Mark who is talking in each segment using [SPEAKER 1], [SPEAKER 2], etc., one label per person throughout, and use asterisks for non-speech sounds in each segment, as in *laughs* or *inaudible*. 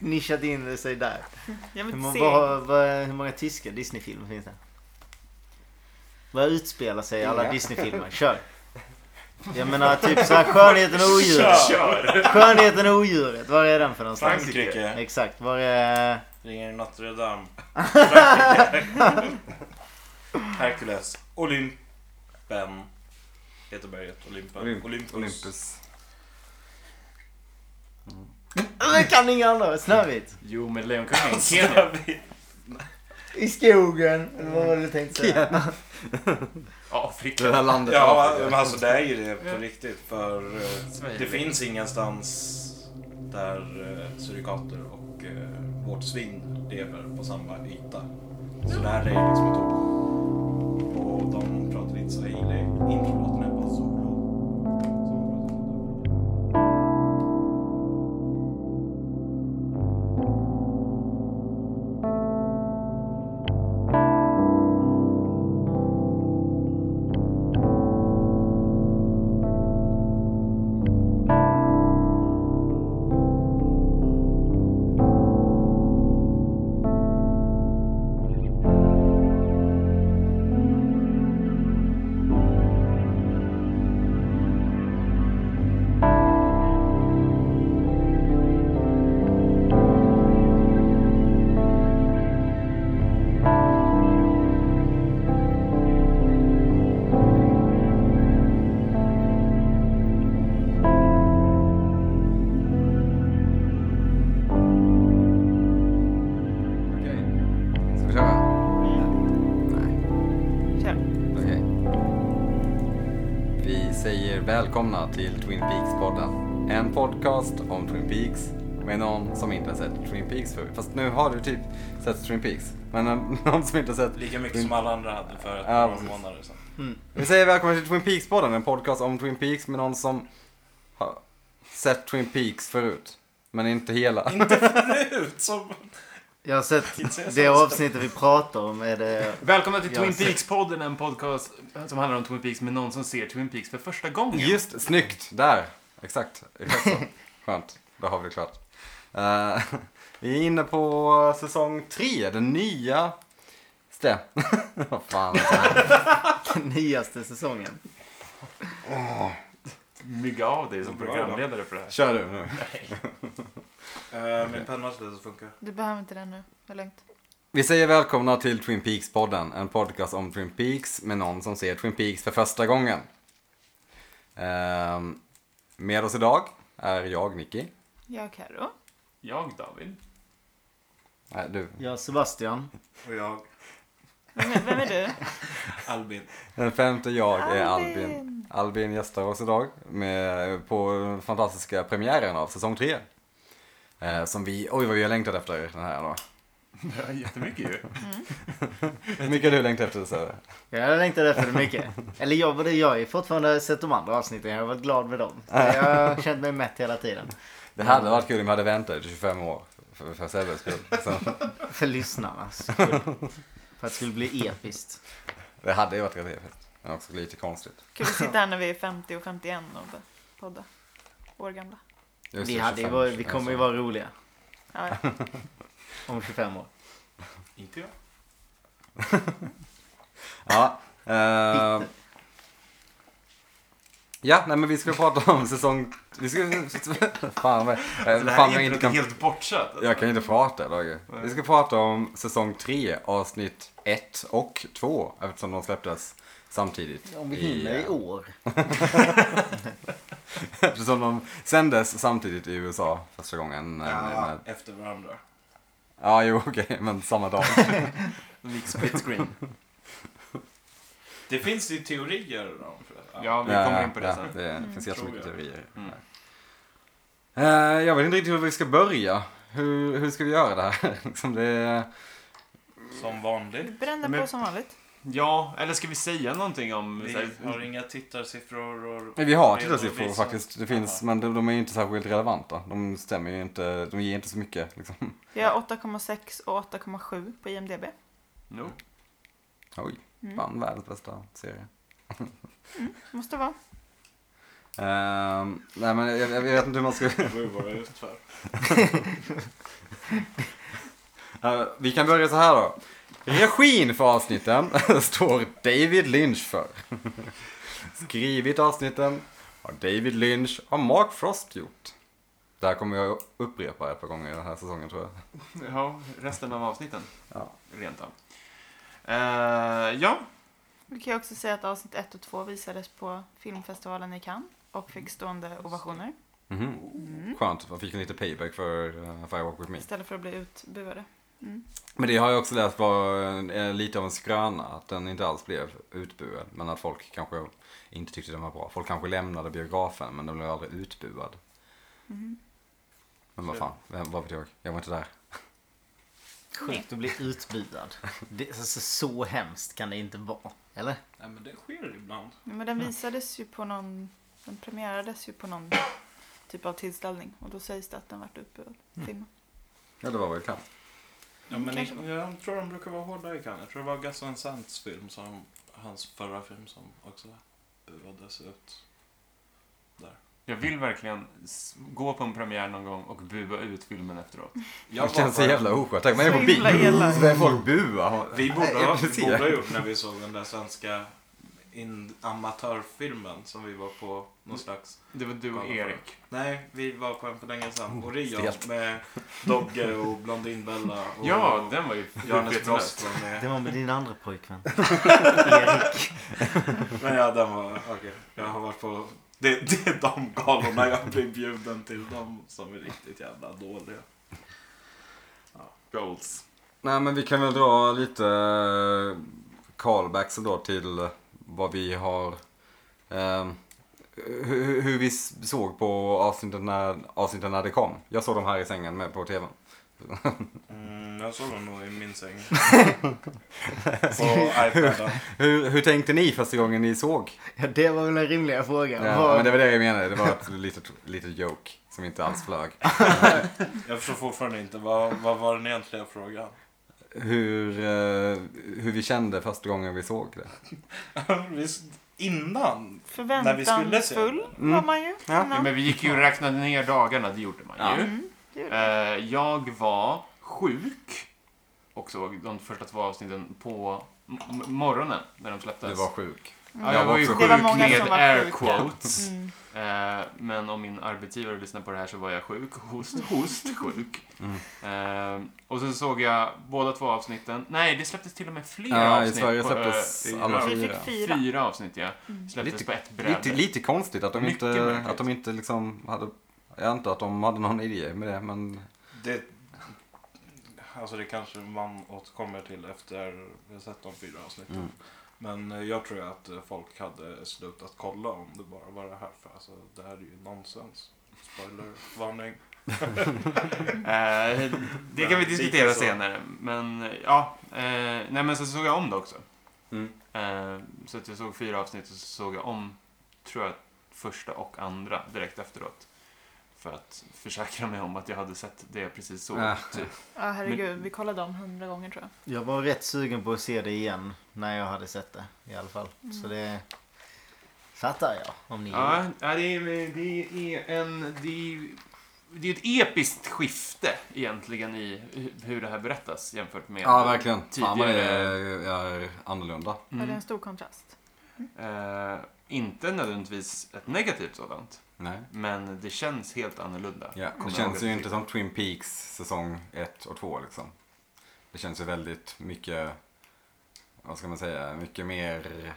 [SPEAKER 1] nischat in sig där.
[SPEAKER 2] Jag
[SPEAKER 1] Hur,
[SPEAKER 2] vill
[SPEAKER 1] må-
[SPEAKER 2] inte se.
[SPEAKER 1] vad, vad, hur många tyska Disney-filmer finns det? Vad utspelar sig i alla
[SPEAKER 3] Inga.
[SPEAKER 1] Disney-filmer? Kör! Jag menar typ såhär Skönheten och odjuret.
[SPEAKER 4] Kör!
[SPEAKER 1] Skönheten och odjuret, var är den för någonstans?
[SPEAKER 4] Frankrike.
[SPEAKER 1] Exakt, var är...
[SPEAKER 4] Ringer i Notre Dame. Frankrike. Hercules. Olympen. Heter berget. Olympen.
[SPEAKER 3] Olymp-
[SPEAKER 4] Olympus.
[SPEAKER 3] Olympus.
[SPEAKER 1] Jag kan inga andra! Snövit!
[SPEAKER 5] Jo, men Lejonkungen. Kenya.
[SPEAKER 4] Snövit.
[SPEAKER 1] I skogen, eller vad var det du tänkte säga?
[SPEAKER 5] Afrika.
[SPEAKER 3] Det där landet
[SPEAKER 4] Ja,
[SPEAKER 3] Afrika.
[SPEAKER 4] men alltså det är ju det på riktigt. För eh,
[SPEAKER 5] Sverige.
[SPEAKER 4] det finns ingenstans där eh, surikater och eh, vårt svin lever på samma yta. Så det här är liksom ett hopp. Och de pratar lite så swahili. Introlåten är bara solo. Så de pratar lite afrika.
[SPEAKER 3] Okej. Ska vi köra? Nej.
[SPEAKER 2] Kör.
[SPEAKER 3] Okej. Vi säger välkomna till Twin Peaks-podden. En podcast om Twin Peaks med någon som inte har sett Twin Peaks förut. Fast nu har du typ sett Twin Peaks. Men en- *laughs* någon som inte har sett...
[SPEAKER 4] Lika mycket som alla andra hade för ett
[SPEAKER 3] Ja,
[SPEAKER 4] par
[SPEAKER 3] precis.
[SPEAKER 4] månader *laughs* sedan.
[SPEAKER 3] Vi säger välkomna till Twin Peaks-podden. En podcast om Twin Peaks med någon som har sett Twin Peaks förut. Men inte hela.
[SPEAKER 4] Ut som...
[SPEAKER 1] Jag har sett det avsnittet vi pratar om är det... *laughs*
[SPEAKER 5] Välkomna till
[SPEAKER 1] Jag
[SPEAKER 5] Twin
[SPEAKER 1] ser.
[SPEAKER 5] Peaks-podden, en podcast som handlar om Twin Peaks med någon som ser Twin Peaks för första gången.
[SPEAKER 3] Just snyggt, där. Exakt. Exakt så. Skönt, då har vi det klart. Eh, *laughs* vi är inne på säsong tre, den nya... Ste. *laughs* Vad fan. alltså.
[SPEAKER 1] Den nyaste säsongen.
[SPEAKER 5] Mygga av dig som
[SPEAKER 4] Bra,
[SPEAKER 5] programledare för det här.
[SPEAKER 3] Kör du nu.
[SPEAKER 4] Eh, min penna slutar funka.
[SPEAKER 2] Du behöver inte den nu. Det är lugnt.
[SPEAKER 3] Vi säger välkomna till Twin Peaks-podden, en podcast om Twin Peaks med någon som ser Twin Peaks för första gången. Ehm, med oss idag är jag, Nicky.
[SPEAKER 2] Jag och Carro.
[SPEAKER 5] Jag, David.
[SPEAKER 3] Nej, du.
[SPEAKER 1] Jag Sebastian.
[SPEAKER 4] Och jag,
[SPEAKER 2] Vem är, vem är du?
[SPEAKER 4] Albin.
[SPEAKER 3] Den femte jag är
[SPEAKER 2] Albin.
[SPEAKER 3] Albin. Albin gästar oss idag med, på den fantastiska premiären av säsong 3. Eh, som vi, oj vad vi har längtat efter den här då.
[SPEAKER 5] Jättemycket ju.
[SPEAKER 3] Hur mycket har du längtat efter Söre?
[SPEAKER 1] Jag längtar efter det mycket. *laughs* Eller jag, både jag har ju fortfarande sett de andra avsnitten. Jag har varit glad med dem. Så Jag har känt mig mätt hela tiden.
[SPEAKER 3] Det hade varit kul om vi hade väntat i 25 år. För, för Sebbes skull. Så,
[SPEAKER 1] För lyssnarnas skull. För att det skulle bli episkt.
[SPEAKER 3] det hade ju varit rätt trevligt. Men också lite konstigt.
[SPEAKER 2] Kul att sitta här när vi är 50 och 51 och bara podda. År gamla.
[SPEAKER 3] Just
[SPEAKER 1] Vi,
[SPEAKER 3] det,
[SPEAKER 1] hade ju
[SPEAKER 3] 25,
[SPEAKER 1] varit, vi kommer ju vara roliga
[SPEAKER 2] Ja, ja.
[SPEAKER 1] om 25 år.
[SPEAKER 4] Inte jag.
[SPEAKER 3] Ja. Eh, ja, nej men vi ska prata om säsong... Vi ska... *laughs* Fan vad...
[SPEAKER 5] Så det
[SPEAKER 3] Fan jag
[SPEAKER 5] här
[SPEAKER 3] inte
[SPEAKER 5] introt
[SPEAKER 3] kan
[SPEAKER 5] är helt bortsatt.
[SPEAKER 3] Jag kan inte prata Lage. Vi ska prata om säsong 3, avsnitt 1 och 2 eftersom de släpptes samtidigt.
[SPEAKER 1] Om vi hinner i år.
[SPEAKER 3] *laughs* Eftersom de sändes samtidigt i USA första gången. eh,
[SPEAKER 4] Ja,
[SPEAKER 3] Med,
[SPEAKER 4] efter varandra.
[SPEAKER 3] ja, jo *laughs* okej, men samma dag.
[SPEAKER 5] De gick split screen.
[SPEAKER 4] Det finns ju teorier om det.
[SPEAKER 5] Ja, vi
[SPEAKER 3] Ja,
[SPEAKER 5] kommer in på det
[SPEAKER 3] ja,
[SPEAKER 5] sen.
[SPEAKER 3] Det finns jättemycket
[SPEAKER 4] Tror jag.
[SPEAKER 3] teorier.
[SPEAKER 5] Mm.
[SPEAKER 3] Eh, jag vet inte riktigt hur vi ska börja. Hur, hur ska vi göra det här? *laughs* liksom det är...
[SPEAKER 4] Som vanligt.
[SPEAKER 2] Du bränner
[SPEAKER 5] Men-
[SPEAKER 2] på som vanligt.
[SPEAKER 5] Ja, eller ska vi säga någonting om... så
[SPEAKER 4] Vi
[SPEAKER 5] här-
[SPEAKER 4] har inga tittarsiffror. Och...
[SPEAKER 3] Men Vi har
[SPEAKER 4] och
[SPEAKER 3] tittarsiffror
[SPEAKER 4] vi som-
[SPEAKER 3] faktiskt. Det finns, men de, de är ju inte särskilt relevanta. De stämmer ju inte, de ger inte så mycket liksom.
[SPEAKER 5] Mm.
[SPEAKER 2] Vi har 8,6 och 8,7 på IMDB.
[SPEAKER 5] No.
[SPEAKER 3] Oj,
[SPEAKER 2] Mm.
[SPEAKER 3] fan världens bästa serie.
[SPEAKER 2] Måste vara.
[SPEAKER 3] Ehm, nej men jag, jag vet inte hur man ska... *laughs*
[SPEAKER 4] Det var ju bara utför.
[SPEAKER 3] Eh, vi kan börja så här då. Regin för avsnitten *laughs* står David Lynch för. *laughs* Skrivit avsnitten har David Lynch och Mark Frost gjort. Det här kommer jag upprepa ett par gånger den här säsongen tror jag.
[SPEAKER 5] Ja, resten av avsnitten.
[SPEAKER 3] Ja.
[SPEAKER 5] Rent av. Eh, ja,
[SPEAKER 2] Vi kan ju också säga att avsnitt 1 och 2 visades på filmfestivalen i Cannes och fick stående ovationer
[SPEAKER 3] Mhm. Skönt, man fick en liten payback för uh, Firewalk With Me.
[SPEAKER 2] istället för att bli utbuade. Mm.
[SPEAKER 3] Men det har jag också läst var eh, lite av en skröna, att den inte alls blev utbuad. Men att folk kanske inte tyckte den var bra. Folk kanske lämnade biografen, men den blev aldrig utbuad.
[SPEAKER 2] Mhm.
[SPEAKER 3] Men vad fan, vem, vad vet jag? Jag var inte där.
[SPEAKER 1] Sjukt att bli utbuad. Det, alltså, så hemskt kan det inte vara. Eller?
[SPEAKER 4] Nej men det sker ibland.
[SPEAKER 2] Nej, Men den visades ju på någon, den premiärades ju på någon typ av tillställning och då sägs det att den vart utbuad. Filmen.
[SPEAKER 3] Ja, det var väl klart.
[SPEAKER 4] Ja, men
[SPEAKER 2] Kanske.
[SPEAKER 4] i- jag tror de brukar vara hårda i Cannes. Jag tror det var Gus Van Sants film, som, hans förra film, som också buades ut.
[SPEAKER 5] jag vill verkligen s- gå på en premiär någon gång och bua ut filmen efteråt.
[SPEAKER 4] Jag
[SPEAKER 3] Det känns så jävla oskött. Tänk, man är
[SPEAKER 2] Så
[SPEAKER 3] på
[SPEAKER 2] himla elak.
[SPEAKER 3] bio. Så är folk bua.
[SPEAKER 4] Vi borde,
[SPEAKER 3] Nej,
[SPEAKER 4] ha,
[SPEAKER 3] jag
[SPEAKER 4] vi
[SPEAKER 3] ser.
[SPEAKER 4] borde ha gjort när vi såg den där svenska in, amatörfilmen som vi var på någon slags...
[SPEAKER 5] Det var du och Erik.
[SPEAKER 4] Nej, vi var på en för länge sedan. Och Rio
[SPEAKER 3] stelt.
[SPEAKER 4] med Dogge och Blondinbella *laughs* och
[SPEAKER 5] Ja, den var ju
[SPEAKER 4] Johannes
[SPEAKER 5] hur fet som helst.
[SPEAKER 4] Brost var
[SPEAKER 1] Det
[SPEAKER 4] med.
[SPEAKER 1] var med din andra pojkvän. Erik.
[SPEAKER 4] Men ja, den var... Okej, jag har varit på... Det, det är de galorna jag blir bjuden till. De som är riktigt jävla dåliga.
[SPEAKER 5] Goals.
[SPEAKER 3] Nej, men vi kan väl dra lite eh, callbacks då till vad vi har... ehm, hur, hur vi s- såg på avsnitten när, avsnitten när det kom. Jag såg dem här i sängen med på tvn.
[SPEAKER 4] Mm, jag såg den nog i min säng. *laughs* på iPaden.
[SPEAKER 3] Hur, hur tänkte ni första gången ni såg?
[SPEAKER 1] Ja, det var väl den rimliga frågan.
[SPEAKER 3] Ja,
[SPEAKER 1] Vad-
[SPEAKER 3] men det var det jag menade. Det var ett litet, litet joke som inte alls flög.
[SPEAKER 4] Jag förstår fortfarande inte. Vad, vad var den egentliga frågan?
[SPEAKER 3] Hur, eh, hur vi kände första gången vi såg det.
[SPEAKER 4] *laughs* Visst, innan? När vi skulle se
[SPEAKER 2] Förväntansfull
[SPEAKER 3] Mm.
[SPEAKER 2] var man ju.
[SPEAKER 3] Ja,
[SPEAKER 2] innan.
[SPEAKER 5] Men vi gick ju och räknade ner dagarna, det gjorde man
[SPEAKER 3] Ja.
[SPEAKER 5] ju.
[SPEAKER 2] Mm, det gjorde
[SPEAKER 5] Eh, jag var sjuk och såg de första två avsnitten på m- m- morgonen när de släpptes.
[SPEAKER 3] Du var sjuk.
[SPEAKER 5] ja,
[SPEAKER 2] Mm.
[SPEAKER 5] jag var ju
[SPEAKER 3] också
[SPEAKER 5] sjuk
[SPEAKER 3] sjuk. Det var
[SPEAKER 2] många som
[SPEAKER 5] med
[SPEAKER 2] var
[SPEAKER 5] air
[SPEAKER 2] sjuka.
[SPEAKER 5] quotes.
[SPEAKER 2] Mm.
[SPEAKER 5] Eh, men om min arbetsgivare lyssnar på det här så var jag sjuk. *laughs* Host, host, sjuk.
[SPEAKER 3] Mm.
[SPEAKER 5] Eh, och sen såg jag båda två avsnitten. Nej, det släpptes till och med flera
[SPEAKER 3] Ja, i
[SPEAKER 5] avsnitt.
[SPEAKER 3] Sverige
[SPEAKER 5] på,
[SPEAKER 3] släpptes
[SPEAKER 5] eh,
[SPEAKER 3] alla
[SPEAKER 2] Vi
[SPEAKER 3] fyra.
[SPEAKER 2] fick
[SPEAKER 5] fyra.
[SPEAKER 2] fyra.
[SPEAKER 5] fyra avsnitt, ja.
[SPEAKER 2] Mm.
[SPEAKER 5] Släpptes
[SPEAKER 3] Lite-
[SPEAKER 5] på ett bräde.
[SPEAKER 3] Lite, lite konstigt att de
[SPEAKER 5] Mycket
[SPEAKER 3] inte,
[SPEAKER 5] märkligt.
[SPEAKER 3] att de inte liksom hade, jag antar att de hade någon idé med det men
[SPEAKER 4] Det, alltså det kanske man återkommer till efter vi har sett de fyra avsnitten.
[SPEAKER 3] Mm.
[SPEAKER 4] Men eh, jag tror att eh, folk hade slutat kolla om det bara var det här. För alltså, det här är ju nonsens. Spoilervarning.
[SPEAKER 5] Eh, det kan vi *laughs*
[SPEAKER 4] Men
[SPEAKER 5] diskutera
[SPEAKER 4] lite så.
[SPEAKER 5] senare. Men ja, eh, nej men sen såg jag om det också.
[SPEAKER 3] Mm.
[SPEAKER 5] Eh, så att jag såg fyra avsnitt och så såg jag om, tror jag, första och andra direkt efteråt. För att försäkra mig om att jag hade sett det jag precis såg.
[SPEAKER 3] Ah.
[SPEAKER 5] Typ.
[SPEAKER 2] Ja, herregud. Vi kollade om hundra gånger tror jag.
[SPEAKER 1] Jag var rätt sugen på att se det igen när jag hade sett det i alla fall. Så det fattar jag om ni
[SPEAKER 5] Ja, ja, det, är, det är en... Det är, det är ett episkt skifte egentligen i hu- hur det här berättas jämfört med...
[SPEAKER 3] Ja verkligen, fan vad det
[SPEAKER 5] tidigare-
[SPEAKER 3] är, är annorlunda.
[SPEAKER 2] Ja, det är
[SPEAKER 5] Mm.
[SPEAKER 2] en stor kontrast.
[SPEAKER 5] Eh, inte nödvändigtvis ett negativt sådant,
[SPEAKER 3] Nej.
[SPEAKER 5] men det känns helt annorlunda.
[SPEAKER 3] Ja, det
[SPEAKER 5] Kommer jag
[SPEAKER 3] känns
[SPEAKER 5] ihåg
[SPEAKER 3] ju
[SPEAKER 5] att-
[SPEAKER 3] inte som Twin Peaks säsong 1 och 2 liksom. Det känns ju väldigt mycket, vad ska man säga, mycket mer, eh,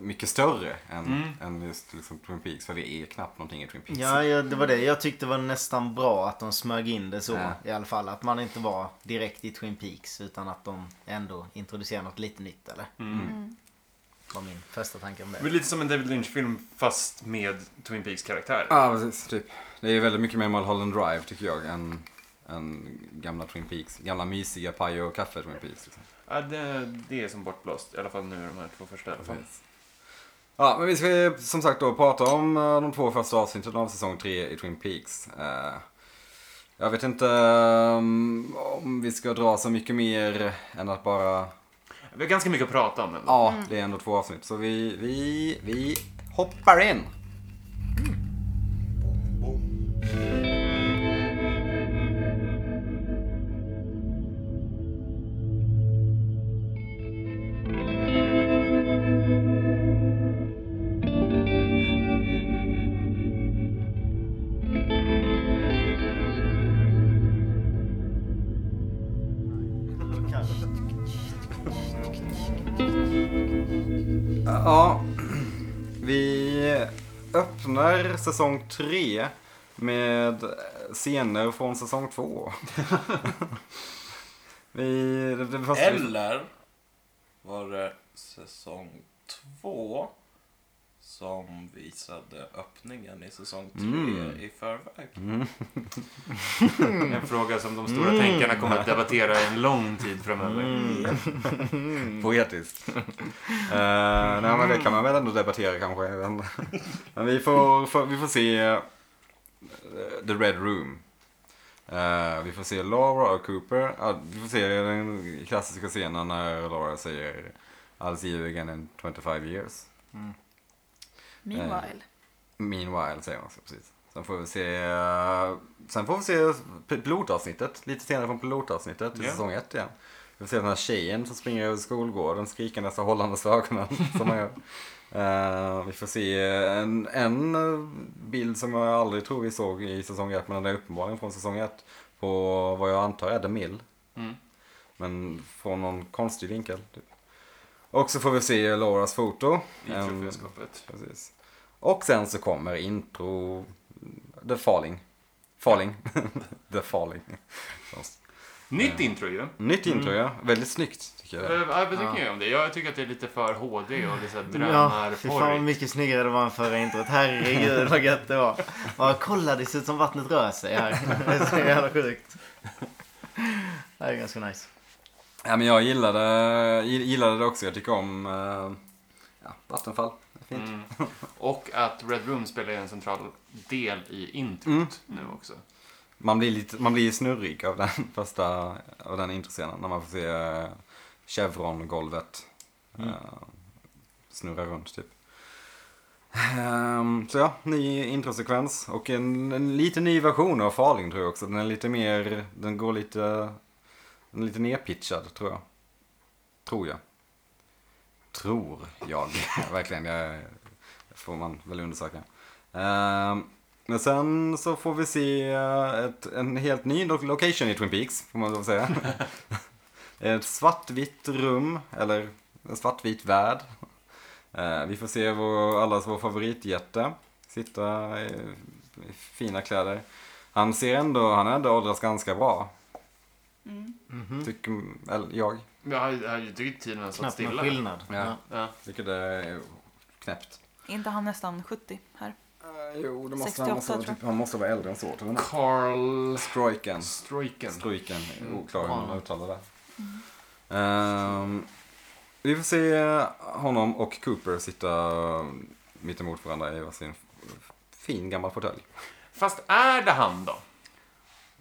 [SPEAKER 3] mycket större än,
[SPEAKER 5] Mm.
[SPEAKER 3] än just liksom Twin Peaks. För vi är knappt någonting i Twin Peaks.
[SPEAKER 1] Ja, ja, det var det. Jag tyckte det var nästan bra att de smög in det så
[SPEAKER 3] Ja.
[SPEAKER 1] i alla fall. Att man inte var direkt i Twin Peaks utan att de ändå introducerade något lite nytt eller?
[SPEAKER 5] Mm.
[SPEAKER 1] Var min första tanke om
[SPEAKER 5] Men
[SPEAKER 1] det.
[SPEAKER 5] lite som en David Lynch-film fast med Twin Peaks-karaktär.
[SPEAKER 3] Ja, precis. Typ. Det är väldigt mycket mer Mulholland Drive tycker jag än, än gamla Twin Peaks. Gamla mysiga paj och kaffe Twin Peaks. Liksom.
[SPEAKER 5] Ja, det, det är som bortblåst, i alla fall nu de här två första. I alla fall.
[SPEAKER 3] Precis. Ja, men vi ska som sagt då prata om eh, de två första avsnitten av säsong 3 i Twin Peaks. Eh, Jag vet inte eh, om vi ska dra så mycket mer än att bara...
[SPEAKER 5] Vi har ganska mycket att prata om ändå.
[SPEAKER 3] Ja, det är ändå två avsnitt. Så vi, vi, vi hoppar in!
[SPEAKER 4] Bom, bom.
[SPEAKER 3] Ja, vi öppnar säsong tre med scener från säsong två. vi, det, det första vi-
[SPEAKER 4] Eller var det säsong två som visade öppningen i säsong tre
[SPEAKER 3] Mm.
[SPEAKER 4] i förväg?
[SPEAKER 1] Mm.
[SPEAKER 5] En fråga som de stora tänkarna kommer att debattera en lång tid framöver.
[SPEAKER 1] Mm.
[SPEAKER 3] *laughs* Poetiskt. uh, nej men det kan man väl ändå debattera kanske. Men, men vi, får, får, vi får se eh, The Red Room. Eh, vi får se Laura och Cooper. Ja, vi får se den klassiska scenen när Laura säger I'll see you again in 25 years.
[SPEAKER 2] Meanwhile.
[SPEAKER 3] Meanwhile säger hon också precis. Sen får vi se, eh, sen får vi se p- pilotavsnittet. Lite senare från pilotavsnittet i
[SPEAKER 5] Ja.
[SPEAKER 3] säsong ett igen. Vi får se den här tjejen som springer över skolgården skrikandes och hållandes för ögonen. *laughs* som man gör. Eh, vi får se en, en eh, bild som jag aldrig tror vi såg i säsong ett men den är uppenbarligen från säsong ett På vad jag antar är The Mill.
[SPEAKER 5] Mm.
[SPEAKER 3] Men från någon konstig vinkel. Typ. Och så får vi se Lauras foto.
[SPEAKER 5] I
[SPEAKER 1] Mm.
[SPEAKER 3] En-
[SPEAKER 5] troféskåpet.
[SPEAKER 3] Precis. Och sen så kommer intro... The Falling. Falling. *laughs* The Falling.
[SPEAKER 5] Nytt intro ju.
[SPEAKER 3] Nytt intro ja. Väldigt snyggt tycker jag.
[SPEAKER 5] Eh,
[SPEAKER 3] det är.
[SPEAKER 5] ja, Vad tycker ni om det? Jag tycker att det är lite för HD och lite
[SPEAKER 1] Ja, fy fan vad
[SPEAKER 5] drönarporrigt.
[SPEAKER 1] mycket snyggare det var än förra introt. Herregud vad gött det var. Ja, kolla det ser ut som vattnet rör sig här. Det är så jävla sjukt. Det här är ganska nice.
[SPEAKER 3] Ja men jag gillade, gill- gillade det också. Jag tycker om eh, ja, Vattenfall. Fint.
[SPEAKER 5] Mm. Och att Red Room spelar ju en central del i introt
[SPEAKER 3] Mm.
[SPEAKER 5] nu också.
[SPEAKER 3] Man blir, lite, man blir snurrig av den *laughs* första, av den introscenen. När man får se eh, Chevron-golvet eh, snurra runt typ. Ehm, så ja, ny introsekvens och en, en lite ny version av Farling tror jag också. Den är lite mer, den går lite, den är lite nerpitchad tror jag. Tror jag. Tror jag, *laughs* verkligen. Jag, får man väl undersöka. Ehm, men sen så får vi se eh, ett, en helt ny lo- location i Twin Peaks, får man väl *laughs* säga. ett svartvitt rum, eller en svartvit värld. Eh, vi får se vår, allas vår favoritjätte sitta i, i fina kläder. Han ser ändå, han har ändå åldrats ganska bra.
[SPEAKER 2] Mm.
[SPEAKER 3] Tycker, eller jag.
[SPEAKER 5] Jag har jag har ju tyckt tiden har stått
[SPEAKER 1] Knappt någon
[SPEAKER 5] stilla.
[SPEAKER 1] skillnad.
[SPEAKER 3] Ja.
[SPEAKER 1] Ja.
[SPEAKER 5] Ja.
[SPEAKER 3] Vilket är knäppt.
[SPEAKER 2] inte han nästan 70 här?
[SPEAKER 3] Eh, jo, det
[SPEAKER 2] måste- han 68 måste vara tror jag. typ-
[SPEAKER 3] han måste vara äldre än så.
[SPEAKER 5] Carl
[SPEAKER 3] Strojken.
[SPEAKER 5] Stroiken.
[SPEAKER 3] Stryken,
[SPEAKER 1] Mm.
[SPEAKER 3] oklar hur man
[SPEAKER 1] Ja. Mm.
[SPEAKER 3] uttalar det. Ehm, vi får se honom och Cooper sitta mittemot varandra i varsin fin gammal fåtölj.
[SPEAKER 5] Fast är det han då?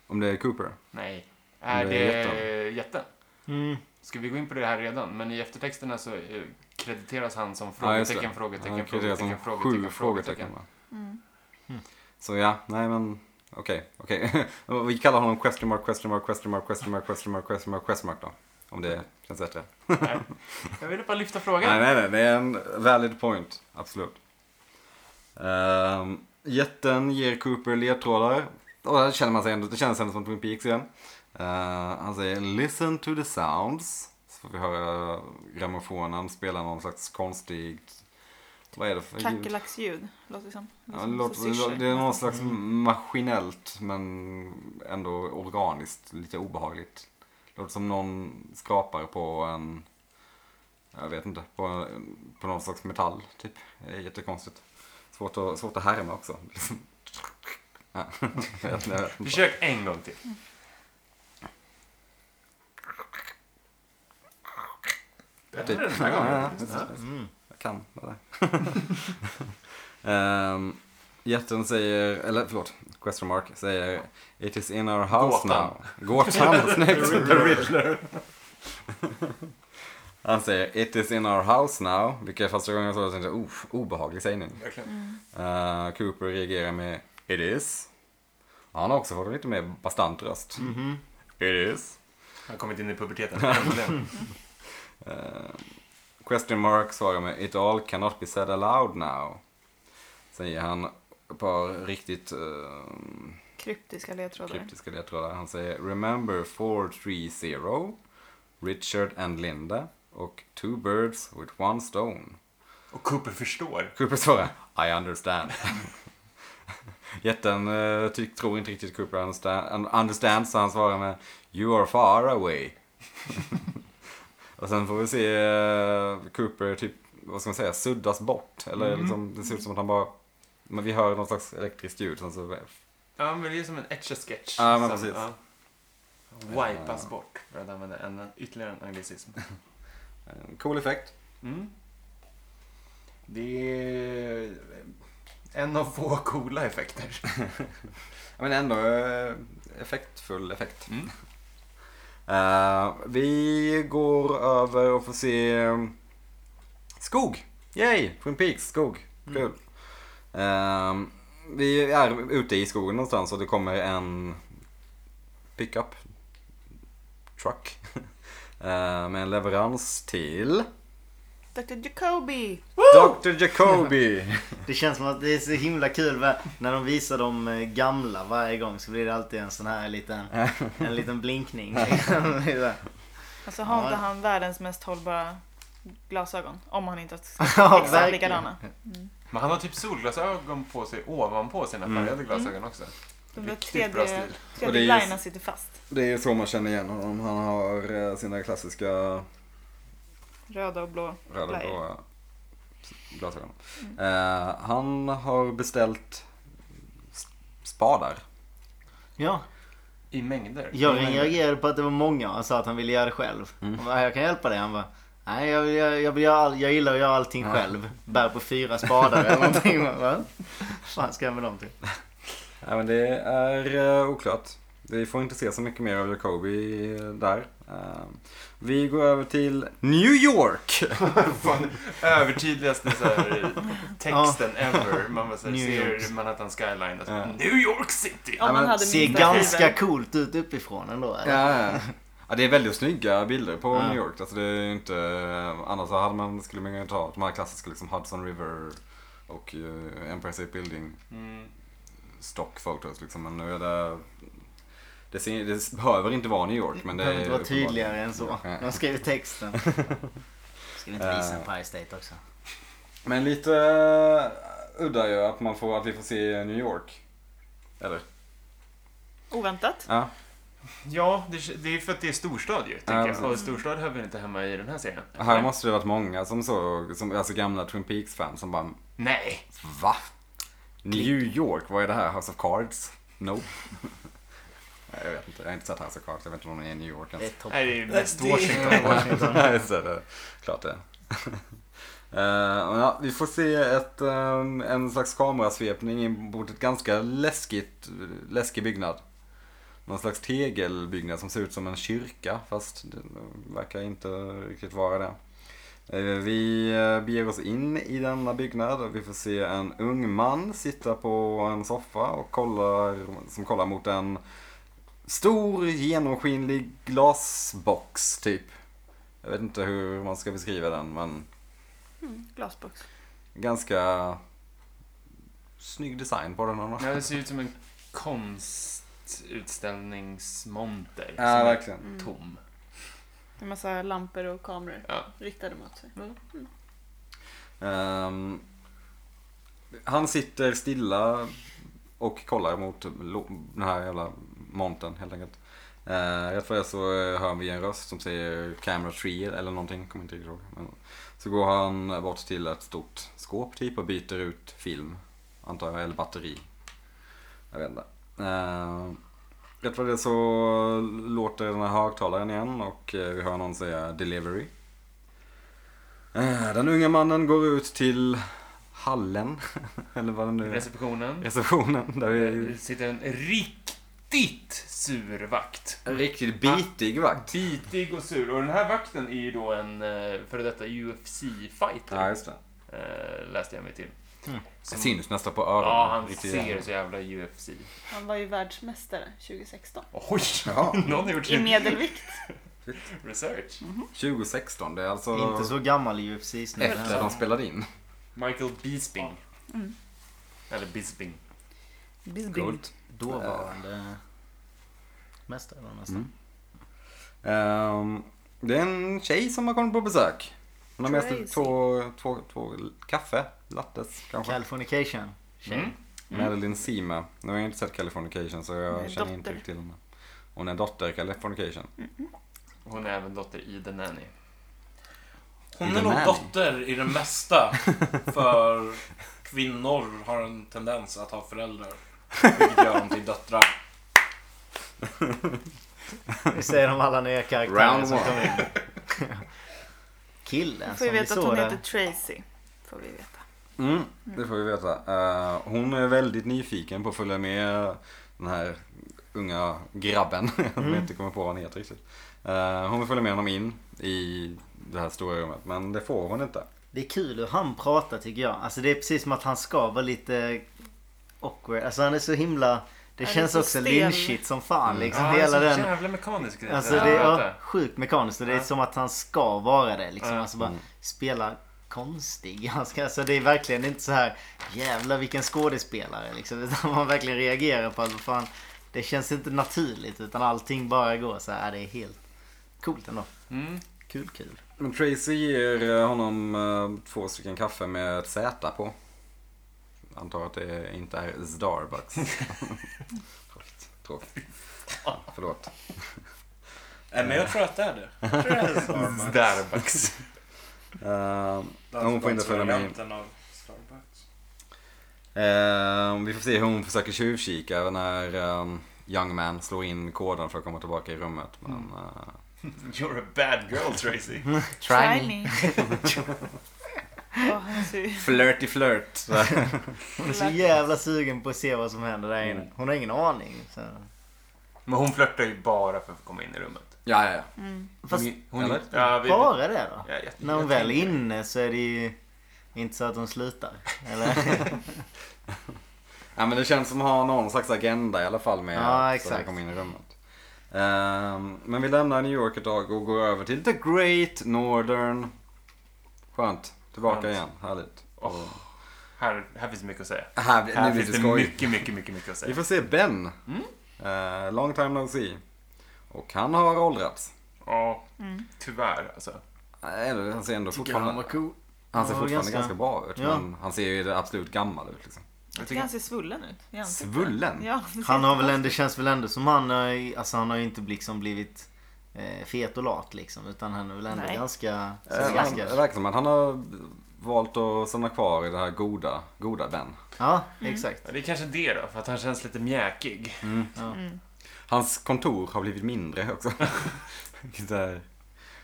[SPEAKER 3] Om det är Cooper.
[SPEAKER 5] Nej. Är
[SPEAKER 3] Det
[SPEAKER 5] det
[SPEAKER 3] är
[SPEAKER 5] jätten?
[SPEAKER 1] Mm.
[SPEAKER 5] Ska vi gå in på det här redan? Men i eftertexterna så eh, krediteras han som
[SPEAKER 3] Ja, just det.
[SPEAKER 5] frågetecken, frågetecken,
[SPEAKER 3] Han krediteras
[SPEAKER 5] frågetecken,
[SPEAKER 3] som
[SPEAKER 5] frågetecken,
[SPEAKER 3] sju frågetecken. va?
[SPEAKER 2] Mm.
[SPEAKER 3] Så ja, nej men okej, okej. *laughs* vi kallar honom question mark, question mark, question mark, question mark, question mark, question mark, question mark då. Om det känns bättre.
[SPEAKER 5] Jag ville bara lyfta frågan.
[SPEAKER 3] Nej, nej, nej, det är en valid point. Absolut. Ehm, jätten ger Cooper ledtrådar. Och där känner man sig ändå, det känns ändå som Twin Peaks igen. Eh, han säger “Listen to the sounds”. Så får vi höra grammofonen spela någon slags konstig... Vad är det för ljud?
[SPEAKER 2] Kackerlacksljud, låter det som. Liksom
[SPEAKER 3] Ja, det,
[SPEAKER 2] som
[SPEAKER 3] låter,
[SPEAKER 2] syscher.
[SPEAKER 3] det är någon slags maskinellt men ändå organiskt, lite obehagligt. Det låter som någon skrapar på en, jag vet inte, på, en- på någon slags metall typ. Det är jättekonstigt. Svårt att, svårt att härma också. *laughs* Liksom. Ja, jag vet inte, jag vet inte.
[SPEAKER 5] Försök en gång till.
[SPEAKER 3] Typ.
[SPEAKER 5] Bättre den
[SPEAKER 3] Ja,
[SPEAKER 5] här
[SPEAKER 3] ja,
[SPEAKER 5] gången.
[SPEAKER 3] ja.
[SPEAKER 5] Ja.
[SPEAKER 1] Mm.
[SPEAKER 3] Jag kan *laughs* det där. um, jätten säger, eller förlåt, question mark säger It is in our house
[SPEAKER 5] Gåtan.
[SPEAKER 3] now. Gåtan, snyggt. The Riddler. *laughs* Han säger It is in our house now, vilket första gången jag såg det tänkte jag, "Oof, obehaglig sägning.
[SPEAKER 5] Verkligen.
[SPEAKER 3] Eh, Cooper reagerar med It is. Han har också fått en lite mer bastant röst.
[SPEAKER 1] Mhm.
[SPEAKER 3] It is.
[SPEAKER 5] Jag har kommit in i puberteten. Äntligen.
[SPEAKER 3] Eh, question mark svarar med It all cannot be said aloud now. Säger han ett par riktigt eh,
[SPEAKER 2] Kryptiska ledtrådar.
[SPEAKER 3] kryptiska ledtrådar. Han säger Remember 430. Richard and Linda och Two Birds with One Stone.
[SPEAKER 5] Och Cooper förstår.
[SPEAKER 3] Cooper svarar I understand. *laughs* Jätten eh, ty- tror inte riktigt Cooper understand, understand så han svarar med You are far away. *laughs* och sen får vi se eh, Cooper typ, vad ska man säga, suddas bort. Eller liksom, det ser ut som att han bara, men vi hör någon slags elektriskt ljud. Sen så, eh,
[SPEAKER 5] Ja, men det är som en etch-a-sketch.
[SPEAKER 3] Ja, men
[SPEAKER 5] som,
[SPEAKER 3] precis.
[SPEAKER 5] ja. Wipas bort, för att använda en, ytterligare en anglicism.
[SPEAKER 3] En cool effekt.
[SPEAKER 5] Mm.
[SPEAKER 4] Det är en av få coola effekter.
[SPEAKER 3] Ja, Men ändå eh, effektfull effekt.
[SPEAKER 5] Mm.
[SPEAKER 3] *laughs* Eh, vi går över och får se eh, skog. Yay! Twin Peaks, skog. Kul. Eh, vi är ute i skogen någonstans och det kommer en pickup truck *laughs* eh, med en leverans till
[SPEAKER 2] Dr. Jacoby!
[SPEAKER 3] Dr. Jacoby.
[SPEAKER 1] Det känns som att det är så himla kul va? när de visar de eh, gamla varje gång så blir det alltid en sån här liten, en liten
[SPEAKER 3] *laughs*
[SPEAKER 1] blinkning. Det är så här.
[SPEAKER 2] Alltså har
[SPEAKER 1] Ja.
[SPEAKER 2] inte han världens mest hållbara glasögon? Om han inte
[SPEAKER 1] Ja,
[SPEAKER 2] har exakt
[SPEAKER 1] verkligen.
[SPEAKER 2] likadana.
[SPEAKER 5] Men han har typ solglasögon på sig ovanpå sina
[SPEAKER 3] Mm.
[SPEAKER 5] färgade glasögon också.
[SPEAKER 2] De där
[SPEAKER 5] Riktigt bra
[SPEAKER 2] tredje,
[SPEAKER 5] stil.
[SPEAKER 3] Och det
[SPEAKER 2] tredje
[SPEAKER 3] är ju-
[SPEAKER 2] linjerna sitter fast.
[SPEAKER 3] Det är så man känner igen honom. Han har eh, sina klassiska
[SPEAKER 2] Röda och blå.
[SPEAKER 3] röda
[SPEAKER 2] blöjor.
[SPEAKER 3] blåa glasögon. Eh, han har beställt s- spadar.
[SPEAKER 1] Ja,
[SPEAKER 5] I mängder.
[SPEAKER 1] jag
[SPEAKER 5] I mängder.
[SPEAKER 1] reagerade på att det var många och sa att han ville göra det själv.
[SPEAKER 3] Mm.
[SPEAKER 1] Han bara, jag kan hjälpa dig. Han bara, nej jag, vill, göra- jag, vill göra all, jag gillar att göra allting själv. Bär på fyra spadar eller någonting. Vad fan ska jag med dem till?
[SPEAKER 3] Ja, men det är eh, oklart. Vi får inte se så mycket mer av Jacobi eh, där. Eh, vi går över till New York.
[SPEAKER 5] Fan, övertydligaste
[SPEAKER 3] *laughs*
[SPEAKER 5] så här, texten ever. Man bara så här,
[SPEAKER 1] New York.
[SPEAKER 5] ser Manhattan skyline. Alltså,
[SPEAKER 3] Ja.
[SPEAKER 5] New York City!
[SPEAKER 2] Om
[SPEAKER 3] men
[SPEAKER 2] han hade
[SPEAKER 1] Ser
[SPEAKER 2] minsta
[SPEAKER 1] ganska
[SPEAKER 2] tvivel.
[SPEAKER 1] coolt ut uppifrån ändå. eller?
[SPEAKER 3] ja. ja, det är väldigt snygga bilder på
[SPEAKER 1] Ja.
[SPEAKER 3] New York. Alltså, det är inte, annars så hade man, skulle man ju ta de här klassiska liksom Hudson River och eh, Empire State Building
[SPEAKER 5] Mm.
[SPEAKER 3] stock photos liksom. Men nu är det... Det, ser, det behöver inte vara New York men det
[SPEAKER 1] behöver
[SPEAKER 3] är...
[SPEAKER 1] inte vara tydligare än så.
[SPEAKER 3] Ja.
[SPEAKER 1] De skriver texten.
[SPEAKER 3] *laughs*
[SPEAKER 1] Ska vi inte visa Empire State också?
[SPEAKER 3] Men lite eh, udda ju att, man får, att vi får se New York. Eller?
[SPEAKER 2] Oväntat.
[SPEAKER 3] Ja.
[SPEAKER 5] Ja, det, det är för att det är storstad ju, tänker
[SPEAKER 3] precis.
[SPEAKER 5] jag. Och storstad hör väl inte hemma i den här serien?
[SPEAKER 3] Här måste det varit många som såg, som, alltså gamla Twin Peaks-fans som bara
[SPEAKER 5] Nej!
[SPEAKER 3] Va? New York? Vad är det här? House of Cards? Nope. *laughs* Nej, jag vet inte. Jag har inte sett House of Cards. Jag vet inte om de är i New York ens.
[SPEAKER 1] Det är topp.
[SPEAKER 5] Nej, det är ju mest
[SPEAKER 4] Det-
[SPEAKER 5] Washington.
[SPEAKER 3] Ja, just det, det. Klart det. *laughs* Eh, men ja, vi får se ett, ehm, en slags kamerasvepning in mot ett ganska läskigt, läskig byggnad. Någon slags tegelbyggnad som ser ut som en kyrka fast det verkar inte riktigt vara det. Eh, Vi eh, beger oss in i denna byggnad och vi får se en ung man sitta på en soffa och kollar, som kollar mot en stor genomskinlig glasbox typ. Jag vet inte hur man ska beskriva den men
[SPEAKER 2] Mm, glasbox.
[SPEAKER 3] ganska snygg design på den. ändå.
[SPEAKER 5] Ja, det ser ut som en konstutställningsmonter. som
[SPEAKER 3] Ja,
[SPEAKER 5] är
[SPEAKER 3] verkligen.
[SPEAKER 2] Mm.
[SPEAKER 5] Tom.
[SPEAKER 2] En massa lampor och kameror
[SPEAKER 5] Ja.
[SPEAKER 2] riktade mot sig.
[SPEAKER 3] Ehm, han sitter stilla och kollar mot lo- den här jävla monten helt enkelt. Uh, rätt för det så eh, hör vi en röst som säger camera tree eller någonting, kommer inte riktigt ihåg. Men, så går han bort till ett stort skåp typ och byter ut film, antar jag, eller batteri. Jag vet inte. Uh, rätt för det så låter den här högtalaren igen och eh, vi hör någon säga delivery. Eh, Den unga mannen går ut till hallen, *laughs* eller vad det nu är.
[SPEAKER 5] Receptionen.
[SPEAKER 3] Receptionen, där vi...
[SPEAKER 5] Det sitter en riktigt sur vakt.
[SPEAKER 3] En riktigt bitig vakt.
[SPEAKER 5] Bitig och sur. Och den här vakten är ju då en eh, före detta
[SPEAKER 3] Ja,
[SPEAKER 5] UFC-fighter.
[SPEAKER 3] just det.
[SPEAKER 5] Eh, läste jag mig till.
[SPEAKER 3] Det
[SPEAKER 5] Som-
[SPEAKER 3] syns nästan på öronen.
[SPEAKER 5] Ja, han
[SPEAKER 3] Lite
[SPEAKER 5] ser
[SPEAKER 3] grann.
[SPEAKER 5] så jävla UFC.
[SPEAKER 2] Han var ju världsmästare 2016.
[SPEAKER 5] Oj! *laughs*
[SPEAKER 3] Ja.
[SPEAKER 5] Någon har gjort
[SPEAKER 2] I
[SPEAKER 5] sin
[SPEAKER 2] medelvikt.
[SPEAKER 5] research.
[SPEAKER 3] 2016, det är alltså
[SPEAKER 1] Inte så gammal i UFC snubben.
[SPEAKER 3] efter de spelade in.
[SPEAKER 5] Michael Bisping. Eller Bisping.
[SPEAKER 2] Bisbing.
[SPEAKER 3] Coolt.
[SPEAKER 1] Dåvarande mästare var han nästan.
[SPEAKER 3] Mm. Ehm, Det är en tjej som har kommit på besök. Hon har med sig
[SPEAKER 2] Crazy.
[SPEAKER 3] två, två, två kaffe, lattes kanske.
[SPEAKER 1] Californication. Tjej.
[SPEAKER 5] Mm.
[SPEAKER 3] Madeline Sima. Nu har jag inte sett Californication så
[SPEAKER 2] Hon är
[SPEAKER 3] jag känner inte
[SPEAKER 2] dotter.
[SPEAKER 3] riktigt till henne. Hon är en dotter i Californication.
[SPEAKER 5] Hon är även dotter i The Nanny.
[SPEAKER 3] I
[SPEAKER 4] Hon
[SPEAKER 3] The
[SPEAKER 4] är nog
[SPEAKER 3] Nanny.
[SPEAKER 4] dotter i det mesta.
[SPEAKER 3] *laughs*
[SPEAKER 4] För kvinnor har en tendens att ha föräldrar. Vilket gör dem till döttrar.
[SPEAKER 1] Vi ser de alla nya karaktärer
[SPEAKER 3] Round
[SPEAKER 1] som
[SPEAKER 3] one.
[SPEAKER 1] kommer in. *laughs*
[SPEAKER 2] Då
[SPEAKER 1] Killen
[SPEAKER 2] får vi
[SPEAKER 1] som vi
[SPEAKER 2] veta att
[SPEAKER 1] såg
[SPEAKER 2] hon heter
[SPEAKER 1] där.
[SPEAKER 2] Tracy. Får vi veta.
[SPEAKER 3] Mm, det får vi veta. Eh, hon är väldigt nyfiken på att följa med den här unga grabben. *laughs* jag inte kommer på vad han heter riktigt. Eh, hon vill följa med honom in i det här stora rummet men det får hon inte.
[SPEAKER 1] Det är kul hur han pratar tycker jag. Alltså det är precis som att han ska vara lite awkward. Alltså han är så himla... Det
[SPEAKER 2] Han är
[SPEAKER 1] känns
[SPEAKER 2] så
[SPEAKER 1] också
[SPEAKER 2] stel.
[SPEAKER 1] lynchigt som
[SPEAKER 3] Mm.
[SPEAKER 1] fan liksom.
[SPEAKER 5] Ja, det är
[SPEAKER 3] alltså,
[SPEAKER 1] Hela
[SPEAKER 5] så
[SPEAKER 1] den...
[SPEAKER 5] jävla mekanisk grej.
[SPEAKER 1] Alltså
[SPEAKER 5] Ja,
[SPEAKER 1] det är
[SPEAKER 5] jag
[SPEAKER 1] ja,
[SPEAKER 5] vet
[SPEAKER 1] sjukt mekaniskt och det är
[SPEAKER 5] Ja.
[SPEAKER 1] som att han ska vara det liksom.
[SPEAKER 5] Ja.
[SPEAKER 1] Alltså bara spela konstig. *laughs* Han ska- Alltså det är verkligen inte så här jävla vilken skådespelare liksom. *laughs* Utan man verkligen reagerar på att vad fan, det känns inte naturligt utan allting bara går så här. Ja, Det är helt coolt ändå.
[SPEAKER 5] det. Mm.
[SPEAKER 1] Kul kul.
[SPEAKER 3] Men Tracy ger eh, honom eh, två stycken kaffe med ett Z på. Antar att det inte är Starbucks. Tråkigt. Tråkigt. Ja, förlåt.
[SPEAKER 4] Nej, men jag tror att det är det. Jag tror det är Starbucks.
[SPEAKER 5] Starbucks.
[SPEAKER 3] Eh,
[SPEAKER 4] Det är alltså
[SPEAKER 3] Hon får inte följa med in.
[SPEAKER 4] varianten av Starbucks.
[SPEAKER 3] Eh, vi får se hur hon försöker tjuvkika när eh, Young Man slår in koden för att komma tillbaka i rummet. Men, eh,
[SPEAKER 5] You're a bad girl Tracy.
[SPEAKER 1] Try me.
[SPEAKER 2] Ja, han ser ju-
[SPEAKER 3] flirty flirt.
[SPEAKER 1] Hon är så jävla sugen på att se vad som händer där inne. Hon har ingen aning. Så.
[SPEAKER 5] Men hon flörtar ju bara för att komma in i rummet.
[SPEAKER 3] ja, ja, ja.
[SPEAKER 1] Fast
[SPEAKER 5] Hon,
[SPEAKER 3] Eller?
[SPEAKER 5] ja, vi, Mm. ja,
[SPEAKER 1] bara det då?
[SPEAKER 5] jag,
[SPEAKER 1] När hon väl är inne så är det ju inte så att hon slutar. Eller?
[SPEAKER 5] *laughs*
[SPEAKER 3] ja men det känns som att ha någon slags agenda i alla fall med
[SPEAKER 1] Ja,
[SPEAKER 3] att
[SPEAKER 1] exakt.
[SPEAKER 3] så här komma in i rummet. Ehm, men vi lämnar New York ett tag och går över till The Great Northern. Skönt. Tillbaka
[SPEAKER 5] Skönt.
[SPEAKER 3] igen. Härligt.
[SPEAKER 5] Åh. Här, här finns det mycket
[SPEAKER 3] *laughs*
[SPEAKER 5] att säga.
[SPEAKER 3] Och här,
[SPEAKER 5] Här
[SPEAKER 3] nu blir
[SPEAKER 5] finns
[SPEAKER 3] det
[SPEAKER 5] det
[SPEAKER 3] skoj.
[SPEAKER 5] mycket, mycket, mycket, mycket att
[SPEAKER 3] Vi
[SPEAKER 5] säga.
[SPEAKER 3] får se Ben. Eh, long time no see. Och han har åldrats.
[SPEAKER 5] Ja,
[SPEAKER 1] Mm.
[SPEAKER 5] tyvärr alltså.
[SPEAKER 3] Nej, eller han ser ändå
[SPEAKER 1] Tycker han var
[SPEAKER 3] fortfarande,
[SPEAKER 1] cool.
[SPEAKER 3] han ser
[SPEAKER 1] Ja,
[SPEAKER 3] fortfarande
[SPEAKER 1] ganska-
[SPEAKER 3] ganska, bra ut.
[SPEAKER 1] Ja.
[SPEAKER 3] Men han ser ju absolut gammal ut liksom.
[SPEAKER 5] Jag
[SPEAKER 2] Jag
[SPEAKER 5] tycker-
[SPEAKER 2] tycker han ser svullen ut. i ansiktet.
[SPEAKER 3] Svullen?
[SPEAKER 2] Ja, det ser
[SPEAKER 1] Han har väl
[SPEAKER 2] jättekonstigt
[SPEAKER 1] ändå, känns väl ändå som han har, alltså han har ju inte liksom blivit eh, fet och lat liksom. Utan han är väl ändå
[SPEAKER 2] Nej.
[SPEAKER 1] ganska...
[SPEAKER 3] Eh,
[SPEAKER 1] ser
[SPEAKER 3] han,
[SPEAKER 1] ganska
[SPEAKER 3] det verkar som att han har valt att stanna kvar i det här goda, goda Ben.
[SPEAKER 1] ja,
[SPEAKER 2] Mm.
[SPEAKER 1] exakt.
[SPEAKER 5] Ja, det är kanske det då, för att han känns lite mjäkig.
[SPEAKER 3] Hans kontor har blivit mindre
[SPEAKER 1] *laughs*
[SPEAKER 3] också. Vilket är,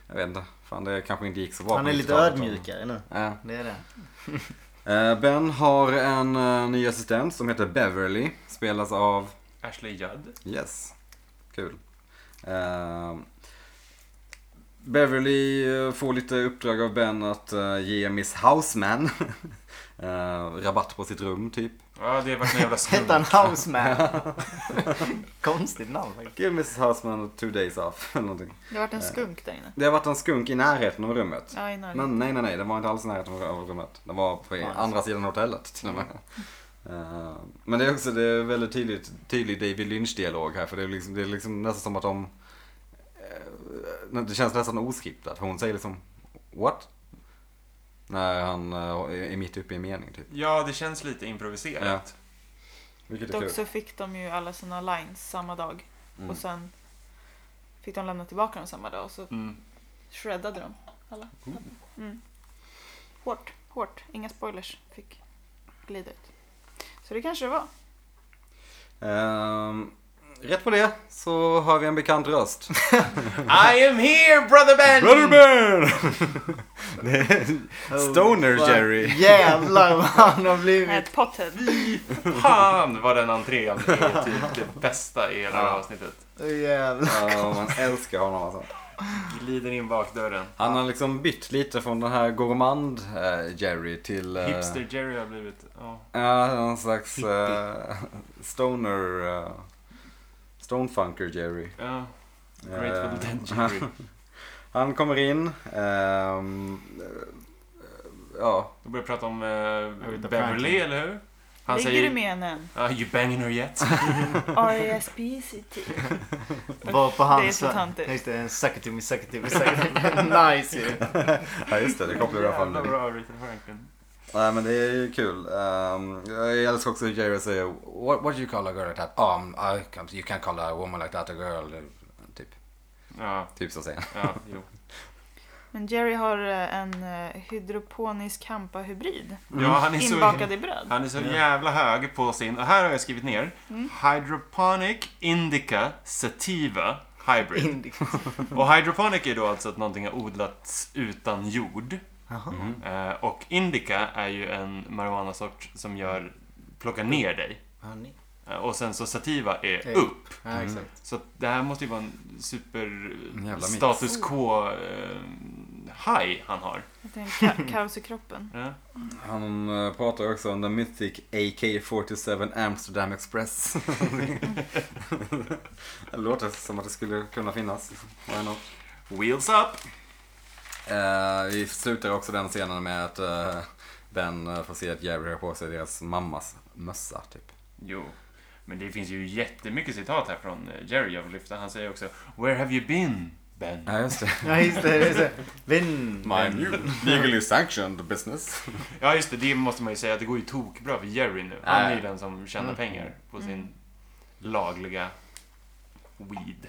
[SPEAKER 3] jag vet inte, fan det kanske inte gick så bra.
[SPEAKER 1] Han
[SPEAKER 3] på
[SPEAKER 1] är lite
[SPEAKER 3] 90-talet.
[SPEAKER 1] ödmjukare nu.
[SPEAKER 3] Ja.
[SPEAKER 1] Det är det.
[SPEAKER 3] Eh, Ben har en eh, ny assistent som heter Beverly. Spelas av
[SPEAKER 5] Ashley Judd.
[SPEAKER 3] Yes. Kul. Ehm, Beverly eh, får lite uppdrag av Ben att eh, ge Miss Houseman *laughs* eh, rabatt på sitt rum typ.
[SPEAKER 5] Ja, det har varit
[SPEAKER 3] *laughs*
[SPEAKER 5] en jävla
[SPEAKER 1] Hette
[SPEAKER 5] skum.
[SPEAKER 1] han Houseman? Konstigt namn faktiskt.
[SPEAKER 3] Give Miss Houseman two days off *laughs* eller någonting.
[SPEAKER 2] Det har varit en skunk där inne.
[SPEAKER 3] Det har varit en skunk i närheten av rummet.
[SPEAKER 2] Ja, i närheten.
[SPEAKER 3] Men nej, nej, nej, den var inte alls i närheten av- av rummet. Den var på
[SPEAKER 1] alltså.
[SPEAKER 3] andra sidan hotellet till och med. Eh, Men det är också det är väldigt tydligt, tydlig David Lynch-dialog här. För det är, liksom, det är liksom nästan som att de... eh, Det känns nästan oskriptat. Hon säger liksom What? När han eh, är mitt uppe i en mening typ.
[SPEAKER 5] Ja, det känns lite improviserat.
[SPEAKER 3] Vilket är
[SPEAKER 2] Dock
[SPEAKER 3] kul.
[SPEAKER 2] så fick de ju alla sina lines samma dag.
[SPEAKER 3] Mm.
[SPEAKER 2] Och sen fick de lämna tillbaka dem samma dag och så
[SPEAKER 5] Mm.
[SPEAKER 2] shreddade de alla. Mm. Hårt, hårt. Inga spoilers fick glida ut. Så det kanske det var.
[SPEAKER 3] Ehm, Rätt på det så hör vi en bekant röst.
[SPEAKER 5] *laughs* I am here brother Ben!
[SPEAKER 3] Brotherburn! det är *laughs* Stoner
[SPEAKER 1] Fan,
[SPEAKER 3] Jerry.
[SPEAKER 1] Jävlar vad han har blivit.
[SPEAKER 2] Ett pothead.
[SPEAKER 5] Fan vad den entrén är typ det bästa i hela det här avsnittet.
[SPEAKER 1] Åh, Jävlar.
[SPEAKER 3] Ja, man älskar honom alltså.
[SPEAKER 5] Glider in bakdörren.
[SPEAKER 3] Han har liksom bytt lite från den här gourmand eh, Jerry till... eh,
[SPEAKER 5] Hipster Jerry har blivit... Ja.
[SPEAKER 3] Ja, någon slags eh, *laughs* stoner... eh, stonefunker Jerry.
[SPEAKER 5] ja. Grateful
[SPEAKER 3] Eh,
[SPEAKER 5] Dead Jerry.
[SPEAKER 3] *laughs* Han kommer in. ehm, eh, ja,
[SPEAKER 5] Då börjar vi prata om eh,
[SPEAKER 1] Aretha
[SPEAKER 5] Beverly,
[SPEAKER 1] Franklin.
[SPEAKER 5] eller hur? Han
[SPEAKER 2] Ligger
[SPEAKER 5] säger
[SPEAKER 2] du med
[SPEAKER 5] *laughs*
[SPEAKER 2] henne?
[SPEAKER 5] "Are you banging
[SPEAKER 3] *laughs*
[SPEAKER 5] her yet?
[SPEAKER 2] R-E-S-P-C-T.
[SPEAKER 1] Var på
[SPEAKER 2] Det är
[SPEAKER 1] hans...
[SPEAKER 2] så tantigt.
[SPEAKER 1] Just det, en sucker to me, sucker to me, sucker to me. *laughs* Nice
[SPEAKER 3] *laughs*
[SPEAKER 1] ju.
[SPEAKER 3] Ja just det, det kopplar jag fram
[SPEAKER 5] Jävla
[SPEAKER 3] nu.
[SPEAKER 5] bra Aretha Franklin.
[SPEAKER 3] Nej men det är ju kul. Ehm, jag älskar också hur Jerry säger what, what do you call a girl like that? Um, I can't, you can't call a woman like that a girl. Typ,
[SPEAKER 5] Ja,
[SPEAKER 3] typ så säger han.
[SPEAKER 5] ja, jo.
[SPEAKER 2] Men Jerry har eh, en eh, hydroponisk hampa-hybrid.
[SPEAKER 3] Mm.
[SPEAKER 5] Ja, han är så...
[SPEAKER 2] Inbakad i bröd.
[SPEAKER 5] Han är så jävla hög på sin... och Här har jag skrivit ner.
[SPEAKER 2] Mm.
[SPEAKER 5] Hydroponic Indica Sativa Hybrid.
[SPEAKER 1] Indie.
[SPEAKER 5] Och hydroponic är då alltså att någonting har odlats utan jord.
[SPEAKER 1] Jaha.
[SPEAKER 3] Mm.
[SPEAKER 5] Eh, och indica är ju en marijuanasort som gör, plockar ner dig.
[SPEAKER 1] Ja, ni-
[SPEAKER 5] Eh, och sen så sativa är
[SPEAKER 1] Eh.
[SPEAKER 5] upp.
[SPEAKER 1] Ja, exakt.
[SPEAKER 5] Så att det här måste ju vara en super
[SPEAKER 3] En jävla mix.
[SPEAKER 5] status quo eh, high han har.
[SPEAKER 2] Det är en ka- kaos i kroppen.
[SPEAKER 5] Ja.
[SPEAKER 3] Han eh, pratar ju också om den Mythic AK47 Amsterdam Express. *laughs* det låter som att det skulle kunna finnas. Why not?
[SPEAKER 5] Wheels up!
[SPEAKER 3] Eh, vi slutar också den scenen med att eh, Ben eh, får se att Jerry har på sig deras mammas mössa typ.
[SPEAKER 5] Jo. Men det finns ju jättemycket citat här från eh, Jerry jag vill lyfta. Han säger också Where have you been, Ben?
[SPEAKER 3] Ja *laughs* just det.
[SPEAKER 1] Ja, just det. Just det. Vinn.
[SPEAKER 3] Mind you, legally sanctioned business.
[SPEAKER 5] Ja, just det. Det måste man ju säga att det går ju tokbra för Jerry nu. Han är ju den som
[SPEAKER 3] Mm.
[SPEAKER 5] tjänar pengar på sin lagliga weed.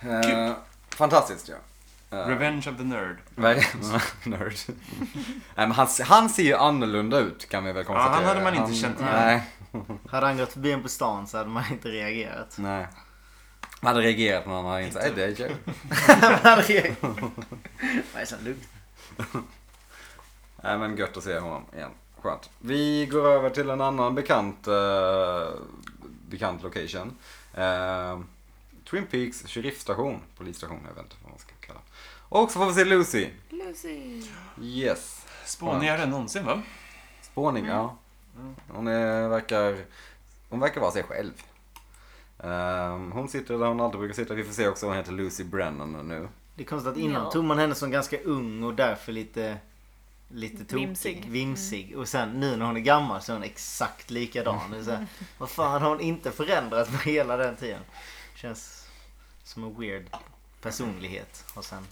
[SPEAKER 3] Eh, fantastiskt ja. Eh,
[SPEAKER 5] Revenge of the nerd.
[SPEAKER 3] verkligen. *laughs* Nerd. Nej, men han, han ser ju annorlunda ut kan vi väl
[SPEAKER 5] han
[SPEAKER 3] konstatera.
[SPEAKER 5] hade man inte känt igen.
[SPEAKER 3] Nej,
[SPEAKER 1] Hade han gått förbi en på stan så hade man inte
[SPEAKER 5] *laughs*
[SPEAKER 1] reagerat.
[SPEAKER 3] nej. Man hade reagerat men han hade inte sagt "Ey, det är Jerry.
[SPEAKER 1] Man hade reagerat. Vad är så lugnt?
[SPEAKER 3] Nej men gött att se honom igen. Skönt. Vi går över till en annan bekant, eh, bekant location. Eh, Twin Peaks sheriffstation. Polisstation, jag vet inte vad man ska kalla Och så får vi se Lucy.
[SPEAKER 2] Lucy!
[SPEAKER 3] Yes.
[SPEAKER 5] Spånigare än någonsin, va?
[SPEAKER 3] Spåning, ja. Hon är, verkar, hon verkar vara sig själv. Eh, hon sitter där hon alltid brukar sitta. Vi får se också, hon heter Lucy Brennan nu.
[SPEAKER 1] Det är konstigt att innan
[SPEAKER 2] Ja.
[SPEAKER 1] tog man henne som ganska ung och därför lite... Lite tokig,
[SPEAKER 2] Vimsig.
[SPEAKER 1] vimsig. Och sen nu när hon är gammal så är hon exakt likadan. Det är så här, vad fan har hon inte förändrat på hela den tiden? Känns som en weird personlighet. Och sen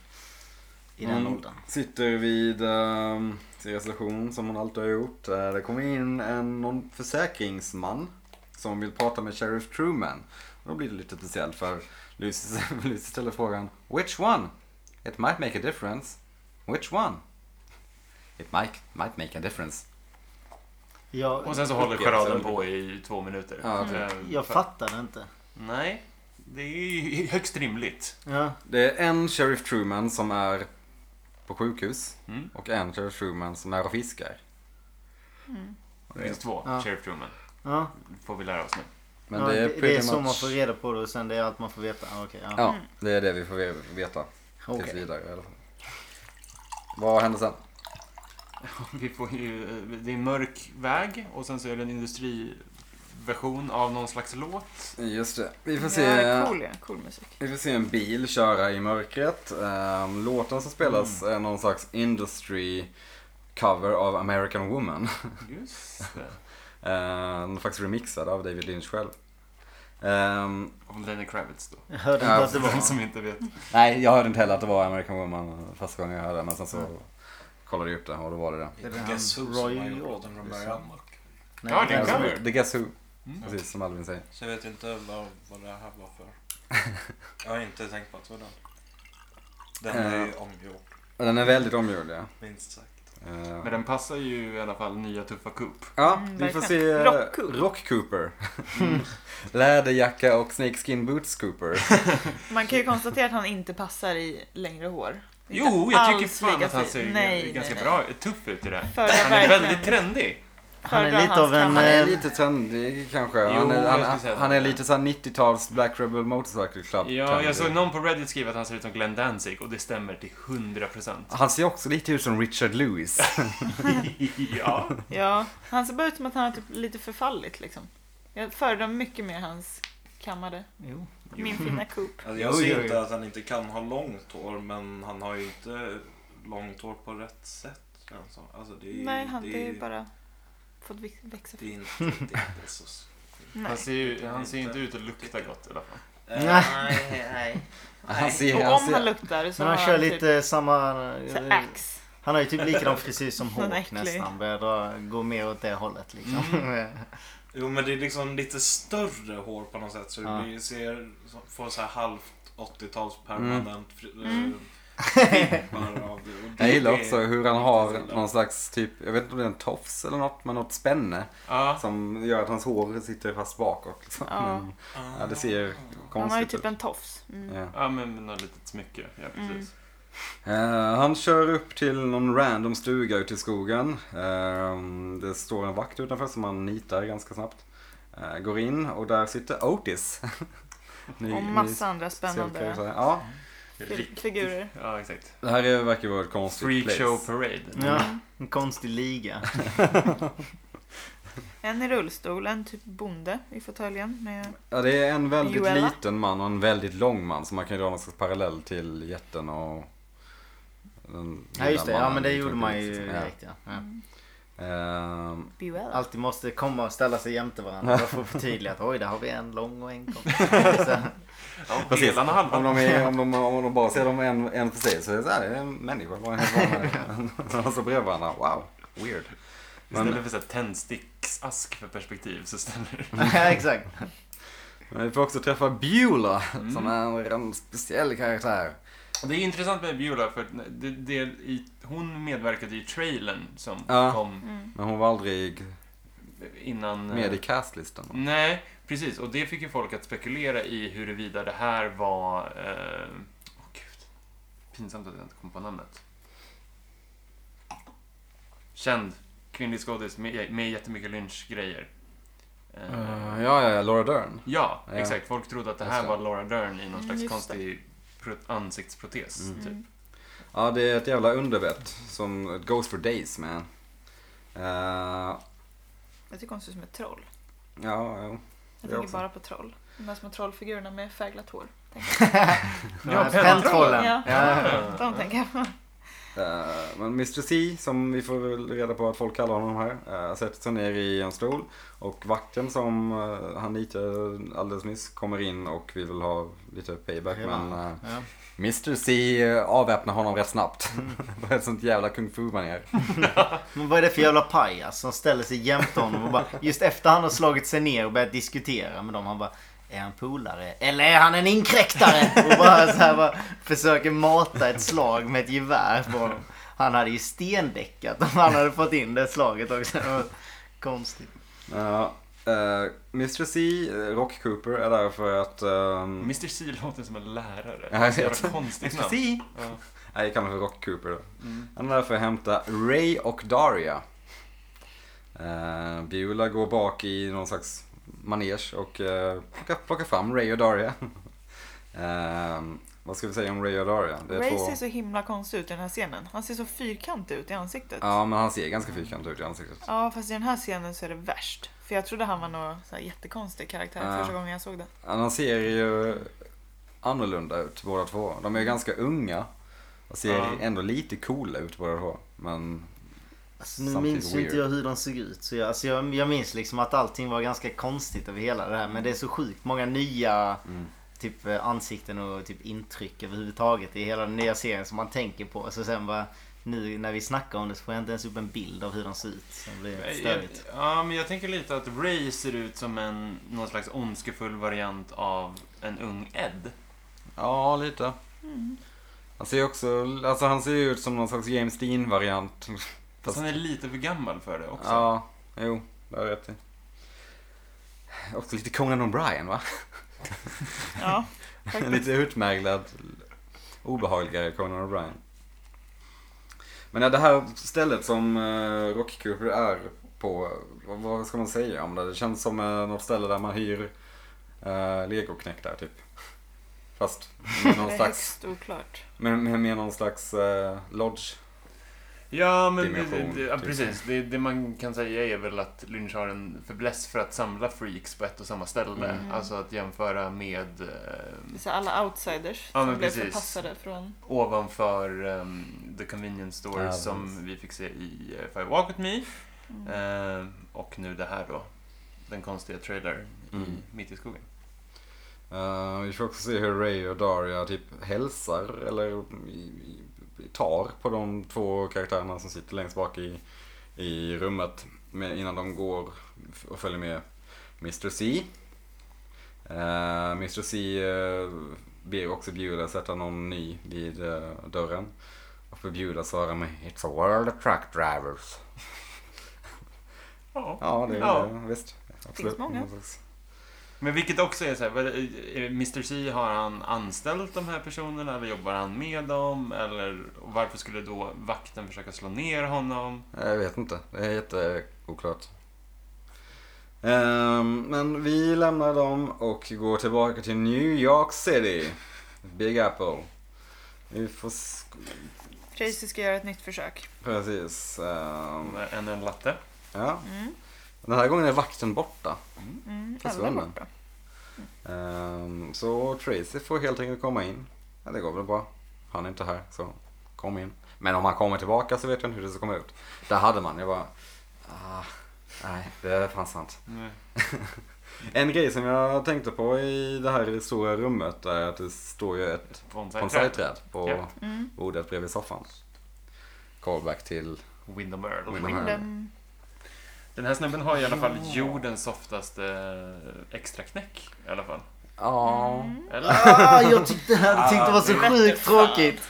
[SPEAKER 1] i den
[SPEAKER 5] Mm.
[SPEAKER 3] Hon
[SPEAKER 1] åldern.
[SPEAKER 3] Mm. Sitter vid um, sin reception som hon alltid har gjort. Eh, det kommer in en, någon försäkringsman som vill prata med Sheriff Truman. Och då blir det lite speciellt för Lucy, *laughs* Lucy ställer frågan Which one? It might make a difference. Which one? It might, might make a difference.
[SPEAKER 1] Jag,
[SPEAKER 5] Och sen så håller
[SPEAKER 3] Okej,
[SPEAKER 5] charaden
[SPEAKER 3] så-
[SPEAKER 5] på i två minuter.
[SPEAKER 3] Ja, okej.
[SPEAKER 5] Eh,
[SPEAKER 1] jag
[SPEAKER 5] för-
[SPEAKER 1] fattar det inte.
[SPEAKER 5] Nej, det är ju *laughs* högst rimligt.
[SPEAKER 1] Ja.
[SPEAKER 3] Det är en Sheriff Truman som är på sjukhus
[SPEAKER 5] Mm.
[SPEAKER 3] och en Sheriff Truman som är och fiskar.
[SPEAKER 5] Det finns två
[SPEAKER 1] Ja.
[SPEAKER 5] Sheriff Truman.
[SPEAKER 1] Ja,
[SPEAKER 5] Får vi lära oss nu.
[SPEAKER 3] Men
[SPEAKER 1] ja,
[SPEAKER 3] det är
[SPEAKER 1] det, det är
[SPEAKER 3] pretty
[SPEAKER 1] så man
[SPEAKER 3] much...
[SPEAKER 1] får reda på det och sen det är allt man får veta. Ah, Okej, ja.
[SPEAKER 3] Ja,
[SPEAKER 5] Mm.
[SPEAKER 3] det är det vi får ve- veta.
[SPEAKER 1] Okej.
[SPEAKER 3] Tills vidare i alla fall. Vad händer sen?
[SPEAKER 5] *laughs* Vi får ju, eh, det är mörk väg och sen så är det en industriversion av någon slags låt.
[SPEAKER 3] Just det. Vi får se.
[SPEAKER 2] Ja, cool, ja. cool musik.
[SPEAKER 3] Vi får se en bil köra i mörkret. Ehm, Låten som spelas är någon slags industry cover av American Woman.
[SPEAKER 5] Just *laughs* det.
[SPEAKER 3] Ehm, Den är faktiskt remixad av David Lynch själv. Ehm,
[SPEAKER 5] Av Lenny Kravitz då.
[SPEAKER 1] Jag hörde inte
[SPEAKER 3] Ja,
[SPEAKER 1] att det var...
[SPEAKER 5] Den som inte vet.
[SPEAKER 3] Nej, jag hörde inte heller att det var American Woman första gången jag hörde den. Men sen så kollade jag upp det och då var det det.
[SPEAKER 1] Det är han,
[SPEAKER 4] Guess Who som har
[SPEAKER 1] Roy
[SPEAKER 4] gjort
[SPEAKER 1] Orbison.
[SPEAKER 4] låten från början.
[SPEAKER 1] Nej,
[SPEAKER 5] Ja, det
[SPEAKER 1] nej,
[SPEAKER 5] är
[SPEAKER 1] nej.
[SPEAKER 5] cover.
[SPEAKER 3] The Guess Who.
[SPEAKER 5] Mm.
[SPEAKER 3] Precis som Alvin säger.
[SPEAKER 4] Så jag vet inte vad, vad det här var
[SPEAKER 3] *laughs*
[SPEAKER 4] för. Jag har inte tänkt på att det var den. Den är
[SPEAKER 3] Eh.
[SPEAKER 4] ju omgjord,
[SPEAKER 3] Och Den är väldigt omgjord ja.
[SPEAKER 4] minst sagt.
[SPEAKER 3] Ehm,
[SPEAKER 5] Men den passar ju i alla fall nya tuffa Coop.
[SPEAKER 3] Ja,
[SPEAKER 2] Mm,
[SPEAKER 3] vi får
[SPEAKER 2] verkligen.
[SPEAKER 3] se eh,
[SPEAKER 2] Rock Cooper. Mm.
[SPEAKER 3] Rock Cooper. *laughs* Läderjacka och snakeskin boots Cooper.
[SPEAKER 2] Man kan ju konstatera att han inte passar i längre hår. Det är
[SPEAKER 5] Jo,
[SPEAKER 2] inte
[SPEAKER 5] jag tycker
[SPEAKER 2] alls
[SPEAKER 5] fan
[SPEAKER 2] lika
[SPEAKER 5] att han
[SPEAKER 2] fin.
[SPEAKER 5] ser
[SPEAKER 2] Nej,
[SPEAKER 5] ganska
[SPEAKER 2] nej, nej.
[SPEAKER 5] bra, tuff ut i det. här.
[SPEAKER 2] För det
[SPEAKER 5] Han är
[SPEAKER 2] verkligen-
[SPEAKER 5] väldigt trendig.
[SPEAKER 1] Han är
[SPEAKER 2] Föredrar
[SPEAKER 1] lite
[SPEAKER 2] hans
[SPEAKER 1] av en...
[SPEAKER 2] gamla-
[SPEAKER 3] Han är
[SPEAKER 1] eh,
[SPEAKER 3] lite trendig kanske.
[SPEAKER 5] Jo,
[SPEAKER 3] han, är, han,
[SPEAKER 5] jag skulle säga
[SPEAKER 3] han, han
[SPEAKER 5] det.
[SPEAKER 3] är lite såhär 90-tals Black Rebel Motorcycle Club.
[SPEAKER 5] Ja,
[SPEAKER 3] trendig.
[SPEAKER 5] jag såg någon på Reddit skriva att han ser ut som Glenn Danzig och det stämmer till 100%.
[SPEAKER 3] Han ser också lite ut som Richard Lewis.
[SPEAKER 5] ja.
[SPEAKER 2] Ja, han ser bara ut som att han har typ lite förfallit liksom. Jag föredrar mycket mer hans kammade.
[SPEAKER 1] Jo.
[SPEAKER 2] Min fina Coop.
[SPEAKER 4] Alltså, jag
[SPEAKER 1] Jo, jo,
[SPEAKER 4] ser
[SPEAKER 1] jo.
[SPEAKER 4] inte att han inte kan ha långt hår, men han har ju inte långt hår på rätt sätt. känns det som. Alltså, det är,
[SPEAKER 2] Nej, han, det är
[SPEAKER 4] ju
[SPEAKER 2] ju bara fått vix- växa
[SPEAKER 4] Det
[SPEAKER 2] fram.
[SPEAKER 4] är inte, det är inte
[SPEAKER 3] *laughs*
[SPEAKER 4] så... s-
[SPEAKER 2] Nej.
[SPEAKER 5] Han ser ju
[SPEAKER 4] tycker
[SPEAKER 5] han ser ju
[SPEAKER 4] inte.
[SPEAKER 5] inte ut att lukta gott i alla fall.
[SPEAKER 4] Eh,
[SPEAKER 1] Nej.
[SPEAKER 4] nej.
[SPEAKER 3] Han ser,
[SPEAKER 2] Och
[SPEAKER 3] han
[SPEAKER 2] om han
[SPEAKER 3] ser.
[SPEAKER 2] luktar så
[SPEAKER 1] Men han
[SPEAKER 2] har
[SPEAKER 1] kör
[SPEAKER 2] typ
[SPEAKER 1] lite samma... eh,
[SPEAKER 2] så här ax.
[SPEAKER 1] Han har ju typ likadan frisyr som
[SPEAKER 2] Han är
[SPEAKER 1] Hawk
[SPEAKER 2] äcklig.
[SPEAKER 1] nästan. Börjar dra, gå mer åt det hållet liksom.
[SPEAKER 4] Jo men det är liksom lite större hår på något sätt så
[SPEAKER 1] Ja.
[SPEAKER 4] det blir, ser, får så här halvt 80-tals permanent fri- eh,
[SPEAKER 2] Mm.
[SPEAKER 4] vibbar av det. Och det-
[SPEAKER 3] Jag gillar
[SPEAKER 4] det-
[SPEAKER 3] också hur han har någon slags typ, jag vet inte om det är en tofs eller något, men något spänne
[SPEAKER 5] Ja,
[SPEAKER 3] som gör att hans hår sitter fast bakåt. Liksom.
[SPEAKER 2] Ja.
[SPEAKER 3] *laughs* Men, ja,
[SPEAKER 4] Ah.
[SPEAKER 3] det ser
[SPEAKER 2] Han har ju
[SPEAKER 3] konstigt
[SPEAKER 2] typ
[SPEAKER 3] ut.
[SPEAKER 2] en tofs. Mm.
[SPEAKER 3] Ja.
[SPEAKER 5] ja men med något litet smycke. Ja, precis.
[SPEAKER 3] Eh, han kör upp till någon random stuga ute i skogen. Eh, det står en vakt utanför som han nitar ganska snabbt. Eh, går in och där sitter Otis. *laughs* Ny-
[SPEAKER 2] Och
[SPEAKER 3] ny
[SPEAKER 2] massa andra
[SPEAKER 3] seriekaraktär.
[SPEAKER 2] spännande
[SPEAKER 3] Ja,
[SPEAKER 2] fi-
[SPEAKER 5] Rikt-
[SPEAKER 2] figurer.
[SPEAKER 5] Ja, exakt.
[SPEAKER 3] det här är, verkar vara ett konstigt
[SPEAKER 5] Freak
[SPEAKER 3] place.
[SPEAKER 5] show parade.
[SPEAKER 1] *laughs* ja, en konstig liga.
[SPEAKER 2] En i rullstol, en typ bonde i fåtöljen. Med...
[SPEAKER 3] Ja, det är en väldigt
[SPEAKER 2] Joella.
[SPEAKER 3] liten man och en väldigt lång man. Så man kan ju dra någon slags parallell till jätten och... Den
[SPEAKER 1] Ja just det,
[SPEAKER 3] lilla
[SPEAKER 1] ja
[SPEAKER 3] mannen
[SPEAKER 1] men det
[SPEAKER 3] i
[SPEAKER 1] gjorde
[SPEAKER 3] Twin
[SPEAKER 1] man
[SPEAKER 3] Peaks,
[SPEAKER 1] ju
[SPEAKER 3] liksom.
[SPEAKER 1] direkt ja. ja.
[SPEAKER 3] Ja. Ehm,
[SPEAKER 2] Buell.
[SPEAKER 1] Alltid måste komma och ställa sig jämte varandra. Bara för att förtydliga att oj där har vi en lång och
[SPEAKER 3] *laughs*
[SPEAKER 1] en kort. Så, *laughs*
[SPEAKER 5] Ja,
[SPEAKER 3] Precis.
[SPEAKER 5] Helan och
[SPEAKER 3] Om
[SPEAKER 5] halvan.
[SPEAKER 3] de, är, om, de, om de bara ser dem en, en för sig så är det så här, det är en människa. Bara en helt vanlig. *laughs* Och så bredvid varandra, wow, weird.
[SPEAKER 5] Istället för så här tändsticksask för perspektiv så ställer
[SPEAKER 1] ja exakt.
[SPEAKER 3] Men vi får också träffa Beulah
[SPEAKER 5] *laughs*
[SPEAKER 3] som är en speciell karaktär.
[SPEAKER 5] Det är intressant med Biola för att det, det, i, hon medverkade i trailern som
[SPEAKER 3] Ja.
[SPEAKER 5] kom
[SPEAKER 2] Mm.
[SPEAKER 3] Men hon var aldrig
[SPEAKER 5] innan...
[SPEAKER 3] med i castlistan.
[SPEAKER 5] Nej, precis. Och det fick ju folk att spekulera i huruvida det här var... eh, Åh gud. Pinsamt att jag inte kom på namnet. Känd kvinnlig skådis med, med jättemycket lynchgrejer. Eh,
[SPEAKER 3] Eh, ja, ja, ja, Laura Dern.
[SPEAKER 5] Ja,
[SPEAKER 3] Ja.
[SPEAKER 5] exakt. Folk trodde att det här
[SPEAKER 3] Just det.
[SPEAKER 5] var Laura Dern i någon
[SPEAKER 2] Mm,
[SPEAKER 5] slags
[SPEAKER 2] just
[SPEAKER 5] konstig pro- ansiktsprotes.
[SPEAKER 3] Mm.
[SPEAKER 5] Typ.
[SPEAKER 2] Mm.
[SPEAKER 3] Ja, det är ett jävla underbett. Som it goes for days man. Eh,
[SPEAKER 2] Jag tycker hon ser ut som ett troll.
[SPEAKER 3] ja, ja. Det
[SPEAKER 2] Jag tänker
[SPEAKER 3] också.
[SPEAKER 2] bara på troll. De här små trollfigurerna med färglat hår.
[SPEAKER 5] Ja,
[SPEAKER 1] Ja, Pentrollen.
[SPEAKER 2] Ja.
[SPEAKER 1] Ja.
[SPEAKER 2] De tänker jag på.
[SPEAKER 3] Eh, men Mr C, som vi får väl reda på att folk kallar honom här, eh, sätter sig ner i en stol. Och vakten som eh, han nitade alldeles nyss kommer in och vi vill ha lite payback.
[SPEAKER 1] Ja.
[SPEAKER 3] Men eh,
[SPEAKER 1] Ja.
[SPEAKER 3] Mr C eh, avväpnar honom rätt snabbt. *laughs* På ett sånt jävla kung fu-manér.
[SPEAKER 1] Men vad är det för jävla pajas som ställer sig jämte honom och bara just efter han har slagit sig ner och börjat diskutera med dem. Han bara är han polare eller är han en inkräktare? Och bara så här bara försöker mata ett slag med ett gevär på honom. Han hade ju stendäckat om han hade fått in det slaget också. Det var Konstigt.
[SPEAKER 3] Ja, eh, Mr C, eh, Rock Cooper, är där för att... ehm,
[SPEAKER 5] Mr C låter som en lärare.
[SPEAKER 3] Ja, jag vet.
[SPEAKER 5] Det är konstigt
[SPEAKER 3] Mr
[SPEAKER 5] namn.
[SPEAKER 3] C!
[SPEAKER 5] Ja.
[SPEAKER 3] Nej, jag kallar honom för Rock Cooper då.
[SPEAKER 5] Mm.
[SPEAKER 3] Han är där för att hämta Ray och Daria. Uh, Biola går bak i någon slags manege och eh, plockar, plockar fram Ray och Daria. *laughs* Ehm, vad ska vi säga om Ray och Daria? Det är
[SPEAKER 2] Ray
[SPEAKER 3] två...
[SPEAKER 2] ser så himla konstig ut i den här scenen. Han ser så fyrkantig ut i ansiktet. Ja.
[SPEAKER 3] Ja, men han ser ganska fyrkantig ut i ansiktet.
[SPEAKER 2] fast i den här scenen så är det värst. För jag trodde han var någon så här jättekonstig karaktär
[SPEAKER 3] Ja.
[SPEAKER 2] första gången jag såg den.
[SPEAKER 3] Ja, De ser ju annorlunda ut båda två. De är ju ganska unga och ser
[SPEAKER 5] Ja.
[SPEAKER 3] ändå lite coola ut båda två. Men
[SPEAKER 1] Alltså, nu
[SPEAKER 3] Something
[SPEAKER 1] minns ju inte
[SPEAKER 3] weird.
[SPEAKER 1] jag hur de såg ut. Så jag, alltså, jag, jag minns liksom att allting var ganska konstigt över hela det här. Men det är så sjukt många nya
[SPEAKER 3] Mm.
[SPEAKER 1] typ, eh, ansikten och typ, intryck överhuvudtaget i hela den nya serien som man tänker på. Så sen bara nu när vi snackar om det så får jag inte ens upp en bild av hur de ser ut. Så det blir
[SPEAKER 5] Jag,
[SPEAKER 1] störigt.
[SPEAKER 5] ja, men jag tänker lite att Ray ser ut som en någon slags ondskefull variant av en ung Ed.
[SPEAKER 3] ja, lite.
[SPEAKER 2] Mm.
[SPEAKER 3] Han ser ju också, alltså han ser ju ut som någon slags James Dean-variant.
[SPEAKER 5] Fast han är lite för gammal för det också.
[SPEAKER 3] Ja, jo, det har du rätt i. Också lite Conan O'Brien va? *laughs*
[SPEAKER 2] Ja,
[SPEAKER 3] lite utmärglad, obehagligare Conan O'Brien. Men ja, det här stället som uh, Rock Cooper är på, vad, vad ska man säga om det? Det känns som uh, något ställe där man hyr uh, legoknektar typ. Fast med
[SPEAKER 2] det
[SPEAKER 3] någon
[SPEAKER 2] är
[SPEAKER 3] slags,
[SPEAKER 2] högst oklart.
[SPEAKER 3] med, med, med någon slags eh, lodge.
[SPEAKER 5] Ja, men det,
[SPEAKER 3] Dimension,
[SPEAKER 5] det, ja,
[SPEAKER 3] typ.
[SPEAKER 5] precis. Det, det man kan säga är väl att Lynch har en fäbless för att samla freaks på ett och samma ställe.
[SPEAKER 2] Mm.
[SPEAKER 5] Alltså att jämföra med eh,
[SPEAKER 2] Det är så här alla outsiders
[SPEAKER 5] Ja,
[SPEAKER 2] som
[SPEAKER 5] men
[SPEAKER 2] blev
[SPEAKER 5] precis.
[SPEAKER 2] förpassade från...
[SPEAKER 5] ovanför ehm, The Convenience Store
[SPEAKER 3] Ja,
[SPEAKER 5] som
[SPEAKER 3] precis.
[SPEAKER 5] vi fick se i eh, If I Walk With Me.
[SPEAKER 2] Mm.
[SPEAKER 5] Eh, och nu det här då. Den konstiga trailern
[SPEAKER 3] Mm.
[SPEAKER 5] i, mitt i skogen.
[SPEAKER 3] Eh, vi får också se hur Ray och Daria typ hälsar eller i, i, tar på de två karaktärerna som sitter längst bak i, i rummet med, innan de går f- och följer med Mr. C. Eh, Mr. C eh, blir också bjuden att sätta någon ny vid eh, dörren och förbjuda svara med It's a world of truck drivers. *laughs*
[SPEAKER 5] Ja.
[SPEAKER 3] Ja, det är
[SPEAKER 5] Ja.
[SPEAKER 3] visst. Mm,
[SPEAKER 2] många.
[SPEAKER 5] Men vilket också är så här, vad är det- är Mr C, har han anställt de här personerna eller jobbar han med dem? Eller och varför skulle då vakten försöka slå ner honom?
[SPEAKER 3] Jag vet inte. Det är jätteoklart. Ehm, men vi lämnar dem och går tillbaka till New York City. Big Apple. Vi får... Sk-
[SPEAKER 2] Tracy ska göra ett nytt försök.
[SPEAKER 3] precis. ehm,
[SPEAKER 5] Ännu en latte.
[SPEAKER 3] ja.
[SPEAKER 2] Mm.
[SPEAKER 3] Den här gången är vakten borta.
[SPEAKER 2] Mm. Alla
[SPEAKER 3] Försvunnen.
[SPEAKER 2] borta.
[SPEAKER 3] Ehm, så Tracy får helt enkelt komma in. Ja, det går väl bra. Han är inte här, så kom in. Men om han kommer tillbaka så vet jag inte hur det ska komma ut. Där hade man, jag bara... Ah, nej, det är fan sant.
[SPEAKER 5] Nej.
[SPEAKER 3] *laughs* En grej som jag tänkte på i det här stora rummet är att det står ju ett
[SPEAKER 5] Bonsai-träd.
[SPEAKER 3] konsertträd på
[SPEAKER 5] Ja.
[SPEAKER 2] Mm.
[SPEAKER 3] bordet bredvid soffan. Callback till...
[SPEAKER 5] Windham Earl.
[SPEAKER 3] Windham Earl.
[SPEAKER 2] Windham.
[SPEAKER 5] Den här snubben har i alla fall jordens softaste eh, extra knäck i alla fall.
[SPEAKER 3] Ja,
[SPEAKER 2] Mm.
[SPEAKER 5] Eller?
[SPEAKER 1] Ah, jag tyckte, jag tyckte det var så
[SPEAKER 5] Ah,
[SPEAKER 1] sjukt
[SPEAKER 2] fan.
[SPEAKER 1] tråkigt.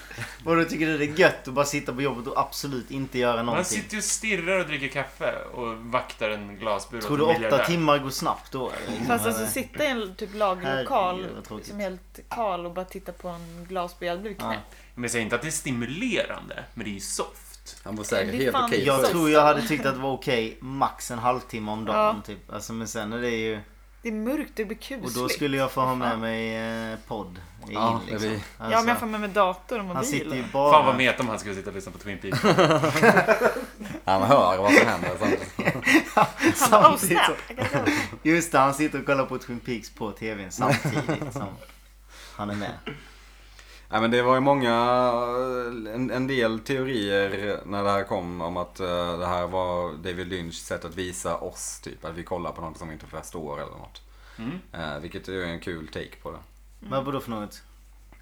[SPEAKER 1] Och du tycker det är gött att bara sitta på jobbet och absolut inte göra
[SPEAKER 5] Han
[SPEAKER 1] någonting.
[SPEAKER 5] sitter ju och stirrar och dricker kaffe och vaktar en glasbur
[SPEAKER 1] Tror
[SPEAKER 5] åt
[SPEAKER 1] du
[SPEAKER 5] en
[SPEAKER 1] åtta
[SPEAKER 5] miljardär.
[SPEAKER 1] timmar går snabbt då? eller? Liksom,
[SPEAKER 2] Fast alltså
[SPEAKER 1] eh,
[SPEAKER 2] sitta i en typ
[SPEAKER 1] Herregud,
[SPEAKER 2] lagerlokal
[SPEAKER 1] vad tråkigt.
[SPEAKER 2] som är helt kal och bara titta på en glasbur. Jag hade blivit
[SPEAKER 1] Ja.
[SPEAKER 2] knäpp.
[SPEAKER 5] Men jag säger inte att det är stimulerande, men det är ju soft.
[SPEAKER 3] han var
[SPEAKER 2] Det
[SPEAKER 3] säkert
[SPEAKER 2] är
[SPEAKER 3] helt
[SPEAKER 2] fan-
[SPEAKER 3] okej.
[SPEAKER 2] så-
[SPEAKER 1] Jag tror jag hade tyckt att det var okej max en halvtimme om dagen
[SPEAKER 2] Ja.
[SPEAKER 1] typ. Alltså, men sen är det ju...
[SPEAKER 2] Det är mörkt, det blir
[SPEAKER 1] Och
[SPEAKER 2] kusligt.
[SPEAKER 1] då skulle jag få ha med
[SPEAKER 2] Fan.
[SPEAKER 1] mig eh, podd. i
[SPEAKER 3] Ja,
[SPEAKER 1] in,
[SPEAKER 3] det blir-
[SPEAKER 2] Ja, men jag får med mig dator och
[SPEAKER 1] Alltså, Han sitter ju
[SPEAKER 2] mobil.
[SPEAKER 1] bara...
[SPEAKER 5] Fan
[SPEAKER 1] *laughs*
[SPEAKER 5] vad met om han skulle sitta och lyssna på Twin Peaks.
[SPEAKER 3] Han hör vad som händer. samtidigt.
[SPEAKER 2] Han, oh
[SPEAKER 1] samtidigt
[SPEAKER 2] snap!
[SPEAKER 1] som-
[SPEAKER 2] I gotta go.
[SPEAKER 1] Just det, han sitter och kollar på Twin Peaks på tvn
[SPEAKER 2] *laughs*
[SPEAKER 1] samtidigt som han är med.
[SPEAKER 3] Nej, men det var ju många, en, en del teorier när det här kom om att eh, det här var David Lynchs sätt att visa oss typ. Att vi kollar på något som vi inte förstår eller något.
[SPEAKER 5] Mm.
[SPEAKER 3] Eh, vilket är en kul take på det.
[SPEAKER 2] Mm.
[SPEAKER 1] Vad vadå för något?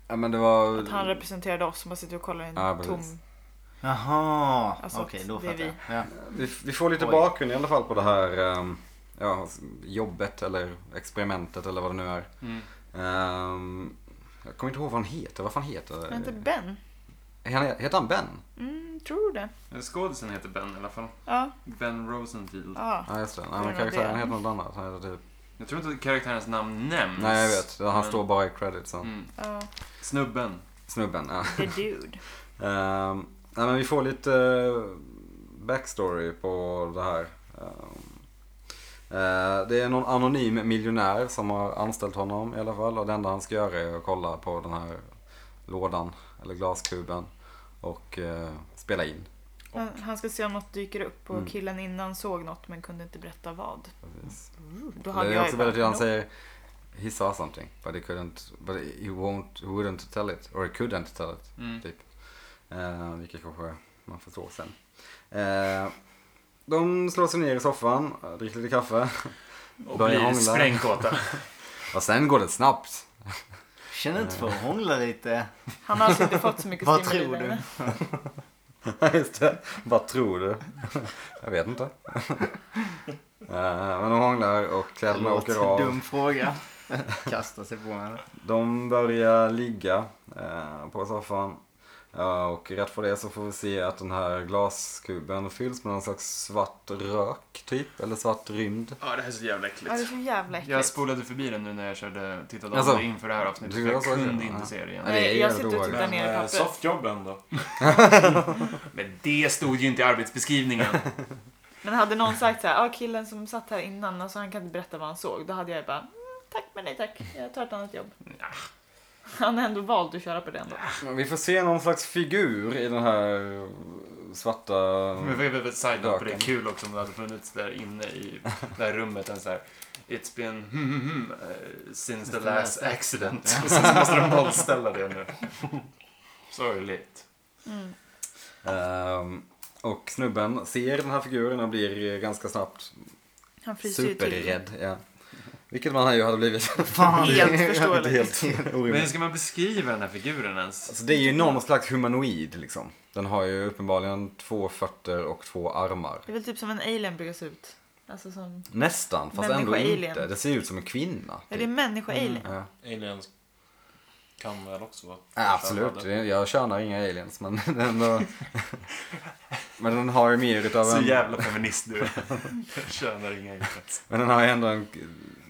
[SPEAKER 3] Ja, men
[SPEAKER 1] *laughs*
[SPEAKER 3] det var...
[SPEAKER 2] Att han representerade oss som bara sitter och kollar i en
[SPEAKER 3] Ja, precis.
[SPEAKER 2] tom...
[SPEAKER 1] Jaha,
[SPEAKER 2] Alltså,
[SPEAKER 1] okej då
[SPEAKER 2] det är
[SPEAKER 1] fattar jag. Ja.
[SPEAKER 3] Vi, vi får lite
[SPEAKER 1] Oj.
[SPEAKER 3] bakgrund i alla fall på det här ehm, ja, jobbet eller experimentet eller vad det nu är.
[SPEAKER 5] Mm.
[SPEAKER 3] Ehm, jag kommer inte ihåg vad han heter. Vad fan heter
[SPEAKER 2] Men inte Ben?
[SPEAKER 3] han? Heter han Ben?
[SPEAKER 2] Mm, tror det.
[SPEAKER 5] Skådisen heter Ben i alla fall.
[SPEAKER 2] Ja,
[SPEAKER 5] Ben Rosenfield.
[SPEAKER 2] ja.
[SPEAKER 3] Ja, just det. Nej,
[SPEAKER 2] Det
[SPEAKER 3] men
[SPEAKER 2] var
[SPEAKER 3] karaktären
[SPEAKER 2] det.
[SPEAKER 3] heter något annat. Han heter typ...
[SPEAKER 5] Jag tror inte att karaktärens namn nämns.
[SPEAKER 3] Nej, jag vet. Han
[SPEAKER 5] men-
[SPEAKER 3] står bara i creditsen.
[SPEAKER 5] Mm.
[SPEAKER 2] ja.
[SPEAKER 5] Snubben.
[SPEAKER 3] Snubben, ja.
[SPEAKER 2] The dude.
[SPEAKER 3] Ehm, nej, men vi får lite eh, backstory på det här. Ehm, eh, det är någon anonym miljonär som har anställt honom i alla fall. Och det enda han ska göra är att kolla på den här lådan, eller glaskuben. Och eh, spela in.
[SPEAKER 2] Han, han ska se om något dyker upp och
[SPEAKER 3] Mm.
[SPEAKER 2] killen innan såg något men kunde inte berätta vad.
[SPEAKER 3] Precis.
[SPEAKER 2] Då hade
[SPEAKER 3] Det är
[SPEAKER 2] jag
[SPEAKER 3] också
[SPEAKER 2] ju bara,
[SPEAKER 3] väldigt tydligt, han
[SPEAKER 2] "Nope."
[SPEAKER 3] säger He saw something, but he couldn't, but he won't, he wouldn't tell it, or he couldn't tell it.
[SPEAKER 5] Mm.
[SPEAKER 3] Typ. Eh, vilket kanske man förstår sen. Eh, de slår sig ner i soffan, dricker lite kaffe
[SPEAKER 5] Och
[SPEAKER 3] Börjar
[SPEAKER 5] blir
[SPEAKER 3] hångla. *laughs*
[SPEAKER 5] sprängkåta.
[SPEAKER 3] och sen går det snabbt.
[SPEAKER 1] Känner inte för
[SPEAKER 3] Eh.
[SPEAKER 1] att hångla lite.
[SPEAKER 2] Han har alltså inte fått så
[SPEAKER 1] *laughs*
[SPEAKER 2] mycket
[SPEAKER 1] Vad
[SPEAKER 2] stimuli
[SPEAKER 1] tror
[SPEAKER 2] där
[SPEAKER 1] du?
[SPEAKER 2] inne.
[SPEAKER 3] *laughs* Just det. Vad tror du? Jag vet inte. *laughs* Eh, men de hånglar och
[SPEAKER 1] Det
[SPEAKER 3] kläderna åker
[SPEAKER 1] låter
[SPEAKER 3] av.
[SPEAKER 1] dum
[SPEAKER 3] *laughs*
[SPEAKER 1] fråga. Kasta sig på henne.
[SPEAKER 3] De börjar ligga eh, på soffan. Eh, och rätt för det så får vi se att den här glaskuben fylls med någon slags svart rök typ, eller svart rymd.
[SPEAKER 5] Ja, det här är så jävla
[SPEAKER 2] Ja, det är
[SPEAKER 5] äckligt.
[SPEAKER 2] så jävla äckligt.
[SPEAKER 5] Jag spolade förbi den nu när jag körde, tittade
[SPEAKER 3] Alltså,
[SPEAKER 5] av det inför det här avsnittet.
[SPEAKER 3] du
[SPEAKER 5] för Jag
[SPEAKER 3] såg det?
[SPEAKER 5] kunde
[SPEAKER 3] Ja.
[SPEAKER 5] inte se det igen.
[SPEAKER 3] Ja, det är
[SPEAKER 2] Nej, jag
[SPEAKER 3] jävligt
[SPEAKER 2] sitter och tittar
[SPEAKER 3] obehagligt.
[SPEAKER 4] Men
[SPEAKER 2] ner i
[SPEAKER 4] eh,
[SPEAKER 2] pappret.
[SPEAKER 4] softjobben då?
[SPEAKER 5] Men det stod ju inte i arbetsbeskrivningen.
[SPEAKER 3] *laughs*
[SPEAKER 2] Men hade någon sagt så här, ah, killen som satt här innan, alltså, han kan inte berätta vad han såg. Då hade jag ju bara, mm, tack men nej tack, jag tar ett annat jobb. Han har ändå valt att köra på den då.
[SPEAKER 3] Men Vi får se någon slags figur i den här svarta...
[SPEAKER 5] Men vi behöver side note på det.
[SPEAKER 3] Röken.
[SPEAKER 5] Kul också om det hade funnits där inne i det här rummet en så här It's been hmm, hmm, hmm, eh, since the last accident. *laughs* Och sen så måste de *laughs* nollställa det nu. Sorgligt.
[SPEAKER 2] Mm.
[SPEAKER 3] Ehm, Och snubben ser den här figuren och blir ganska snabbt
[SPEAKER 2] Han fryser ju till.
[SPEAKER 3] superrädd. Ja. Vilket man ju hade blivit.
[SPEAKER 1] Fan.
[SPEAKER 2] Helt
[SPEAKER 3] Inte
[SPEAKER 2] förståeligt.
[SPEAKER 3] helt
[SPEAKER 5] Men hur
[SPEAKER 3] orimligt.
[SPEAKER 5] ska man beskriva den här figuren ens?
[SPEAKER 3] Alltså, det är ju någon slags humanoid liksom. Den har ju uppenbarligen två fötter och två armar.
[SPEAKER 2] Det är väl typ som en alien brukar se ut. Alltså som...
[SPEAKER 3] Nästan, fast
[SPEAKER 2] Människa
[SPEAKER 3] ändå
[SPEAKER 2] alien.
[SPEAKER 3] inte. Det ser ut som en kvinna.
[SPEAKER 2] Är det
[SPEAKER 3] typ.
[SPEAKER 2] människa-alien?
[SPEAKER 3] ja.
[SPEAKER 4] Aliens kan väl också vara
[SPEAKER 3] Ja,
[SPEAKER 4] *laughs*
[SPEAKER 3] absolut, Det- jag tjänar inga aliens men *laughs* den, har- men den har ju mer utav
[SPEAKER 5] Så
[SPEAKER 3] en...
[SPEAKER 5] jävla feminist du är. Tjänar inga inget.
[SPEAKER 3] Men den har ju ändå en...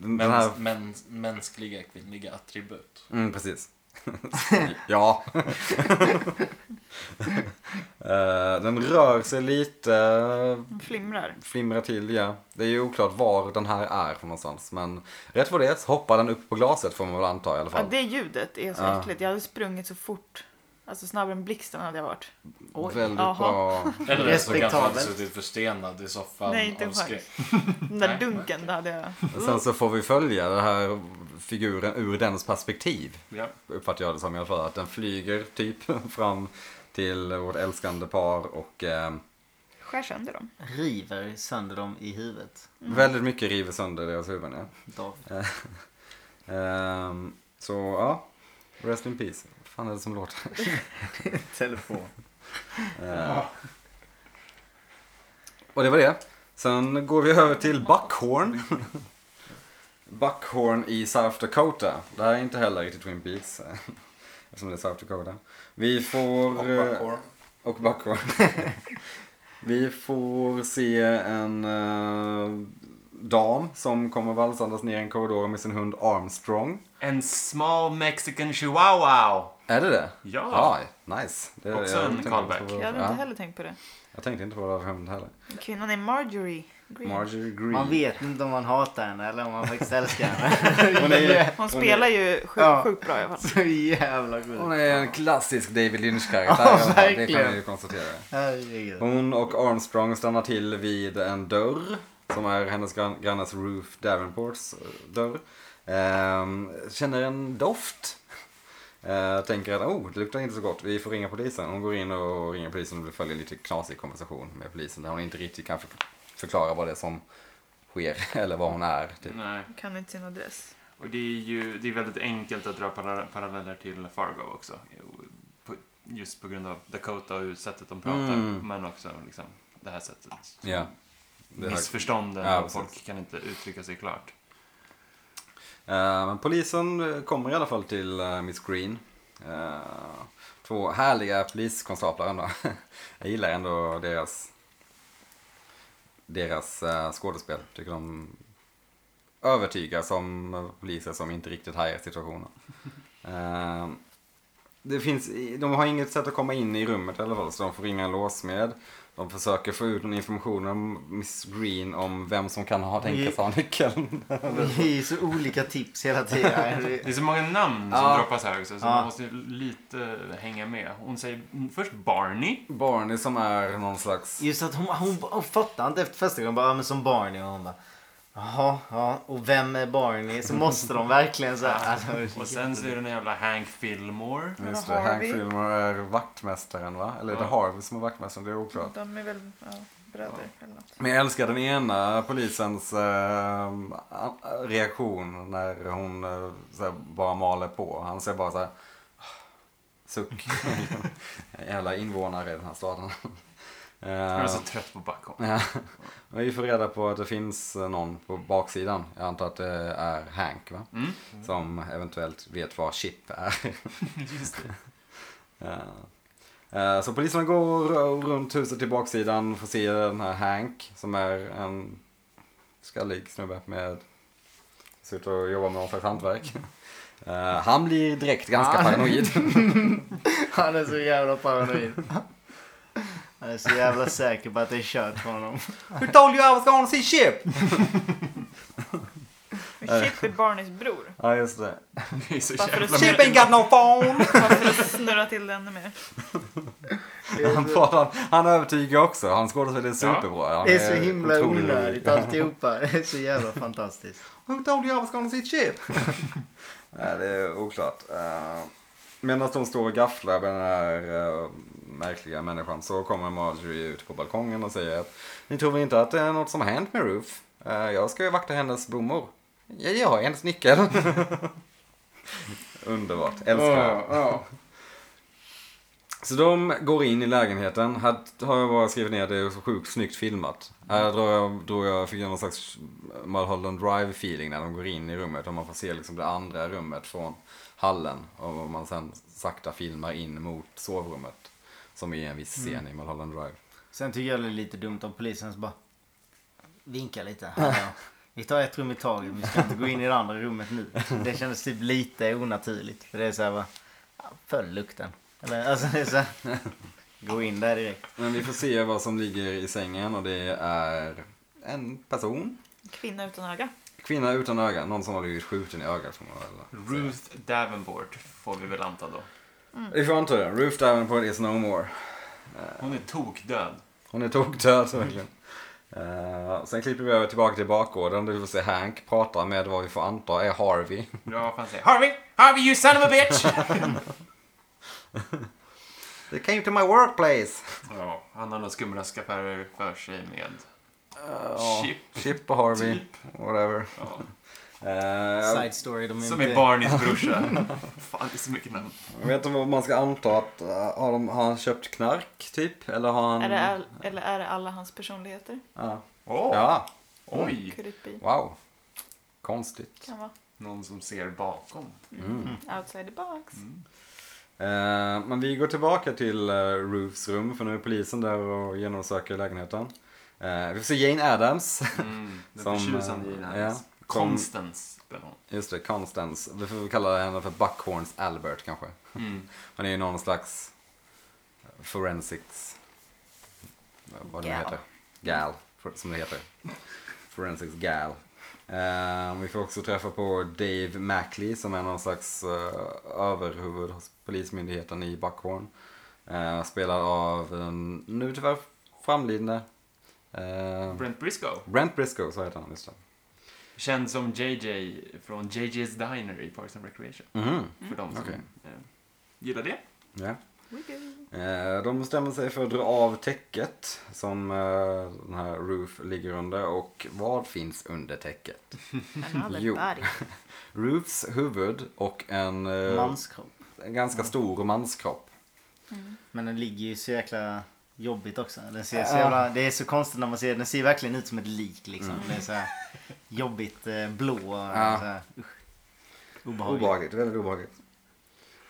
[SPEAKER 3] Den, den här...
[SPEAKER 4] Mäns, mäns, mänskliga kvinnliga attribut.
[SPEAKER 3] Mm, precis. *laughs* ja. *laughs* Eh, den rör sig lite,
[SPEAKER 2] De flimrar.
[SPEAKER 3] flimrar till ja. Det är ju oklart var den här är från någonstans men rätt vad det är så hoppar den upp på glaset får man väl anta i alla
[SPEAKER 2] Ja,
[SPEAKER 3] fall.
[SPEAKER 2] det ljudet är så
[SPEAKER 3] Ja.
[SPEAKER 2] äckligt. Jag hade sprungit så fort. Alltså snabbare än blixten hade jag varit. Oj.
[SPEAKER 3] Väldigt
[SPEAKER 2] Jaha.
[SPEAKER 3] bra.
[SPEAKER 4] Eller så kanske han hade
[SPEAKER 1] Respektabelt.
[SPEAKER 4] suttit förstenad i soffan
[SPEAKER 2] Mm. Nej, inte
[SPEAKER 4] av
[SPEAKER 2] en
[SPEAKER 4] skräck.
[SPEAKER 2] Den där
[SPEAKER 4] Nej.
[SPEAKER 2] dunken, det hade jag.
[SPEAKER 3] Sen så får vi följa den här figuren ur dens perspektiv.
[SPEAKER 5] *laughs* Ja.
[SPEAKER 3] uppfattar jag det som i alla fall. Att den flyger typ *laughs* fram till vårt älskande par och eh,
[SPEAKER 2] Skär sönder dem.
[SPEAKER 1] River sönder dem i huvudet.
[SPEAKER 3] väldigt mycket river sönder deras huvuden. Ja.
[SPEAKER 1] David.
[SPEAKER 3] Ehm, så ja, rest in peace. Vad fan är det som låter?
[SPEAKER 1] Telefon.
[SPEAKER 3] Eh, och det var det. Sen går vi över till Buckhorn. Buckhorn i South Dakota. Det här är inte heller riktigt Twin Peaks. eh, Eftersom det är South Dakota. Vi får...
[SPEAKER 4] Och
[SPEAKER 3] eh,
[SPEAKER 4] popcorn.
[SPEAKER 3] Och Buckhorn. *laughs* Vi får se en eh, dam som kommer valsandes ner i en korridor med sin hund Armstrong.
[SPEAKER 5] En small mexican chihuahua.
[SPEAKER 3] Är det det?
[SPEAKER 5] Ja.
[SPEAKER 3] Ah, nice. Det,
[SPEAKER 5] Också
[SPEAKER 3] jag
[SPEAKER 5] en
[SPEAKER 3] tänkte
[SPEAKER 5] callback.
[SPEAKER 3] inte på
[SPEAKER 2] Jag
[SPEAKER 3] vad-
[SPEAKER 2] hade
[SPEAKER 3] ja,
[SPEAKER 2] inte heller tänkt på det.
[SPEAKER 3] jag tänkte inte på vad det var för hund heller.
[SPEAKER 2] Kvinnan är Marjorie Green.
[SPEAKER 3] Marjorie Green.
[SPEAKER 1] Man vet inte om man hatar henne eller om man faktiskt älskar henne.
[SPEAKER 3] *laughs* Hon är,
[SPEAKER 2] Hon spelar ju sjukt,
[SPEAKER 1] Ja.
[SPEAKER 2] sjukt bra i alla fall.
[SPEAKER 1] Så jävla
[SPEAKER 3] hon
[SPEAKER 1] god.
[SPEAKER 3] är en klassisk David Lynch-karaktär.
[SPEAKER 1] Ja,
[SPEAKER 3] i alla fall. det kan
[SPEAKER 1] verkligen.
[SPEAKER 3] man ju konstatera.
[SPEAKER 1] Herregud.
[SPEAKER 3] Hon och Armstrong stannar till vid en dörr som är hennes gran- grannes Ruth Davenports eh, dörr. Ehm, känner en doft. Eh, tänker att oh, det luktar inte så gott, vi får ringa polisen. Hon går in och ringer polisen och följer lite knasig konversation med polisen där hon inte riktigt kan för- förklara vad det är som sker *laughs* eller vad hon är. Typ.
[SPEAKER 5] Nej.
[SPEAKER 2] Kan inte sin adress.
[SPEAKER 5] Och det är ju det är väldigt enkelt att dra para- paralleller till Fargo också. På- Just på grund av Dakota och hur sättet de pratar.
[SPEAKER 3] Mm.
[SPEAKER 5] Men också liksom det här sättet.
[SPEAKER 3] Ja. Det här-
[SPEAKER 5] Missförstånden
[SPEAKER 3] Ja,
[SPEAKER 5] och
[SPEAKER 3] precis.
[SPEAKER 5] folk kan inte uttrycka sig klart.
[SPEAKER 3] Eh, Men polisen eh, kommer i alla fall till eh, Miss Green. Eh, Två härliga poliskonstaplar ändå. *laughs* Jag gillar ändå deras, deras eh, skådespel. Tycker de övertygar som eh, poliser som inte riktigt hajar situationen. Eh, Det finns, i- de har inget sätt att komma in i rummet i alla fall så de får ringa en låsmed. De försöker få ut någon information om Miss Green om vem som kan ha tänkas ha nyckeln.
[SPEAKER 1] Det är ju så olika tips hela
[SPEAKER 3] *laughs*
[SPEAKER 1] tiden.
[SPEAKER 5] Det är så många namn som
[SPEAKER 3] Ja.
[SPEAKER 5] droppas här också så
[SPEAKER 1] Ja.
[SPEAKER 5] man måste ju lite hänga med. Hon säger först Barney.
[SPEAKER 3] Barney som är någon slags...
[SPEAKER 1] Just att hon, hon, hon fattar inte efter första gången. Bara, ja, men som Barney. Och hon bara, jaha, ja. Och vem är Barney? Så måste de verkligen så här. Alltså,
[SPEAKER 5] Och sen så är det den jävla Hank Fillmore.
[SPEAKER 3] Just det,
[SPEAKER 2] Eller
[SPEAKER 3] Hank
[SPEAKER 2] Harvey.
[SPEAKER 3] Filmer är vaktmästaren va? Eller är det
[SPEAKER 5] Ja.
[SPEAKER 3] Harvey som är vaktmästaren? Det är oklart.
[SPEAKER 2] De är väl ja, bröder eller något.
[SPEAKER 3] Men jag älskar den ena polisens eh, reaktion när hon eh, så här, bara maler på. Han ser bara så här... "Ah, Suck.
[SPEAKER 5] *laughs*
[SPEAKER 3] *laughs* Jävla invånare i den här staden.
[SPEAKER 5] Jag är
[SPEAKER 3] Eh,
[SPEAKER 5] så trött på *laughs* Buckhorn.
[SPEAKER 3] Ja. *laughs* Och Vi får reda på att det finns eh, någon på baksidan. Jag antar att det är Hank va?
[SPEAKER 5] Mm.
[SPEAKER 3] Som eventuellt vet vad Chip är. *laughs*
[SPEAKER 5] Just det.
[SPEAKER 3] Eh, eh, Så poliserna går eh, runt huset till baksidan och får se den här Hank som är en skallig snubbe med ser ut att jobba med någon slags hantverk. *laughs* Eh, Han blir direkt ganska
[SPEAKER 1] Ah.
[SPEAKER 3] paranoid.
[SPEAKER 1] han är så jävla paranoid. Han är så jävla säker på att det är kört för honom.
[SPEAKER 3] *laughs* Who told you I was gonna see Chip?
[SPEAKER 2] Men Chip är Barneys bror.
[SPEAKER 3] Ja just det.
[SPEAKER 5] Det är så
[SPEAKER 2] Varför
[SPEAKER 5] jävla...
[SPEAKER 2] är det-
[SPEAKER 3] Chip ain't got no phone!
[SPEAKER 2] Bara för att snurra till det ännu mer.
[SPEAKER 3] *laughs* Han, pratar, han övertygar också. Han skådespel är superbra. Han
[SPEAKER 1] Det är så himla
[SPEAKER 3] otroligt
[SPEAKER 1] onödigt alltihopa. Det är så jävla fantastiskt.
[SPEAKER 3] Who told you I was gonna
[SPEAKER 1] *laughs*
[SPEAKER 3] see chip? Nej, det är oklart. Uh, Medan de står och gafflar med den här eh, märkliga människan så kommer Marjorie ut på balkongen och säger att ni tror väl inte att det är något som har hänt med Ruth? Eh, Jag ska ju vakta hennes blommor. Ja, jag har hennes nyckel. *laughs* Underbart, älskar.
[SPEAKER 5] Ja,
[SPEAKER 3] Så de går in i lägenheten. Här har jag bara skrivit ner att det är så sjukt snyggt filmat. Här drog jag, drog jag fick jag någon slags Mulholland Drive feeling när de går in i rummet och man får se liksom det andra rummet från hallen. Och man sen sakta filmar in mot sovrummet. Som är en viss scen i Mulholland Drive.
[SPEAKER 1] Sen tycker jag det är lite dumt om polisen så bara vinkar lite. Hallå. Vi tar ett rum i taget, vi ska inte gå in i det andra rummet nu. Det kändes typ lite onaturligt. För det är så här bara, ja, följ lukten. Eller alltså det är så här, gå in där direkt.
[SPEAKER 3] Men vi får se vad som ligger i sängen och det är en person.
[SPEAKER 2] Kvinna utan öga.
[SPEAKER 3] Kvinna utan öga. Någon som har blivit skjuten i ögat. Som man väl.
[SPEAKER 5] Ruth Davenport får vi väl anta då.
[SPEAKER 3] Vi får anta det. Roof Davenport is no more.
[SPEAKER 5] Hon är tokdöd.
[SPEAKER 3] Hon är tokdöd verkligen. Eh, sen klipper vi över tillbaka till bakgården där vi får se Hank prata med vad vi får anta är Harvey.
[SPEAKER 5] Ja, vad fan säger Harvey! Harvey you son of a
[SPEAKER 3] *laughs*
[SPEAKER 5] bitch!
[SPEAKER 3] They came to my workplace.
[SPEAKER 5] ja, han har nog skumraskaffärer för sig med
[SPEAKER 3] Uh,
[SPEAKER 5] Chip.
[SPEAKER 3] Chip och Harvey.
[SPEAKER 5] Typ.
[SPEAKER 3] Whatever.
[SPEAKER 5] Ja.
[SPEAKER 3] Eh,
[SPEAKER 1] Side story, de är
[SPEAKER 5] Som
[SPEAKER 1] inte-
[SPEAKER 5] är
[SPEAKER 3] *laughs*
[SPEAKER 5] Barneys brorsa. Fan, det är så mycket namn.
[SPEAKER 3] jag vet inte vad man ska anta att eh, har, de, har han köpt knark typ? Eller har han...
[SPEAKER 2] Är det all, eller är det alla hans personligheter?
[SPEAKER 3] Ja.
[SPEAKER 5] Åh,
[SPEAKER 3] ja.
[SPEAKER 5] Oj!
[SPEAKER 2] Could it be?
[SPEAKER 3] Wow. Konstigt.
[SPEAKER 2] Kan vara.
[SPEAKER 5] Någon som ser bakom.
[SPEAKER 3] Mm.
[SPEAKER 2] Outside the box.
[SPEAKER 3] Eh, men vi går tillbaka till uh, Roofs rum för nu är polisen där och genomsöker lägenheten. Eh, vi får se Jane Addams.
[SPEAKER 5] Mm, den
[SPEAKER 3] Som,
[SPEAKER 5] förtjusande
[SPEAKER 3] eh,
[SPEAKER 5] i den
[SPEAKER 3] ja,
[SPEAKER 5] här.
[SPEAKER 3] som-
[SPEAKER 5] Konstens spelar hon.
[SPEAKER 3] Just det, Constance. Vi får kalla henne för Buckhorns Albert kanske.
[SPEAKER 5] Mm.
[SPEAKER 3] Han är ju någon slags forensics... Vad det nu
[SPEAKER 2] Gal.
[SPEAKER 3] heter. Gal, for- som det heter. Forensics gal. Eh, vi får också träffa på Dave Mackley som är någon slags eh, överhuvud hos polismyndigheten i Buckhorn. Eh, spelad av den nu tyvärr framlidne eh,
[SPEAKER 5] Brent Briscoe.
[SPEAKER 3] Brent Briscoe, så heter han just det.
[SPEAKER 5] Känd som JJ från JJ's Diner i Parks and Recreation.
[SPEAKER 3] Mhm,
[SPEAKER 5] För de som
[SPEAKER 3] okej.
[SPEAKER 5] eh, gillar det.
[SPEAKER 3] ja.
[SPEAKER 2] Wiggle.
[SPEAKER 3] Eh, De bestämmer sig för att dra av täcket som eh, den här Roof ligger under och vad finns under täcket?
[SPEAKER 2] Another
[SPEAKER 3] Jo.
[SPEAKER 2] body.
[SPEAKER 3] Roofs huvud och en, eh,
[SPEAKER 1] Manskropp.
[SPEAKER 3] en ganska stor manskropp.
[SPEAKER 1] Men den ligger ju så jäkla jobbigt också. Den ser så
[SPEAKER 3] Ja.
[SPEAKER 1] jävla, det är så konstigt när man ser den. ser verkligen ut som ett lik liksom. Det är så här jobbigt eh, blå. Och
[SPEAKER 3] Ja.
[SPEAKER 1] så här, usch. Obehagligt.
[SPEAKER 3] Obehagligt, väldigt obehagligt.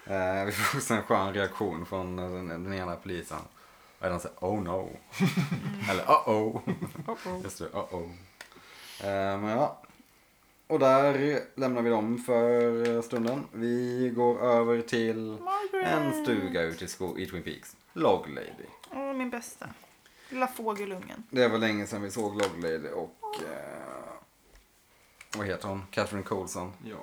[SPEAKER 3] Eh, Vi får också en skön reaktion från eh, den, den ena polisen. Och den säger oh no. *laughs* Eller uh oh. *laughs* Just det, uh oh. Men Ehm, ja. Och där lämnar vi dem för eh, stunden. Vi går över till En stuga ute i, sko- i Twin Peaks. Log Lady.
[SPEAKER 2] Åh, min bästa. Lilla fågelungen.
[SPEAKER 3] Det var länge sedan vi såg Log Lady och... Eh, vad heter hon? Catherine Colson.
[SPEAKER 5] Ja.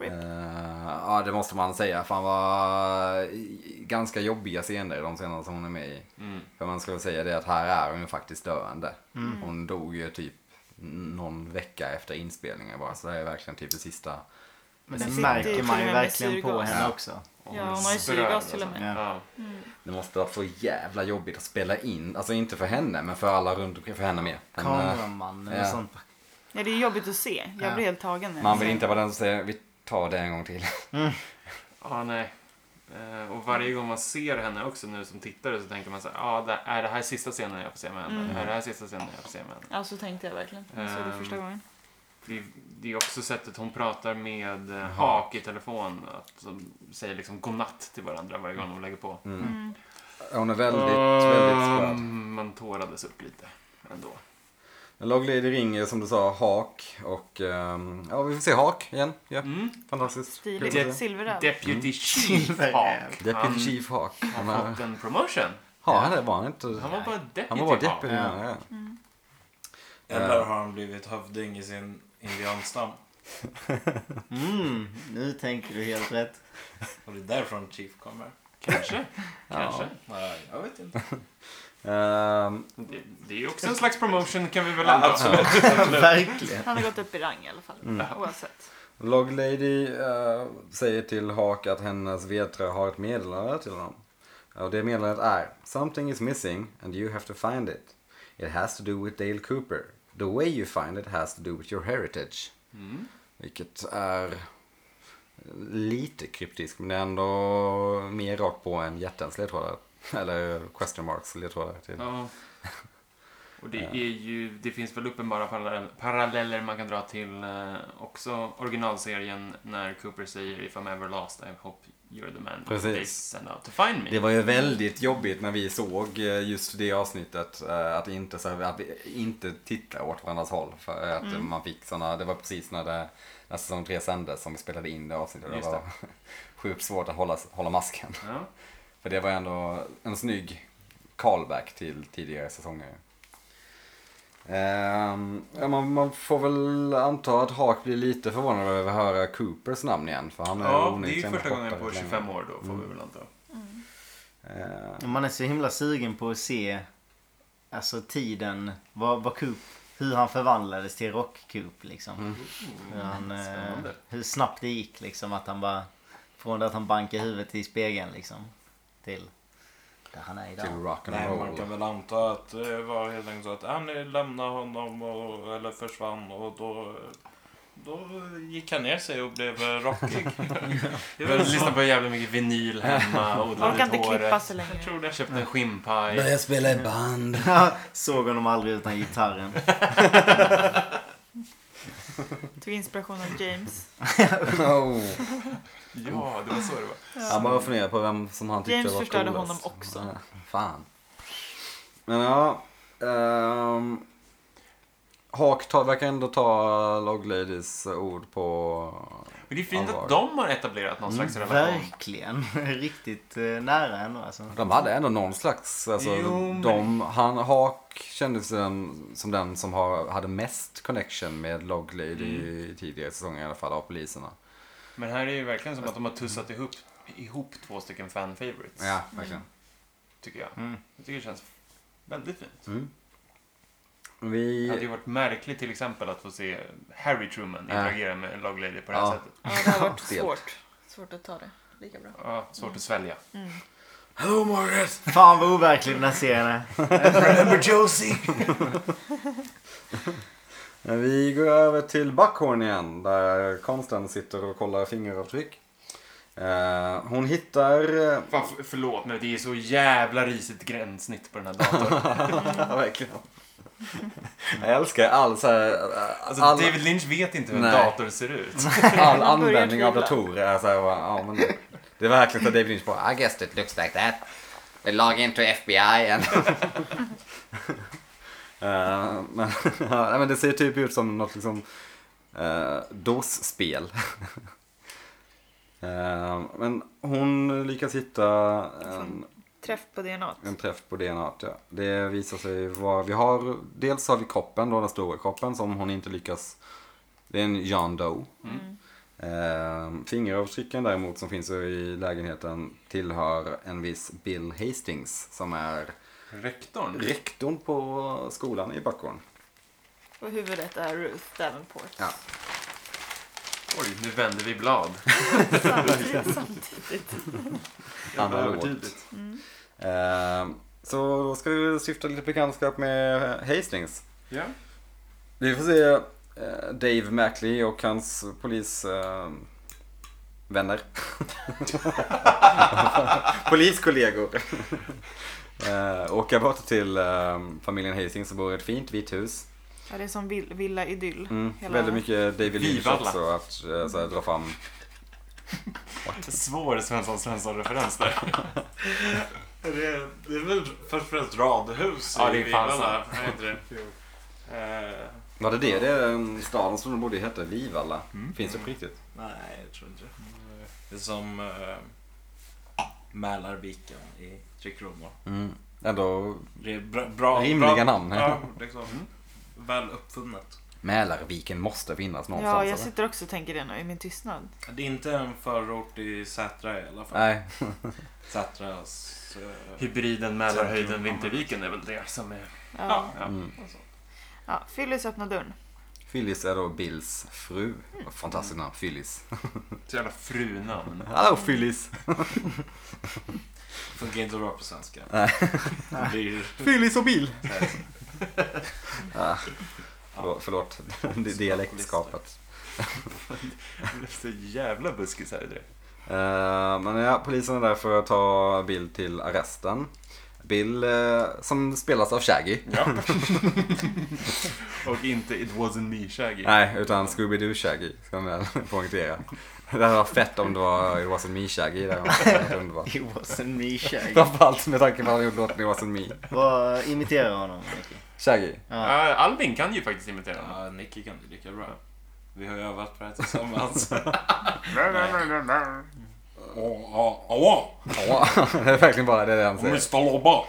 [SPEAKER 2] Rip.
[SPEAKER 3] Eh, ja, det måste man säga. Fan vad... i- ganska jobbiga scener de senare som hon är med i.
[SPEAKER 5] Mm.
[SPEAKER 3] För man skulle säga det att här är hon ju faktiskt döende. Hon dog ju typ någon vecka efter inspelningen bara. Så det här är verkligen typ det sista.
[SPEAKER 1] Men
[SPEAKER 2] Den
[SPEAKER 1] det
[SPEAKER 2] sitter
[SPEAKER 1] märker
[SPEAKER 2] ju
[SPEAKER 1] man
[SPEAKER 2] till och
[SPEAKER 1] ju
[SPEAKER 2] med med
[SPEAKER 1] verkligen på
[SPEAKER 2] syrgas.
[SPEAKER 1] henne
[SPEAKER 3] Ja.
[SPEAKER 1] också.
[SPEAKER 5] Och
[SPEAKER 2] Ja,
[SPEAKER 5] är
[SPEAKER 2] hon har ju
[SPEAKER 5] spröd,
[SPEAKER 2] syrgas till och
[SPEAKER 5] alltså.
[SPEAKER 1] med.
[SPEAKER 5] Ja.
[SPEAKER 3] Det måste vara så jävla jobbigt att spela in. Alltså inte för henne men för alla runt omkring. För henne med. Men, eh,
[SPEAKER 1] Kameraman eller
[SPEAKER 3] Ja.
[SPEAKER 1] sånt.
[SPEAKER 2] Ja, det är jobbigt att se. Jag
[SPEAKER 1] Ja.
[SPEAKER 2] blir helt tagen. när jag
[SPEAKER 3] Man vill
[SPEAKER 2] ser.
[SPEAKER 3] inte vara den som säger vi tar det en gång till. *laughs*
[SPEAKER 5] Ja, nej. Eh, Och varje gång man ser henne också nu som tittare så tänker man så här, ah, det- är det här sista scenen jag får se med henne?
[SPEAKER 2] Mm.
[SPEAKER 5] Är det här sista scenen jag får se med henne?
[SPEAKER 2] Ja, så tänkte jag verkligen. Jag såg det
[SPEAKER 5] Ehm.
[SPEAKER 2] första gången.
[SPEAKER 5] Det, det är också sättet hon pratar med eh,
[SPEAKER 3] Jaha.
[SPEAKER 5] Hak i telefon. Att de säger liksom godnatt till varandra varje gång de lägger på.
[SPEAKER 2] Mm.
[SPEAKER 3] Hon är väldigt,
[SPEAKER 5] Um.
[SPEAKER 3] väldigt skön.
[SPEAKER 5] Ehm, Man tårades upp lite ändå.
[SPEAKER 3] Log Lady ringer som du sa Hak och ehm, ja vi får se Hak igen. Ja,
[SPEAKER 5] Mm.
[SPEAKER 3] fantastiskt.
[SPEAKER 2] Stiligt.
[SPEAKER 3] Kul att se.
[SPEAKER 2] Silverräv.
[SPEAKER 5] Deputy Chief
[SPEAKER 1] Silver
[SPEAKER 5] Hawk.
[SPEAKER 3] Deputy Chief Hak.
[SPEAKER 5] Han
[SPEAKER 3] Han
[SPEAKER 5] har
[SPEAKER 3] var,
[SPEAKER 5] fått en promotion.
[SPEAKER 3] ja, han är- var han inte.
[SPEAKER 5] Han var bara deputy
[SPEAKER 3] Han var bara
[SPEAKER 5] Hawk.
[SPEAKER 3] deputy.
[SPEAKER 1] Ja.
[SPEAKER 3] Ja. Ja.
[SPEAKER 4] Eller har han blivit hövding i sin indianstam?
[SPEAKER 1] Mm, nu tänker du helt rätt.
[SPEAKER 4] Och det är därifrån Chief kommer.
[SPEAKER 5] Kanske. Kanske.
[SPEAKER 4] Nej, jag vet inte.
[SPEAKER 3] Ehm,
[SPEAKER 5] Det, det är ju också en slags promotion kan vi väl
[SPEAKER 4] Ja,
[SPEAKER 5] anta.
[SPEAKER 4] absolut. absolut.
[SPEAKER 1] Verkligen.
[SPEAKER 2] Han har gått upp i rang i alla fall. Oavsett.
[SPEAKER 3] Log Lady eh, säger till Hak att hennes vedträ har ett meddelande till honom. Eh, Och det meddelandet är Something is missing and you have to find it. It has to do with Dale Cooper. The way you find it has to do with your heritage.
[SPEAKER 5] Mm.
[SPEAKER 3] Vilket är lite kryptisk men det är ändå mer rakt på än hjärtans ledtrådar. Eller question marks ledtrådar. Till.
[SPEAKER 5] Ja. Och det är ju, det finns väl uppenbara parallell, paralleller man kan dra till eh, också originalserien när Cooper säger If I'm ever lost I hope you're the man
[SPEAKER 3] Precis.
[SPEAKER 5] they send out to find me.
[SPEAKER 3] Det var ju väldigt jobbigt när vi såg eh, just det avsnittet eh, att inte, så- att vi inte titta åt varandras håll. För att
[SPEAKER 2] Mm.
[SPEAKER 3] man fick sådana, det var precis när, det, när säsong 3 sändes som vi spelade in det avsnittet. Det
[SPEAKER 5] Just det.
[SPEAKER 3] var *laughs* sjukt svårt att hålla, hålla masken.
[SPEAKER 5] Ja.
[SPEAKER 3] För det var ändå en snygg callback till tidigare säsonger. Ehm, ja, man, man får väl anta att Hawk blir lite förvånad över att höra Coopers namn igen. För han är
[SPEAKER 5] ja, det är ju
[SPEAKER 3] onekligen
[SPEAKER 5] första gången
[SPEAKER 3] borta
[SPEAKER 5] på
[SPEAKER 3] rätt länge.
[SPEAKER 5] 25 år då, får vi
[SPEAKER 3] Mm.
[SPEAKER 5] väl anta.
[SPEAKER 3] Ehm,
[SPEAKER 1] Man är så himla sugen på att se alltså tiden, vad, vad Coop, hur han förvandlades till Rock-Coop liksom. Hur, han, eh,
[SPEAKER 5] Spännande.
[SPEAKER 1] hur snabbt det gick liksom att han bara från det att han bankar huvudet i spegeln liksom till där han är
[SPEAKER 3] till
[SPEAKER 1] idag.
[SPEAKER 4] Nej,
[SPEAKER 3] rock'n'roll.
[SPEAKER 4] man kan väl anta att det var helt enkelt så att Annie lämnade honom och, eller försvann och då, då gick han ner sig och blev eh, rockig.
[SPEAKER 3] *laughs*
[SPEAKER 5] Jag vill lyssna på jävligt mycket vinyl hemma,
[SPEAKER 3] *laughs*
[SPEAKER 5] odla
[SPEAKER 2] Orkar
[SPEAKER 5] lite
[SPEAKER 2] inte
[SPEAKER 5] håret.
[SPEAKER 2] klippa så länge.
[SPEAKER 4] Jag tror det.
[SPEAKER 5] Jag köpte en skimpaj.
[SPEAKER 3] Börja spela i *laughs* band.
[SPEAKER 1] Såg honom aldrig utan gitarren.
[SPEAKER 2] Tog inspiration av James.
[SPEAKER 3] oh.
[SPEAKER 5] Ja, det var så det var.
[SPEAKER 3] Han bara funderade på vem som han tyckte
[SPEAKER 2] James
[SPEAKER 3] var
[SPEAKER 2] förstörde
[SPEAKER 3] coolast.
[SPEAKER 2] honom också.
[SPEAKER 3] Ja, Fan. Men ja. Um, Hawk tar, verkar ändå ta Log Ladies ord på...
[SPEAKER 5] Men det är fint
[SPEAKER 3] Allvar. Mm,
[SPEAKER 5] att de har etablerat någon slags relation.
[SPEAKER 1] Verkligen. *laughs* Riktigt eh, nära ändå alltså.
[SPEAKER 3] De hade ändå någon slags... Alltså,
[SPEAKER 5] Jo, men-
[SPEAKER 3] de, han, Hawk kändes den, som den som har, hade mest connection med Log Lady
[SPEAKER 2] Mm.
[SPEAKER 3] i tidigare säsonger i alla fall av poliserna.
[SPEAKER 5] Men här är ju verkligen som att de har tussat ihop, ihop två stycken fan favorites.
[SPEAKER 3] Ja, verkligen.
[SPEAKER 5] Tycker jag.
[SPEAKER 1] Mm.
[SPEAKER 5] Jag tycker det känns väldigt fint.
[SPEAKER 3] Mm.
[SPEAKER 5] Det
[SPEAKER 3] Vi...
[SPEAKER 5] hade ju varit märkligt till exempel att få se Harry Truman
[SPEAKER 3] Ja.
[SPEAKER 5] interagera med Log Lady på det här
[SPEAKER 3] *laughs* Ja.
[SPEAKER 5] sättet.
[SPEAKER 2] Ja, det har varit
[SPEAKER 3] Stelt.
[SPEAKER 2] svårt. Svårt att ta det. Lika bra.
[SPEAKER 5] Ja, svårt att svälja.
[SPEAKER 2] Mm.
[SPEAKER 3] Hello Margaret!
[SPEAKER 1] Fan vad overklig den här serien är.
[SPEAKER 4] Remember Josie?
[SPEAKER 3] Vi går över till Buckhorn igen där konsten sitter och kollar fingeravtryck. Eh, hon hittar...
[SPEAKER 5] *laughs*
[SPEAKER 3] eh,
[SPEAKER 5] Fan, för, förlåt men det är så jävla risigt gränssnitt på den
[SPEAKER 3] *laughs*
[SPEAKER 5] här datorn. Alltså,
[SPEAKER 3] Verkligen. Jag älskar all så här, eh,
[SPEAKER 5] Alltså,
[SPEAKER 3] all,
[SPEAKER 5] David Lynch vet inte hur en
[SPEAKER 3] Nej.
[SPEAKER 5] dator ser ut.
[SPEAKER 3] *laughs* all
[SPEAKER 2] Man börjar
[SPEAKER 3] användning av
[SPEAKER 2] tvivla.
[SPEAKER 3] datorer. är så här, bara, ja, men det är verkligen så David Lynch bara I guess it looks like that. They log into FBI and... *laughs* Eh, men, *laughs* ja, nej, men det ser typ ut som något liksom uh, DOS-spel. *laughs* Eh, men hon lyckas hitta en,
[SPEAKER 2] Träff på DNA.
[SPEAKER 3] en träff på DNA. Ja. Det visar sig vara, vi har, dels har vi kroppen, då, den stora kroppen som hon inte lyckas, det är en John Doe. Eh, fingeravtrycken däremot som finns i lägenheten tillhör en viss Bill Hastings som är
[SPEAKER 5] Rektorn?
[SPEAKER 3] rektorn på skolan i Buckhorn.
[SPEAKER 2] Och huvudet är Ruth Davenport.
[SPEAKER 3] Ja.
[SPEAKER 5] Oj, nu vänder vi blad.
[SPEAKER 2] Samtidigt, samtidigt.
[SPEAKER 5] Jävla
[SPEAKER 3] Analog.
[SPEAKER 5] överdrivet.
[SPEAKER 3] Ehm, Så då ska vi syfta lite bekantskap med Hastings.
[SPEAKER 5] Ja.
[SPEAKER 3] Vi får se eh, Dave Mackley och hans eh, polisvänner. *laughs* Poliskollegor. *laughs* Eh, Åka bort till eh, familjen Hastings som bor i ett fint vitt hus.
[SPEAKER 2] Ja, det är som vill, villa idyll.
[SPEAKER 3] Mm.
[SPEAKER 2] Hela-
[SPEAKER 3] Väldigt mycket David Lynch
[SPEAKER 5] Vivalla.
[SPEAKER 3] också att eh, så här, dra fram.
[SPEAKER 5] Svår Svensson Svensson-referens där.
[SPEAKER 4] *laughs* Det är, det är väl först och främst radhus
[SPEAKER 5] Ja, det är
[SPEAKER 4] i
[SPEAKER 5] fan
[SPEAKER 4] Vilarna, är inte det? Eh,
[SPEAKER 3] Var det det? Det är um, staden som de borde heta, Vivalla. Finns det på riktigt?
[SPEAKER 4] Nej, jag tror inte det. Det är som eh, Mälarviken i Tre Kronor.
[SPEAKER 3] Ändå
[SPEAKER 4] Det är bra, bra,
[SPEAKER 3] rimliga
[SPEAKER 4] bra,
[SPEAKER 3] namn. Mm.
[SPEAKER 4] Ja, liksom. Väl uppfunnet.
[SPEAKER 3] Mälarviken måste finnas någonstans.
[SPEAKER 2] Ja, jag
[SPEAKER 3] eller?
[SPEAKER 2] sitter också och tänker det nu i min tystnad.
[SPEAKER 4] Det är inte en förort i Sätra i alla fall.
[SPEAKER 3] Nej,
[SPEAKER 4] Sätras... eh,
[SPEAKER 5] *laughs* Hybriden Mälarhöjden Vinterviken är väl det som är...
[SPEAKER 2] Ja.
[SPEAKER 5] Ja.
[SPEAKER 3] Mm.
[SPEAKER 2] Ja, Phyllis öppna dörren.
[SPEAKER 3] Phyllis är då Bills fru. Fantastiskt namn, Phyllis.
[SPEAKER 5] Så jävla frunamn.
[SPEAKER 3] Hallå Phyllis!
[SPEAKER 4] Funkar inte så bra på svenska.
[SPEAKER 3] Nej.
[SPEAKER 4] Det blir...
[SPEAKER 3] Fyllis och bil!
[SPEAKER 4] Nej.
[SPEAKER 3] *laughs* Ah, förlåt, *laughs* förlåt. Det är dialektskapet.
[SPEAKER 5] Det är *laughs* så jävla buskis här i det.
[SPEAKER 3] Eh, men ja, polisen är där för att ta Bill till arresten. Bill eh, som spelas av Shaggy.
[SPEAKER 5] Ja. *laughs* Och inte It wasn't me Shaggy.
[SPEAKER 3] Nej, utan Scooby-Doo Shaggy ska man väl *laughs* poängtera. Det hade varit fett om det var It wasn't me Shaggy. Det hade varit *laughs* underbart.
[SPEAKER 1] It was a me Shaggy.
[SPEAKER 3] Framförallt med tanke på att han gjorde låten It wasn't me.
[SPEAKER 1] Vad imiterar honom? Nicky?
[SPEAKER 3] Shaggy.
[SPEAKER 1] Ja.
[SPEAKER 5] Ja, Albin kan ju faktiskt imitera honom.
[SPEAKER 4] Ja, Nicky kan det lika bra. Vi har ju övat på det här tillsammans. Åh, åh, åh!
[SPEAKER 3] Ja, *laughs* det är verkligen bara det han säger.
[SPEAKER 4] Mr Lobba!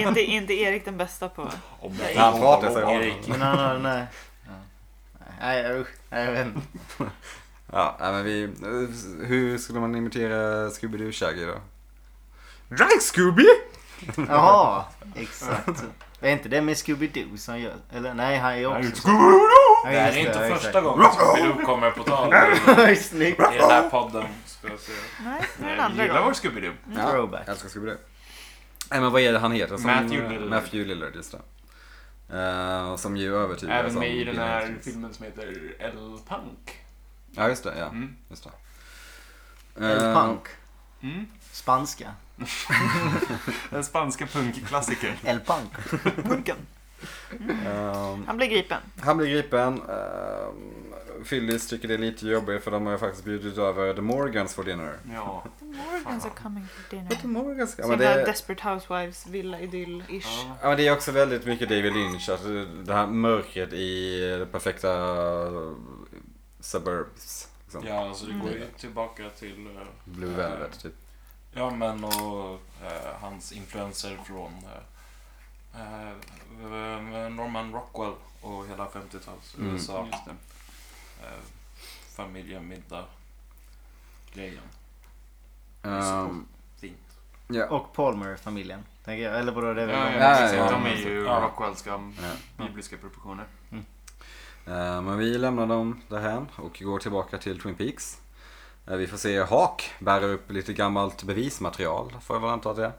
[SPEAKER 2] inte, inte Erik den bästa på...
[SPEAKER 3] Han pratar så här.
[SPEAKER 4] Erik.
[SPEAKER 1] Men han har den här... Ja. Nej, usch. Nej, jag vet inte.
[SPEAKER 3] Ja, nej, men vi, eh, hur skulle man imitera Scooby-Doo Shaggy då? Right Scooby!
[SPEAKER 1] Jaha, *laughs* exakt. Är inte det med Scooby-Doo som gör... Eller nej, han är också...
[SPEAKER 4] Det här är inte första gången Scooby-Doo kommer på tal i
[SPEAKER 1] *laughs* gången. Snyggt.
[SPEAKER 4] den här podden. Ska jag säga.
[SPEAKER 2] Nej, det är
[SPEAKER 5] Nej,
[SPEAKER 2] den
[SPEAKER 5] vi
[SPEAKER 2] andra
[SPEAKER 5] gillar vår
[SPEAKER 2] gången.
[SPEAKER 5] Scooby-Doo.
[SPEAKER 3] Ja,
[SPEAKER 1] Throwback.
[SPEAKER 3] jag älskar Scooby-Doo. Nej men vad är det han heter? Som,
[SPEAKER 5] Matthew Lillard.
[SPEAKER 3] Matthew Lillard, just det. Eh, och som ju övertygar
[SPEAKER 5] Även
[SPEAKER 3] som
[SPEAKER 5] med i den
[SPEAKER 3] Bill
[SPEAKER 5] här
[SPEAKER 3] Hastings.
[SPEAKER 5] filmen som heter El Punk.
[SPEAKER 3] Ja, just det. Ja,
[SPEAKER 5] Mm.
[SPEAKER 3] just det.
[SPEAKER 1] El
[SPEAKER 3] Eh,
[SPEAKER 1] Punk.
[SPEAKER 5] Mm.
[SPEAKER 1] Spanska.
[SPEAKER 5] Den spanska punkklassikern.
[SPEAKER 1] El Punk. Punken.
[SPEAKER 3] ehm,
[SPEAKER 2] Han blir gripen.
[SPEAKER 3] han blir gripen. ehm, Phyllis tycker det är lite jobbigt för de har ju faktiskt bjudit över The Morgans for dinner.
[SPEAKER 5] Ja.
[SPEAKER 2] The Morgans are coming for dinner.
[SPEAKER 3] The Morgans? Ja,
[SPEAKER 2] Så
[SPEAKER 3] men
[SPEAKER 2] jävla
[SPEAKER 3] det,
[SPEAKER 2] Desperate Housewives, villa idyll-ish.
[SPEAKER 5] ja.
[SPEAKER 3] Ja, men det är också väldigt mycket David Lynch. Alltså det här mörkret i det perfekta eh, suburbs. Liksom.
[SPEAKER 4] Ja, alltså det går ju tillbaka till... eh,
[SPEAKER 3] Blue Velvet, typ.
[SPEAKER 4] Ja, men och eh, hans influenser från eh, eh, Norman Rockwell och hela 50-tals
[SPEAKER 3] Mm.
[SPEAKER 4] USA.
[SPEAKER 5] Just det.
[SPEAKER 4] Eh, Familjemiddag-grejen.
[SPEAKER 3] Ehm,
[SPEAKER 4] Fint.
[SPEAKER 3] ja.
[SPEAKER 1] Och Palmer-familjen. Tänker jag. Eller vadå? Det är
[SPEAKER 5] Ja,
[SPEAKER 1] väl
[SPEAKER 5] ja,
[SPEAKER 1] de-
[SPEAKER 3] ja,
[SPEAKER 5] precis.
[SPEAKER 3] ja.
[SPEAKER 5] De är ju
[SPEAKER 4] Ja.
[SPEAKER 5] Rockwellska
[SPEAKER 3] Ja.
[SPEAKER 5] bibliska proportioner.
[SPEAKER 3] Eh, Men vi lämnar dem därhän och går tillbaka till Twin Peaks. Eh, Vi får se Hawk bära upp lite gammalt bevismaterial, får jag väl anta att det är.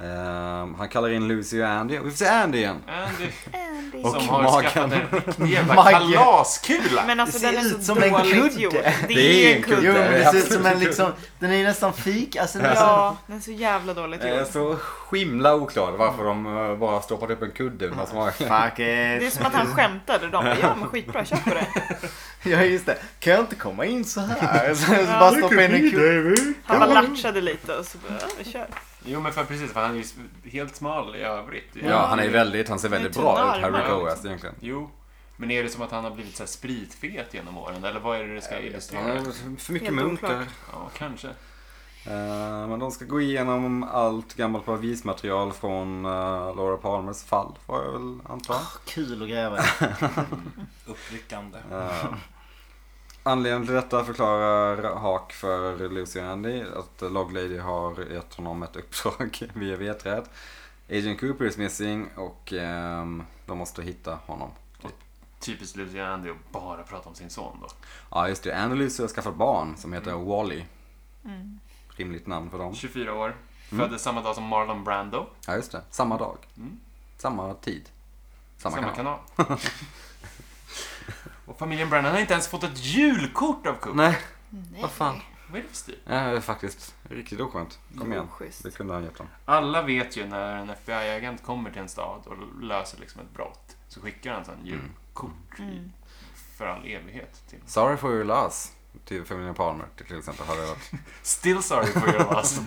[SPEAKER 3] Ehm, Han kallar in Lucy och Andy och vi får se Andy igen.
[SPEAKER 5] Andy
[SPEAKER 2] Andy.
[SPEAKER 3] Och
[SPEAKER 5] som har
[SPEAKER 3] magen.
[SPEAKER 5] skaffat en riktig jävla
[SPEAKER 1] Magen.
[SPEAKER 5] kalaskula.
[SPEAKER 2] Men alltså
[SPEAKER 1] Det ser
[SPEAKER 2] den är
[SPEAKER 1] ut
[SPEAKER 2] så
[SPEAKER 1] som en
[SPEAKER 2] dåligt
[SPEAKER 1] kudde.
[SPEAKER 2] gjord.
[SPEAKER 3] Det är
[SPEAKER 2] ju
[SPEAKER 3] en
[SPEAKER 2] en
[SPEAKER 3] kudde.
[SPEAKER 1] Jo,
[SPEAKER 2] kudde.
[SPEAKER 1] men det ser ut som en liksom... Den är ju nästan fik. Alltså, den är så-
[SPEAKER 2] Ja, den är så jävla dåligt
[SPEAKER 3] Eh,
[SPEAKER 2] gjord.
[SPEAKER 3] Så skimla oklart varför de eh, bara stoppat upp en kudde med hans mage.
[SPEAKER 1] Fuck
[SPEAKER 2] Det är
[SPEAKER 1] it.
[SPEAKER 2] som att han skämtade. De bara, ja men skitbra, kör på det.
[SPEAKER 1] Ja, just det. Kan jag inte komma in så
[SPEAKER 3] *laughs*
[SPEAKER 1] här? Så så bara stoppa in en kudde.
[SPEAKER 2] Han bara latchade lite och så bara, ja vi kör.
[SPEAKER 5] Jo men för precis, för han är ju s- helt smal i övrigt.
[SPEAKER 3] Ja, han är ju väldigt, han ser väldigt
[SPEAKER 2] tunna
[SPEAKER 3] bra ut, Harry
[SPEAKER 2] armar.
[SPEAKER 3] Coas egentligen.
[SPEAKER 5] Jo. Men är det som att han har blivit så här spritfet genom åren? Eller vad är det det ska illustrera?
[SPEAKER 3] För mycket
[SPEAKER 2] Helt
[SPEAKER 3] munkar.
[SPEAKER 2] oklart.
[SPEAKER 5] Ja, kanske.
[SPEAKER 3] Eh, Men de ska gå igenom allt gammalt bevismaterial från eh, Laura Palmers fall, får jag väl anta.
[SPEAKER 1] Kul att gräva i.
[SPEAKER 4] Uppryckande.
[SPEAKER 3] Eh, Anledningen till detta förklarar Hawk för Lucy och Andy att Log Lady har gett honom ett uppdrag *laughs* via vedträd. Agent Cooper is missing och ehm, de måste hitta honom.
[SPEAKER 5] Typiskt Lucy och Andy att bara prata om sin son då.
[SPEAKER 3] Ja just det, Andy och Lucy har skaffat barn som heter Wally.
[SPEAKER 2] Mm.
[SPEAKER 3] Rimligt namn för dem.
[SPEAKER 5] 24 år. Föddes samma dag som Marlon Brando.
[SPEAKER 3] Ja just det, samma dag.
[SPEAKER 5] Mm.
[SPEAKER 3] Samma tid. Samma,
[SPEAKER 5] Samma,
[SPEAKER 3] kanal.
[SPEAKER 5] kanal. och familjen Brennan har inte ens fått ett julkort av Coop.
[SPEAKER 3] Nej,
[SPEAKER 2] Nej.
[SPEAKER 3] vad fan.
[SPEAKER 5] Vad är det för stil?
[SPEAKER 3] Ja, det är faktiskt riktigt oskönt. Kom igen.
[SPEAKER 2] Oschysst.
[SPEAKER 3] Det kunde han gett dem.
[SPEAKER 5] Alla vet ju när en FBI-agent kommer till en stad och löser liksom ett brott så skickar han
[SPEAKER 3] Mm.
[SPEAKER 5] sen julkort i-
[SPEAKER 2] Mm.
[SPEAKER 5] för all evighet. Till.
[SPEAKER 3] Sorry for your loss. Till familjen Palmer till exempel har det varit.
[SPEAKER 5] Still sorry for your loss.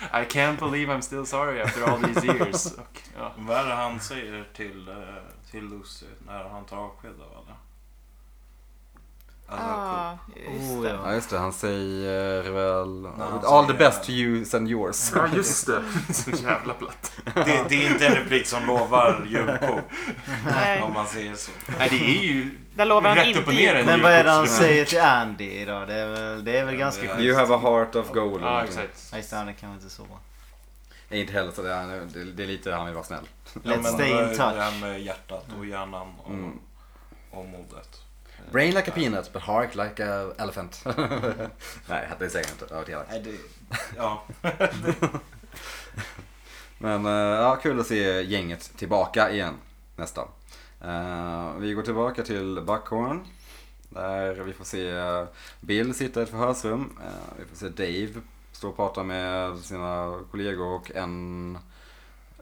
[SPEAKER 5] I can't believe I'm still sorry after all these years. Och, ja.
[SPEAKER 4] Vad är det han säger till, eh, till Lucy när han tar avsked av Alltså, alla? Alla cool.
[SPEAKER 5] Ah.
[SPEAKER 2] Ja, Ah, just
[SPEAKER 1] Oh,
[SPEAKER 2] det.
[SPEAKER 1] ja.
[SPEAKER 3] Ja just det, han säger väl...
[SPEAKER 4] han
[SPEAKER 3] All the
[SPEAKER 4] säger-
[SPEAKER 3] best to you and yours.
[SPEAKER 5] *laughs* Ja, just det. *laughs* Så jävla platt.
[SPEAKER 4] det, det är inte en replik som lovar julkort
[SPEAKER 2] Nej,
[SPEAKER 4] om man säger så.
[SPEAKER 5] Nej, det är ju
[SPEAKER 2] Där lovar han
[SPEAKER 5] rätt upp
[SPEAKER 2] inte
[SPEAKER 5] och ner en
[SPEAKER 1] Men vad är det han
[SPEAKER 5] julkortslön.
[SPEAKER 1] säger till Andy idag? Det är väl, det är väl ganska
[SPEAKER 4] Ja,
[SPEAKER 1] sjukt.
[SPEAKER 3] *laughs* You have a heart of gold. eller
[SPEAKER 5] Ja,
[SPEAKER 3] någonting.
[SPEAKER 5] exakt.
[SPEAKER 1] Nej, just det, Andy kan väl inte sova.
[SPEAKER 3] Nej, Inte heller så det är, det- det är lite han vill vara snäll.
[SPEAKER 1] Let's stay in
[SPEAKER 4] det,
[SPEAKER 1] touch. Mm.
[SPEAKER 4] Det här med hjärtat och hjärnan och,
[SPEAKER 3] Mm.
[SPEAKER 4] och modet.
[SPEAKER 5] Eh,
[SPEAKER 3] Brain like a peanut but heart like a elephant. *laughs* Nej, det säger jag inte. Jag var
[SPEAKER 4] Nej, det, ja.
[SPEAKER 3] Men eh, ja, kul att se gänget tillbaka igen nästan. Eh, Vi går tillbaka till Buckhorn. Där vi får se eh, Bill sitta i ett förhörsrum. Eh, Vi får se Dave stå och prata med sina kollegor och en,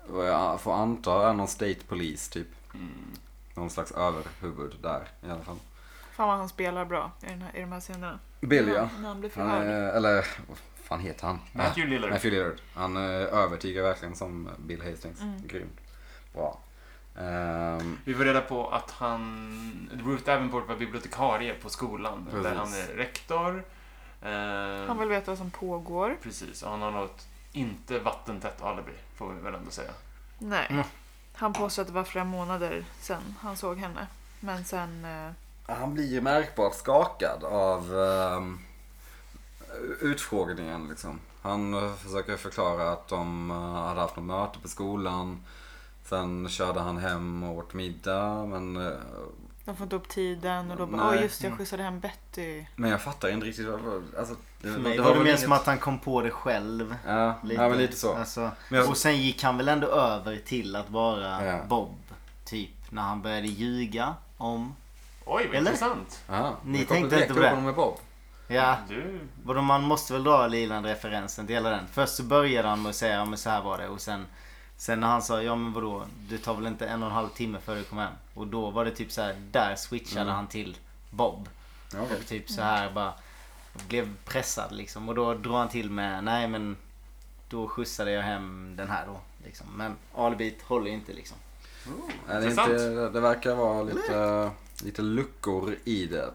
[SPEAKER 3] vad jag får anta, är någon State Police typ. Någon slags överhuvud där i alla fall.
[SPEAKER 2] Fan vad han spelar bra i, den här, i de här scenerna.
[SPEAKER 3] Bill ja.
[SPEAKER 2] När han blir
[SPEAKER 3] Han
[SPEAKER 2] förhörd.
[SPEAKER 3] är, eller vad fan heter han?
[SPEAKER 5] Matthew Lillard.
[SPEAKER 3] Matthew Lillard. Han eh, övertygar verkligen som Bill Hastings.
[SPEAKER 2] Mm.
[SPEAKER 3] Grymt. Bra. Ehm,
[SPEAKER 5] Vi får reda på att han, Ruth Davenport var bibliotekarie på skolan. Där
[SPEAKER 3] Precis.
[SPEAKER 5] han är rektor. Eh,
[SPEAKER 2] Han vill veta vad som pågår.
[SPEAKER 5] Precis, och han har något inte vattentätt alibi, får vi väl ändå säga.
[SPEAKER 2] Nej.
[SPEAKER 1] Mm.
[SPEAKER 2] Han påstår att det var flera månader sedan han såg henne. Men sen... Eh,
[SPEAKER 3] han blir ju märkbart skakad av ehm, utfrågningen liksom. Han eh, försöker förklara att de eh, hade haft något möte på skolan. Sen körde han hem och åt middag. Men, eh,
[SPEAKER 2] de får inte upp tiden och då bara,
[SPEAKER 3] Nej.
[SPEAKER 2] "Åh, just det, jag skjutsade hem Betty.
[SPEAKER 3] men jag fattar inte riktigt. vad- Alltså,
[SPEAKER 1] För mig
[SPEAKER 3] det
[SPEAKER 1] var det
[SPEAKER 3] väl
[SPEAKER 1] mer
[SPEAKER 3] inget-
[SPEAKER 1] som att han kom på det själv.
[SPEAKER 3] Ja, ja, men lite så.
[SPEAKER 1] Alltså,
[SPEAKER 3] Men jag-
[SPEAKER 1] Och sen gick han väl ändå över till att vara
[SPEAKER 3] Ja.
[SPEAKER 1] Bob. Typ när han började ljuga om...
[SPEAKER 5] Oj, vad
[SPEAKER 1] Eller?
[SPEAKER 5] intressant!
[SPEAKER 3] Aha,
[SPEAKER 1] Ni
[SPEAKER 3] vi kopplar
[SPEAKER 1] tänkte
[SPEAKER 3] direkt
[SPEAKER 1] inte på det?
[SPEAKER 3] ihop honom med Bob.
[SPEAKER 1] Ja,
[SPEAKER 5] Du,
[SPEAKER 1] vadå man måste väl dra Liland-referensen till hela den. Först så började han med att säga ja men så här var det och sen... Sen när han sa ja men vadå det tar väl inte en och en halv timme före du kommer hem. Och då var det typ så här där switchade
[SPEAKER 3] Mm.
[SPEAKER 1] han till Bob.
[SPEAKER 3] Ja, okej.
[SPEAKER 1] Och typ så här bara blev pressad liksom. Och då drar han till med nej men då skjutsade jag hem den här då. Liksom. Men alibit håller ju inte liksom.
[SPEAKER 3] Nej, det, är
[SPEAKER 5] Intressant.
[SPEAKER 3] inte, det verkar vara lite, lite luckor i det.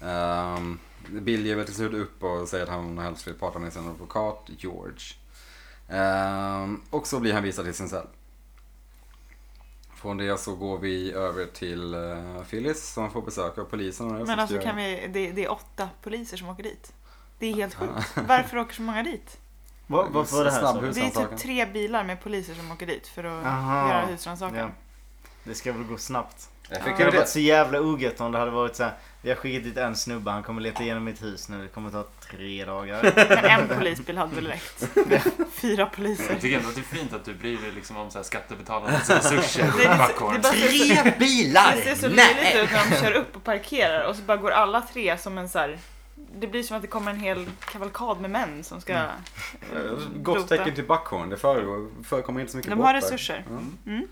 [SPEAKER 3] Um, Bill ger väl till slut upp och säger att han helst vill prata med sin advokat George. Ehm, och så blir han visad till sin cell. Från det så går vi över till eh, Phyllis som får besök av polisen. och det
[SPEAKER 2] Men
[SPEAKER 3] som
[SPEAKER 2] alltså
[SPEAKER 3] ska-
[SPEAKER 2] kan vi, det, det är åtta poliser som åker dit. Det är helt sjukt. Varför åker så många dit?
[SPEAKER 1] Var, varför var det här så?
[SPEAKER 3] Snabbhus.
[SPEAKER 2] Det är
[SPEAKER 3] Husrannsakan.
[SPEAKER 2] typ tre bilar med poliser som åker dit för att
[SPEAKER 1] Aha.
[SPEAKER 2] göra husrannsakan.
[SPEAKER 1] Ja. Det ska väl gå snabbt. Det hade varit
[SPEAKER 3] Effektivitet.
[SPEAKER 1] så jävla ogött om det hade varit så här. Vi har skickat dit en snubbe, han kommer leta igenom mitt hus nu. Det kommer ta tre dagar.
[SPEAKER 2] *laughs* Men en polisbil hade väl räckt. Fyra
[SPEAKER 5] jag
[SPEAKER 2] poliser.
[SPEAKER 5] tycker ändå att det är fint att du bryr dig liksom om så
[SPEAKER 2] *laughs*
[SPEAKER 5] här skattebetalarnas resurser.
[SPEAKER 2] Det är-
[SPEAKER 5] Backhorn.
[SPEAKER 2] det är bara-
[SPEAKER 1] Tre bilar!
[SPEAKER 2] Det ser så löjligt ut när de kör upp och parkerar och så bara går alla tre som en så här. Det blir som att det kommer en hel kavalkad med män som ska...
[SPEAKER 3] Mm. Eh, Gott tecken till Buckhorn. Det föregår- förekommer inte så mycket
[SPEAKER 2] De har
[SPEAKER 3] brott där.
[SPEAKER 2] resurser. Mm.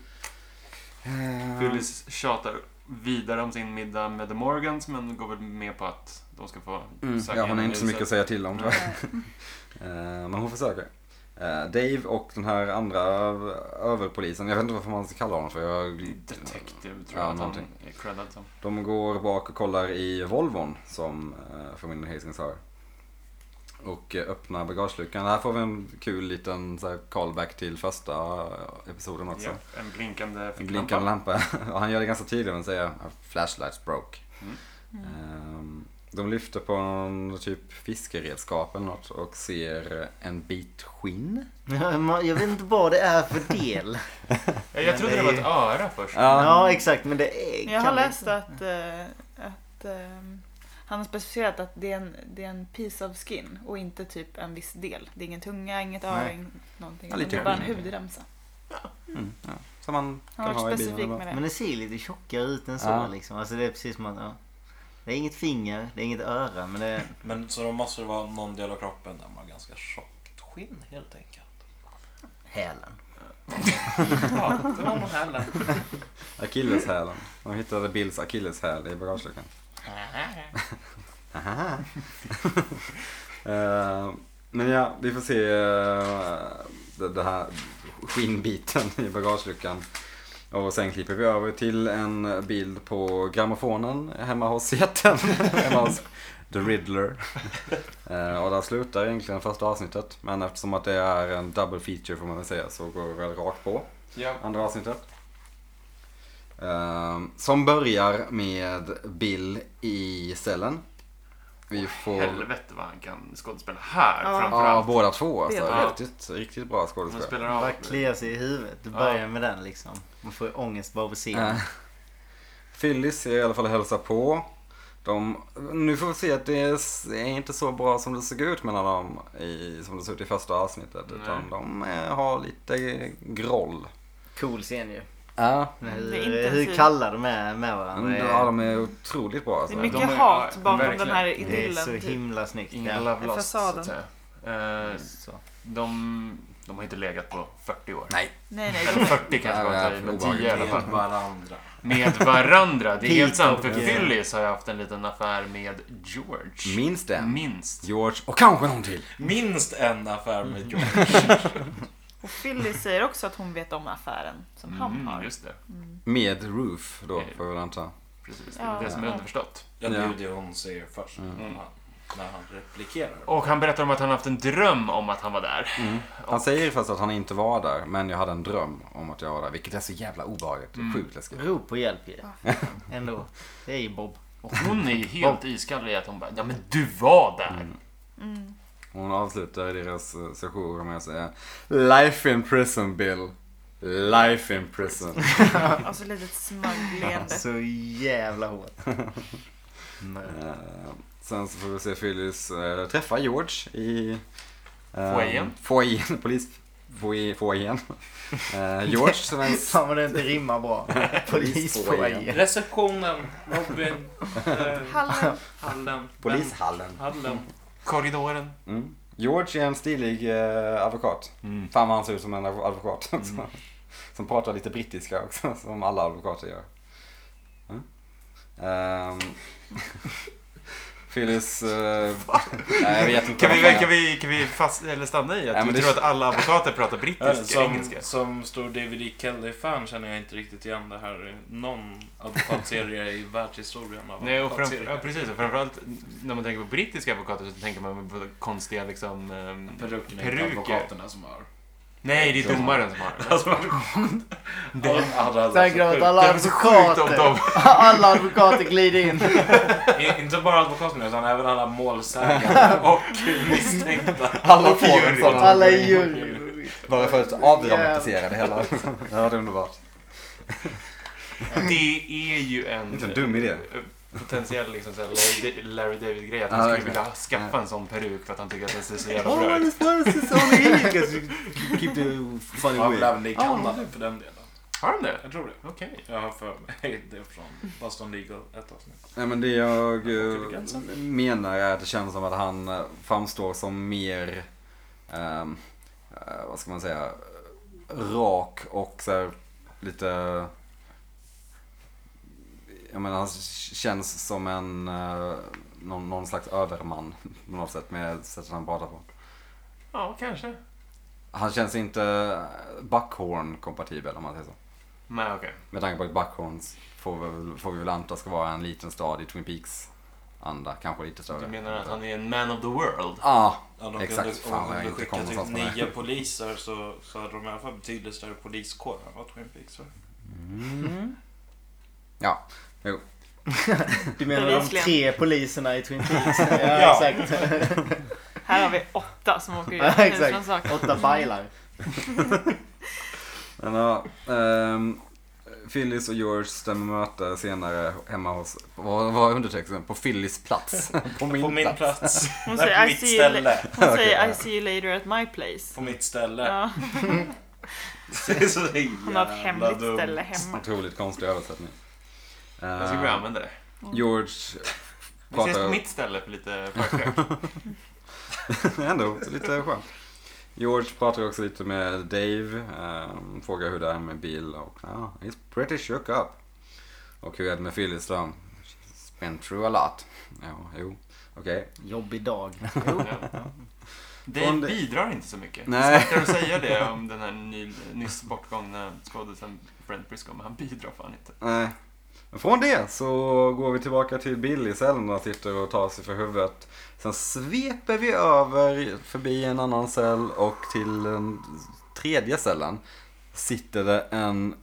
[SPEAKER 3] Ehm,
[SPEAKER 5] Phyllis tjatar vidare om sin middag med The Morgans men går väl med på att de ska få
[SPEAKER 3] Mm,
[SPEAKER 5] söka
[SPEAKER 3] ja, hon har
[SPEAKER 5] igenom
[SPEAKER 3] inte så mycket att
[SPEAKER 5] huset.
[SPEAKER 3] säga till om tyvärr. *laughs* Eh, Men hon försöker. Eh, Dave och den här andra överpolisen, jag vet inte varför man ska kalla honom för. Jag,
[SPEAKER 5] Detective
[SPEAKER 3] Ja,
[SPEAKER 5] tror jag att han
[SPEAKER 3] någonting.
[SPEAKER 5] är creddad som.
[SPEAKER 3] de går bak och kollar i Volvon som eh, familjen Hastings har. Och eh, öppnar bagageluckan. Här får vi en kul liten så här, callback till första eh, episoden också.
[SPEAKER 5] Ja, en blinkande
[SPEAKER 3] En
[SPEAKER 5] ficklampa.
[SPEAKER 3] blinkande lampa. *laughs* Och han gör det ganska tydligt med att säga flashlights broke.
[SPEAKER 5] Mm.
[SPEAKER 3] Ehm, De lyfter på en typ fiskeredskap eller något och ser en bit skinn.
[SPEAKER 1] Jag vet inte vad det är för del.
[SPEAKER 5] Ja, jag trodde det var ett öra först.
[SPEAKER 3] Ehm,
[SPEAKER 1] Ja exakt men det är...
[SPEAKER 2] Jag har
[SPEAKER 1] kan-
[SPEAKER 2] läst att, eh, att eh, han har specificerat att det är, en, det är en piece of skin och inte typ en viss del. Det är ingen tunga, inget öra,
[SPEAKER 1] Nej.
[SPEAKER 2] ing- någonting.
[SPEAKER 3] Ja,
[SPEAKER 2] utan
[SPEAKER 3] lite
[SPEAKER 2] Det är bara en
[SPEAKER 3] hud.
[SPEAKER 2] hudremsa.
[SPEAKER 3] Mm, ja. Som man
[SPEAKER 2] Han
[SPEAKER 3] kan
[SPEAKER 2] har
[SPEAKER 3] ha i
[SPEAKER 2] varit
[SPEAKER 3] bilen.
[SPEAKER 2] specifik
[SPEAKER 3] eller vad.
[SPEAKER 2] med
[SPEAKER 1] Men
[SPEAKER 2] det.
[SPEAKER 1] det ser lite tjockare ut än så
[SPEAKER 3] Ja.
[SPEAKER 1] liksom. Alltså det är precis som att... Ja. Det är inget finger, det är inget öra men det är...
[SPEAKER 4] Men så då måste det vara någon del av kroppen där man har ganska tjockt skinn helt enkelt.
[SPEAKER 1] Hälen.
[SPEAKER 5] Ja, det var nog heller.
[SPEAKER 3] Akilleshälen. De hittade Bills akilleshäl i bagageluckan. Aha. Eh, Men ja, vi får se eh, det det här skinnbiten i bagageluckan. Och sen klipper vi över till en bild på grammofonen hemma hos jätten. *laughs* hemma hos The Riddler. Eh, Och där slutar egentligen första avsnittet. Men eftersom att det är en double feature får man väl säga så går vi väl rakt på
[SPEAKER 5] Ja.
[SPEAKER 3] andra avsnittet. Ehm, som börjar med Bill i cellen. Vi får...
[SPEAKER 5] Helvete vad han kan skådespela här
[SPEAKER 2] Ja.
[SPEAKER 3] Ja,
[SPEAKER 5] framförallt.
[SPEAKER 3] båda två alltså.
[SPEAKER 2] Det är bra.
[SPEAKER 3] Riktigt, riktigt bra
[SPEAKER 5] Han
[SPEAKER 3] skådespel.
[SPEAKER 5] spelar av.
[SPEAKER 1] Bara kliar sig i huvudet. Du
[SPEAKER 5] Ja.
[SPEAKER 1] börjar med den liksom. Man får ju ångest bara av att se
[SPEAKER 3] Eh,
[SPEAKER 1] den.
[SPEAKER 3] Phyllis är i alla fall och hälsar på. De, nu får vi se att det är är inte så bra som det såg ut mellan dem i, som det såg ut i första avsnittet.
[SPEAKER 5] Nej.
[SPEAKER 3] Utan de eh, har lite groll.
[SPEAKER 1] Cool scen ju.
[SPEAKER 3] Ja,
[SPEAKER 1] Med
[SPEAKER 2] Det är
[SPEAKER 1] Hur,
[SPEAKER 2] intensivt.
[SPEAKER 1] hur kalla de är med varandra. Det
[SPEAKER 3] ja
[SPEAKER 1] är,
[SPEAKER 3] de är otroligt bra.
[SPEAKER 2] Det
[SPEAKER 3] Alltså.
[SPEAKER 2] är
[SPEAKER 5] de
[SPEAKER 2] mycket
[SPEAKER 5] är-
[SPEAKER 2] hat
[SPEAKER 5] ja,
[SPEAKER 2] bakom
[SPEAKER 5] verkligen.
[SPEAKER 2] den här
[SPEAKER 1] det är
[SPEAKER 2] idyllen.
[SPEAKER 1] så
[SPEAKER 2] typ.
[SPEAKER 1] himla snyggt.
[SPEAKER 5] Inga
[SPEAKER 1] ja.
[SPEAKER 5] love
[SPEAKER 2] är
[SPEAKER 5] lost, så att
[SPEAKER 2] fasaden.
[SPEAKER 5] säga. Eh,
[SPEAKER 1] Så.
[SPEAKER 5] de, de har inte legat på 40 år.
[SPEAKER 3] Nej,
[SPEAKER 2] Nej,
[SPEAKER 5] Eller
[SPEAKER 2] nej.
[SPEAKER 5] 40 kanske var
[SPEAKER 3] Nej,
[SPEAKER 5] att ta i, men
[SPEAKER 3] obehagligt.
[SPEAKER 5] 10 i alla
[SPEAKER 4] Med
[SPEAKER 5] fall.
[SPEAKER 3] *laughs*
[SPEAKER 4] varandra.
[SPEAKER 5] Med varandra. Det är helt sant, för
[SPEAKER 1] Peacock, ja.
[SPEAKER 5] Phyllis har ju haft en liten affär med George.
[SPEAKER 3] minst den.
[SPEAKER 5] Minst.
[SPEAKER 3] George och kanske någon till.
[SPEAKER 4] Minst en affär
[SPEAKER 1] Mm.
[SPEAKER 4] med George.
[SPEAKER 2] Och Philly säger också att hon vet om affären som han
[SPEAKER 5] Mm,
[SPEAKER 2] har.
[SPEAKER 5] just det.
[SPEAKER 3] Med Roof då, får vi väl anta.
[SPEAKER 5] Precis. Det är det som är
[SPEAKER 2] Ja.
[SPEAKER 5] underförstått.
[SPEAKER 4] Ja, det är
[SPEAKER 3] Ja.
[SPEAKER 4] ju det hon säger först. När, han, när han replikerar.
[SPEAKER 5] Och han berättar om att han haft en dröm om att han var där.
[SPEAKER 3] Han säger först att han inte var där, men jag hade en dröm om att jag var där. Vilket är så jävla obehagligt.
[SPEAKER 5] Mm.
[SPEAKER 3] Det är Sjukt läskigt.
[SPEAKER 1] Rop på hjälp ju. Ändå. Det är ju Bob.
[SPEAKER 5] Och hon är *laughs* ju helt iskall i att hon bara, ja men du var där.
[SPEAKER 3] Hon avslutar deras eh, session med att säga Life in prison Bill. Life in prison.
[SPEAKER 2] Och så Alltså, lite smuggleende.
[SPEAKER 1] Så jävla hårt. Nej.
[SPEAKER 3] Eh, Sen så får vi se Phyllis eh, träffa George i... eh,
[SPEAKER 5] Foajén.
[SPEAKER 3] Foajén, polis... foaj- Foajén. Eh, George som en...
[SPEAKER 1] Fan vad det inte rimmar *laughs* bra. Polisfoajén.
[SPEAKER 4] Receptionen, Robin, eh,
[SPEAKER 2] Hallen.
[SPEAKER 4] Hallen,
[SPEAKER 3] Polishallen.
[SPEAKER 4] Ben, Hallen.
[SPEAKER 5] Korridoren.
[SPEAKER 3] Mm. George är en stilig eh, advokat.
[SPEAKER 5] Mm.
[SPEAKER 3] Fan vad han ser ut som en adv- advokat. som- *laughs* som pratar lite brittiska också, *laughs* som alla advokater gör. Mm. Ehm, *laughs* Phyllis... eh, nej, jag vet inte
[SPEAKER 5] Kan
[SPEAKER 3] vad
[SPEAKER 5] vi,
[SPEAKER 3] fan
[SPEAKER 5] kan
[SPEAKER 3] jag-
[SPEAKER 5] vi, kan vi fast, eller stanna i att
[SPEAKER 3] Ja,
[SPEAKER 5] du
[SPEAKER 3] men det-
[SPEAKER 5] tror att alla advokater pratar brittisk
[SPEAKER 4] Eh, Som,
[SPEAKER 5] engelska?
[SPEAKER 4] som stor David E. Kelly-fan känner jag inte riktigt igen det här. Någon advokatserie i världshistorien av
[SPEAKER 5] Nej, och framför,
[SPEAKER 4] advokatserier.
[SPEAKER 5] ja, precis. Och framförallt när man tänker på brittiska advokater så tänker man på konstiga liksom... ehm,
[SPEAKER 4] Perukerna,
[SPEAKER 5] Peruker.
[SPEAKER 4] inte advokaterna som har...
[SPEAKER 5] Nej, det är domaren som har det.
[SPEAKER 4] Alltså, det hade alltså
[SPEAKER 1] Tänker att alla
[SPEAKER 5] Det är så sjukt om
[SPEAKER 1] advokater.
[SPEAKER 5] de...
[SPEAKER 1] *laughs* Alla advokater glider in.
[SPEAKER 4] I- Inte bara advokaterna utan även alla målsägande och misstänkta.
[SPEAKER 3] Alla får en
[SPEAKER 5] jury.
[SPEAKER 3] sån.
[SPEAKER 1] Alla i juryn.
[SPEAKER 3] Bara för att avdramatisera det hela. ja, det är underbart.
[SPEAKER 5] Det är ju
[SPEAKER 3] Inte en
[SPEAKER 5] en
[SPEAKER 3] dum idé.
[SPEAKER 5] potentiell liksom, så här, Larry- Larry David-grej att
[SPEAKER 3] Ja,
[SPEAKER 5] han skulle
[SPEAKER 3] verkligen.
[SPEAKER 5] vilja skaffa en sån peruk för att han tycker att den ser så jävla bra
[SPEAKER 1] Oh,
[SPEAKER 5] ut.
[SPEAKER 1] this was is only English. Keep the funny
[SPEAKER 4] Har väl
[SPEAKER 1] way.
[SPEAKER 4] även det i Kanada för den delen.
[SPEAKER 5] Har han det?
[SPEAKER 4] Jag tror det.
[SPEAKER 5] Okej.
[SPEAKER 4] Jag har för mig *laughs* det från Boston Legal ett avsnitt.
[SPEAKER 3] Nej, men det jag
[SPEAKER 4] till
[SPEAKER 3] eh,
[SPEAKER 4] gränsen.
[SPEAKER 3] menar är att det känns som att han eh, framstår som mer, ehm, eh, vad ska man säga, rak och så här, lite, jag menar han känns som en, eh, någon, någon slags överman på något sätt med sättet han pratar på.
[SPEAKER 5] Ja, kanske.
[SPEAKER 3] Han känns inte eh, Buckhorn-kompatibel om man säger så.
[SPEAKER 5] Nej, okej.
[SPEAKER 3] Med tanke på att Buckhorns får vi, väl- får vi väl anta ska vara en liten stad i Twin Peaks anda, kanske lite större.
[SPEAKER 5] Du menar att han är en man of the world?
[SPEAKER 3] Ja,
[SPEAKER 4] Ja, de
[SPEAKER 3] Exakt,
[SPEAKER 4] kunde-
[SPEAKER 3] fan,
[SPEAKER 4] om
[SPEAKER 3] jag
[SPEAKER 4] de
[SPEAKER 3] inte
[SPEAKER 4] skickat
[SPEAKER 3] kom någonstans med
[SPEAKER 4] typ
[SPEAKER 3] det.
[SPEAKER 4] nio poliser så, så hade de i alla fall betydligt större poliskår än vad Twin Peaks var.
[SPEAKER 3] ja.
[SPEAKER 1] *laughs* Du menar de
[SPEAKER 2] Bevisligen.
[SPEAKER 1] tre poliserna i Twin
[SPEAKER 3] *laughs*
[SPEAKER 1] Peaks? Ja,
[SPEAKER 4] Ja.
[SPEAKER 1] exakt.
[SPEAKER 2] Här har vi åtta
[SPEAKER 1] *laughs*
[SPEAKER 2] som åker
[SPEAKER 1] Ja,
[SPEAKER 2] ut.
[SPEAKER 1] exakt.
[SPEAKER 2] Tusen saker.
[SPEAKER 1] Åtta bailar.
[SPEAKER 3] Men ja, ehm, Phyllis och George stämmer möte senare hemma hos, vad var undertexten? På Phyllis plats. *laughs* på min,
[SPEAKER 4] På min
[SPEAKER 3] plats.
[SPEAKER 4] plats.
[SPEAKER 2] Hon
[SPEAKER 4] Nej, på
[SPEAKER 2] säger, I
[SPEAKER 4] mitt
[SPEAKER 2] see you la-
[SPEAKER 4] ställe.
[SPEAKER 1] *laughs*
[SPEAKER 2] hon säger I see you later at my place.
[SPEAKER 4] På mitt ställe.
[SPEAKER 2] Ja,
[SPEAKER 4] *laughs* Det är så
[SPEAKER 2] hon har ett
[SPEAKER 4] jävla
[SPEAKER 2] hemligt
[SPEAKER 4] dumt.
[SPEAKER 2] ställe hemma.
[SPEAKER 3] Otroligt konstig översättning.
[SPEAKER 5] Jag ska börja använda det.
[SPEAKER 3] Ehm, George *laughs*
[SPEAKER 5] Vi ses på
[SPEAKER 3] pratar...
[SPEAKER 5] mitt ställe
[SPEAKER 3] *laughs*
[SPEAKER 5] för lite förskräck.
[SPEAKER 3] Ändå, lite skönt. George pratar också lite med Dave. ehm, frågar hur det är med Bill och ja, he's pretty shook up. Och hur är det med Phyllis då? She's been through a lot. Ja, jo, okej.
[SPEAKER 1] Jobbig dag.
[SPEAKER 5] Dave
[SPEAKER 3] Om det-
[SPEAKER 5] bidrar inte så mycket.
[SPEAKER 3] Nej.
[SPEAKER 5] Smärtar att säga det om den här ny, nyss bortgångna skådisen Brent Briscoe, men han bidrar fan inte.
[SPEAKER 3] Nej. Men Från det så går vi tillbaka till Bill i cellen där han sitter och tar sig för huvudet. Sen sveper vi över förbi en annan cell och till den tredje cellen sitter det en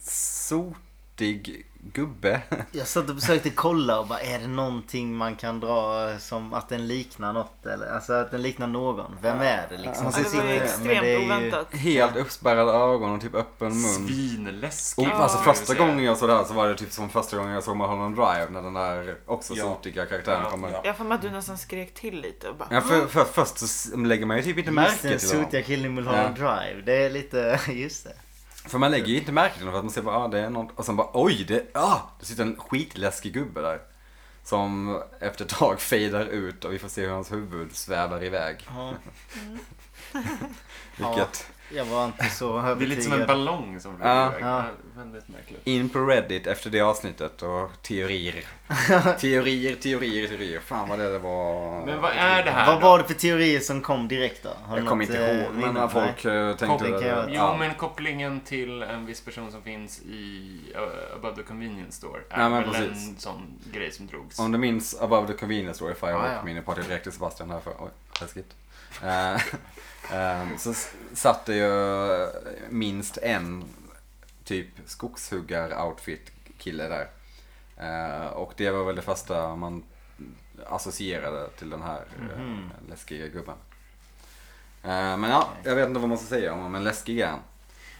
[SPEAKER 3] sot fjortig gubbe. *laughs*
[SPEAKER 1] Jag satt och försökte kolla och bara är det någonting man kan dra som att den liknar något eller alltså att den liknar någon. Vem är det liksom?
[SPEAKER 3] Ja,
[SPEAKER 2] Ja,
[SPEAKER 1] Jag
[SPEAKER 2] Alltså, det
[SPEAKER 1] sitter
[SPEAKER 2] var ju
[SPEAKER 1] med, men
[SPEAKER 2] extremt
[SPEAKER 1] det är ju-
[SPEAKER 2] oväntat.
[SPEAKER 3] Helt uppspärrade ögon och typ öppen mun.
[SPEAKER 5] Svinläskigt.
[SPEAKER 3] Och alltså
[SPEAKER 5] får jag
[SPEAKER 3] första
[SPEAKER 5] säga.
[SPEAKER 3] gången jag såg det här så var det typ som första gången jag såg Mulholland Drive när den där också
[SPEAKER 4] Ja.
[SPEAKER 3] sotiga karaktären
[SPEAKER 5] Ja,
[SPEAKER 3] kommer.
[SPEAKER 4] ja.
[SPEAKER 3] Ja.
[SPEAKER 2] Jag får med att du nästan skrek till lite och bara...
[SPEAKER 3] för, för, först så lägger man ju typ inte märke
[SPEAKER 1] Just
[SPEAKER 3] till
[SPEAKER 1] den
[SPEAKER 3] honom.
[SPEAKER 1] sotiga killen i Mulholland Drive. Det är lite, *laughs* just det.
[SPEAKER 3] För man lägger ju inte märke till honom för att man ser bara, ah, det är något. Och sen bara, oj, det, ah, det sitter en skitläskig gubbe där. Som efter ett tag *laughs* fejdar ut och vi får se hur hans huvud svävar iväg. Vilket,
[SPEAKER 1] Jag var inte så
[SPEAKER 5] Det är lite som en
[SPEAKER 1] övertygad.
[SPEAKER 5] ballong som flyger
[SPEAKER 3] Ja.
[SPEAKER 5] iväg.
[SPEAKER 1] Ja.
[SPEAKER 5] Ja, Väldigt märkligt.
[SPEAKER 3] in på Reddit efter det avsnittet och teorier.
[SPEAKER 1] *laughs*
[SPEAKER 3] teorier, teorier, teorier. Fan vad det där var.
[SPEAKER 5] Men vad är det här
[SPEAKER 1] Vad
[SPEAKER 5] då?
[SPEAKER 1] var det för teorier som kom direkt då? Har du
[SPEAKER 3] Jag kommer
[SPEAKER 1] något,
[SPEAKER 3] inte
[SPEAKER 1] eh,
[SPEAKER 3] ihåg, men
[SPEAKER 1] minne?
[SPEAKER 3] när folk eh, tänkte...
[SPEAKER 1] Koppling kan jag-
[SPEAKER 5] Jo, men kopplingen till en viss person som finns i uh, Above the Convenience Store är
[SPEAKER 3] Ja, men
[SPEAKER 5] väl
[SPEAKER 3] precis.
[SPEAKER 5] en sån grej som drogs.
[SPEAKER 3] Om du minns Above the Convenience Store, Fire
[SPEAKER 1] Ah,
[SPEAKER 3] ah,
[SPEAKER 1] ja.
[SPEAKER 3] Minne Party direkt till Sebastian här för... Oj, läskigt. Eh, *laughs* ehm, så s- satt det ju eh, minst en typ skogshuggar-outfit-kille där. Eh, och det var väl det första man associerade till den här eh,
[SPEAKER 1] Mhm.
[SPEAKER 3] läskiga gubben. Eh, men ja, jag vet inte vad man ska säga om honom, men läskig är han.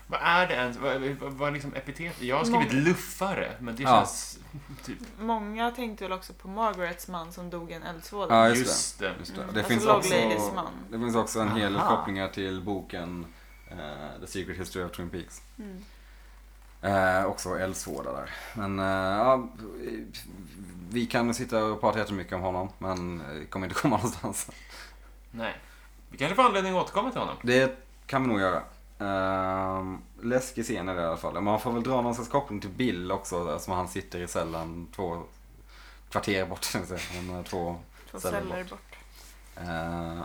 [SPEAKER 5] Vad är det ens? Vad, vad, vad är liksom epitet? Jag har skrivit luffare, men det
[SPEAKER 3] Ja.
[SPEAKER 5] känns... Typ,
[SPEAKER 2] Många tänkte väl också på Margarets man som dog i en eldsvåda.
[SPEAKER 3] Ja, just
[SPEAKER 5] just det.
[SPEAKER 3] Just det.
[SPEAKER 2] Mm,
[SPEAKER 3] Det,
[SPEAKER 2] alltså
[SPEAKER 3] finns
[SPEAKER 2] Log
[SPEAKER 3] också,
[SPEAKER 2] Ladies man.
[SPEAKER 3] det finns också en hel del
[SPEAKER 1] Aha.
[SPEAKER 3] kopplingar till boken eh, The Secret History of Twin Peaks.
[SPEAKER 2] Mm.
[SPEAKER 3] Eh, också eldsvåda där. Men eh, ja, vi kan sitta och prata jättemycket om honom men eh, kommer inte *laughs* komma någonstans.
[SPEAKER 5] Nej. Vi kanske får anledning att återkomma till honom.
[SPEAKER 3] Det kan vi nog göra. Eh, läskig scen är det i alla fall. Man får väl dra någon slags koppling till Bill också där, som han sitter i cellen två kvarter bort. tänkte jag säga. Men, eh, två
[SPEAKER 2] Två
[SPEAKER 3] Celler
[SPEAKER 2] celler bort.
[SPEAKER 3] Eh,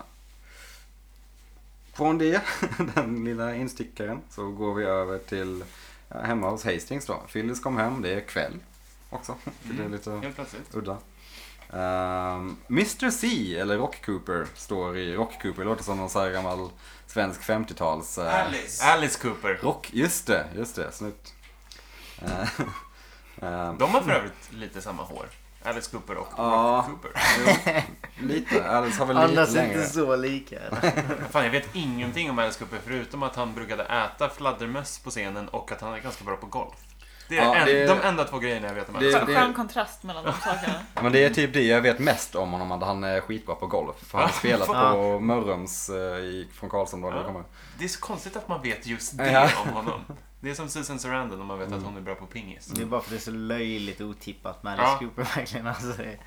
[SPEAKER 3] Från det, *laughs* den lilla instickaren, så går vi över till ja, hemma hos Hastings då. Phyllis kom hem, det är kväll också. Det är lite
[SPEAKER 5] Helt plötsligt.
[SPEAKER 3] udda. Ehm, Mr C, eller Rock Cooper, står i Rock Cooper. Det låter som någon så här gammal svensk 50-tals... eh,
[SPEAKER 4] Alice!
[SPEAKER 5] Alice Cooper.
[SPEAKER 3] rock, just det, just det, snyggt. Eh, ehm,
[SPEAKER 5] De har för övrigt lite samma hår. Alice Cooper och
[SPEAKER 3] Ja.
[SPEAKER 5] Rock Cooper.
[SPEAKER 3] lite, Alice har väl
[SPEAKER 1] Annars
[SPEAKER 3] lite längre.
[SPEAKER 1] inte så lika. Alltså, eller?
[SPEAKER 5] Fan, jag vet ingenting om Alice Cooper förutom att han brukade äta fladdermöss på scenen och att han är ganska bra på golf. Det är,
[SPEAKER 3] Ja,
[SPEAKER 5] en,
[SPEAKER 3] det-
[SPEAKER 5] de enda två grejerna jag vet om Alice
[SPEAKER 3] Det-
[SPEAKER 2] Skön
[SPEAKER 3] det-
[SPEAKER 2] Alltså, skön kontrast mellan de sakerna. Mm,
[SPEAKER 3] Men det är typ det jag vet mest om honom, att han är skitbra på golf. För han har spelat på Mörrums eh, i- från Karlsson då, när det
[SPEAKER 5] Ja.
[SPEAKER 3] kommer.
[SPEAKER 5] Det är så konstigt att man vet just det
[SPEAKER 3] Ja.
[SPEAKER 5] om honom. Det är som Susan Sarandon om man vet
[SPEAKER 1] Mm.
[SPEAKER 5] att hon är bra på pingis.
[SPEAKER 1] Det är bara för att det är så löjligt otippat med Alice
[SPEAKER 5] Ja.
[SPEAKER 1] Cooper verkligen. Alltså, det...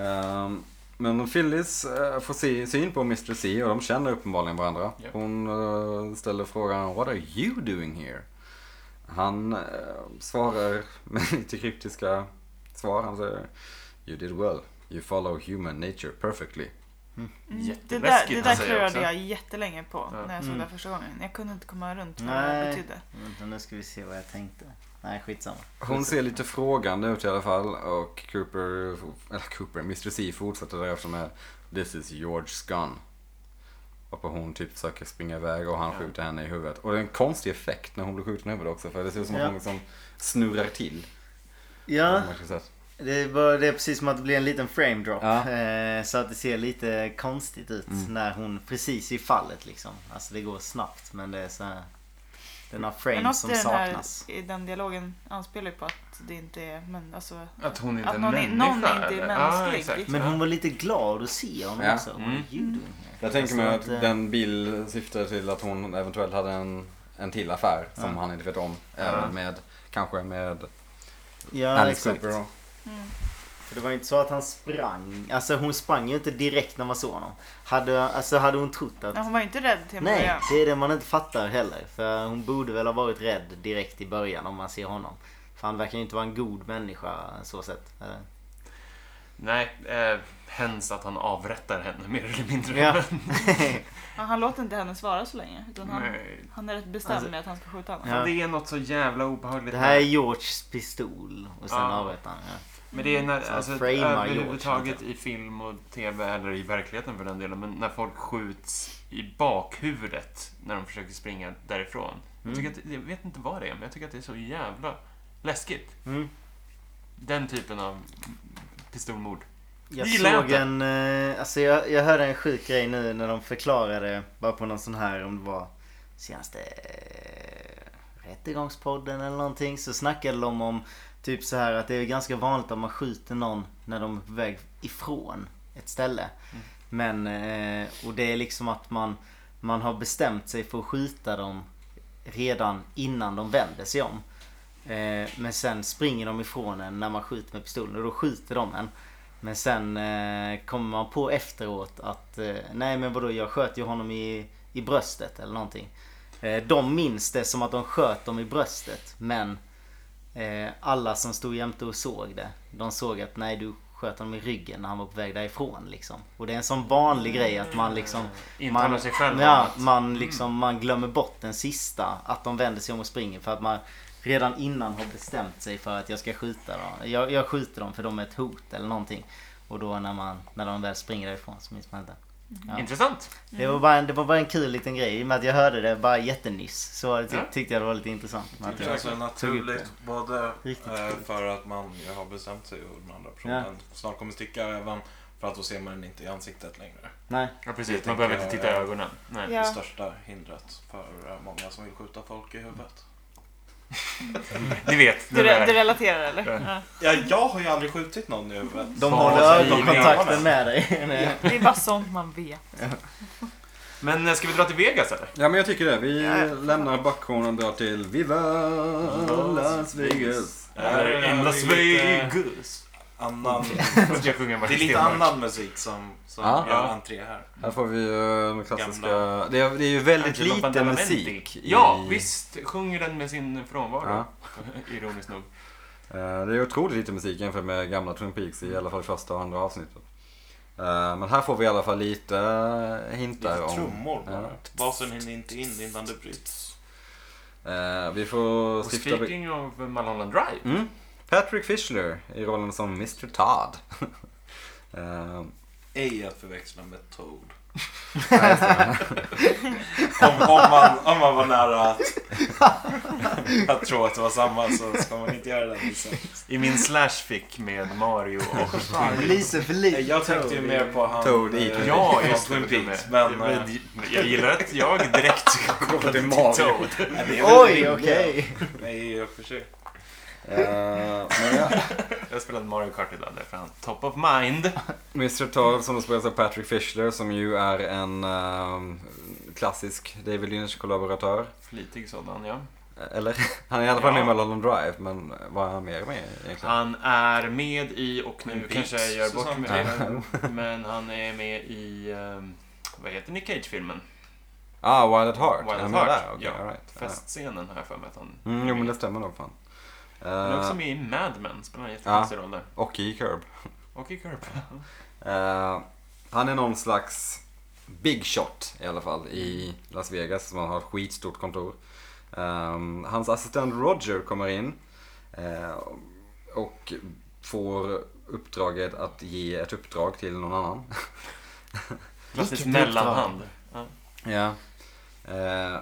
[SPEAKER 3] Ehm, men Phyllis eh, får se, syn på Mr C och de känner uppenbarligen varandra.
[SPEAKER 5] Ja.
[SPEAKER 3] Hon eh, ställer frågan What are you doing here? Han eh, svarar med *laughs* lite kryptiska svar. Han säger You did well. You follow human nature perfectly.
[SPEAKER 2] Mm. Det där,
[SPEAKER 5] Jätteläskigt,
[SPEAKER 2] det
[SPEAKER 5] han
[SPEAKER 2] där
[SPEAKER 5] säger
[SPEAKER 2] klurade
[SPEAKER 5] också.
[SPEAKER 2] jag jättelänge på
[SPEAKER 5] Ja.
[SPEAKER 2] när jag såg
[SPEAKER 1] Mm.
[SPEAKER 2] det första gången. Jag kunde inte komma runt vad
[SPEAKER 1] Nej.
[SPEAKER 2] det betydde.
[SPEAKER 1] Vänta, nu ska vi se vad jag tänkte. Nej, skitsamma.
[SPEAKER 3] Hon ser lite frågande ut i alla fall och Cooper, eller Cooper, Mr C fortsätter därefter med This is George's gun. Och hon typ försöker springa iväg och han
[SPEAKER 5] Ja.
[SPEAKER 3] skjuter henne i huvudet. Och det är en konstig effekt när hon blir skjuten i huvudet också för det ser ut som att
[SPEAKER 1] Ja.
[SPEAKER 3] hon liksom snurrar till. på
[SPEAKER 1] Ja,
[SPEAKER 3] något märkligt sätt.
[SPEAKER 1] det är, bara, det är precis som att det blir en liten frame drop.
[SPEAKER 3] Ja. Mm.
[SPEAKER 1] Eh, så att det ser lite konstigt ut när hon precis i fallet liksom. Alltså det går snabbt men det är så här. Det är några
[SPEAKER 2] Men
[SPEAKER 1] frames
[SPEAKER 2] något i
[SPEAKER 1] som
[SPEAKER 2] den, här,
[SPEAKER 1] saknas.
[SPEAKER 2] i den dialogen anspelar ju på att det inte är... Men alltså,
[SPEAKER 5] Att hon inte
[SPEAKER 2] Att
[SPEAKER 5] är en
[SPEAKER 2] någon i-
[SPEAKER 5] människa.
[SPEAKER 2] någon inte är
[SPEAKER 5] eller?
[SPEAKER 2] mänsklig.
[SPEAKER 5] Ja, exakt.
[SPEAKER 1] Men hon var lite glad att se honom
[SPEAKER 3] Ja.
[SPEAKER 1] också. What
[SPEAKER 5] Mm.
[SPEAKER 1] are you doing here?
[SPEAKER 3] Jag tänker mig
[SPEAKER 1] Jag
[SPEAKER 3] att
[SPEAKER 1] förstår inte.
[SPEAKER 3] den bild syftar till att hon eventuellt hade en, en till affär som
[SPEAKER 1] Ja.
[SPEAKER 3] han inte vet om.
[SPEAKER 5] Ja.
[SPEAKER 3] Även med, kanske med
[SPEAKER 1] Ja,
[SPEAKER 3] Alice
[SPEAKER 1] exakt.
[SPEAKER 3] Cooper. då.
[SPEAKER 1] För det var ju inte så att han sprang. Alltså hon sprang ju inte direkt när man såg honom. Hade, alltså, hade hon trott att...
[SPEAKER 2] nej, hon var ju inte rädd till en
[SPEAKER 1] Nej,
[SPEAKER 2] början.
[SPEAKER 1] det är det man inte fattar heller. För hon borde väl ha varit rädd direkt i början om man ser honom. För han verkar ju inte vara en god människa så sett. Eller?
[SPEAKER 5] Nej, eh, hens att han avrättar henne mer eller mindre.
[SPEAKER 1] Ja.
[SPEAKER 2] Ja, Han låter inte henne svara så länge. Utan han,
[SPEAKER 5] Nej.
[SPEAKER 2] han är rätt bestämd
[SPEAKER 1] Alltså-
[SPEAKER 2] med att han ska skjuta henne.
[SPEAKER 1] Ja.
[SPEAKER 5] Det är något så jävla obehagligt.
[SPEAKER 1] Det här är
[SPEAKER 5] med-
[SPEAKER 1] Georges pistol och sen
[SPEAKER 5] Ja.
[SPEAKER 1] avrättar han. Ja.
[SPEAKER 5] Men det är när,
[SPEAKER 1] Så
[SPEAKER 5] alltså,
[SPEAKER 1] framar George
[SPEAKER 5] överhuvudtaget i film och tv eller i verkligheten för den delen, men när folk skjuts i bakhuvudet när de försöker springa därifrån. Jag, tycker att, jag vet inte vad det är, men jag tycker att det är så jävla Läskigt.
[SPEAKER 3] Mm.
[SPEAKER 5] Den typen av pistolmord.
[SPEAKER 1] Jag
[SPEAKER 5] Det gillar jag
[SPEAKER 1] såg
[SPEAKER 5] inte.
[SPEAKER 1] en, eh, alltså jag, jag hörde en sjuk grej nu när de förklarade, bara på någon sån här, om det var senaste eh, Rättegångspodden eller någonting, så snackade de om typ så här att det är ganska vanligt att man skjuter någon när de är på väg ifrån ett ställe.
[SPEAKER 5] Mm.
[SPEAKER 1] Men, eh, och det är liksom att man, man har bestämt sig för att skjuta dem redan innan de vänder sig om. Eh, men sen springer de ifrån en när man skjuter med pistolen och då skjuter de en. Men sen eh, kommer man på efteråt att eh, nej men vadå jag sköt ju honom i, i bröstet eller någonting. Eh, de minns det som att de sköt dem i bröstet men eh, alla som stod jämte och såg det de såg att nej du sköt honom i ryggen när han var på väg därifrån liksom. Och det är en sån vanlig grej att man liksom
[SPEAKER 5] Intalar sig själv om
[SPEAKER 1] ja,
[SPEAKER 5] att-
[SPEAKER 1] man, liksom, man glömmer bort den sista. Att de vänder sig om och springer för att man redan innan har bestämt sig för att jag ska skjuta dem. Jag, jag skjuter dem för de är ett hot eller någonting. Och då när, man, när de väl springer därifrån så minns man inte. Ja.
[SPEAKER 5] Intressant.
[SPEAKER 1] Det, var bara en, det var bara en kul liten grej. I och med att jag hörde det bara jättenyss så var det, tyck,
[SPEAKER 5] Ja.
[SPEAKER 1] tyckte jag det var lite intressant. Men att
[SPEAKER 4] Det
[SPEAKER 1] jag-
[SPEAKER 4] känns väl naturligt både
[SPEAKER 1] Riktigt
[SPEAKER 4] eh,
[SPEAKER 1] sjukt.
[SPEAKER 4] för att man ju har bestämt sig och den andra personen snart kommer sticka även för att då ser man den inte i ansiktet längre.
[SPEAKER 1] Nej,
[SPEAKER 5] Ja,
[SPEAKER 4] Jag
[SPEAKER 5] precis. Man behöver inte
[SPEAKER 4] tänker-
[SPEAKER 5] titta i ögonen. Nej.
[SPEAKER 2] Ja.
[SPEAKER 4] Det största hindret för eh, många som vill skjuta folk i huvudet.
[SPEAKER 2] *laughs*
[SPEAKER 5] Ni vet.
[SPEAKER 2] Du,
[SPEAKER 5] det
[SPEAKER 2] re-
[SPEAKER 5] där.
[SPEAKER 2] du relaterar eller? Ja.
[SPEAKER 4] Ja, jag har ju aldrig skjutit någon i huvudet.
[SPEAKER 1] de
[SPEAKER 5] Så-
[SPEAKER 1] håller
[SPEAKER 5] så-
[SPEAKER 1] ögonkontakten med dig. Nej.
[SPEAKER 2] Det är bara sånt man vet.
[SPEAKER 5] Men eh, ska vi dra till Vegas eller?
[SPEAKER 3] Ja men jag tycker det. Vi
[SPEAKER 2] Ja.
[SPEAKER 3] lämnar Backkornen och drar till Viva Las Vegas.
[SPEAKER 5] Eller
[SPEAKER 4] Eh,
[SPEAKER 5] In Las
[SPEAKER 4] det är lite
[SPEAKER 5] Vegas.
[SPEAKER 4] Annan,
[SPEAKER 5] Ska jag sjunga
[SPEAKER 4] det är
[SPEAKER 5] Martin
[SPEAKER 4] lite
[SPEAKER 5] Stenmarck?
[SPEAKER 4] annan musik som, som
[SPEAKER 3] Ja.
[SPEAKER 4] gör entré här.
[SPEAKER 3] Här får vi ju den klassiska...
[SPEAKER 4] Gamla.
[SPEAKER 3] Det är, det är ju väldigt
[SPEAKER 5] Angelo
[SPEAKER 3] lite
[SPEAKER 5] Badalamenti.
[SPEAKER 3] musik. i-
[SPEAKER 5] Ja, visst. Sjunger den med sin frånvaro.
[SPEAKER 3] Ja.
[SPEAKER 5] Ironiskt nog.
[SPEAKER 3] Eh, Det är otroligt lite musik jämfört med gamla Twin Peaks i alla fall första och andra avsnittet. Eh, Men här får vi i alla fall lite eh, hintar
[SPEAKER 4] Lite
[SPEAKER 3] om...
[SPEAKER 4] trummor bara.
[SPEAKER 3] Ja.
[SPEAKER 4] Basen hinner inte in innan det bryts.
[SPEAKER 3] Eh, Vi får
[SPEAKER 5] Och
[SPEAKER 3] stifta... be-
[SPEAKER 5] speaking of Mulholland Drive.
[SPEAKER 3] Mm. Patrick Fischler i rollen som Mr Todd. *laughs* Eh,
[SPEAKER 4] Ej att förväxla med
[SPEAKER 5] *laughs*
[SPEAKER 4] Toad.
[SPEAKER 3] nej, så-
[SPEAKER 4] Om, om, man, om man var nära att, att tro att det var samma så ska man inte göra liksom. den missen.
[SPEAKER 5] I min slash fick med Mario och...
[SPEAKER 1] Fan, Lise för lite.
[SPEAKER 4] Jag tänkte ju mer på han...
[SPEAKER 3] Toad i
[SPEAKER 4] eh,
[SPEAKER 5] Ja,
[SPEAKER 4] från
[SPEAKER 5] just det.
[SPEAKER 4] Twin Peaks.
[SPEAKER 5] Men,
[SPEAKER 4] Men, eh,
[SPEAKER 5] jag gillar att jag direkt kopplade till Toad.
[SPEAKER 4] nej, det är väl
[SPEAKER 1] Oj,
[SPEAKER 4] rimligt.
[SPEAKER 1] okej.
[SPEAKER 4] Nej, jag försöker.
[SPEAKER 3] eh, men ja.
[SPEAKER 5] Jag spelade Mario Kart idag därför han top of mind.
[SPEAKER 3] Mr Todd som då spelas av Patrick Fischler som ju är en ehm, klassisk David Lynch-kollaboratör.
[SPEAKER 5] Flitig sådan ja.
[SPEAKER 3] Eller, *laughs* han är i alla fall
[SPEAKER 5] Ja.
[SPEAKER 3] med i Mulholland Drive, men vad är han mer med egentligen?
[SPEAKER 5] Han är med i, och nu
[SPEAKER 4] Twin
[SPEAKER 5] kanske jag
[SPEAKER 4] Peaks,
[SPEAKER 5] gör bort
[SPEAKER 4] säsong
[SPEAKER 5] mig.
[SPEAKER 4] tre.
[SPEAKER 5] *laughs* Men han är med i, ehm, vad heter Nick Cage-filmen?
[SPEAKER 3] Ah, Wild at Heart.
[SPEAKER 5] Wild
[SPEAKER 3] är
[SPEAKER 5] at
[SPEAKER 3] han med
[SPEAKER 5] Heart,
[SPEAKER 3] där? Okej,
[SPEAKER 5] ja.
[SPEAKER 3] all right.
[SPEAKER 5] Festscenen har jag för mig att han
[SPEAKER 3] Ja. Mm, jo, men det stämmer nog fan.
[SPEAKER 5] Han är också
[SPEAKER 3] Eh,
[SPEAKER 5] med i Mad Men, spelar en jättekonstig roll där.
[SPEAKER 3] och i Curb.
[SPEAKER 5] Och i Curb.
[SPEAKER 3] Eh, han är någon slags big shot i alla fall i Las Vegas som han har ett skitstort kontor. Ehm, hans assistent Roger kommer in eh, och får uppdraget att ge ett uppdrag till någon annan.
[SPEAKER 5] Klassisk
[SPEAKER 1] Vilket
[SPEAKER 5] mellanhand.
[SPEAKER 3] Ja. Eh,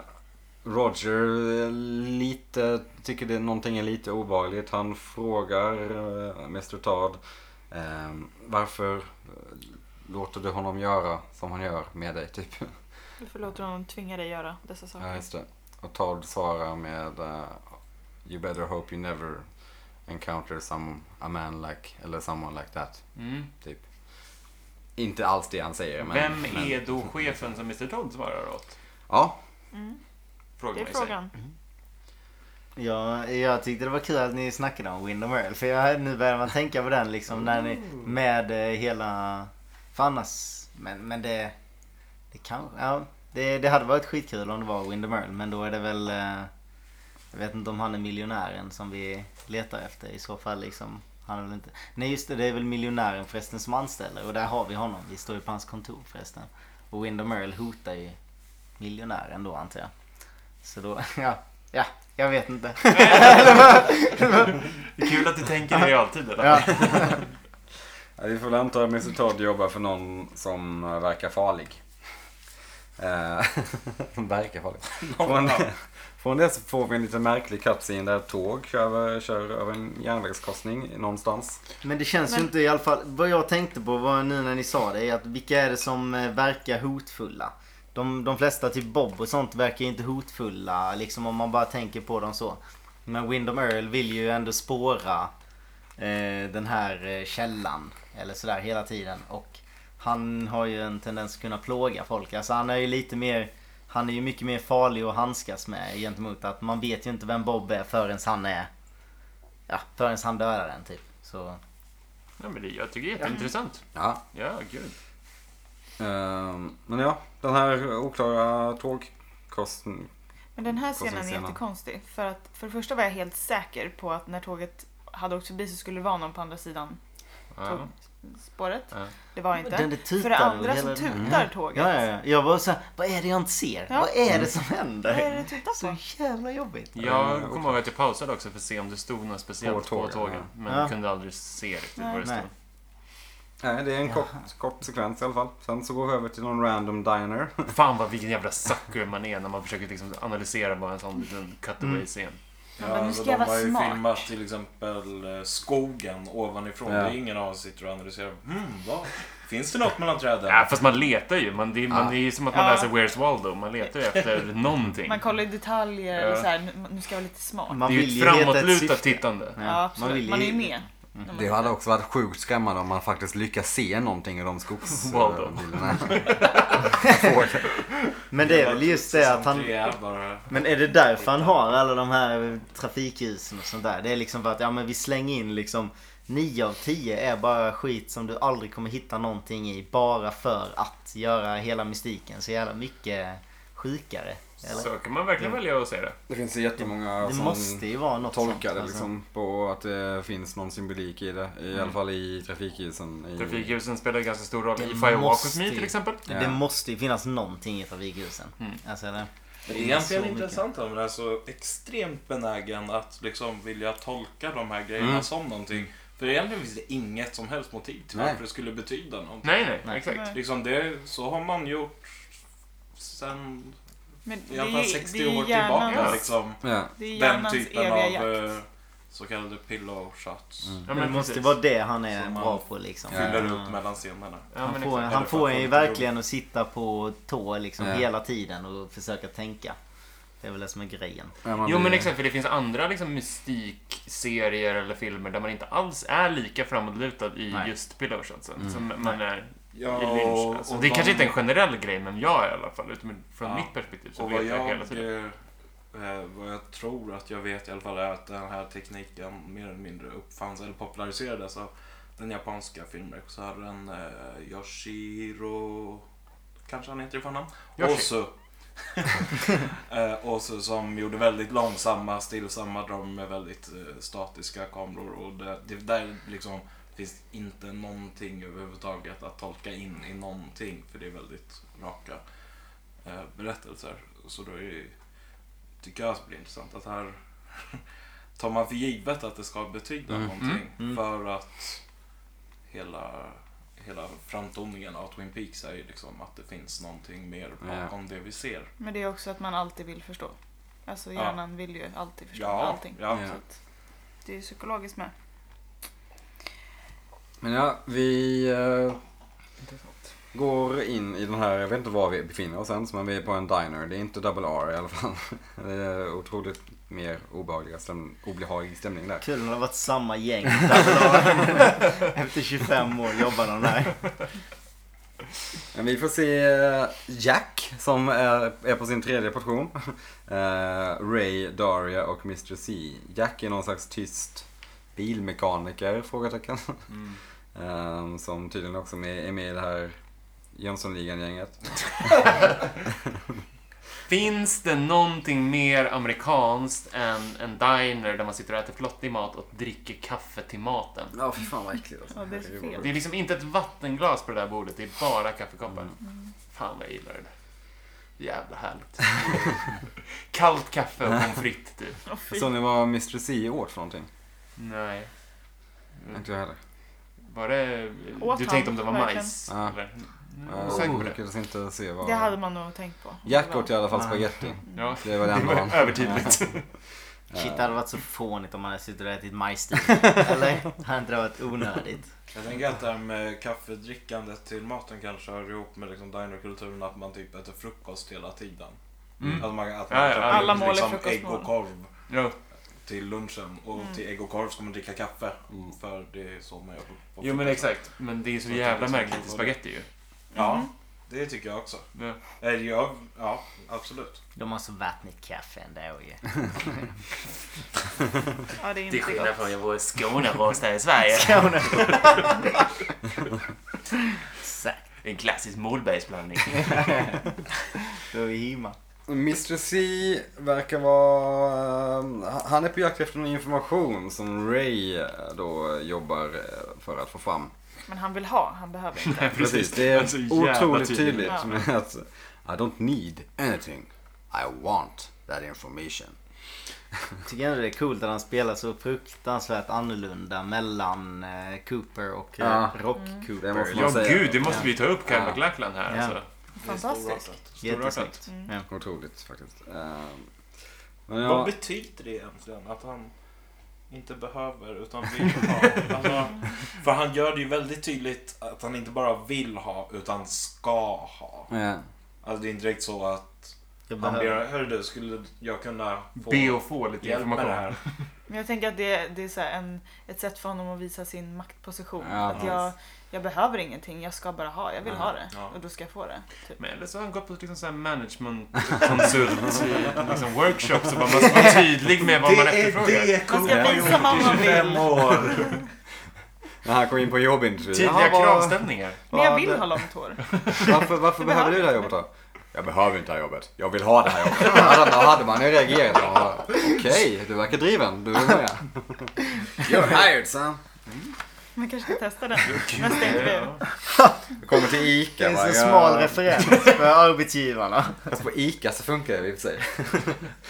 [SPEAKER 3] Roger eh, lite, tycker det någonting är lite obehagligt. Han frågar eh, Mr Todd eh, varför eh, låter du honom göra som han gör med dig typ.
[SPEAKER 2] Du får låta honom tvinga dig göra dessa
[SPEAKER 3] Ja,
[SPEAKER 2] saker.
[SPEAKER 3] just det. Och Todd svarar med eh, You better hope you never encounter some, a man like, eller someone like that.
[SPEAKER 5] Mm.
[SPEAKER 3] Typ. Inte alls det han säger. Men,
[SPEAKER 5] Vem
[SPEAKER 3] men,
[SPEAKER 5] är då chefen som Mr Todd svarar åt?
[SPEAKER 3] Ja,
[SPEAKER 2] Mm.
[SPEAKER 5] Frågar
[SPEAKER 2] Det är
[SPEAKER 5] man ju sig.
[SPEAKER 2] frågan.
[SPEAKER 1] Ja, jag tyckte det var kul att ni snackade om Windom Earl. För jag, nu börjar man tänka på den liksom när ni med eh, hela... För annars... Men, men det... Det kanske... Ja, det, det hade varit skitkul om det var Windom Earl. Men då är det väl... eh, Jag vet inte om han är miljonären som vi letar efter i så fall liksom. Han är väl inte... Nej just det, det är väl miljonären förresten som anställer. Och där har vi honom. Vi står ju på hans kontor förresten. Och Windom Earl hotar ju miljonären då antar jag. Så då, *laughs* ja. Ja, jag vet inte.
[SPEAKER 5] Det är kul att du tänker i realtid. eller?
[SPEAKER 1] Ja.
[SPEAKER 3] Ja, vi får väl anta att Mr Todd jobbar för någon som eh, verkar farlig. Eh, *laughs* som verkar farlig. Från, från det så får vi en lite märklig cutscene där ett tåg kör över, kör över en järnvägskorsning någonstans.
[SPEAKER 1] Men det känns
[SPEAKER 2] Men-
[SPEAKER 1] ju inte i alla fall. Vad jag tänkte på var nu när ni sa det är att vilka är det som eh, verkar hotfulla? De, de flesta, typ Bob och sånt, verkar ju inte hotfulla liksom om man bara tänker på dem så. Men Windom Earl vill ju ändå spåra eh, den här eh, källan eller sådär hela tiden. Och han har ju en tendens att kunna plåga folk. Alltså han är ju lite mer han är ju mycket mer farlig att handskas med gentemot att man vet ju inte vem Bob är förrän han är... Ja, förrän han dödar en typ. Så...
[SPEAKER 5] Ja, men det, jag tycker det är jätteintressant.
[SPEAKER 3] Ja.
[SPEAKER 5] Ja, gud.
[SPEAKER 3] ehm, men ja, den här oklara tågkorsningen.
[SPEAKER 2] Men den här
[SPEAKER 3] Konstig
[SPEAKER 2] scenen är
[SPEAKER 3] scenen.
[SPEAKER 2] jättekonstig. För att för det första var jag helt säker på att när tåget hade åkt förbi så skulle det vara någon på andra sidan
[SPEAKER 5] Ja.
[SPEAKER 2] spåret.
[SPEAKER 5] Ja.
[SPEAKER 2] Det var inte.
[SPEAKER 1] Den där tutar
[SPEAKER 2] för det andra
[SPEAKER 1] och
[SPEAKER 2] så
[SPEAKER 1] hela den här-
[SPEAKER 2] tutar tåget.
[SPEAKER 1] Ja, ja, ja. Jag var såhär, vad är det jag inte ser?
[SPEAKER 2] Ja.
[SPEAKER 1] Vad är det som händer?
[SPEAKER 2] Vad är det du tittar på?
[SPEAKER 1] Så jävla jobbigt.
[SPEAKER 5] Jag
[SPEAKER 3] Eh,
[SPEAKER 5] kommer ihåg att jag pausade också för att se om det stod något speciellt
[SPEAKER 3] På
[SPEAKER 5] på
[SPEAKER 3] tågen,
[SPEAKER 5] tågen.
[SPEAKER 3] ja.
[SPEAKER 5] Men
[SPEAKER 1] Ja.
[SPEAKER 5] kunde aldrig se riktigt vad
[SPEAKER 1] Nej.
[SPEAKER 5] det stod.
[SPEAKER 3] Nej, det är en kort, kort sekvens i alla fall. Sen så går vi över till någon random diner.
[SPEAKER 5] Fan vad vilken jävla sucker man är när man försöker liksom analysera bara en sån liten cutaway-scen.
[SPEAKER 2] Ja, men nu ska jag
[SPEAKER 4] alltså, de
[SPEAKER 2] vara
[SPEAKER 4] har ju
[SPEAKER 2] smart.
[SPEAKER 4] filmat till exempel eh, skogen ovanifrån.
[SPEAKER 3] Ja.
[SPEAKER 4] Det är ingen av oss sitter och analyserar. Hmm, vad? Finns det något mellan träden?
[SPEAKER 5] Ja, fast man letar ju. Man, det, är- man,
[SPEAKER 3] Ja.
[SPEAKER 5] det är ju som att man
[SPEAKER 2] Ja.
[SPEAKER 5] läser Where's Waldo. Man letar ju
[SPEAKER 2] *laughs*
[SPEAKER 5] efter någonting.
[SPEAKER 2] Man kollar i detaljer och
[SPEAKER 5] Ja.
[SPEAKER 2] så här, nu- nu ska jag vara lite smart.
[SPEAKER 5] Det
[SPEAKER 1] Man
[SPEAKER 5] är ju ett
[SPEAKER 1] heta ett
[SPEAKER 5] framåtlutat
[SPEAKER 1] syfte.
[SPEAKER 5] tittande.
[SPEAKER 1] Ja,
[SPEAKER 2] Ja, absolut.
[SPEAKER 1] vill ju-
[SPEAKER 2] Man är ju Mm. med.
[SPEAKER 3] *laughs* Det hade också varit sjukt skrämmande om man faktiskt lyckas se någonting i de
[SPEAKER 5] Waldo.
[SPEAKER 3] *laughs* skogsbilderna.
[SPEAKER 1] Men det är väl just det att han...
[SPEAKER 4] Tre är bara...
[SPEAKER 1] Men är det därför han har alla de här trafikljusen och sånt där? Det är liksom för att, ja men vi slänger in liksom 9 av 10 är bara skit som du aldrig kommer hitta någonting i bara för att göra hela mystiken så jävla mycket sjukare. Eller?
[SPEAKER 5] Så kan man verkligen välja att se det.
[SPEAKER 3] Det finns ju jättemånga
[SPEAKER 1] Det
[SPEAKER 3] som
[SPEAKER 1] måste ju vara något sånt.
[SPEAKER 3] tolkar det
[SPEAKER 1] alltså. Mm.
[SPEAKER 3] liksom på att det finns någon symbolik i det. I alla fall i trafikljusen. I...
[SPEAKER 5] Trafikljusen spelar ganska stor roll.
[SPEAKER 1] Det
[SPEAKER 5] I Fire Walk With
[SPEAKER 1] måste
[SPEAKER 5] Me
[SPEAKER 1] ju.
[SPEAKER 5] till exempel.
[SPEAKER 3] Ja.
[SPEAKER 1] Det måste ju finnas någonting i trafikhusen.
[SPEAKER 5] Mm.
[SPEAKER 1] Alltså, eller?
[SPEAKER 4] Det
[SPEAKER 1] Det
[SPEAKER 4] är
[SPEAKER 1] är
[SPEAKER 4] egentligen
[SPEAKER 1] så mycket.
[SPEAKER 4] intressant att man är så extremt benägen att liksom vilja tolka de här grejerna
[SPEAKER 3] Mm.
[SPEAKER 4] som någonting. För egentligen finns det inget som helst motiv till
[SPEAKER 3] Nej.
[SPEAKER 4] varför det skulle betyda någonting.
[SPEAKER 5] Nej, nej,
[SPEAKER 1] Nej.
[SPEAKER 5] exakt.
[SPEAKER 2] Nej.
[SPEAKER 4] Liksom det, så har man gjort sen
[SPEAKER 2] Men det
[SPEAKER 4] i alla
[SPEAKER 2] är
[SPEAKER 4] fall
[SPEAKER 2] ju
[SPEAKER 4] 60
[SPEAKER 2] det är
[SPEAKER 4] år
[SPEAKER 2] ju
[SPEAKER 4] tillbaka.
[SPEAKER 2] hjärnans,
[SPEAKER 4] Liksom,
[SPEAKER 3] Ja.
[SPEAKER 2] det är ju
[SPEAKER 4] den
[SPEAKER 2] hjärnans
[SPEAKER 4] typen
[SPEAKER 2] eviga
[SPEAKER 4] av
[SPEAKER 2] jakt.
[SPEAKER 4] eh, så kallade pillow shots.
[SPEAKER 5] Ja,
[SPEAKER 1] det
[SPEAKER 5] men
[SPEAKER 1] måste
[SPEAKER 5] precis.
[SPEAKER 1] vara det han är
[SPEAKER 4] Som man
[SPEAKER 1] bra på liksom.
[SPEAKER 3] Ja.
[SPEAKER 4] Fyller upp mellan scenerna.
[SPEAKER 5] Ja,
[SPEAKER 1] Han
[SPEAKER 5] men
[SPEAKER 1] får,
[SPEAKER 5] exakt.
[SPEAKER 1] han får en ju verkligen att sitta på tå liksom
[SPEAKER 3] Ja.
[SPEAKER 1] hela tiden och försöka tänka. Det är väl det som är grejen.
[SPEAKER 3] Ja, man
[SPEAKER 5] Jo
[SPEAKER 3] blir-
[SPEAKER 5] men exakt, för det finns andra liksom, mystikserier eller filmer där man inte alls är lika framåtlutad i
[SPEAKER 1] Nej. Mm.
[SPEAKER 5] just pillow shotsen. Som man är
[SPEAKER 4] Ja,
[SPEAKER 5] i Lynch. Alltså.
[SPEAKER 4] och
[SPEAKER 5] Det är
[SPEAKER 4] de-
[SPEAKER 5] kanske inte är en generell grej, men jag är i alla fall, utifrån från
[SPEAKER 4] Ja.
[SPEAKER 5] mitt perspektiv, typ, så
[SPEAKER 4] Och
[SPEAKER 5] vet
[SPEAKER 4] vad
[SPEAKER 5] jag,
[SPEAKER 4] jag,
[SPEAKER 5] hela
[SPEAKER 4] *laughs*
[SPEAKER 5] tiden.
[SPEAKER 4] eh, vad jag tror att jag vet i alla fall är att den här tekniken mer eller mindre uppfanns eller populariserades av den japanska filmregissören eh, Yoshiro... Kanske han heter i förnamn?
[SPEAKER 5] Yoshi.
[SPEAKER 4] Ozu. *laughs* eh, Ozu som gjorde väldigt långsamma, stillsamma dröm med väldigt eh, statiska kameror. Och det, det där liksom finns inte någonting överhuvudtaget att tolka in i någonting för det är väldigt raka eh, berättelser. Så då är det, ju- tycker jag att det blir intressant att här *laughs* tar man för givet att det ska betyda
[SPEAKER 3] Mm.
[SPEAKER 4] någonting
[SPEAKER 1] Mm.
[SPEAKER 4] för att hela, hela framtoningen av Twin Peaks är ju liksom att det finns någonting mer
[SPEAKER 3] Ja.
[SPEAKER 4] bakom det vi ser.
[SPEAKER 2] Men det är också att man alltid vill förstå. Alltså
[SPEAKER 4] Ja.
[SPEAKER 2] hjärnan vill ju alltid förstå
[SPEAKER 4] Ja,
[SPEAKER 2] allting.
[SPEAKER 4] ja.
[SPEAKER 2] Så att det är ju psykologiskt med.
[SPEAKER 3] Men ja, vi eh, går in i den här, jag vet inte var vi befinner oss än, men vi är på en diner. Det är inte double R i alla fall. *laughs* Det är otroligt mer obehagliga stäm- obehaglig stämning där.
[SPEAKER 1] Kul om det har varit samma gäng. *laughs*
[SPEAKER 4] *laughs*
[SPEAKER 1] Där Efter 25 år jobbar de där.
[SPEAKER 3] Men vi får se eh, Jack som är, är på sin tredje portion. *laughs* Eh, Ray, Daria och Mr C. Jack är någon slags tyst bilmekaniker? Frågetecken. *laughs*
[SPEAKER 5] Mm.
[SPEAKER 3] Eh, som tydligen också med, är med i det här Jönssonligan-gänget.
[SPEAKER 5] Finns det någonting mer amerikanskt än en diner där man sitter och äter flottig mat och dricker kaffe till maten?
[SPEAKER 3] Ja, fy fan vad äckligt. alltså.
[SPEAKER 2] Ja, det är så fel.
[SPEAKER 5] Det är liksom inte ett vattenglas på det där bordet, det är bara kaffekoppar. Fan vad jag gillar det där. Jävla härligt. *laughs* Kallt kaffe och pommes frites typ.
[SPEAKER 3] Så ni vad Mr C åt för någonting?
[SPEAKER 5] Nej.
[SPEAKER 3] Inte jag heller.
[SPEAKER 5] Var det...
[SPEAKER 2] Åt
[SPEAKER 5] du
[SPEAKER 2] han,
[SPEAKER 5] tänkte om det var
[SPEAKER 2] verkligen.
[SPEAKER 5] majs?
[SPEAKER 3] Ja.
[SPEAKER 5] Eller? Jag är
[SPEAKER 3] Jag
[SPEAKER 5] osäker på det.
[SPEAKER 3] Eh, lyckades inte se vad...
[SPEAKER 2] Det hade man nog tänkt på.
[SPEAKER 3] Jack åt i alla fall spagetti.
[SPEAKER 5] Ja.
[SPEAKER 3] Det var det
[SPEAKER 5] Det
[SPEAKER 3] enda
[SPEAKER 5] var
[SPEAKER 3] han...
[SPEAKER 5] övertydligt.
[SPEAKER 3] *laughs*
[SPEAKER 1] Shit, det hade varit så fånigt om man hade suttit och ätit
[SPEAKER 4] *laughs*
[SPEAKER 1] majstil. Eller? Det hade inte varit onödigt.
[SPEAKER 4] Jag tänker att det här med kaffedrickandet till maten kanske hör ihop med liksom dinerkulturen att man typ äter frukost hela tiden.
[SPEAKER 5] Mm.
[SPEAKER 4] Att man, att man
[SPEAKER 5] Ja, ja,
[SPEAKER 4] äter liksom
[SPEAKER 2] alla mål är
[SPEAKER 4] ägg
[SPEAKER 2] frukostmål.
[SPEAKER 4] och korv
[SPEAKER 5] Ja.
[SPEAKER 4] till lunchen och
[SPEAKER 2] Mm.
[SPEAKER 4] till ägg och korv ska man dricka kaffe.
[SPEAKER 3] Mm.
[SPEAKER 4] För det är så man gör på, på
[SPEAKER 5] Jo men
[SPEAKER 4] frukost.
[SPEAKER 5] exakt. Men det är så
[SPEAKER 4] Jag
[SPEAKER 5] jävla
[SPEAKER 4] tänkte
[SPEAKER 5] märkligt i
[SPEAKER 4] så.
[SPEAKER 5] spagetti ju. *laughs*
[SPEAKER 2] Mm-hmm.
[SPEAKER 4] Ja, det tycker jag också.
[SPEAKER 5] Ja.
[SPEAKER 4] Eller jag, ja, absolut.
[SPEAKER 1] De har så vattnigt kaffe ändå ju.
[SPEAKER 2] Ja, det är inte gott.
[SPEAKER 5] från vår Skånerost här
[SPEAKER 1] *laughs*
[SPEAKER 5] i Sverige.
[SPEAKER 1] Exakt.
[SPEAKER 5] En klassisk målbergsblandning.
[SPEAKER 1] *laughs* Då är vi himma.
[SPEAKER 3] Mr. C verkar vara... eh, Han är på jakt efter någon information som Ray eh, då jobbar eh, för att få fram.
[SPEAKER 2] Men han vill ha, han behöver inte.
[SPEAKER 3] Precis, det är
[SPEAKER 5] Alltså, jävla
[SPEAKER 3] otroligt
[SPEAKER 5] tydligt.
[SPEAKER 3] tydligt.
[SPEAKER 2] Ja.
[SPEAKER 3] men *laughs* Att, I don't need anything. I want that information.
[SPEAKER 1] Tycker ändå det är coolt att han spelar så fruktansvärt annorlunda mellan eh, Cooper och eh,
[SPEAKER 3] Ja. Mm.
[SPEAKER 1] Rock
[SPEAKER 3] Det måste
[SPEAKER 1] Cooper.
[SPEAKER 3] man
[SPEAKER 5] Ja
[SPEAKER 3] säga.
[SPEAKER 5] gud, det måste vi ta upp Kyle
[SPEAKER 3] Ja.
[SPEAKER 5] MacLachlan här
[SPEAKER 1] Ja.
[SPEAKER 5] alltså.
[SPEAKER 2] Fantastiskt.
[SPEAKER 4] Storartat.
[SPEAKER 1] Jättesnyggt.
[SPEAKER 5] Mm.
[SPEAKER 1] Ja.
[SPEAKER 3] Otroligt faktiskt. Eh, Men
[SPEAKER 4] Vad
[SPEAKER 3] ja,
[SPEAKER 4] betyder det egentligen? Att han inte behöver utan vill
[SPEAKER 5] *laughs*
[SPEAKER 4] ha? Alltså, för han gör det ju väldigt tydligt att han inte bara vill ha utan ska ha.
[SPEAKER 3] eh,
[SPEAKER 4] Alltså det är inte direkt så att
[SPEAKER 1] Jag
[SPEAKER 4] han
[SPEAKER 1] behöver...
[SPEAKER 4] ber hörru du, skulle jag kunna få
[SPEAKER 5] Be och få lite
[SPEAKER 4] hjälp med
[SPEAKER 5] information.
[SPEAKER 4] det här?
[SPEAKER 2] Men jag tänker att det, det är så här en, ett sätt för honom att visa sin maktposition.
[SPEAKER 3] Ja,
[SPEAKER 2] att jag, jag behöver ingenting, jag ska bara ha, jag vill
[SPEAKER 3] Ja,
[SPEAKER 2] ha det.
[SPEAKER 4] ja.
[SPEAKER 2] Och då ska jag få det. Typ.
[SPEAKER 5] Men eller så har han gått på liksom så här managementkonsult *laughs* i liksom workshops och bara man ska vara tydlig med vad man efterfrågar.
[SPEAKER 2] Man ska visa vad man vill.
[SPEAKER 4] år.
[SPEAKER 3] när han kom in på jobbintervjun.
[SPEAKER 5] Tydliga
[SPEAKER 3] Jaha, vad-
[SPEAKER 5] kravställningar.
[SPEAKER 2] Men jag
[SPEAKER 3] vad-
[SPEAKER 2] vill ha långt hår.
[SPEAKER 3] Varför, varför
[SPEAKER 2] Du
[SPEAKER 3] behöver
[SPEAKER 2] behöver
[SPEAKER 3] du det här jobbet då? Jag behöver inte det här jobbet. Jag vill ha det här jobbet. Ja, Då *laughs* hade man ju reagerat. Ja, Okej, du verkar driven. Du är med. You're hired son.
[SPEAKER 2] Man kanske ska testa den nästa intervju.
[SPEAKER 5] Ja.
[SPEAKER 3] Jag kommer till
[SPEAKER 1] Det
[SPEAKER 3] Ica.
[SPEAKER 1] är en
[SPEAKER 3] bara,
[SPEAKER 1] så
[SPEAKER 3] ja,
[SPEAKER 1] smal referens för arbetsgivarna.
[SPEAKER 3] Fast på Ica så funkar det i och för sig.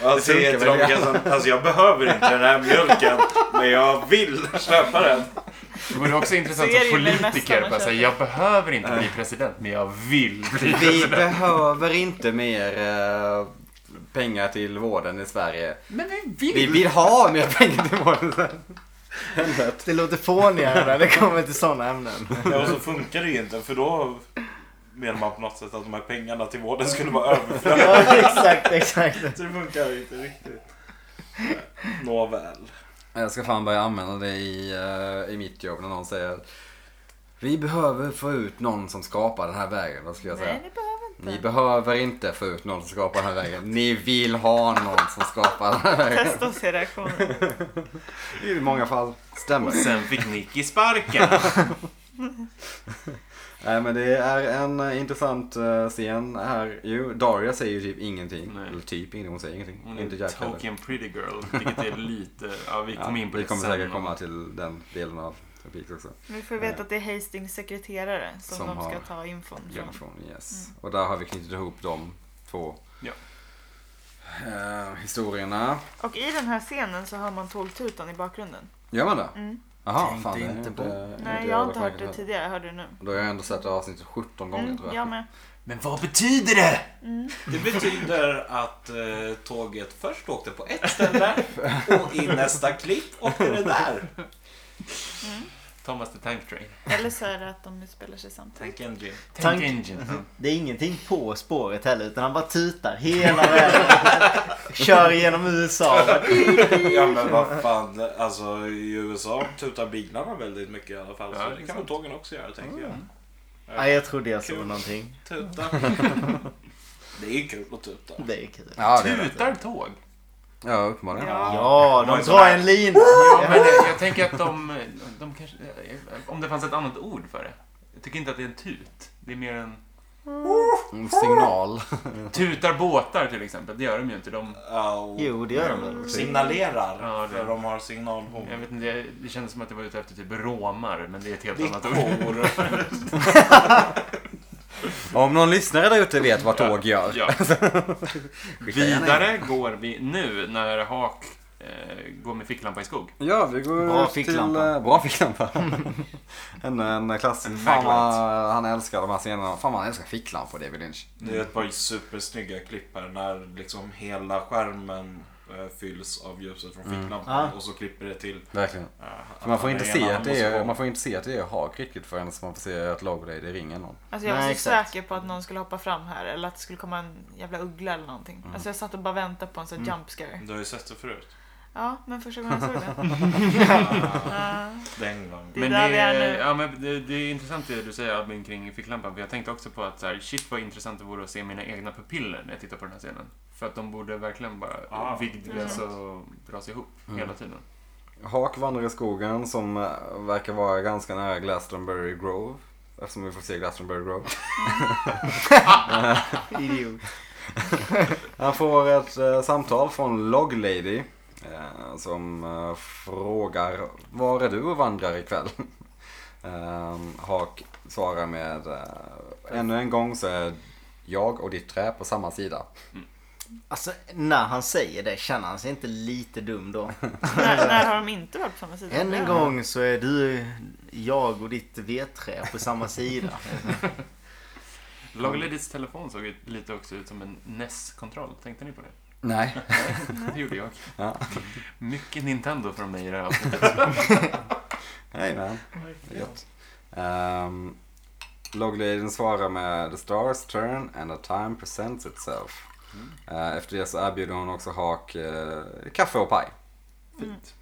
[SPEAKER 4] Alltså,
[SPEAKER 3] Det
[SPEAKER 4] det
[SPEAKER 3] funkar väl
[SPEAKER 4] är som, alltså jag behöver inte den här mjölken men jag vill köpa den.
[SPEAKER 5] Det vore också intressant
[SPEAKER 2] Så är
[SPEAKER 5] att
[SPEAKER 2] det ju med det mesta
[SPEAKER 5] politiker
[SPEAKER 2] man
[SPEAKER 5] bara säga jag behöver inte bli president men jag vill
[SPEAKER 3] *laughs*
[SPEAKER 5] bli
[SPEAKER 3] Vi behöver inte mer eh, pengar till vården i Sverige.
[SPEAKER 5] Men vi
[SPEAKER 3] Vi
[SPEAKER 5] vill!
[SPEAKER 3] vill ha mer pengar till vården.
[SPEAKER 1] Det låter fånigare när det kommer till sådana
[SPEAKER 3] *laughs*
[SPEAKER 1] ämnen.
[SPEAKER 4] Ja, och så funkar det ju inte för då menar man på något sätt att de här pengarna till vården skulle vara överflödiga.
[SPEAKER 1] Ja, exakt, exakt.
[SPEAKER 4] Så det funkar ju inte riktigt. Nåväl.
[SPEAKER 3] Jag ska fan börja använda det i, eh, i mitt jobb när någon säger vi behöver få ut någon som skapar den här vägen. Då skulle jag säga.
[SPEAKER 2] Nej, ni behöver inte.
[SPEAKER 3] Ni behöver inte få ut någon som skapar den här vägen. Ni vill ha någon som skapar den här vägen.
[SPEAKER 2] Testa och se reaktionen.
[SPEAKER 3] I många fall stämmer det.
[SPEAKER 5] Sen fick Nicky sparken.
[SPEAKER 3] *laughs* Nej men det är en eh, intressant eh, scen här. Jo, Daria säger ju typ ingenting.
[SPEAKER 5] Nej.
[SPEAKER 3] Eller typ ingenting, hon säger ingenting.
[SPEAKER 5] Hon är
[SPEAKER 3] inte
[SPEAKER 5] en
[SPEAKER 3] Jack heller.
[SPEAKER 5] token pretty girl. Vilket är lite... Ja, vi kom
[SPEAKER 3] Ja,
[SPEAKER 5] in på
[SPEAKER 3] vi
[SPEAKER 5] det
[SPEAKER 3] kommer
[SPEAKER 5] sen.
[SPEAKER 3] säkert komma till den delen av Peaks också.
[SPEAKER 2] Vi får veta att det är Hastings sekreterare som,
[SPEAKER 3] Som
[SPEAKER 2] de ska
[SPEAKER 3] har-
[SPEAKER 2] ta infon från.
[SPEAKER 3] Genomfrån, yes.
[SPEAKER 2] Mm.
[SPEAKER 3] Och där har vi knutit ihop de två
[SPEAKER 5] Ja.
[SPEAKER 3] eh, historierna.
[SPEAKER 2] Och i den här scenen så hör man tågtutan i bakgrunden.
[SPEAKER 3] Gör man det?
[SPEAKER 2] Mm.
[SPEAKER 3] Jaha,
[SPEAKER 1] Tänkte
[SPEAKER 3] fan det är
[SPEAKER 1] inte på.
[SPEAKER 3] inte-
[SPEAKER 2] Nej, jag har inte hört
[SPEAKER 3] uppmärksamhet
[SPEAKER 2] det
[SPEAKER 3] heller.
[SPEAKER 2] tidigare. Jag hörde det nu.
[SPEAKER 3] Då har jag ändå sett det avsnittet 17 gånger
[SPEAKER 2] Mm,
[SPEAKER 3] tror jag.
[SPEAKER 2] jag med.
[SPEAKER 5] Men vad betyder det?
[SPEAKER 4] Det betyder att eh, tåget först åkte på ett ställe och i nästa klipp åkte det där.
[SPEAKER 5] Thomas the Tank Train.
[SPEAKER 2] Eller så är det att de spelar sig samtidigt.
[SPEAKER 4] Tänk en Jim.
[SPEAKER 5] Tank
[SPEAKER 1] Tank-
[SPEAKER 5] Engine.
[SPEAKER 1] Det är ingenting på spåret heller utan han bara tutar hela vägen. *laughs* Kör genom USA.
[SPEAKER 4] Ja men vad fan, alltså i USA tutar bilarna väldigt mycket i alla fall.
[SPEAKER 5] Ja,
[SPEAKER 4] så
[SPEAKER 5] det
[SPEAKER 4] det
[SPEAKER 5] är
[SPEAKER 4] kan väl
[SPEAKER 5] sant.
[SPEAKER 4] tågen också göra tänker jag.
[SPEAKER 1] Nej, jag trodde jag såg någonting.
[SPEAKER 4] Tuta. Det är ju kul att tuta.
[SPEAKER 1] Det är kul.
[SPEAKER 3] *laughs* Ja, det är det.
[SPEAKER 5] Tutar tåg?
[SPEAKER 3] Ja, uppenbarligen.
[SPEAKER 1] Ja,
[SPEAKER 4] Vad
[SPEAKER 1] de
[SPEAKER 4] är så
[SPEAKER 1] drar
[SPEAKER 4] här?
[SPEAKER 1] en lina.
[SPEAKER 5] Ja, men eh, jag tänker att de, de kanske... eh, Om det fanns ett annat ord för det. Jag tycker inte att det är en tut. Det är mer en...
[SPEAKER 3] En signal.
[SPEAKER 5] Tutar båtar till exempel. Det gör de ju inte. De,
[SPEAKER 4] Ja, och
[SPEAKER 1] Jo, det gör de väl.
[SPEAKER 4] signalerar.
[SPEAKER 5] Ja, det-
[SPEAKER 4] För de har signalbom.
[SPEAKER 5] jag vet inte, det- det kändes som att jag var ute efter typ romar. Men det är ett helt
[SPEAKER 4] Det
[SPEAKER 5] annat ord.
[SPEAKER 4] är kor.
[SPEAKER 3] *laughs* Om någon lyssnare där ute vet
[SPEAKER 5] *laughs*
[SPEAKER 3] vad tåg gör.
[SPEAKER 5] Ja.
[SPEAKER 3] skicka gärna in.
[SPEAKER 5] Vidare går vi nu när Hawk eh, eh, gå med ficklampa i skog.
[SPEAKER 3] Ja, vi går
[SPEAKER 1] Bra
[SPEAKER 3] upp till...
[SPEAKER 1] ficklampa.
[SPEAKER 3] eh, Bra ficklampa. *laughs* en, en klassisk. Fan vad han älskar de här scenerna. Fan vad han älskar ficklampor, David Lynch.
[SPEAKER 4] *laughs* Det är ett par supersnygga klipp här när liksom hela skärmen eh, fylls av ljuset från ficklampan
[SPEAKER 1] Ja.
[SPEAKER 4] och så klipper det till.
[SPEAKER 3] Verkligen.
[SPEAKER 4] eh,
[SPEAKER 3] Mm. För man, får
[SPEAKER 4] att
[SPEAKER 3] inte
[SPEAKER 4] den
[SPEAKER 3] se
[SPEAKER 4] ena
[SPEAKER 3] att det
[SPEAKER 4] måste
[SPEAKER 3] är,
[SPEAKER 4] gå.
[SPEAKER 3] man får inte se att det är hak riktigt förrän man får se att Log Lady ringer någon.
[SPEAKER 2] Alltså jag var
[SPEAKER 1] Nej,
[SPEAKER 2] så
[SPEAKER 1] exakt.
[SPEAKER 2] säker på att någon skulle hoppa fram här eller att det skulle komma en jävla uggla eller någonting.
[SPEAKER 1] Mm.
[SPEAKER 2] Alltså jag satt och bara väntade på en sån jump scare.
[SPEAKER 4] Du har ju sett det
[SPEAKER 3] *laughs*
[SPEAKER 4] förut.
[SPEAKER 2] Ja, men första gången jag såg den.
[SPEAKER 1] *laughs*
[SPEAKER 2] Ah.
[SPEAKER 4] Den gången.
[SPEAKER 2] Det är där vi är nu.
[SPEAKER 5] ja, men det, det är intressant det du säger Albin kring ficklampan. För jag tänkte också på att så här, shit vad intressant det vore att se mina egna pupiller när jag tittar på den här scenen. För att de borde verkligen bara
[SPEAKER 4] Ah,
[SPEAKER 5] vidgas
[SPEAKER 2] Mm.
[SPEAKER 5] och dras ihop
[SPEAKER 3] Mm.
[SPEAKER 5] hela tiden.
[SPEAKER 3] Hak vandrar i skogen som eh, verkar vara ganska nära Glastonbury Grove. Eftersom vi får se Glastonbury Grove.
[SPEAKER 1] Idiot.
[SPEAKER 3] Han får ett eh, samtal från Log Lady. Eh, som eh, frågar var är du och vandrar ikväll? *laughs* eh, Hak svarar med eh, ännu en gång så är jag och ditt trä på samma sida.
[SPEAKER 1] Alltså när han säger det känner han sig inte lite dum då.
[SPEAKER 2] när, när har de inte varit på samma sida?
[SPEAKER 1] Än en gång så är du, jag och ditt vedträ på samma sida.
[SPEAKER 5] Lagerledits telefon såg ut- lite också ut som en NES-kontroll. Tänkte ni på det?
[SPEAKER 3] Nej.
[SPEAKER 5] Det gjorde jag.
[SPEAKER 3] Mm. *laughs* Ja.
[SPEAKER 5] Mycket Nintendo från mig i det här avsnittet.
[SPEAKER 3] Hej man. Gött. Um, Logladen svarar med The Stars Turn and the Time Presents Itself. Eh, efter det så erbjuder hon också Hak eh, kaffe och paj.
[SPEAKER 5] Fint.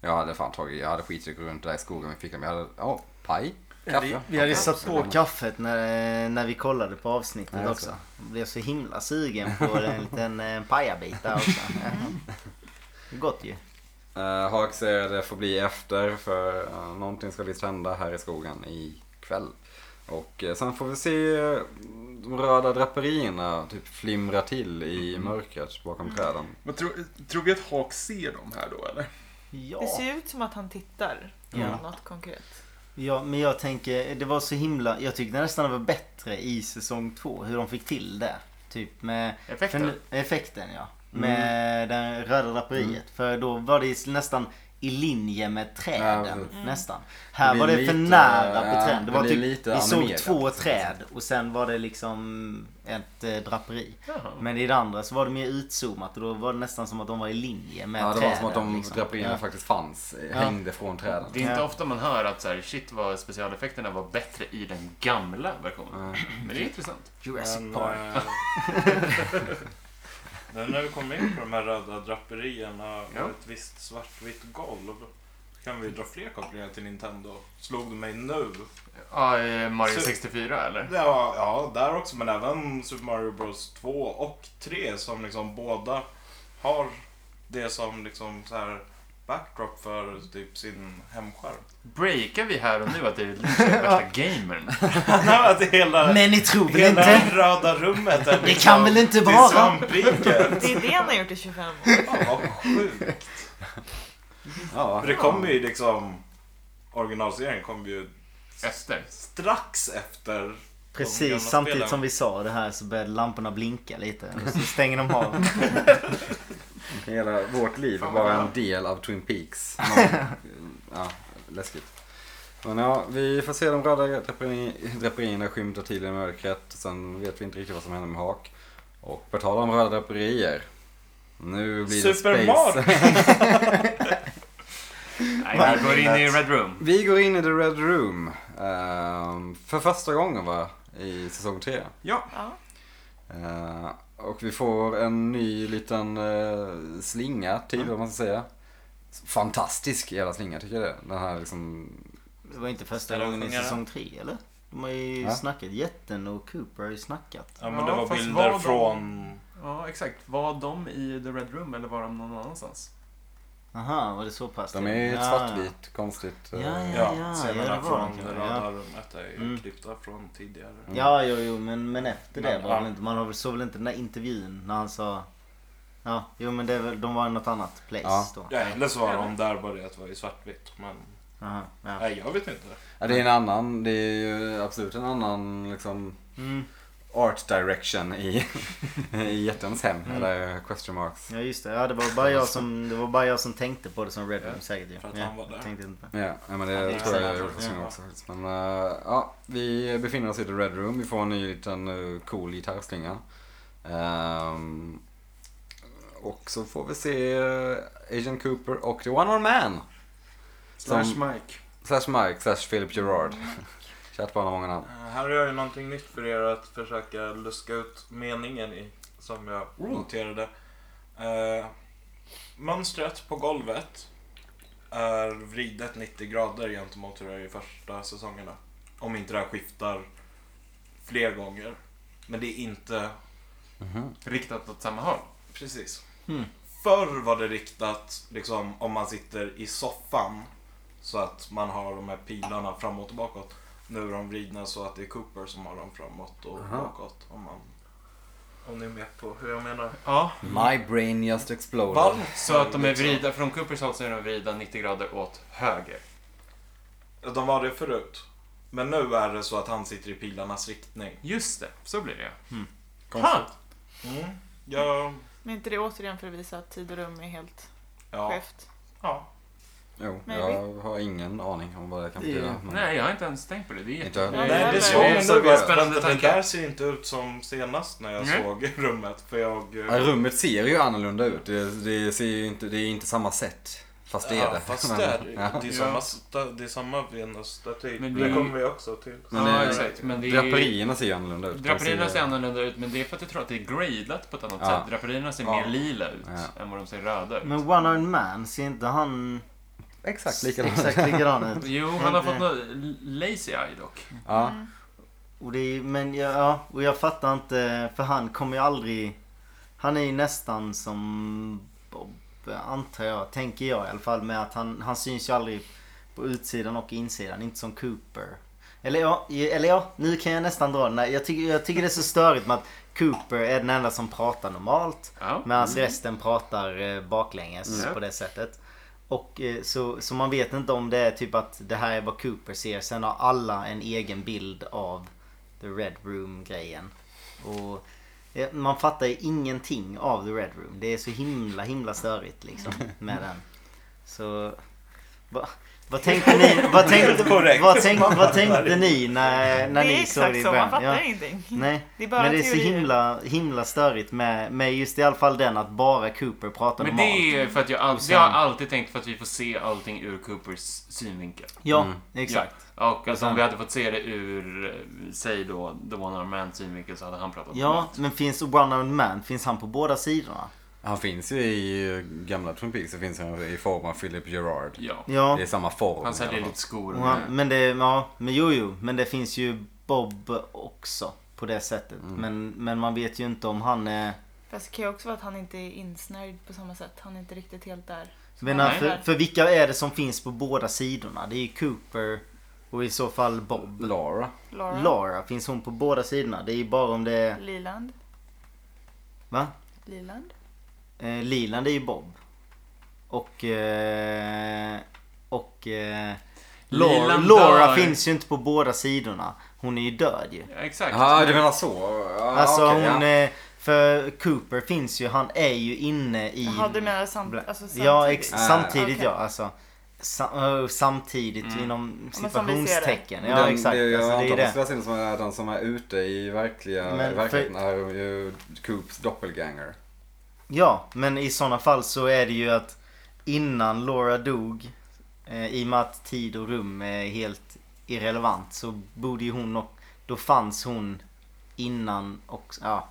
[SPEAKER 3] Jag hade fan tagit, jag hade skitit att gå runt där i skogen med fickan. Men jag hade, ja, paj, kaffe.
[SPEAKER 1] Vi, vi hade ju
[SPEAKER 3] Ja,
[SPEAKER 1] satt på
[SPEAKER 3] absolut.
[SPEAKER 1] kaffet när, när vi kollade på avsnittet
[SPEAKER 3] Ja, jag
[SPEAKER 1] också. Jag blev så himla sugen på en liten eh, pajabit där
[SPEAKER 3] *laughs*
[SPEAKER 1] också. Gott ju.
[SPEAKER 3] Eh, Hak säger att det får bli efter för eh, någonting ska visst hända här i skogen ikväll. Och eh, sen får vi se eh, de röda draperierna typ flimra till i mörkret bakom träden.
[SPEAKER 5] Vad tror, tror vi att Hawk ser dem här då eller?
[SPEAKER 2] Det
[SPEAKER 1] Ja.
[SPEAKER 2] ser ju ut som att han tittar på
[SPEAKER 1] Ja.
[SPEAKER 2] något konkret.
[SPEAKER 1] ja, men jag tänker, det var så himla, jag tyckte nästan det var bättre i säsong två hur de fick till det. Typ med
[SPEAKER 5] Effekten? Mm.
[SPEAKER 1] för nu- effekten ja. Med det röda draperiet. För då var det nästan i linje med
[SPEAKER 3] Ja,
[SPEAKER 1] träden.
[SPEAKER 3] precis.
[SPEAKER 1] Nästan.
[SPEAKER 5] Mm.
[SPEAKER 1] Här
[SPEAKER 3] blir
[SPEAKER 1] var det för
[SPEAKER 3] lite-
[SPEAKER 1] nära
[SPEAKER 3] ja,
[SPEAKER 1] på träden. Det
[SPEAKER 3] det
[SPEAKER 1] var
[SPEAKER 3] blir
[SPEAKER 1] typ,
[SPEAKER 3] lite
[SPEAKER 1] vi såg
[SPEAKER 3] animerat,
[SPEAKER 1] två
[SPEAKER 3] så att säga.
[SPEAKER 1] träd och sen var det liksom ett eh, draperi.
[SPEAKER 5] Jaha.
[SPEAKER 1] Men i det andra så var det mer utzoomat och då var det nästan som att de var i linje med
[SPEAKER 3] Ja, det
[SPEAKER 1] träden.
[SPEAKER 3] var som att de
[SPEAKER 1] liksom.
[SPEAKER 3] draperierna
[SPEAKER 1] Ja.
[SPEAKER 3] faktiskt fanns, eh,
[SPEAKER 1] Ja.
[SPEAKER 3] hängde från träden.
[SPEAKER 5] Det är inte
[SPEAKER 1] Ja.
[SPEAKER 5] ofta man hör att så här, shit vad specialeffekterna var bättre i den gamla versionen.
[SPEAKER 3] Eh,
[SPEAKER 5] Men det är intressant.
[SPEAKER 1] Mm. Jurassic
[SPEAKER 4] Men,
[SPEAKER 1] Park.
[SPEAKER 4] eh,
[SPEAKER 1] *laughs*
[SPEAKER 4] men när vi kommer in på de här röda draperierna och
[SPEAKER 5] Ja.
[SPEAKER 4] ett visst svartvitt golv. Kan vi dra fler kopplingar till Nintendo? Slog du mig nu?
[SPEAKER 5] Ja, eh, Mario
[SPEAKER 4] Så-
[SPEAKER 5] 64 eller?
[SPEAKER 4] Ja, ja, där också. Men även Super Mario Bros 2 och 3 som liksom båda har det som liksom så här backdrop för typ sin
[SPEAKER 1] *laughs*
[SPEAKER 4] hemskärm. *laughs*
[SPEAKER 5] Breakar vi här och nu att det är *laughs* värsta gamern?
[SPEAKER 4] Nej, men att det är hela,
[SPEAKER 1] Men ni tror väl
[SPEAKER 4] hela
[SPEAKER 1] inte?
[SPEAKER 4] röda rummet är liksom
[SPEAKER 1] Det kan väl inte
[SPEAKER 4] det är
[SPEAKER 1] vara?
[SPEAKER 4] svampriket.
[SPEAKER 2] Det är det han har gjort i 25 år.
[SPEAKER 4] Fan vad sjukt.
[SPEAKER 3] Ja.
[SPEAKER 4] För det kommer ju liksom originalserien kom ju
[SPEAKER 5] Efter.
[SPEAKER 4] strax efter de gamla
[SPEAKER 1] Precis samtidigt
[SPEAKER 4] spelen.
[SPEAKER 1] som vi sa det här så började lamporna blinka lite. Och så stänger de av.
[SPEAKER 3] eh, Hela vårt liv
[SPEAKER 5] Fan,
[SPEAKER 3] var
[SPEAKER 5] vad
[SPEAKER 3] en
[SPEAKER 5] bra.
[SPEAKER 3] del av Twin
[SPEAKER 1] *laughs*
[SPEAKER 3] Peaks. Någon- ja, läskigt. Men ja, vi får se de röda draperi- draperierna skymta till i mörkret. Sen vet vi inte riktigt vad som händer med Hak. Och på tal om röda draperier. Nu blir det
[SPEAKER 4] Super
[SPEAKER 3] space.
[SPEAKER 4] Mario!
[SPEAKER 5] Nej, vi går in i Red Room.
[SPEAKER 3] Vi går in i The Red Room. ehm, för första gången va? I säsong tre.
[SPEAKER 5] Ja.
[SPEAKER 2] Ja.
[SPEAKER 3] Eh, och vi får en ny liten eh, slinga till, vad man ska säga. Fantastisk jävla slinga tycker jag det är. Den här liksom...
[SPEAKER 1] Det var inte första
[SPEAKER 4] Eller
[SPEAKER 1] gången i
[SPEAKER 4] sjunga det.
[SPEAKER 1] säsong tre eller? De har ju
[SPEAKER 3] Ja.
[SPEAKER 1] snackat. Jätten och Cooper har ju snackat.
[SPEAKER 4] Ja men det
[SPEAKER 5] Ja,
[SPEAKER 4] var
[SPEAKER 5] fast
[SPEAKER 4] bilder
[SPEAKER 5] var de-
[SPEAKER 4] från...
[SPEAKER 5] Ja, exakt. Var de i The Red Room eller var de någon annanstans?
[SPEAKER 1] Aha, var det så pass?
[SPEAKER 3] De är ju ett
[SPEAKER 1] Ja,
[SPEAKER 3] svartvit, konstigt.
[SPEAKER 1] Ja,
[SPEAKER 3] eh,
[SPEAKER 1] ja,
[SPEAKER 4] Ja,
[SPEAKER 1] ja. ja, det
[SPEAKER 4] scenerna
[SPEAKER 1] var
[SPEAKER 4] från
[SPEAKER 1] de
[SPEAKER 4] det
[SPEAKER 1] kanske,
[SPEAKER 4] röda
[SPEAKER 1] ja.
[SPEAKER 4] rummet är ju
[SPEAKER 1] Mm.
[SPEAKER 4] klippta från tidigare.
[SPEAKER 1] ja, jo, jo, men, men efter det
[SPEAKER 4] Men,
[SPEAKER 1] var det väl
[SPEAKER 4] ja.
[SPEAKER 1] inte. Man har väl, såg väl inte den där intervjun när han sa... Ja, jo men det, är väl- de var i något annat place
[SPEAKER 3] Ja.
[SPEAKER 1] då.
[SPEAKER 4] Ja, eller så var de där bara det att det var i svartvitt. Men
[SPEAKER 1] Aha, ja.
[SPEAKER 4] nej, jag vet inte.
[SPEAKER 3] Ja, det är en annan, det är ju absolut en annan liksom
[SPEAKER 1] Mm.
[SPEAKER 3] art direction i, *laughs* i jättens hem.
[SPEAKER 1] Mm.
[SPEAKER 3] Eller eh, question marks.
[SPEAKER 1] Ja just det, ja, det, var bara jag som, det var bara jag som tänkte på det som Red Room säkert ju.
[SPEAKER 4] För att
[SPEAKER 1] Ja,
[SPEAKER 4] han var där.
[SPEAKER 1] Tänkte inte på det.
[SPEAKER 3] Ja, ja, men det
[SPEAKER 4] Ja, det
[SPEAKER 3] tror
[SPEAKER 4] är
[SPEAKER 3] jag
[SPEAKER 4] sant.
[SPEAKER 3] jag gjorde första
[SPEAKER 4] Ja.
[SPEAKER 3] gången också. faktiskt. Men eh, ja, vi befinner oss i The Red Room. Vi får en ny liten eh, cool gitarrslinga. Ehm, och så får vi se eh, Agent Cooper och The One Man Man.
[SPEAKER 4] Slash
[SPEAKER 3] Som-
[SPEAKER 4] Mike.
[SPEAKER 3] Slash Mike, slash Philip *laughs* Gerard. Kärt barn har många namn.
[SPEAKER 6] Eh, Här är ju någonting nytt för er att försöka luska ut meningen i. Som jag
[SPEAKER 4] noterade. Eh, mönstret på golvet är vridet 90 grader gentemot hur det är i första säsongerna. Om inte det här skiftar fler gånger. Men det är inte
[SPEAKER 3] Mhm.
[SPEAKER 5] Riktat åt samma håll.
[SPEAKER 4] precis.
[SPEAKER 1] Hmm.
[SPEAKER 4] Förr var det riktat liksom om man sitter i soffan så att man har de här pilarna framåt och bakåt. Nu är de vridna så att det är Cooper som har dem framåt och
[SPEAKER 3] Aha.
[SPEAKER 4] bakåt. Om man...
[SPEAKER 6] Om ni är med på hur jag menar.
[SPEAKER 5] Ja,
[SPEAKER 3] My brain just exploded.
[SPEAKER 4] Varför?
[SPEAKER 5] så att de är
[SPEAKER 4] liksom?
[SPEAKER 5] vrida, från Coopers håll så är de vrida 90 grader åt höger.
[SPEAKER 4] De var det förut. Men nu är det så att han sitter i pilarnas riktning.
[SPEAKER 5] Just det, så blir det
[SPEAKER 3] Konstigt.
[SPEAKER 4] Mm. Ja.
[SPEAKER 2] Men inte det återigen för att visa att tid och rum är helt
[SPEAKER 4] ja.
[SPEAKER 2] skevt?
[SPEAKER 5] Ja.
[SPEAKER 3] Jo,
[SPEAKER 2] Maybe.
[SPEAKER 3] jag har ingen aning om vad det kan
[SPEAKER 1] Det är-
[SPEAKER 3] betyda. men-
[SPEAKER 5] Nej, jag har Mm. inte ens tänkt på det. Det
[SPEAKER 3] Inte
[SPEAKER 5] är jätte...
[SPEAKER 3] jag.
[SPEAKER 2] Nej,
[SPEAKER 4] Nej, det
[SPEAKER 2] men-
[SPEAKER 4] såg
[SPEAKER 5] Det är
[SPEAKER 4] jag
[SPEAKER 5] så
[SPEAKER 4] nu. bara,
[SPEAKER 5] spännande
[SPEAKER 4] Det
[SPEAKER 5] tankar.
[SPEAKER 4] där ser inte ut som senast när jag
[SPEAKER 5] Nej.
[SPEAKER 4] såg rummet. För jag... eh,
[SPEAKER 3] Ja, rummet ser ju annorlunda ut. Det, det, ser ju inte, det är inte samma sätt. Fast det är det.
[SPEAKER 4] Ja,
[SPEAKER 3] *laughs*
[SPEAKER 4] fast
[SPEAKER 3] Men-
[SPEAKER 4] det är det.
[SPEAKER 3] ja.
[SPEAKER 4] Det är samma, sta- det är samma Venus-staty.
[SPEAKER 5] Men
[SPEAKER 4] Men
[SPEAKER 5] det-
[SPEAKER 6] Det kommer vi också till.
[SPEAKER 3] Men
[SPEAKER 5] ja,
[SPEAKER 3] det-
[SPEAKER 5] exakt. Men eh, det är...
[SPEAKER 3] Draperierna ser ju annorlunda ut. De
[SPEAKER 5] Draperierna ser
[SPEAKER 3] ju-
[SPEAKER 5] annorlunda ut, men det är för att jag tror att det är gradat på ett annat
[SPEAKER 3] Ja.
[SPEAKER 5] sätt. Draperierna ser
[SPEAKER 4] Ja.
[SPEAKER 5] mer lila ut
[SPEAKER 3] Ja.
[SPEAKER 5] än vad de ser röda ut.
[SPEAKER 1] Men One Iron Man, ser inte han
[SPEAKER 3] Exakt *laughs* likadant.
[SPEAKER 1] exakt likadan ut?
[SPEAKER 5] *laughs* Jo, han har
[SPEAKER 1] Eh,
[SPEAKER 5] fått något lazy eye dock.
[SPEAKER 3] Ja.
[SPEAKER 1] Och det är, men jag, ja, och jag fattar inte för han kommer ju aldrig... Han är ju nästan som Bob antar jag, tänker jag i alla fall med att han, han syns ju aldrig på utsidan och insidan, inte som Cooper. Eller ja, eller ja nu kan jag nästan dra den här. jag tycker, jag tycker det är så störigt med att Cooper är den enda som pratar normalt.
[SPEAKER 5] Ja.
[SPEAKER 1] Medan resten pratar eh, baklänges
[SPEAKER 5] Mm.
[SPEAKER 1] på det sättet. Och eh, så, så man vet inte om det är typ att det här är vad Cooper ser. Sen har alla en egen bild av The Red Room-grejen. Och eh, man fattar ju ingenting av The Red Room. Det är så himla himla störigt
[SPEAKER 2] *laughs*
[SPEAKER 1] liksom med den. Så... Va, vad tänkte ni,
[SPEAKER 2] *laughs*
[SPEAKER 1] vad tänkte,
[SPEAKER 4] korrekt.
[SPEAKER 1] vad tänkte, vad tänkte ni när, när
[SPEAKER 2] det är
[SPEAKER 1] ni såg det
[SPEAKER 2] exakt
[SPEAKER 1] i
[SPEAKER 2] så,
[SPEAKER 1] början?
[SPEAKER 2] man fattar
[SPEAKER 1] Ja.
[SPEAKER 2] ingenting.
[SPEAKER 1] Nej,
[SPEAKER 2] Det är bara
[SPEAKER 1] men det är så
[SPEAKER 2] teorier.
[SPEAKER 1] himla, himla störigt med, med just i alla fall den att bara Cooper pratar
[SPEAKER 5] Men
[SPEAKER 1] normalt.
[SPEAKER 5] det är för att jag, all, det har jag alltid tänkt för att vi får se allting ur Coopers synvinkel.
[SPEAKER 1] Ja, exakt.
[SPEAKER 5] Ja. Och alltså, om
[SPEAKER 1] sen-
[SPEAKER 5] vi hade fått se det ur, eh, säg då, The One Arm Man synvinkel så hade han pratat
[SPEAKER 1] Ja,
[SPEAKER 5] om allt.
[SPEAKER 1] men finns One Armed Man, finns han på båda sidorna?
[SPEAKER 3] Han finns ju i eh, gamla Twin Peaks. Så finns han i form av Philip Gerard.
[SPEAKER 5] Ja.
[SPEAKER 1] Ja,
[SPEAKER 3] Det är samma form.
[SPEAKER 5] Han
[SPEAKER 3] i alla
[SPEAKER 5] säljer
[SPEAKER 3] fall.
[SPEAKER 5] lite skor.
[SPEAKER 1] och han, men det, ja, men jo, jo, men det finns ju Bob också på det sättet. Men, men man vet ju inte om han är...
[SPEAKER 2] Fast det kan ju också vara att han inte är insnärjd på samma sätt. Han är inte riktigt helt där. som
[SPEAKER 1] Men
[SPEAKER 2] han
[SPEAKER 5] nej.
[SPEAKER 2] är
[SPEAKER 1] för,
[SPEAKER 2] där.
[SPEAKER 1] för vilka är det som finns på båda sidorna? Det är ju Cooper och i så fall Bob.
[SPEAKER 3] Laura.
[SPEAKER 2] Laura,
[SPEAKER 1] Lara, finns hon på båda sidorna? Det är ju bara om det är...
[SPEAKER 2] Liland,
[SPEAKER 1] Va?
[SPEAKER 2] Liland.
[SPEAKER 1] Eh, Liland är ju Bob. Och... Eh, och... Eh, Laura,
[SPEAKER 5] Liland
[SPEAKER 1] Laura
[SPEAKER 5] dör.
[SPEAKER 1] finns ju inte på båda sidorna. Hon är ju död ju.
[SPEAKER 5] Ja, Exakt.
[SPEAKER 3] Ja, du menar så? Ja,
[SPEAKER 1] Alltså
[SPEAKER 3] okej,
[SPEAKER 1] hon...
[SPEAKER 3] ja.
[SPEAKER 1] Eh, för Cooper finns ju, han är ju inne i...
[SPEAKER 2] Jaha, du menar samt,
[SPEAKER 1] Bla-
[SPEAKER 2] alltså, samtidigt?
[SPEAKER 1] Ja, ex-
[SPEAKER 3] Ah.
[SPEAKER 1] samtidigt
[SPEAKER 2] Okej.
[SPEAKER 1] ja. Alltså, sa- eh, samtidigt inom
[SPEAKER 2] som vi ser det.
[SPEAKER 1] situationstecken. Ja,
[SPEAKER 3] Mm. Den-
[SPEAKER 1] exakt.
[SPEAKER 3] Det, jag
[SPEAKER 1] alltså, det är
[SPEAKER 3] antar att
[SPEAKER 1] det.
[SPEAKER 3] det. som är den som är ute i verkliga,
[SPEAKER 1] Men
[SPEAKER 3] i verkligheten är ju Coops doppelganger.
[SPEAKER 1] Ja, men i sådana fall så är det ju att innan Laura dog, eh, i och med att tid och rum är helt irrelevant, så borde ju hon och då fanns hon innan och ja,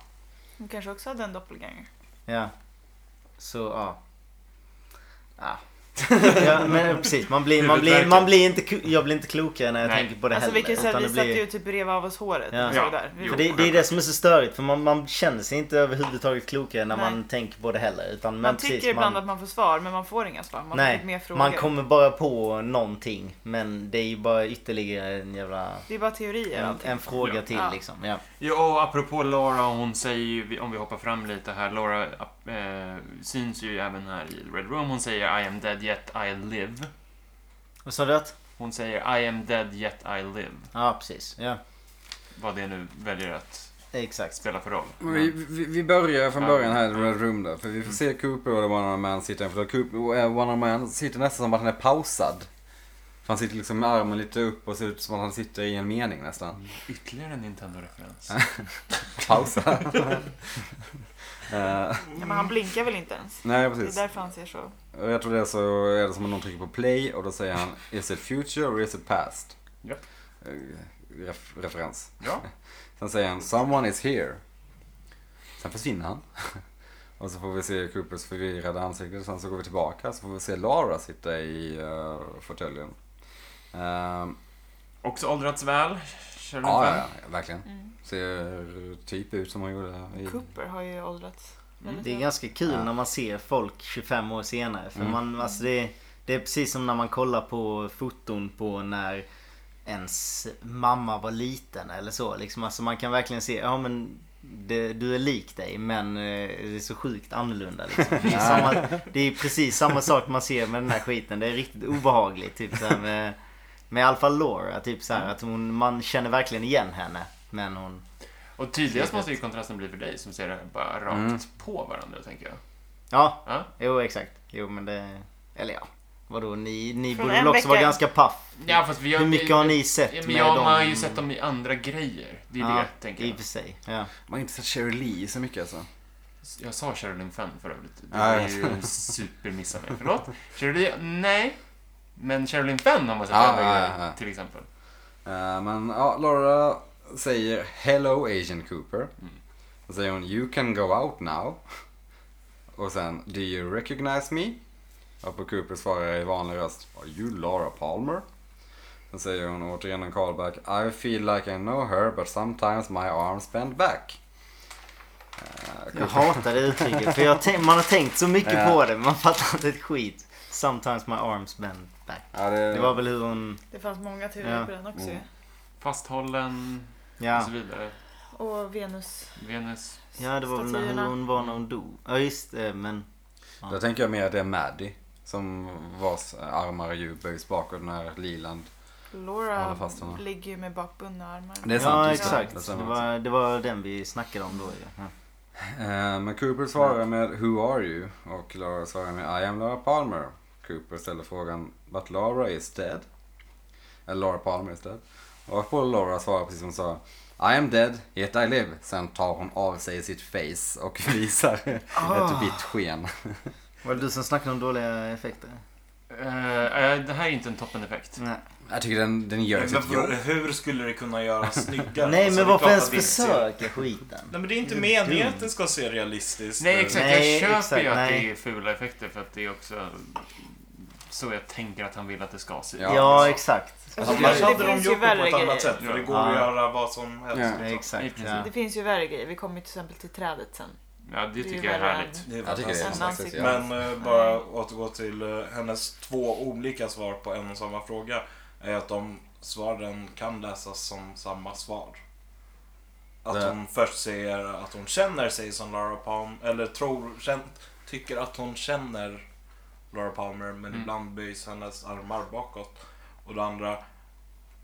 [SPEAKER 2] Hon kanske också hade en doppelganger.
[SPEAKER 1] ja. Så ja. ja. *laughs* ja men precis, man blir, man blir, man blir inte, ku- jag blir inte klokare när jag
[SPEAKER 5] Nej.
[SPEAKER 1] tänker på det
[SPEAKER 2] alltså vi
[SPEAKER 1] heller.
[SPEAKER 2] kan ju säga
[SPEAKER 1] utan
[SPEAKER 2] att
[SPEAKER 1] det
[SPEAKER 2] vi satte
[SPEAKER 1] blir-
[SPEAKER 2] ju typ bredvid av oss håret.
[SPEAKER 1] Ja.
[SPEAKER 2] Ja.
[SPEAKER 5] Ja.
[SPEAKER 2] Ja. Där. Vi-
[SPEAKER 5] Jo.
[SPEAKER 1] För det, det är det som är så störigt, för man, man känner sig inte överhuvudtaget klokare när
[SPEAKER 2] Nej.
[SPEAKER 1] man tänker på det heller. Utan, men
[SPEAKER 2] man
[SPEAKER 1] precis,
[SPEAKER 2] tycker ibland
[SPEAKER 1] man-
[SPEAKER 2] att man får svar, men man får inga svar. Man får typ mer
[SPEAKER 1] Nej,
[SPEAKER 2] frågor.
[SPEAKER 1] man kommer bara på någonting. Men det är ju bara ytterligare en jävla...
[SPEAKER 2] Det är bara teorier
[SPEAKER 1] En,
[SPEAKER 2] allting.
[SPEAKER 1] en fråga
[SPEAKER 5] Ja.
[SPEAKER 1] till
[SPEAKER 2] Ja.
[SPEAKER 1] liksom. Ja.
[SPEAKER 5] Ja, och apropå Laura, hon säger ju, om vi hoppar fram lite här, Laura eh, syns ju även här i Red Room. Hon säger I am dead yet I live.
[SPEAKER 1] Och sa du att?
[SPEAKER 5] Hon säger I am dead yet I live.
[SPEAKER 1] Ja, precis. Ja.
[SPEAKER 5] Vad det nu väljer att
[SPEAKER 1] Exakt.
[SPEAKER 5] spelar för roll.
[SPEAKER 3] Men
[SPEAKER 1] Mm.
[SPEAKER 3] Vi, vi, vi börjar från
[SPEAKER 5] Ja.
[SPEAKER 3] början här i Red Room då. För vi får se Cooper och One Arm Man sitta. För Cooper, eh, One Arm Man sitter nästan som att han är pausad. För han sitter liksom med armen lite upp och ser ut som att han sitter i en mening nästan.
[SPEAKER 5] Ytterligare en
[SPEAKER 1] *laughs*
[SPEAKER 5] Nintendo-referens.
[SPEAKER 3] Pausa. Eh,
[SPEAKER 1] mm.
[SPEAKER 2] Ja, men han blinkar väl inte ens?
[SPEAKER 3] nej
[SPEAKER 2] Det är
[SPEAKER 3] precis.
[SPEAKER 2] därför han ser så.
[SPEAKER 3] Och jag tror det är så är det som att någon trycker på play och då säger han Is it future or is it past?
[SPEAKER 5] Ja.
[SPEAKER 3] Eh, Ref, referens.
[SPEAKER 5] Ja.
[SPEAKER 3] *laughs* Sen säger han Someone is here. Sen försvinner han. *laughs* Och så får vi se Coopers förvirrade ansikte. Sen så går vi tillbaka så får vi se Lara sitta i uh, fåtöljen. Ehm,
[SPEAKER 5] Också åldrats väl. Kör du
[SPEAKER 3] ja,
[SPEAKER 5] inte?
[SPEAKER 3] ja, ja, verkligen. Ser typ ut som hon gjorde i...
[SPEAKER 2] Cooper har ju åldrats. väldigt
[SPEAKER 1] Mm, Det är
[SPEAKER 2] bra.
[SPEAKER 1] ganska kul
[SPEAKER 3] Ja.
[SPEAKER 1] när man ser folk 25 år senare. För
[SPEAKER 3] Mm.
[SPEAKER 1] man, alltså det, det är precis som när man kollar på foton på när ens mamma var liten eller så. Liksom, alltså man kan verkligen se, ja men det, du är lik dig men eh, det är så sjukt annorlunda. Liksom. Det, är samma, det är precis samma sak man ser med den här skiten. Det är riktigt obehagligt. Typ, så här med, med i alla fall Laura, typ så
[SPEAKER 3] Mm.
[SPEAKER 1] här, att hon, man känner verkligen igen henne. Men hon...
[SPEAKER 5] Och tydligast måste ju kontrasten bli för dig som ser det bara rakt
[SPEAKER 1] Mm.
[SPEAKER 5] på varandra, tänker jag.
[SPEAKER 1] Ja,
[SPEAKER 5] Ja.
[SPEAKER 1] Jo, exakt. Jo, men det... Eller ja. Vadå, ni, ni
[SPEAKER 2] Från
[SPEAKER 1] borde väl
[SPEAKER 2] en
[SPEAKER 1] också vara
[SPEAKER 2] vecka.
[SPEAKER 1] ganska paff?
[SPEAKER 5] Ja, fast vi har,
[SPEAKER 1] Hur mycket har ni
[SPEAKER 5] Ja,
[SPEAKER 1] sett
[SPEAKER 5] men
[SPEAKER 1] med
[SPEAKER 5] jag
[SPEAKER 1] dem?
[SPEAKER 5] har ju sett dem i andra grejer. Det är det, tänker
[SPEAKER 1] i
[SPEAKER 5] jag.
[SPEAKER 1] och för sig. Ja.
[SPEAKER 3] Man har inte sett Cheryl Lee så mycket alltså.
[SPEAKER 5] Jag sa Sherilyn Fenn för övrigt. Det
[SPEAKER 1] Ah,
[SPEAKER 3] Ja,
[SPEAKER 5] är
[SPEAKER 3] ja.
[SPEAKER 1] *laughs*
[SPEAKER 5] ju en supermiss av mig. Förlåt. Sherilyn, nej. Men Sherilyn Fenn har man sett i
[SPEAKER 3] Ja,
[SPEAKER 1] Ah,
[SPEAKER 5] andra
[SPEAKER 3] ja,
[SPEAKER 5] grejer,
[SPEAKER 3] ja.
[SPEAKER 5] till exempel.
[SPEAKER 3] Eh, men ja, Laura säger Hello Asian Cooper. Då säger hon You can go out now. Och sen Do you recognize me? Och på Cooper svarar i vanlig röst Are you Laura Palmer? Sen säger hon återigen en callback I feel like I know her but sometimes my arms bend back. Eh,
[SPEAKER 1] Jag
[SPEAKER 3] Cooper,
[SPEAKER 1] hatar det uttrycket, för jag tän- man har tänkt så mycket
[SPEAKER 3] Ja.
[SPEAKER 1] på det, men man fattar inte ett skit. Sometimes my arms bend back.
[SPEAKER 3] ja, det,
[SPEAKER 1] Det var väl hur hon...
[SPEAKER 2] Det fanns många turer
[SPEAKER 1] Ja.
[SPEAKER 2] på den också ju.
[SPEAKER 3] Mm.
[SPEAKER 5] Fasthållen och
[SPEAKER 1] Ja,
[SPEAKER 5] så vidare.
[SPEAKER 2] Och Venus.
[SPEAKER 5] Venus.
[SPEAKER 1] ja det var väl hur
[SPEAKER 2] Statyerna.
[SPEAKER 1] hon var när hon dog. Ja, just det, men...
[SPEAKER 3] Där tänker jag mer att det är Maddie. Som vars armar ju böjs bakåt när Liland... Håller
[SPEAKER 2] Laura
[SPEAKER 3] fast honom.
[SPEAKER 2] ligger ju med bakbundna armar.
[SPEAKER 3] Det är sant,
[SPEAKER 1] Ja,
[SPEAKER 3] just det.
[SPEAKER 1] exakt.
[SPEAKER 3] Det
[SPEAKER 1] Det
[SPEAKER 3] stämmer
[SPEAKER 1] var, det var den vi snackade om då ju. Ja.
[SPEAKER 3] Eh, Men Cooper svarar med Who are you? Och Laura svarar med I am Laura Palmer. Cooper ställer frågan But Laura is dead. Eller Laura Palmer is dead. Och på Laura svarar precis som hon sa I am dead, yet I live. Sen tar hon av sig sitt face och *laughs* visar
[SPEAKER 4] Ah.
[SPEAKER 3] ett vitt sken.
[SPEAKER 1] Var det du som snackade om dåliga effekter?
[SPEAKER 5] Eh, eh, det här är inte en toppeneffekt.
[SPEAKER 1] Nej.
[SPEAKER 3] Jag tycker den, den gör
[SPEAKER 4] Men
[SPEAKER 3] sitt jobb.
[SPEAKER 4] varför- hur skulle det
[SPEAKER 3] *laughs*
[SPEAKER 4] kunna göras snyggare?
[SPEAKER 1] Nej, men
[SPEAKER 4] Alltså, det är
[SPEAKER 1] varför
[SPEAKER 4] klart
[SPEAKER 1] ens
[SPEAKER 4] att det inte ser-
[SPEAKER 1] försöka skiten?
[SPEAKER 4] Nej men det är inte meningen att det ska se realistiskt
[SPEAKER 5] Nej,
[SPEAKER 4] ut.
[SPEAKER 5] exakt.
[SPEAKER 1] Nej,
[SPEAKER 5] jag köper
[SPEAKER 1] exakt,
[SPEAKER 5] ju att
[SPEAKER 1] nej.
[SPEAKER 5] det är fula effekter för att det är också så jag tänker att han vill att det ska se ut.
[SPEAKER 3] Ja.
[SPEAKER 1] Ja, exakt.
[SPEAKER 2] Alltså,
[SPEAKER 4] Annars
[SPEAKER 2] det,
[SPEAKER 4] hade
[SPEAKER 2] det
[SPEAKER 4] de
[SPEAKER 2] finns ju
[SPEAKER 4] gjort det på
[SPEAKER 2] värre
[SPEAKER 4] ett annat
[SPEAKER 2] grejer.
[SPEAKER 4] sätt. För det
[SPEAKER 5] Ja.
[SPEAKER 4] går
[SPEAKER 1] Ja.
[SPEAKER 4] att göra vad som helst. liksom.
[SPEAKER 1] Ja, exakt.
[SPEAKER 5] I
[SPEAKER 1] Ja.
[SPEAKER 2] Det finns ju värre grejer. Vi kommer ju till exempel till trädet sen.
[SPEAKER 5] Ja, det
[SPEAKER 2] är
[SPEAKER 5] tycker
[SPEAKER 2] ju
[SPEAKER 5] jag är
[SPEAKER 2] värre
[SPEAKER 5] härligt.
[SPEAKER 2] än-
[SPEAKER 4] Det är
[SPEAKER 3] Jag tycker det är
[SPEAKER 2] Sen
[SPEAKER 3] fantastiskt.
[SPEAKER 2] ansiktet.
[SPEAKER 3] Ja.
[SPEAKER 4] Men eh, bara återgå till eh, hennes två olika svar på en och samma fråga. Är att de svaren kan läsas som samma svar. Att
[SPEAKER 3] Det-
[SPEAKER 4] hon först säger att hon känner sig som Laura Palmer. Eller tror, kän, tycker att hon känner Laura Palmer. Men
[SPEAKER 5] Mm.
[SPEAKER 4] ibland böjs hennes armar bakåt. Och det andra.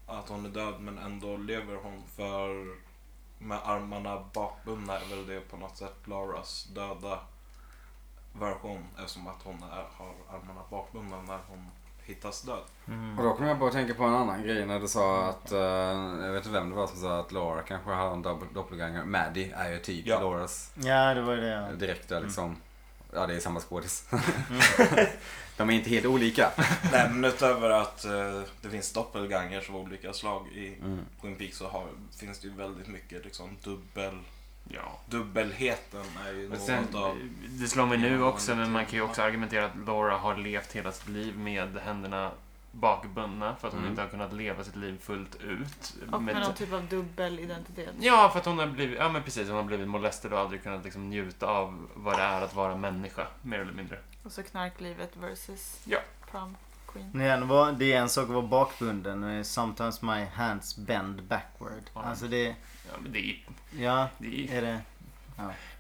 [SPEAKER 4] Att hon är död men ändå lever hon för med armarna bakbundna är väl det på något sätt Laras döda version eftersom att hon är, har armarna bakbundna när hon hittas död.
[SPEAKER 3] Och då kom jag bara att tänka på en annan grej när du sa att, eh, jag vet inte vem det var som sa att Laura kanske har en dopp- doppelganger. Maddie är ju typ
[SPEAKER 4] Ja.
[SPEAKER 3] Lauras
[SPEAKER 1] Ja, det var ju det. ja.
[SPEAKER 3] direkt där liksom. Ja, det är samma skådis. *laughs* De är inte helt olika.
[SPEAKER 4] Nej men utöver att eh, det finns doppelgangers av olika slag i
[SPEAKER 3] Mm.
[SPEAKER 4] Twin Peaks så har, finns det ju väldigt mycket liksom dubbel,
[SPEAKER 5] Ja.
[SPEAKER 4] dubbelheten är ju
[SPEAKER 5] Men
[SPEAKER 4] något
[SPEAKER 5] sen,
[SPEAKER 4] av...
[SPEAKER 5] det slår mig nu också, men man kan ju också argumentera att Laura har levt hela sitt liv med händerna bakbundna för att hon
[SPEAKER 3] Mm.
[SPEAKER 5] inte har kunnat leva sitt liv fullt ut.
[SPEAKER 2] Och med
[SPEAKER 5] Med-
[SPEAKER 2] någon typ av dubbel identitet.
[SPEAKER 5] Ja, för att hon har blivit, ja men precis, hon har blivit molestad och aldrig kunnat liksom njuta av vad det är att vara människa, mer eller mindre.
[SPEAKER 2] Och så Alltså knarklivet versus
[SPEAKER 5] Ja.
[SPEAKER 2] prom queen.
[SPEAKER 1] Men igen, vad- Det är en sak att vara bakbunden. eh, Sometimes my hands bend backward.
[SPEAKER 5] Ja.
[SPEAKER 1] Alltså det...
[SPEAKER 5] Ja, men det är,
[SPEAKER 1] Ja,
[SPEAKER 5] det
[SPEAKER 1] är
[SPEAKER 5] är,
[SPEAKER 1] det...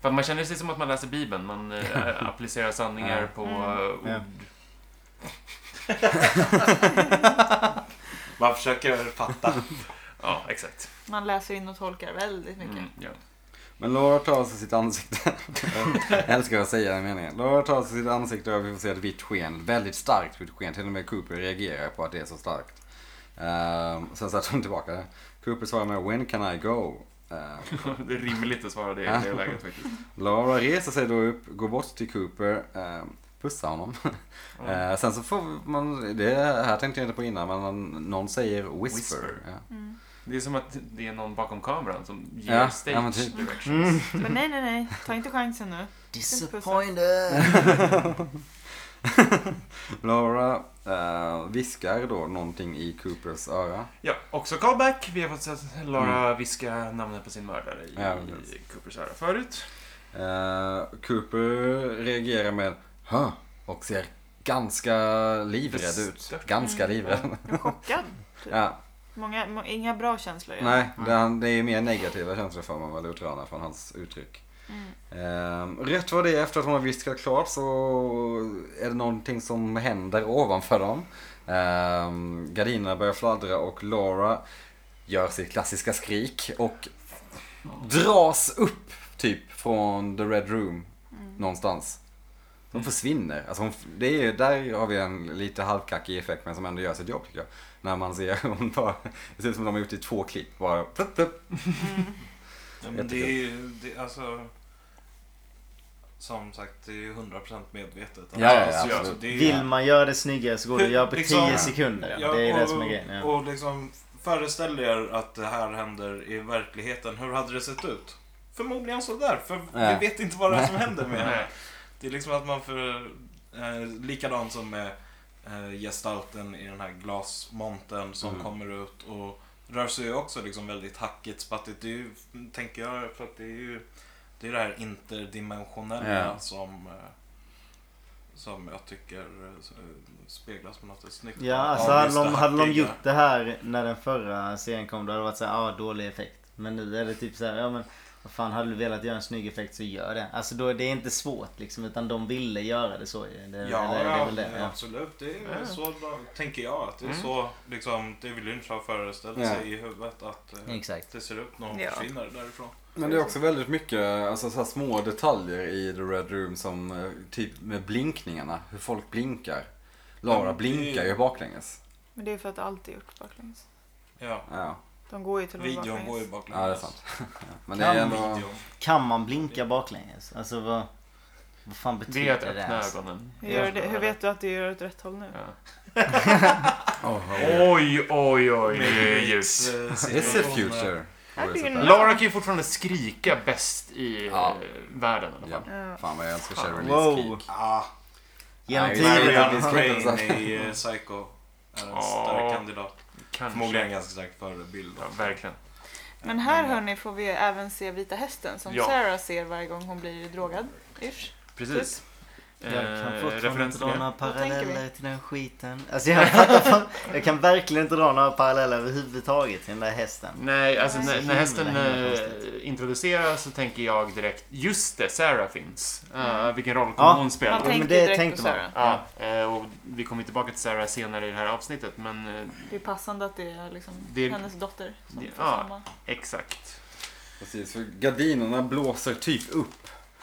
[SPEAKER 5] för att man känner sig som att man läser Bibeln, man eh, applicerar sanningar
[SPEAKER 3] Ja.
[SPEAKER 5] på
[SPEAKER 2] Mm.
[SPEAKER 5] eh,
[SPEAKER 1] Ja.
[SPEAKER 5] ord.
[SPEAKER 4] Man försöker fatta.
[SPEAKER 5] Ja, exakt.
[SPEAKER 2] Man läser in och tolkar väldigt mycket.
[SPEAKER 5] Mm, ja. *laughs*
[SPEAKER 3] Men Laura tar alltså sitt ansikte. Jag älskar att säga den meningen. Laura tar alltså sitt ansikte och vi får se ett vitt sken. Väldigt starkt vitt sken. Till och med Cooper reagerar på att det är så starkt. Ehm, sen sätter hon tillbaka det. Cooper svarar med When can I go? Ehm,
[SPEAKER 5] Det är rimligt att svara det i det läget faktiskt.
[SPEAKER 3] Laura reser sig då upp, går bort till Cooper, eh, pussar honom. Eh, sen så får man, det här tänkte jag inte på innan, men man- någon säger whisper.
[SPEAKER 5] Whisper.
[SPEAKER 3] Ja.
[SPEAKER 5] Det är som att det är någon bakom kameran som ger
[SPEAKER 3] Ja,
[SPEAKER 5] stage
[SPEAKER 3] ja, men typ.
[SPEAKER 2] Mm.
[SPEAKER 5] directions.
[SPEAKER 2] Men nej, nej, nej. Ta inte chansen nu.
[SPEAKER 1] Disappointed!
[SPEAKER 3] *laughs* Laura eh, viskar då någonting i Coopers öra.
[SPEAKER 5] Ja, också callback. Vi har fått se att Lara viska namnet på sin mördare i,
[SPEAKER 3] Mm. Ja, precis.
[SPEAKER 5] i Coopers öra förut.
[SPEAKER 3] Eh, Cooper reagerar med Hö! och ser ganska livrädd ut.
[SPEAKER 5] Bestört.
[SPEAKER 3] Ganska
[SPEAKER 2] Mm.
[SPEAKER 3] livrädd.
[SPEAKER 2] Jag är chockad.
[SPEAKER 3] ja,
[SPEAKER 2] Många, må, inga bra känslor. i det.
[SPEAKER 3] nej, det, är- det är mer negativa känslor får man väl utröna från hans uttryck.
[SPEAKER 2] Mm.
[SPEAKER 3] Ehm, rätt vad det är, efter att hon har viskat klart så är det någonting som händer ovanför dem. Um, gardinerna börjar fladdra och Laura gör sitt klassiska skrik och dras upp typ från the red room någonstans. De försvinner. Alltså hon, det är, ju- där har vi en lite halvkackig effekt men som ändå gör sitt jobb tycker jag. När man ser *laughs* hon bara, det ser ut som de har gjort i två klipp. Bara, plupp, plupp.
[SPEAKER 4] Ja, men det är ju, det, alltså... Som sagt, det är ju 100% medvetet.
[SPEAKER 3] Ja, ja, ja,
[SPEAKER 4] Alltså,
[SPEAKER 3] absolut.
[SPEAKER 4] det
[SPEAKER 1] *laughs*
[SPEAKER 4] är-
[SPEAKER 1] Vill man göra det snyggare så går det att göra på 10
[SPEAKER 4] Liksom-
[SPEAKER 1] sekunder.
[SPEAKER 4] Ja,
[SPEAKER 1] det är det
[SPEAKER 4] och-
[SPEAKER 1] som är grejen. Ja.
[SPEAKER 4] Och liksom, föreställ er att det här händer i verkligheten. Hur hade det sett ut? Förmodligen sådär, för
[SPEAKER 3] Ja.
[SPEAKER 4] vi vet inte vad det är som händer med henne.
[SPEAKER 5] Nej.
[SPEAKER 4] Det är liksom att man för... Eh, likadant som med eh, gestalten i den här glasmonten som
[SPEAKER 3] Mm.
[SPEAKER 4] kommer ut och rör sig ju också liksom väldigt hackigt, spattigt. Det är ju, tänker jag, för att det är ju det, är det här interdimensionella
[SPEAKER 3] Ja.
[SPEAKER 4] som eh, som jag tycker eh, speglas på något snyggt.
[SPEAKER 1] Ja,
[SPEAKER 4] Av
[SPEAKER 1] alltså hade de,
[SPEAKER 4] just det
[SPEAKER 1] hade de
[SPEAKER 4] hackiga.
[SPEAKER 1] gjort det här när den förra serien kom då hade det varit så här, ah, dålig effekt. Men nu är det typ så här, ja men vad fan, hade du velat göra en snygg effekt så gör det. Alltså då, det är inte svårt liksom, utan de ville göra det så ju. Det,
[SPEAKER 4] Ja,
[SPEAKER 1] eller, det är
[SPEAKER 4] ja,
[SPEAKER 1] väl det. Ja.
[SPEAKER 4] absolut. Det är
[SPEAKER 2] Ja.
[SPEAKER 4] så tänker jag. Att det är
[SPEAKER 5] Mm.
[SPEAKER 4] så liksom David Lynch har föreställt
[SPEAKER 3] Ja.
[SPEAKER 4] sig i huvudet att eh,
[SPEAKER 1] Exakt.
[SPEAKER 4] det ser ut när hon
[SPEAKER 2] Ja.
[SPEAKER 4] försvinner därifrån.
[SPEAKER 3] Men det är också väldigt mycket alltså, så här små detaljer i The Red Room som eh, typ med blinkningarna, hur folk blinkar.
[SPEAKER 4] Ja,
[SPEAKER 3] Lara
[SPEAKER 4] men det-
[SPEAKER 3] blinkar ju baklänges.
[SPEAKER 2] Men det är för att allt är gjort baklänges.
[SPEAKER 4] Ja,
[SPEAKER 3] Ja,
[SPEAKER 2] De går ju till och med
[SPEAKER 4] videon går ju
[SPEAKER 2] baklänges.
[SPEAKER 4] baklänges.
[SPEAKER 3] ja det är sant. *laughs* Men det
[SPEAKER 4] Kan
[SPEAKER 3] är ändå...
[SPEAKER 4] videon.
[SPEAKER 1] Kan man blinka baklänges? Alltså vad, vad fan
[SPEAKER 5] Det är
[SPEAKER 1] betyder
[SPEAKER 5] att
[SPEAKER 3] typ.
[SPEAKER 1] det?
[SPEAKER 5] öppna
[SPEAKER 1] alltså?
[SPEAKER 5] ögonen.
[SPEAKER 2] Gör det, hur vet du att du gör åt rätt håll nu?
[SPEAKER 5] Ja.
[SPEAKER 3] Oh, oh.
[SPEAKER 5] Oj, oj, oj. Det är
[SPEAKER 4] Matrix,
[SPEAKER 5] ljus.
[SPEAKER 4] eh,
[SPEAKER 3] It's the
[SPEAKER 4] situationer.
[SPEAKER 3] future.
[SPEAKER 2] Ja, det är ju-
[SPEAKER 5] Lara kan ju fortfarande skrika bäst i
[SPEAKER 3] Ja.
[SPEAKER 5] eh, världen i alla
[SPEAKER 3] Ja.
[SPEAKER 5] fall.
[SPEAKER 2] Ja.
[SPEAKER 3] Fan vad jag älskar
[SPEAKER 5] Fan.
[SPEAKER 3] Cheryl
[SPEAKER 1] Wow.
[SPEAKER 3] Lee Skik.
[SPEAKER 4] Ah,
[SPEAKER 1] Genom
[SPEAKER 3] Nej,
[SPEAKER 1] tiden.
[SPEAKER 3] vi
[SPEAKER 4] Marion
[SPEAKER 3] ska inte
[SPEAKER 4] Crane
[SPEAKER 3] säga.
[SPEAKER 4] i eh, Psycho är en
[SPEAKER 5] Ja.
[SPEAKER 4] stark kandidat.
[SPEAKER 5] Kanske.
[SPEAKER 4] Förmodligen ganska stark förebild.
[SPEAKER 5] Ja, verkligen.
[SPEAKER 2] Men här hörni får vi även se Vita Hästen som
[SPEAKER 5] Mm. Ja.
[SPEAKER 2] Sarah ser varje gång hon blir drogad. Ish.
[SPEAKER 5] Precis.
[SPEAKER 2] Typ.
[SPEAKER 1] Jag kan
[SPEAKER 5] Eh,
[SPEAKER 1] fortfarande
[SPEAKER 5] referens
[SPEAKER 1] inte
[SPEAKER 5] till
[SPEAKER 1] dra
[SPEAKER 5] det?
[SPEAKER 1] några
[SPEAKER 2] tänker vi?
[SPEAKER 1] paralleller till den skiten. Alltså jag, fattar fan- jag kan verkligen inte dra några paralleller överhuvudtaget till den där hästen.
[SPEAKER 5] Nej, alltså
[SPEAKER 2] Nej.
[SPEAKER 5] när,
[SPEAKER 1] Så
[SPEAKER 5] när hästen
[SPEAKER 1] himla, himla
[SPEAKER 5] eh,
[SPEAKER 1] konstigt.
[SPEAKER 5] introduceras så tänker jag direkt, just det, Sarah finns. Eh, vilken roll kommer
[SPEAKER 1] Ja.
[SPEAKER 5] hon
[SPEAKER 2] Mm. Man
[SPEAKER 5] spela?
[SPEAKER 1] men
[SPEAKER 2] tänker
[SPEAKER 1] det
[SPEAKER 2] direkt
[SPEAKER 1] tänkte
[SPEAKER 2] på
[SPEAKER 1] man.
[SPEAKER 2] Sarah.
[SPEAKER 5] Ja, eh, och vi kommer tillbaka till Sarah senare i det här avsnittet, men eh,
[SPEAKER 2] Det är passande att det är, liksom
[SPEAKER 5] Det är-
[SPEAKER 2] hennes dotter som
[SPEAKER 5] det-
[SPEAKER 2] får
[SPEAKER 5] ja.
[SPEAKER 2] samma.
[SPEAKER 5] exakt.
[SPEAKER 3] Precis, för gardinerna blåser typ upp.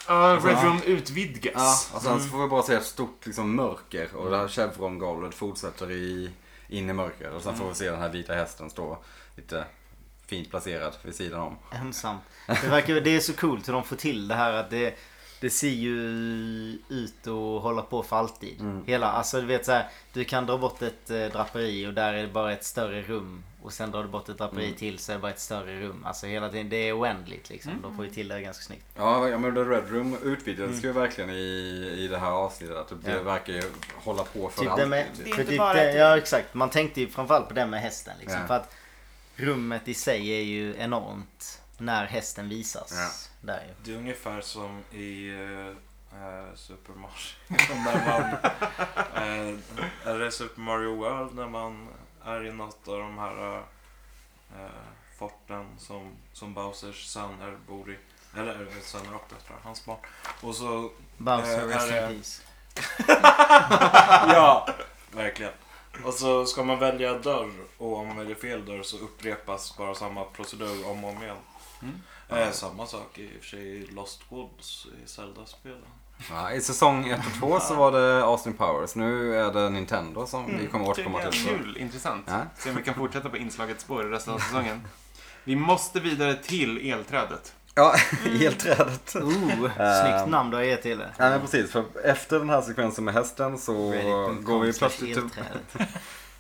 [SPEAKER 5] Ja,
[SPEAKER 3] Alltså,
[SPEAKER 5] Red
[SPEAKER 3] ja.
[SPEAKER 5] Room
[SPEAKER 3] Ja,
[SPEAKER 5] utvidgas.
[SPEAKER 3] och sen så får vi bara se ett stort liksom, mörker och det här Chevron-golvet fortsätter i, in i mörker. Och sen får vi se den här vita hästen stå lite fint placerad vid sidan om.
[SPEAKER 1] Ensam. Det, verkar, det är så coolt hur de får till det här att det, det ser ju ut att hålla på för alltid. Hela, alltså du vet så här, du kan dra bort ett eh, draperi och där är det bara ett större rum. Och sen drar du bort ett draperi till så är det bara ett större rum. Alltså hela tiden, det är oändligt liksom.
[SPEAKER 2] Mm.
[SPEAKER 1] De får ju till det ganska snyggt.
[SPEAKER 3] Ja, ja, men The Red Room utvidgades ju verkligen i, i det här avsnittet. Att det
[SPEAKER 1] Ja.
[SPEAKER 3] verkar ju hålla på för
[SPEAKER 1] Typ det
[SPEAKER 3] alltid.
[SPEAKER 1] med,
[SPEAKER 2] Det är
[SPEAKER 1] för
[SPEAKER 2] inte
[SPEAKER 1] typ
[SPEAKER 2] bara
[SPEAKER 1] det,
[SPEAKER 2] ett-
[SPEAKER 1] ja exakt, man tänkte ju framförallt på det med hästen liksom.
[SPEAKER 3] Ja.
[SPEAKER 1] För att rummet i sig är ju enormt när hästen visas. Där ju.
[SPEAKER 4] Det är ungefär som i eh, eh, Super Mario. *laughs* när man, eh, är det Super Mario World när man är i något av de här eh, forten som, som Bowsers söner bor i. Eller eh, söner och döttrar, hans barn. Och så...
[SPEAKER 1] Bowser,
[SPEAKER 4] Eh,
[SPEAKER 1] rest
[SPEAKER 4] är
[SPEAKER 1] in
[SPEAKER 4] det-
[SPEAKER 1] peace.
[SPEAKER 4] ja, verkligen. Och så ska man välja dörr och om man väljer fel dörr så upprepas bara samma procedur om och om igen.
[SPEAKER 5] Mm.
[SPEAKER 4] Eh, samma sak i och för sig i Lost Woods i Zelda-spelen.
[SPEAKER 3] Ja, I säsong 1 och 2 så var det Austin Powers. Nu är det Nintendo som vi kommer återkomma till. Så.
[SPEAKER 5] Kul, intressant.
[SPEAKER 3] Ja.
[SPEAKER 5] Se om vi kan fortsätta på inslagets spår i resten av säsongen. Vi måste vidare till elträdet.
[SPEAKER 3] Ja, elträdet.
[SPEAKER 1] Ooh, snyggt namn du har gett till det.
[SPEAKER 3] Nej Ehm. men precis, för efter den här sekvensen med hästen så
[SPEAKER 1] Reddit.com
[SPEAKER 3] går, vi
[SPEAKER 1] slash
[SPEAKER 3] plötsligt till,
[SPEAKER 1] elträdet.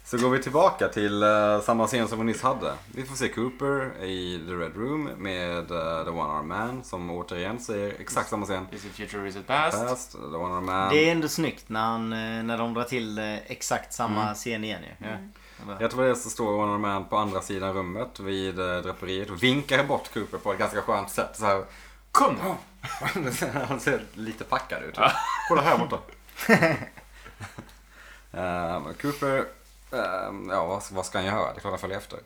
[SPEAKER 3] så går vi tillbaka till eh, samma scen som vi nyss hade. Vi får se Cooper i The Red Room med eh, The One Arm Man som återigen säger exakt samma scen.
[SPEAKER 5] Is it future, is it past?
[SPEAKER 3] Fast, The One Arm Man.
[SPEAKER 1] Det är ändå snyggt när, han, eh, när de drar till eh, exakt samma
[SPEAKER 3] Mm.
[SPEAKER 1] scen igen ju. Ja.
[SPEAKER 2] Mm.
[SPEAKER 3] Jag tror det så står One Arm Man på andra sidan rummet vid eh, draperiet och vinkar bort Cooper på ett ganska skönt sätt. Så här,
[SPEAKER 5] Kom nu!
[SPEAKER 3] *laughs* Han ser lite packad ut. Kolla här borta. *laughs* Ehm, Cooper, ehm, ja vad, vad ska han göra? Det är klart han följer efter.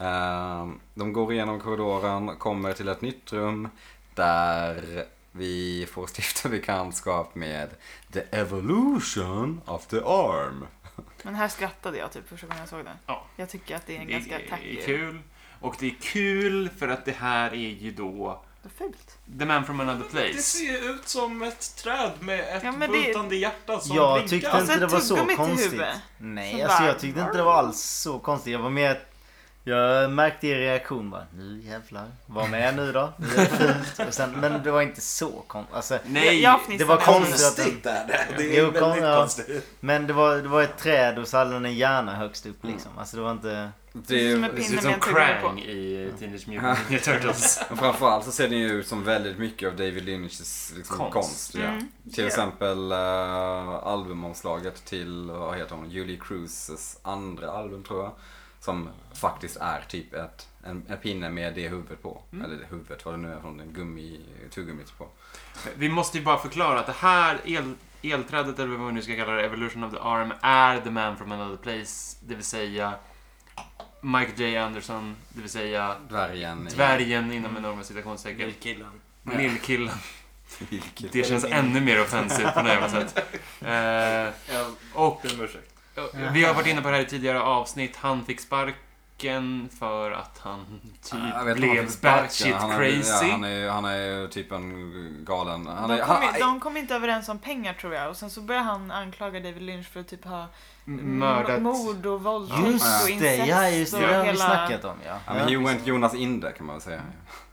[SPEAKER 3] Ehm, de går igenom korridoren, kommer till ett nytt rum där vi får stifta bekantskap med The Evolution of the Arm.
[SPEAKER 2] Men här skrattade jag typ första gången jag såg den.
[SPEAKER 5] Ja.
[SPEAKER 2] Jag tycker att det är en
[SPEAKER 5] Det
[SPEAKER 2] ganska
[SPEAKER 5] är
[SPEAKER 2] tacky...
[SPEAKER 5] kul. Och det är kul för att det här är ju då
[SPEAKER 2] Vad fult.
[SPEAKER 5] The Man from Another
[SPEAKER 4] Det
[SPEAKER 5] Place.
[SPEAKER 4] ser ut som ett träd med ett
[SPEAKER 2] Ja, men det-
[SPEAKER 4] bultande hjärta som
[SPEAKER 1] Jag
[SPEAKER 4] blinkar.
[SPEAKER 1] tyckte
[SPEAKER 2] Alltså,
[SPEAKER 1] inte det var så
[SPEAKER 2] tuggummi till
[SPEAKER 1] konstigt.
[SPEAKER 2] huvudet.
[SPEAKER 1] Nej,
[SPEAKER 2] Som
[SPEAKER 1] alltså
[SPEAKER 2] bara-
[SPEAKER 1] jag tyckte inte det var alls så konstigt. Jag var mer... Jag märkte er reaktion bara. Nu jävlar. Var med nu då. Nu är det fult. Och sen, men det var inte så konstigt. Alltså,
[SPEAKER 5] Nej!
[SPEAKER 2] Jag, jag
[SPEAKER 1] det
[SPEAKER 2] fnissade.
[SPEAKER 1] var konstigt. att den-
[SPEAKER 4] Konstigt är det. Det är
[SPEAKER 1] Jo,
[SPEAKER 4] väldigt
[SPEAKER 1] kom, ja.
[SPEAKER 4] konstigt.
[SPEAKER 1] Men det var, det var ett träd och så hade den en hjärna högst upp liksom. Alltså det var inte...
[SPEAKER 3] Det
[SPEAKER 2] Som en
[SPEAKER 5] Det
[SPEAKER 3] är,
[SPEAKER 2] pin-
[SPEAKER 5] ser ut
[SPEAKER 2] Innan
[SPEAKER 5] som
[SPEAKER 2] jag tuggade på.
[SPEAKER 5] Krang i Teenage Mutant Ninja
[SPEAKER 3] *laughs*
[SPEAKER 5] Turtles.
[SPEAKER 3] men framförallt så ser den ju ut som väldigt mycket av David Lynchs liksom, konst.
[SPEAKER 5] Konst.
[SPEAKER 3] ja.
[SPEAKER 2] Mm.
[SPEAKER 3] Till exempel eh, albumomslaget till, eh, vad heter hon, Julie Cruises andra album tror jag. Som faktiskt är typ ett, en, en pinne med det huvudet på.
[SPEAKER 4] Mm.
[SPEAKER 3] Eller det huvudet, vad det nu är från den gummi, tuggummit på.
[SPEAKER 5] Vi måste ju bara förklara att det här el, elträdet, eller vad vi nu ska kalla det, Evolution of the Arm, är The Man from Another Place. Det vill säga Mike J. Anderson, det vill säga
[SPEAKER 3] Dvärgen. i-
[SPEAKER 5] dvärgen inom enorma citationstecken.
[SPEAKER 4] Lillkillen.
[SPEAKER 3] Mm.
[SPEAKER 5] Lillkillen.
[SPEAKER 3] Vilket-
[SPEAKER 5] Det känns ännu mer offensivt på något jävla sätt. Eh,
[SPEAKER 6] Jag
[SPEAKER 5] och
[SPEAKER 6] ber om ursäkt.
[SPEAKER 5] vi har varit inne på det här i tidigare avsnitt. Han fick sparken för att han
[SPEAKER 3] Jag vet inte
[SPEAKER 5] typ
[SPEAKER 3] om han
[SPEAKER 5] blev
[SPEAKER 3] fick sparken.
[SPEAKER 5] batshit
[SPEAKER 3] Han är-
[SPEAKER 5] crazy.
[SPEAKER 3] Ja, han, är, han är typ en galen... Han
[SPEAKER 2] De
[SPEAKER 3] är,
[SPEAKER 2] kom,
[SPEAKER 3] han,
[SPEAKER 2] ju- de kom inte överens om pengar tror jag och sen så började han anklaga David Lynch för att typ ha m-
[SPEAKER 5] Mördat.
[SPEAKER 2] mord och våldtäkt och
[SPEAKER 1] Just det,
[SPEAKER 2] incest
[SPEAKER 1] ja just det.
[SPEAKER 2] och
[SPEAKER 1] Det har vi
[SPEAKER 2] hela...
[SPEAKER 1] snackat om ja.
[SPEAKER 3] ja, men he went Jonas Inde kan man väl säga.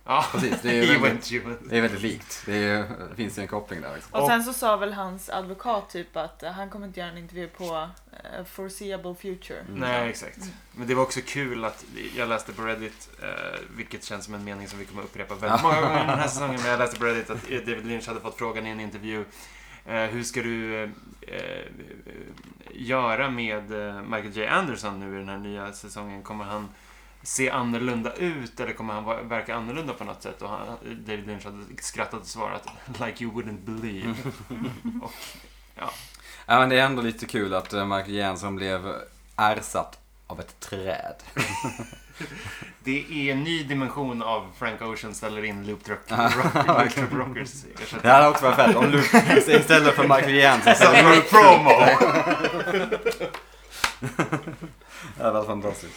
[SPEAKER 5] Ja,
[SPEAKER 3] Precis,
[SPEAKER 5] *laughs*
[SPEAKER 3] det är
[SPEAKER 5] he
[SPEAKER 3] väldigt-
[SPEAKER 5] went you.
[SPEAKER 3] Det är väldigt likt. Det, är, det finns ju en koppling där liksom.
[SPEAKER 2] Och sen så sa väl hans advokat typ att eh, han kommer inte göra en intervju på eh, Foreseeable Future.
[SPEAKER 5] Nej, exakt. Men det var också kul att jag läste på Reddit, eh, vilket känns som en mening som vi kommer upprepa väldigt många gånger den här säsongen, men jag läste på Reddit att eh, David Lynch hade fått frågan i en intervju eh, hur ska du eh, eh, göra med eh, Michael J. Anderson nu i den här nya säsongen? Kommer han se annorlunda ut eller kommer han va- verka annorlunda på något sätt? Och han, David Lynch hade skrattat och svarat “Like you wouldn't believe”. Och
[SPEAKER 3] Ja, men det är ändå lite kul att eh, Michael Jansson blev ersatt av ett träd.
[SPEAKER 5] *laughs* Det är en ny dimension av Frank Ocean ställer in Loop Rock,
[SPEAKER 3] *laughs*
[SPEAKER 5] rock, Loop Truck Rockers.
[SPEAKER 3] Det hade också varit fett
[SPEAKER 5] *laughs*
[SPEAKER 3] om Luke istället för Michael Jansson så hade Luke
[SPEAKER 5] promo!
[SPEAKER 3] *laughs* Det hade varit fantastiskt.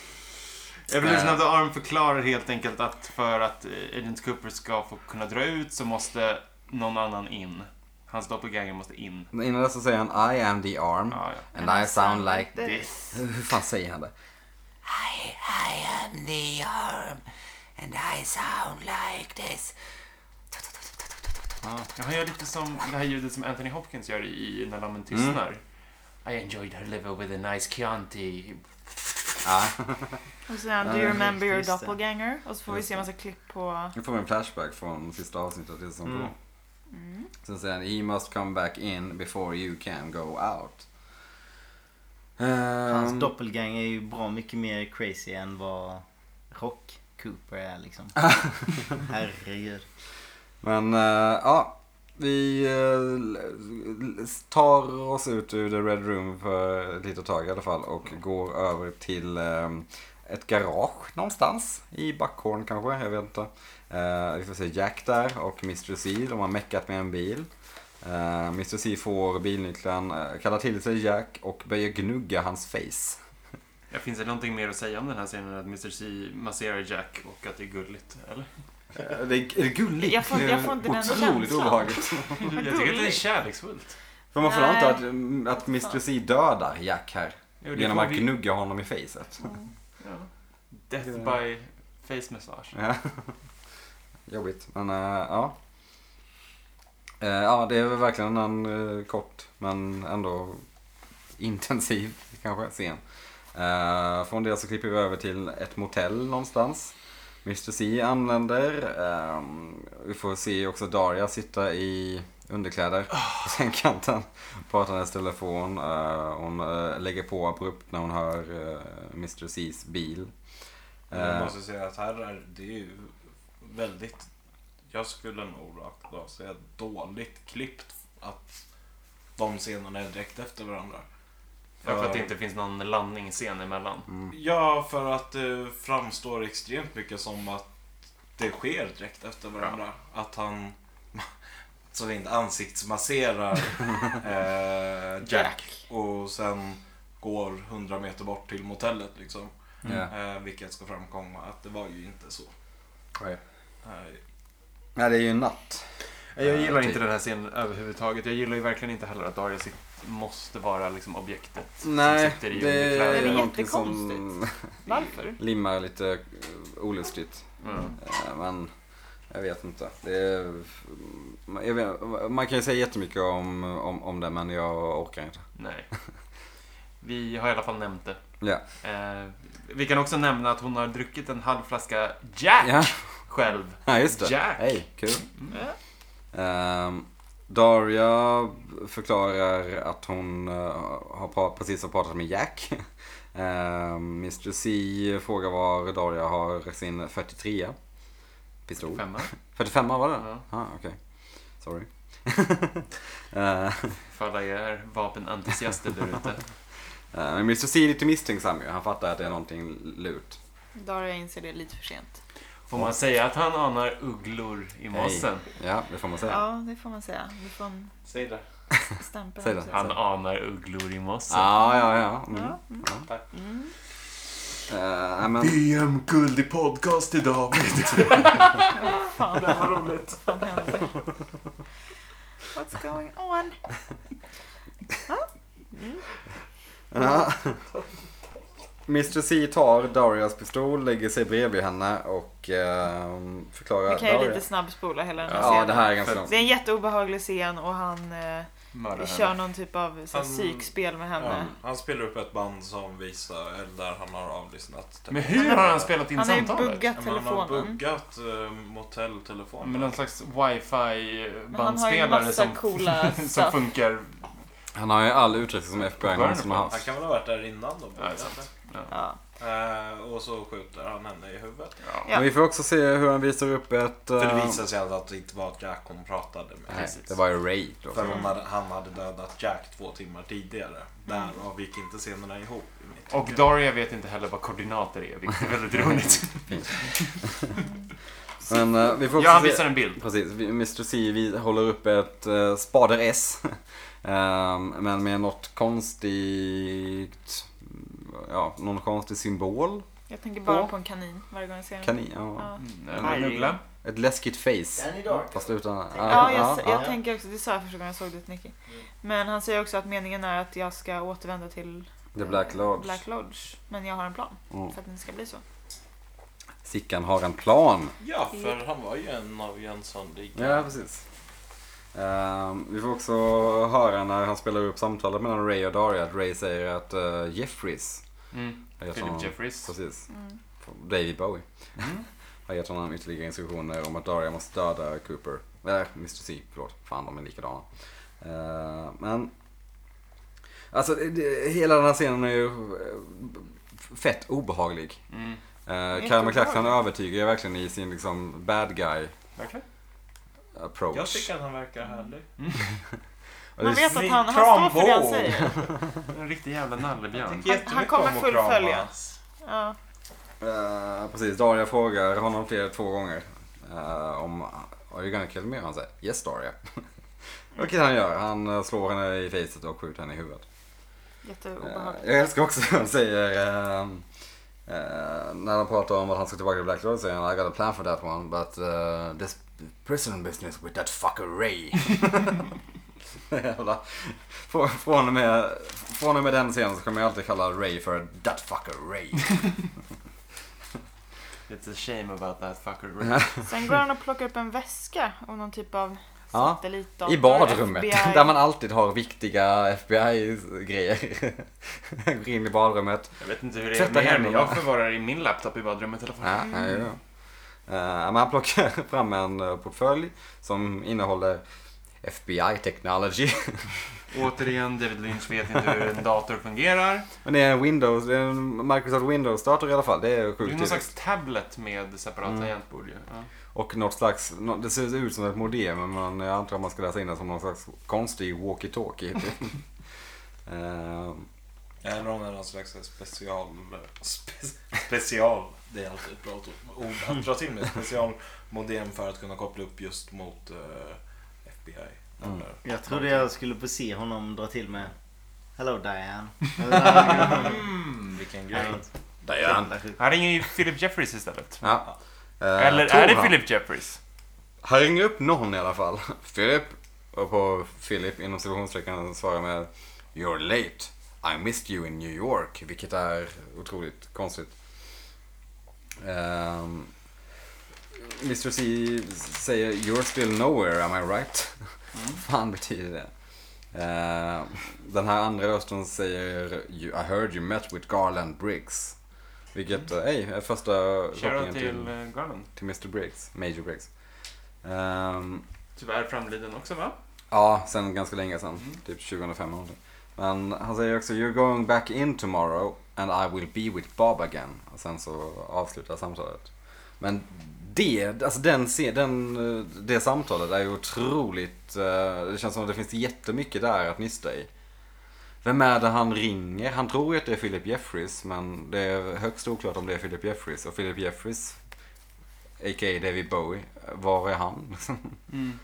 [SPEAKER 3] Eh,
[SPEAKER 5] Evolution of the Arm förklarar helt enkelt att för att eh, Agent Cooper ska få kunna dra ut så måste någon annan in. Hans doppelganger måste in.
[SPEAKER 3] Men Innan dess så säger han I am the arm
[SPEAKER 5] Ja, ja.
[SPEAKER 3] and I
[SPEAKER 2] Alltså,
[SPEAKER 3] sound like...
[SPEAKER 5] Det,
[SPEAKER 3] Hur fan säger han det? I, I am the arm and I sound like this.
[SPEAKER 5] han gör lite som det här ljudet som Anthony Hopkins gör i När lammen tystnar. Mm. I enjoyed her liver with a nice Chianti.
[SPEAKER 3] Ja,
[SPEAKER 2] Och sen Do
[SPEAKER 3] Ja,
[SPEAKER 2] you remember your
[SPEAKER 1] just det.
[SPEAKER 2] doppelganger? Och så får vi
[SPEAKER 3] Just
[SPEAKER 2] se
[SPEAKER 3] det.
[SPEAKER 2] en massa klipp på...
[SPEAKER 3] nu får vi en flashback från sista avsnittet till säsong två.
[SPEAKER 5] Mm.
[SPEAKER 2] Mm.
[SPEAKER 3] Sen säger han He must come back in before you can go out. Ehm,
[SPEAKER 1] Hans doppelganger är ju bra mycket mer crazy än vad Rock Cooper är
[SPEAKER 3] *laughs*
[SPEAKER 1] liksom. Herregud.
[SPEAKER 3] Men eh, ja, vi eh, l- l- tar oss ut ur The Red Room för ett litet tag i alla fall och går över till eh, ett garage någonstans. I Backhorn kanske, jag vet inte. Eh, vi får se Jack där och Mr C, de har meckat med en bil. Eh, Mr C får bilnyckeln, eh, kallar till sig Jack och börjar gnugga hans face.
[SPEAKER 5] *laughs* Ja, finns det någonting mer att säga om den här scenen? Att Mr C masserar Jack och att det är gulligt, eller?
[SPEAKER 3] Eh, Det är, är det gulligt.
[SPEAKER 2] Jag får- jag får inte
[SPEAKER 3] Det är
[SPEAKER 2] den
[SPEAKER 3] Otroligt
[SPEAKER 2] känslan.
[SPEAKER 3] obehagligt.
[SPEAKER 5] Jag tycker att det är kärleksfullt.
[SPEAKER 3] För man får anta att,
[SPEAKER 2] Nej.
[SPEAKER 3] att Mr. C dödar Jack här.
[SPEAKER 5] Jo, det
[SPEAKER 3] Genom
[SPEAKER 5] får
[SPEAKER 3] att
[SPEAKER 5] vi-
[SPEAKER 3] gnugga honom i facet.
[SPEAKER 5] Ja. Death by face massage.
[SPEAKER 3] Ja. *laughs* Jobbigt, men eh, ja. Eh, ja, det är väl verkligen en eh, kort men ändå intensiv *laughs* kanske scen. Eh, från det så klipper vi över till ett motell någonstans. Mr C anländer. Eh, vi får se också Daria sitta i underkläder på sängkanten. *laughs* Pratar hennes telefon. Eh, hon eh, lägger på abrupt när hon hör eh, Mr Cs bil.
[SPEAKER 4] Men jag
[SPEAKER 3] Eh,
[SPEAKER 4] måste säga att här är det ju väldigt... Jag skulle nog rakt av säga dåligt klippt att de scenerna är direkt efter varandra.
[SPEAKER 5] Ja, för att det inte finns någon landningsscen emellan.
[SPEAKER 4] Ja, för att det framstår extremt mycket som att det sker direkt efter varandra. Att han *laughs* så inte ansiktsmasserar eh, Jack och sen går 100 meter bort till motellet liksom.
[SPEAKER 3] ja.
[SPEAKER 4] Eh, vilket ska framkomma att det var ju inte så. Eh,
[SPEAKER 3] Nej, det är ju natt.
[SPEAKER 5] Jag gillar
[SPEAKER 3] typ.
[SPEAKER 5] inte den här scenen överhuvudtaget. Jag gillar ju verkligen inte heller att Daria sitt- måste vara liksom objektet.
[SPEAKER 3] Nej,
[SPEAKER 5] sitter i
[SPEAKER 3] det
[SPEAKER 5] underkläder.
[SPEAKER 2] Det
[SPEAKER 3] är
[SPEAKER 2] är
[SPEAKER 3] någonting som
[SPEAKER 2] jättekonstigt. Varför?
[SPEAKER 3] limmar lite eh, olustigt.
[SPEAKER 5] Mm.
[SPEAKER 3] Eh, Men jag vet inte. Det är, eh, jag vet, man kan ju säga jättemycket om, om, om det, men jag orkar inte.
[SPEAKER 5] Nej. Vi har i alla fall nämnt det.
[SPEAKER 3] Ja.
[SPEAKER 5] Eh, vi kan också nämna att hon har druckit en halv flaska Jack
[SPEAKER 3] Ja, *laughs*
[SPEAKER 5] själv.
[SPEAKER 3] ja just det.
[SPEAKER 5] Jack.
[SPEAKER 3] Hej, kul.
[SPEAKER 2] Mm.
[SPEAKER 3] Ehm, Daria förklarar att hon eh, har pra- precis har pratat med Jack. *laughs* Ehm, Mr C frågar var Daria har sin 43 pistol.
[SPEAKER 5] Femma.
[SPEAKER 3] 45 var det?
[SPEAKER 5] Ja.
[SPEAKER 3] Ah, okej. Sorry. *laughs* Eh,
[SPEAKER 5] För alla er vapenentusiaster där ute.
[SPEAKER 3] eh, Men Mr. C är lite misstänksam ju. Han fattar att det är någonting lurt.
[SPEAKER 2] Daria inser det lite för sent.
[SPEAKER 5] Får man säga att han anar ugglor i mossen?
[SPEAKER 3] Ja, det får man säga.
[SPEAKER 2] Ja, det får man säga. Du får en
[SPEAKER 4] Säg det.
[SPEAKER 2] stämpel.
[SPEAKER 3] Säg det.
[SPEAKER 2] också.
[SPEAKER 5] Han anar ugglor i mossen.
[SPEAKER 3] Ja, ja, ja. Mm.
[SPEAKER 2] Ja, mm.
[SPEAKER 3] Eh, nej,
[SPEAKER 4] *laughs*
[SPEAKER 3] men,
[SPEAKER 6] VM guld i podcast idag.
[SPEAKER 2] Fan, det var roligt. Fan, hände. What's going on?
[SPEAKER 3] ja. Mr. C tar Darias pistol, lägger sig bredvid henne och ehm, förklarar
[SPEAKER 2] Vi kan ju
[SPEAKER 3] Daria.
[SPEAKER 2] lite snabbspola hela den här
[SPEAKER 3] Ja,
[SPEAKER 2] scenen.
[SPEAKER 3] det här är ganska långt.
[SPEAKER 2] Det är en jätteobehaglig scen och han eh,
[SPEAKER 5] Mördar
[SPEAKER 2] kör
[SPEAKER 5] henne.
[SPEAKER 2] någon typ av så här,
[SPEAKER 4] Han-
[SPEAKER 2] psykspel med henne.
[SPEAKER 4] Han spelar upp ett band som visar, eller där han har avlyssnat
[SPEAKER 5] Men hur har han spelat in
[SPEAKER 2] Han har ju
[SPEAKER 5] samtalet?
[SPEAKER 2] buggat
[SPEAKER 4] telefonen? Han har
[SPEAKER 2] telefonen.
[SPEAKER 4] buggat eh, moteltelefonen.
[SPEAKER 5] Med någon slags
[SPEAKER 2] Men han har ju
[SPEAKER 5] wifi-bandspelare
[SPEAKER 2] massa
[SPEAKER 5] som,
[SPEAKER 2] coola
[SPEAKER 5] *laughs* som
[SPEAKER 2] stuff.
[SPEAKER 5] funkar.
[SPEAKER 3] Han har ju all utrustning som FBI någonsin har
[SPEAKER 4] Han
[SPEAKER 3] haft.
[SPEAKER 4] kan väl ha varit där innan då?
[SPEAKER 5] Ja, det är sant.
[SPEAKER 2] Ja.
[SPEAKER 4] Eh, och så skjuter han henne i huvudet.
[SPEAKER 2] Ja.
[SPEAKER 3] Men vi får också se hur han visar upp ett... eh,
[SPEAKER 4] För det visar sig alltså att det inte var Jack hon pratade med.
[SPEAKER 3] Nej, det var ju Ray då.
[SPEAKER 4] För hon hade, han hade dödat Jack två timmar tidigare. Därav gick inte scenerna ihop. i mitt
[SPEAKER 5] Och
[SPEAKER 4] tycke.
[SPEAKER 5] Daria vet inte heller vad koordinater är, vilket är väldigt *laughs* roligt.
[SPEAKER 3] Men eh, vi får också
[SPEAKER 5] Ja, han
[SPEAKER 3] se...
[SPEAKER 5] visar en bild.
[SPEAKER 3] Precis, vi- Mr. C vi håller upp ett eh, spader S. *laughs* Ehm, men med något konstigt, ja, någon konstig symbol.
[SPEAKER 2] Jag tänker bara
[SPEAKER 3] På?
[SPEAKER 2] på en kanin varje gång jag ser den.
[SPEAKER 3] Kanin, ja.
[SPEAKER 2] Ja,
[SPEAKER 5] En nuggla.
[SPEAKER 3] Ett läskigt face.
[SPEAKER 1] Danny Dark.
[SPEAKER 3] Fast utan...
[SPEAKER 2] ja jag,
[SPEAKER 3] ja,
[SPEAKER 2] jag tänker också, det sa jag första gången jag såg det till Nicky. Men han säger också att meningen är att jag ska återvända till
[SPEAKER 3] The Black Lodge.
[SPEAKER 2] Black Lodge. Men jag har en plan
[SPEAKER 3] Mm.
[SPEAKER 2] för att det inte ska bli så.
[SPEAKER 3] Sickan har en plan.
[SPEAKER 4] Ja, för han var ju en av Jönssonligan.
[SPEAKER 3] Ja, precis. Ehm, vi får också höra när han spelar upp samtalet mellan Ray och Daria att Ray säger att eh, Jeffries
[SPEAKER 5] Mm.
[SPEAKER 3] har gett honom-
[SPEAKER 5] Philip Jeffries.
[SPEAKER 3] Precis.
[SPEAKER 2] Mm.
[SPEAKER 3] David Bowie. *laughs* Har gett honom ytterligare instruktioner om att Daria måste döda Cooper. Eller Mr C, förlåt. Fan, de är likadana. Eh, men... Alltså, det- det, hela den här scenen är ju eh, fett obehaglig.
[SPEAKER 5] Mm.
[SPEAKER 3] Uh, Kyle
[SPEAKER 2] Jätteobehaglig.
[SPEAKER 3] MacLachlan övertygar verkligen i sin liksom bad guy
[SPEAKER 5] Verkligen.
[SPEAKER 3] approach.
[SPEAKER 4] Jag tycker att han verkar
[SPEAKER 2] Mm.
[SPEAKER 4] härlig.
[SPEAKER 3] Och det
[SPEAKER 2] Man
[SPEAKER 3] är
[SPEAKER 2] vet att han, han
[SPEAKER 4] Kram
[SPEAKER 2] står för det han
[SPEAKER 4] på.
[SPEAKER 2] säger.
[SPEAKER 5] En riktig jävla nallebjörn.
[SPEAKER 2] Han- han kommer
[SPEAKER 4] om att krama
[SPEAKER 2] fullfölja.
[SPEAKER 4] hans.
[SPEAKER 2] Ja.
[SPEAKER 3] Eh, precis, Daria frågar honom fler två gånger. eh, om Are you gonna kill me? Och han säger Yes Daria. *laughs* Vilket han gör. Han eh, slår henne i facet och skjuter henne i huvudet. Eh,
[SPEAKER 2] Jätteobehagligt.
[SPEAKER 3] jag älskar också hur han säger ehm, Eh, när de pratar om att han ska tillbaka till Black Lord säger han I got a plan for that one but eh, this prison business with that fucker Ray. Jävla. Frå- *laughs* Från och, med, från och med den scenen så kommer jag alltid kalla Ray för that fucker Ray.
[SPEAKER 5] It's a shame about that fucker. *laughs*
[SPEAKER 2] Sen går han och plockar upp en väska och någon typ av
[SPEAKER 3] Ja,
[SPEAKER 2] satellitdator.
[SPEAKER 3] I badrummet,
[SPEAKER 2] FBI.
[SPEAKER 3] där man alltid har viktiga FBI-grejer. *laughs* Går in i badrummet.
[SPEAKER 5] Jag vet inte hur det är
[SPEAKER 3] Tvätta
[SPEAKER 5] med er, men
[SPEAKER 3] händerna.
[SPEAKER 5] jag förvarar i min laptop i badrummet i alla fall.
[SPEAKER 3] Ja, ja, ja. Eh, men han plockar *laughs* fram en eh, portfölj som innehåller FBI technology.
[SPEAKER 5] Återigen, David Lynch vet inte hur en dator *laughs* fungerar.
[SPEAKER 3] *laughs* Men det är en Windows, det är en Microsoft Windows-dator i alla fall. Det är
[SPEAKER 5] Det är
[SPEAKER 3] sjukt
[SPEAKER 5] någon
[SPEAKER 3] typiskt.
[SPEAKER 5] slags tablet med separat
[SPEAKER 3] Mm.
[SPEAKER 5] tangentbord ju. Ja.
[SPEAKER 3] Och något slags, nå- det ser ut som ett modem men jag antar att man ska läsa in det som någon slags konstig walkie-talkie. *laughs* typ. Eh,
[SPEAKER 4] Eller om det är någon slags special... Spe, special. Det är alltid ett bra ord att dra till med. Specialmodem för att kunna koppla upp just mot eh, FBI.
[SPEAKER 3] Mm.
[SPEAKER 4] Eller,
[SPEAKER 1] Jag trodde jag skulle få se honom dra till med Hello Diane. Eller-
[SPEAKER 4] Mm, vilken grej.
[SPEAKER 1] Eller-
[SPEAKER 4] Diane.
[SPEAKER 5] Här ringer ju Philip Jeffries istället.
[SPEAKER 3] ja. Eh,
[SPEAKER 5] Eller
[SPEAKER 3] tror
[SPEAKER 5] är det
[SPEAKER 3] han.
[SPEAKER 5] Philip Jeffries?
[SPEAKER 3] Han ringer upp någon i alla fall. *laughs* Philip. Och på Philip inom citationstecken svarar med You're late. I missed you in New York. Vilket är otroligt konstigt. Ehm, Mr C säger You're still nowhere, am I right? Vad *laughs* fan betyder det? Ehm, den här andra rösten säger "You- I heard you met with Garland Briggs. Vilket, eh, hej, är första
[SPEAKER 5] Shoutout
[SPEAKER 3] kopplingen
[SPEAKER 5] till eh, Garland.
[SPEAKER 3] till Mr Briggs, Major Briggs. Ehm,
[SPEAKER 5] Tyvärr framliden också va?
[SPEAKER 3] ja, sen ganska länge sen, typ 2005 eller någonting. Men han säger också You're going back in tomorrow and I will be with Bob again. Och sen så avslutar samtalet. Men det, alltså den, se- den, eh, det samtalet är ju otroligt, eh, det känns som att det finns jättemycket där att nysta i. Vem är det han ringer? Han tror ju att det är Philip Jeffries men det är högst oklart om det är Philip Jeffries. Och Philip Jeffries, a.k.a. David Bowie, var är han?
[SPEAKER 5] Mm.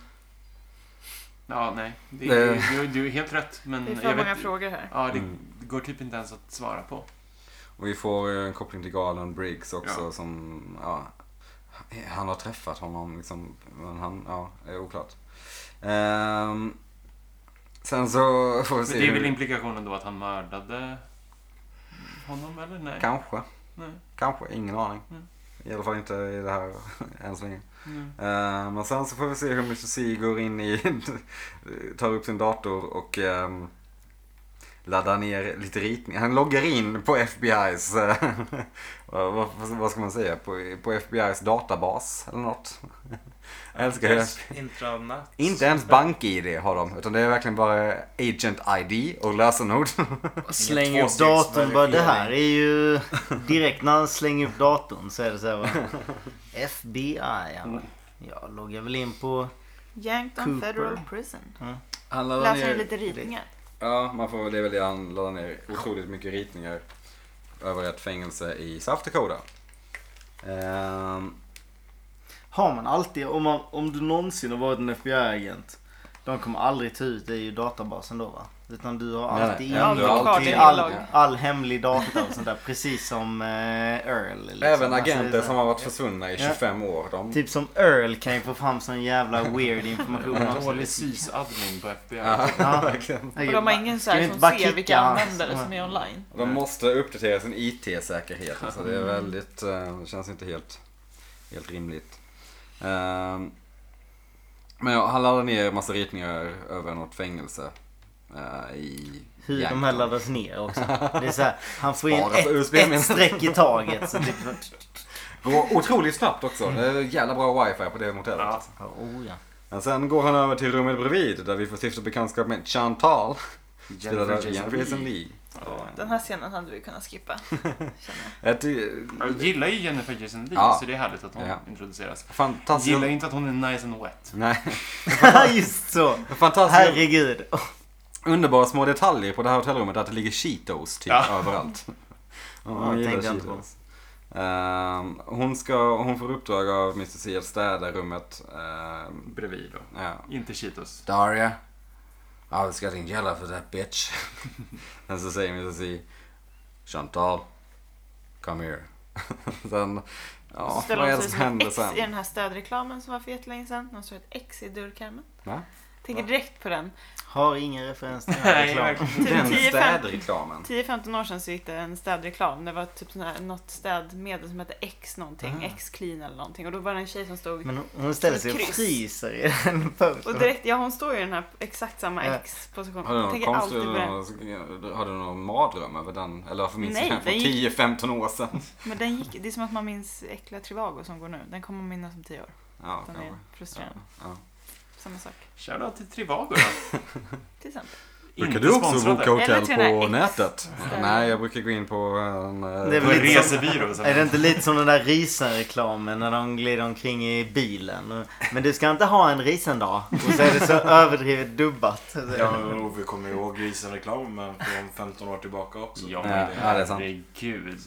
[SPEAKER 5] Ja, nej. Det,
[SPEAKER 3] Det-
[SPEAKER 5] det- Du, du är helt rätt. Men
[SPEAKER 2] Det är för
[SPEAKER 5] jag
[SPEAKER 2] många
[SPEAKER 5] vet,
[SPEAKER 2] frågor här.
[SPEAKER 5] ja, det
[SPEAKER 3] Mm.
[SPEAKER 5] det går typ inte ens att svara på.
[SPEAKER 3] Och vi får eh, en koppling till Garland Briggs också
[SPEAKER 5] Ja.
[SPEAKER 3] som, ja, han har träffat honom liksom, men han, ja, det är oklart. Ehm, sen så *laughs* får vi
[SPEAKER 5] Men
[SPEAKER 3] se
[SPEAKER 5] det är väl
[SPEAKER 3] hur,
[SPEAKER 5] implikationen då att han mördade honom eller? Nej.
[SPEAKER 3] kanske,
[SPEAKER 5] Nej.
[SPEAKER 3] kanske, ingen aning.
[SPEAKER 5] Mm.
[SPEAKER 3] I alla fall inte i det här *laughs* än så länge.
[SPEAKER 5] Nej.
[SPEAKER 3] Ehm, men sen så får vi se hur Mr. C går in i, *laughs* tar upp sin dator och ehm, laddar ner lite ritningar. Han loggar in på FBI's, eh, *laughs* vad, vad, vad ska man säga, på, på FBI's databas eller något. *laughs* Jag älskar det.
[SPEAKER 6] Intranät.
[SPEAKER 3] Inte ens bank-id har de, utan det är verkligen bara agent-id och lösenord. *laughs*
[SPEAKER 1] Släng upp
[SPEAKER 4] Tvåstegsverifiering.
[SPEAKER 1] datorn bara. Det här är ju... *laughs* Direkt när han slänger upp datorn så är det så här
[SPEAKER 3] *laughs*
[SPEAKER 1] bara, FBI. Han bara, Jag loggar väl in på...
[SPEAKER 2] Yankton
[SPEAKER 1] Cooper.
[SPEAKER 2] Federal Prison.
[SPEAKER 3] Han laddar
[SPEAKER 2] Läser lite ritningar.
[SPEAKER 3] Ja, man får väl det är väl det han laddar ner otroligt mycket ritningar över ett fängelse i South Dakota. Ehm,
[SPEAKER 1] Har man alltid... Om, man, om du någonsin har varit en FBI-agent. De kommer aldrig ta ut dig ur databasen då va? Utan du har
[SPEAKER 3] Nej, nej.
[SPEAKER 1] alltid
[SPEAKER 3] Ja, du har
[SPEAKER 1] ingång
[SPEAKER 2] alltid
[SPEAKER 1] till
[SPEAKER 2] inlogg.
[SPEAKER 1] all, all hemlig data och sånt där. Precis som eh, Earl. Liksom.
[SPEAKER 3] Även
[SPEAKER 1] Alltså, det är
[SPEAKER 3] agenter
[SPEAKER 1] så här-
[SPEAKER 3] som har varit försvunna i 25 år. De,
[SPEAKER 1] Typ som Earl kan ju få fram sån jävla weird information också.
[SPEAKER 5] Dålig sysadmin på FBI.
[SPEAKER 3] ja,
[SPEAKER 1] Ja.
[SPEAKER 3] *laughs* verkligen.
[SPEAKER 2] Och de har ingen så
[SPEAKER 1] Ska vi
[SPEAKER 2] här
[SPEAKER 1] inte
[SPEAKER 2] som
[SPEAKER 1] bara
[SPEAKER 2] ser vilka
[SPEAKER 1] kicka hans- eh,
[SPEAKER 2] användare som är online.
[SPEAKER 3] de måste uppdatera sin IT-säkerhet. Så det är väldigt, eh, det känns inte helt, helt rimligt. Ehm, Men ja, han laddar ner massa ritningar över något fängelse. eh, I
[SPEAKER 1] Hur de
[SPEAKER 3] Yankton.
[SPEAKER 1] här laddas ner också. Det är så här, han får in
[SPEAKER 3] Bara på
[SPEAKER 1] ett,
[SPEAKER 3] USB,
[SPEAKER 1] ett
[SPEAKER 3] menar du?
[SPEAKER 1] streck i taget. Så det,
[SPEAKER 3] *laughs* *laughs* Går otroligt snabbt också. Det är jävla bra wifi på det motellet.
[SPEAKER 5] Ja.
[SPEAKER 1] Ja, oh, ja. *laughs*
[SPEAKER 3] Men sen går han över till rummet bredvid där vi får stifta bekantskap med Chantal. Spelad av
[SPEAKER 5] Jason
[SPEAKER 3] Jennifer Jason
[SPEAKER 5] Leigh.
[SPEAKER 3] Leigh.
[SPEAKER 2] Den här scenen hade vi kunnat skippa.
[SPEAKER 3] Ett, eh,
[SPEAKER 5] Jag gillar ju Jennifer Jason Leigh,
[SPEAKER 3] Ja.
[SPEAKER 5] så det är härligt att hon
[SPEAKER 3] Ja.
[SPEAKER 5] introduceras.
[SPEAKER 3] Fantastisk...
[SPEAKER 5] Gillar ju inte att hon är nice and wet.
[SPEAKER 3] Nej. *laughs*
[SPEAKER 1] Just så.
[SPEAKER 3] Fantastisk...
[SPEAKER 1] Herregud. Oh,
[SPEAKER 3] Underbara små detaljer på det här hotellrummet att det ligger Cheetos typ
[SPEAKER 5] Ja.
[SPEAKER 3] överallt. Ja,
[SPEAKER 1] Ja,
[SPEAKER 3] gillar
[SPEAKER 1] tänkte jag inte på.
[SPEAKER 3] Ehm, hon, ska, hon får uppdrag av Mr. C att städa rummet. Ehm,
[SPEAKER 5] Bredvid då.
[SPEAKER 3] ja.
[SPEAKER 5] Inte Cheetos.
[SPEAKER 3] Daria, I was getting yellow *laughs* for that bitch. and så säger Mr. C, Chantal, come here. *laughs* sen, ja,
[SPEAKER 2] ställer
[SPEAKER 3] vad
[SPEAKER 2] de sig
[SPEAKER 3] helst
[SPEAKER 2] som ett
[SPEAKER 3] hände
[SPEAKER 2] X i
[SPEAKER 3] sen?
[SPEAKER 2] den här stödreklamen som var för jättelänge sedan. De såg ett X i dörrkarmen.
[SPEAKER 3] Va?
[SPEAKER 2] Tänker direkt på
[SPEAKER 3] *laughs*
[SPEAKER 2] den.
[SPEAKER 1] Har ingen referens till den här
[SPEAKER 5] Nej,
[SPEAKER 1] reklamen.
[SPEAKER 5] verkligen.
[SPEAKER 2] Typ 10, 15
[SPEAKER 3] städreklamen.
[SPEAKER 2] 10-15 år sedan så gick det en städreklam. Det var typ sån här, något städmedel som hette X någonting.
[SPEAKER 3] Ah.
[SPEAKER 2] X clean eller någonting. Och då var det en tjej som stod
[SPEAKER 1] Men hon- hon ställer sig och
[SPEAKER 2] Kryss.
[SPEAKER 1] fryser i den
[SPEAKER 2] Och
[SPEAKER 1] posten.
[SPEAKER 2] direkt, ja hon står ju i den här exakt samma
[SPEAKER 1] Ja.
[SPEAKER 2] X-position.
[SPEAKER 3] Har du någon
[SPEAKER 2] Tänker
[SPEAKER 3] konstig,
[SPEAKER 2] alltid på den.
[SPEAKER 3] någon- har du någon mardröm över den? Eller förminskar
[SPEAKER 2] Nej,
[SPEAKER 3] den från
[SPEAKER 2] den gick-
[SPEAKER 3] 10-15 år sedan?
[SPEAKER 2] Men den gick, det är som att man minns äckliga Trivago som går nu. Den kommer man minnas om tio år.
[SPEAKER 3] Ja,
[SPEAKER 2] Den
[SPEAKER 3] kanske.
[SPEAKER 2] är frustrerande.
[SPEAKER 3] Ja.
[SPEAKER 2] Samma sak.
[SPEAKER 5] Shoutout till Trivago då.
[SPEAKER 2] Till exempel.
[SPEAKER 3] Brukar
[SPEAKER 5] Inte
[SPEAKER 3] du också
[SPEAKER 5] sponsrade.
[SPEAKER 3] boka
[SPEAKER 2] Eller
[SPEAKER 3] hotell
[SPEAKER 2] till den
[SPEAKER 3] på
[SPEAKER 2] här X.
[SPEAKER 3] nätet? Nej, jag brukar gå in på en... eh,
[SPEAKER 1] Det är
[SPEAKER 5] På en
[SPEAKER 1] väl lite som-
[SPEAKER 5] resebyrå. så.
[SPEAKER 1] Är det inte lite som den där Risen-reklamen när de glider omkring i bilen? Men du ska inte ha en Risen-dag. Och så är
[SPEAKER 5] *laughs*
[SPEAKER 1] det så överdrivet dubbat.
[SPEAKER 4] Ja, och vi kommer ihåg grisen-reklamen från 15 år tillbaka också.
[SPEAKER 5] Ja,
[SPEAKER 3] Ja, ja, det är sant.
[SPEAKER 5] herregud.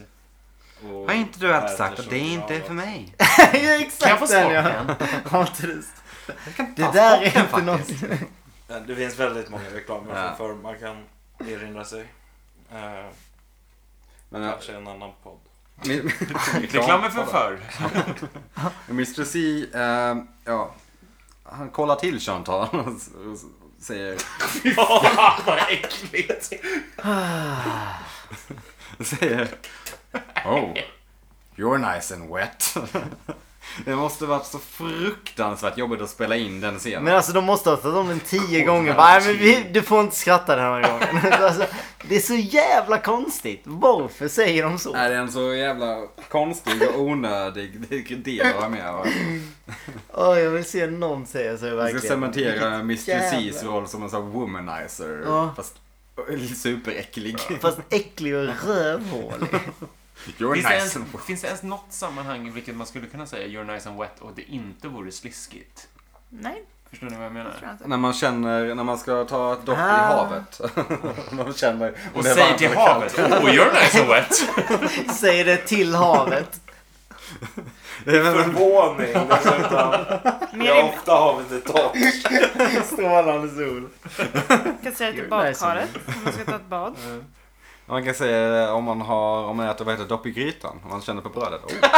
[SPEAKER 4] Och
[SPEAKER 3] Har inte du alltid sagt
[SPEAKER 4] Pettersson
[SPEAKER 3] att det inte är
[SPEAKER 4] Granat.
[SPEAKER 3] för mig?
[SPEAKER 1] Ja,
[SPEAKER 5] Kan jag få
[SPEAKER 1] exakt den
[SPEAKER 5] smaka
[SPEAKER 1] ja.
[SPEAKER 5] en?
[SPEAKER 1] *laughs* Har inte du-
[SPEAKER 3] Jag kan inte
[SPEAKER 1] Det
[SPEAKER 3] ta
[SPEAKER 1] där
[SPEAKER 3] smaken
[SPEAKER 1] är inte
[SPEAKER 3] faktiskt.
[SPEAKER 1] något...
[SPEAKER 4] Ja, Det finns väldigt många reklamer
[SPEAKER 3] Ja.
[SPEAKER 4] ja. för man kan erinra sig. Eh,
[SPEAKER 3] Men jag,
[SPEAKER 4] kanske en annan podd.
[SPEAKER 3] min,
[SPEAKER 5] *laughs* Reklamen för förr.
[SPEAKER 3] Mr C, eh, ja, han kollar till Chantal och s- och s- säger,
[SPEAKER 5] Vad äckligt.
[SPEAKER 3] *laughs* säger Oh, you're nice and wet. *laughs* Det måste varit så fruktansvärt jobbigt att spela in den
[SPEAKER 1] *laughs*
[SPEAKER 3] scenen.
[SPEAKER 1] Men alltså de måste ha tagit om den tio gånger. Bara, "Nej, men vi, du får inte skratta den här gången. *laughs* Alltså, det är så jävla konstigt. Varför säger de så?
[SPEAKER 3] Är det är en så jävla konstig och onödig del att vara med va?
[SPEAKER 1] Åh, jag vill se någon säga så
[SPEAKER 3] Vi ska
[SPEAKER 1] verkligen.
[SPEAKER 3] cementera Mr. C's
[SPEAKER 1] jävla-
[SPEAKER 3] roll som en sån här womanizer.
[SPEAKER 1] Ja.
[SPEAKER 3] Fast superäcklig. *laughs*
[SPEAKER 1] Fast äcklig och rövhålig.
[SPEAKER 3] You're
[SPEAKER 5] Finns
[SPEAKER 3] nice
[SPEAKER 5] det, ens,
[SPEAKER 3] and wet.
[SPEAKER 5] finns det ens något sammanhang i vilket man skulle kunna säga you're nice and wet och det inte vore sliskigt?
[SPEAKER 2] Nej,
[SPEAKER 5] Förstår ni vad jag
[SPEAKER 2] det tror
[SPEAKER 5] menar?
[SPEAKER 2] jag inte.
[SPEAKER 3] När man känner, när man ska ta ett dopp i
[SPEAKER 1] Ah.
[SPEAKER 3] havet. *laughs* man känner om
[SPEAKER 5] Och
[SPEAKER 3] det är
[SPEAKER 5] säg
[SPEAKER 3] varmt
[SPEAKER 5] till
[SPEAKER 3] eller kallt.
[SPEAKER 5] havet, oh you're nice and wet.
[SPEAKER 1] Säger det till havet.
[SPEAKER 3] Det är väl-
[SPEAKER 4] Förvåning dessutom.
[SPEAKER 2] Men
[SPEAKER 4] Jag
[SPEAKER 2] jag
[SPEAKER 4] har ofta havet i tak.
[SPEAKER 1] Strålande sol.
[SPEAKER 2] kan säga till
[SPEAKER 1] You're nice
[SPEAKER 2] badkaret om man ska ta ett
[SPEAKER 1] *laughs*
[SPEAKER 2] bad.
[SPEAKER 3] Man kan säga om man har, om man äter vad heter det, dopp i grytan. Om man känner på brödet. Oh.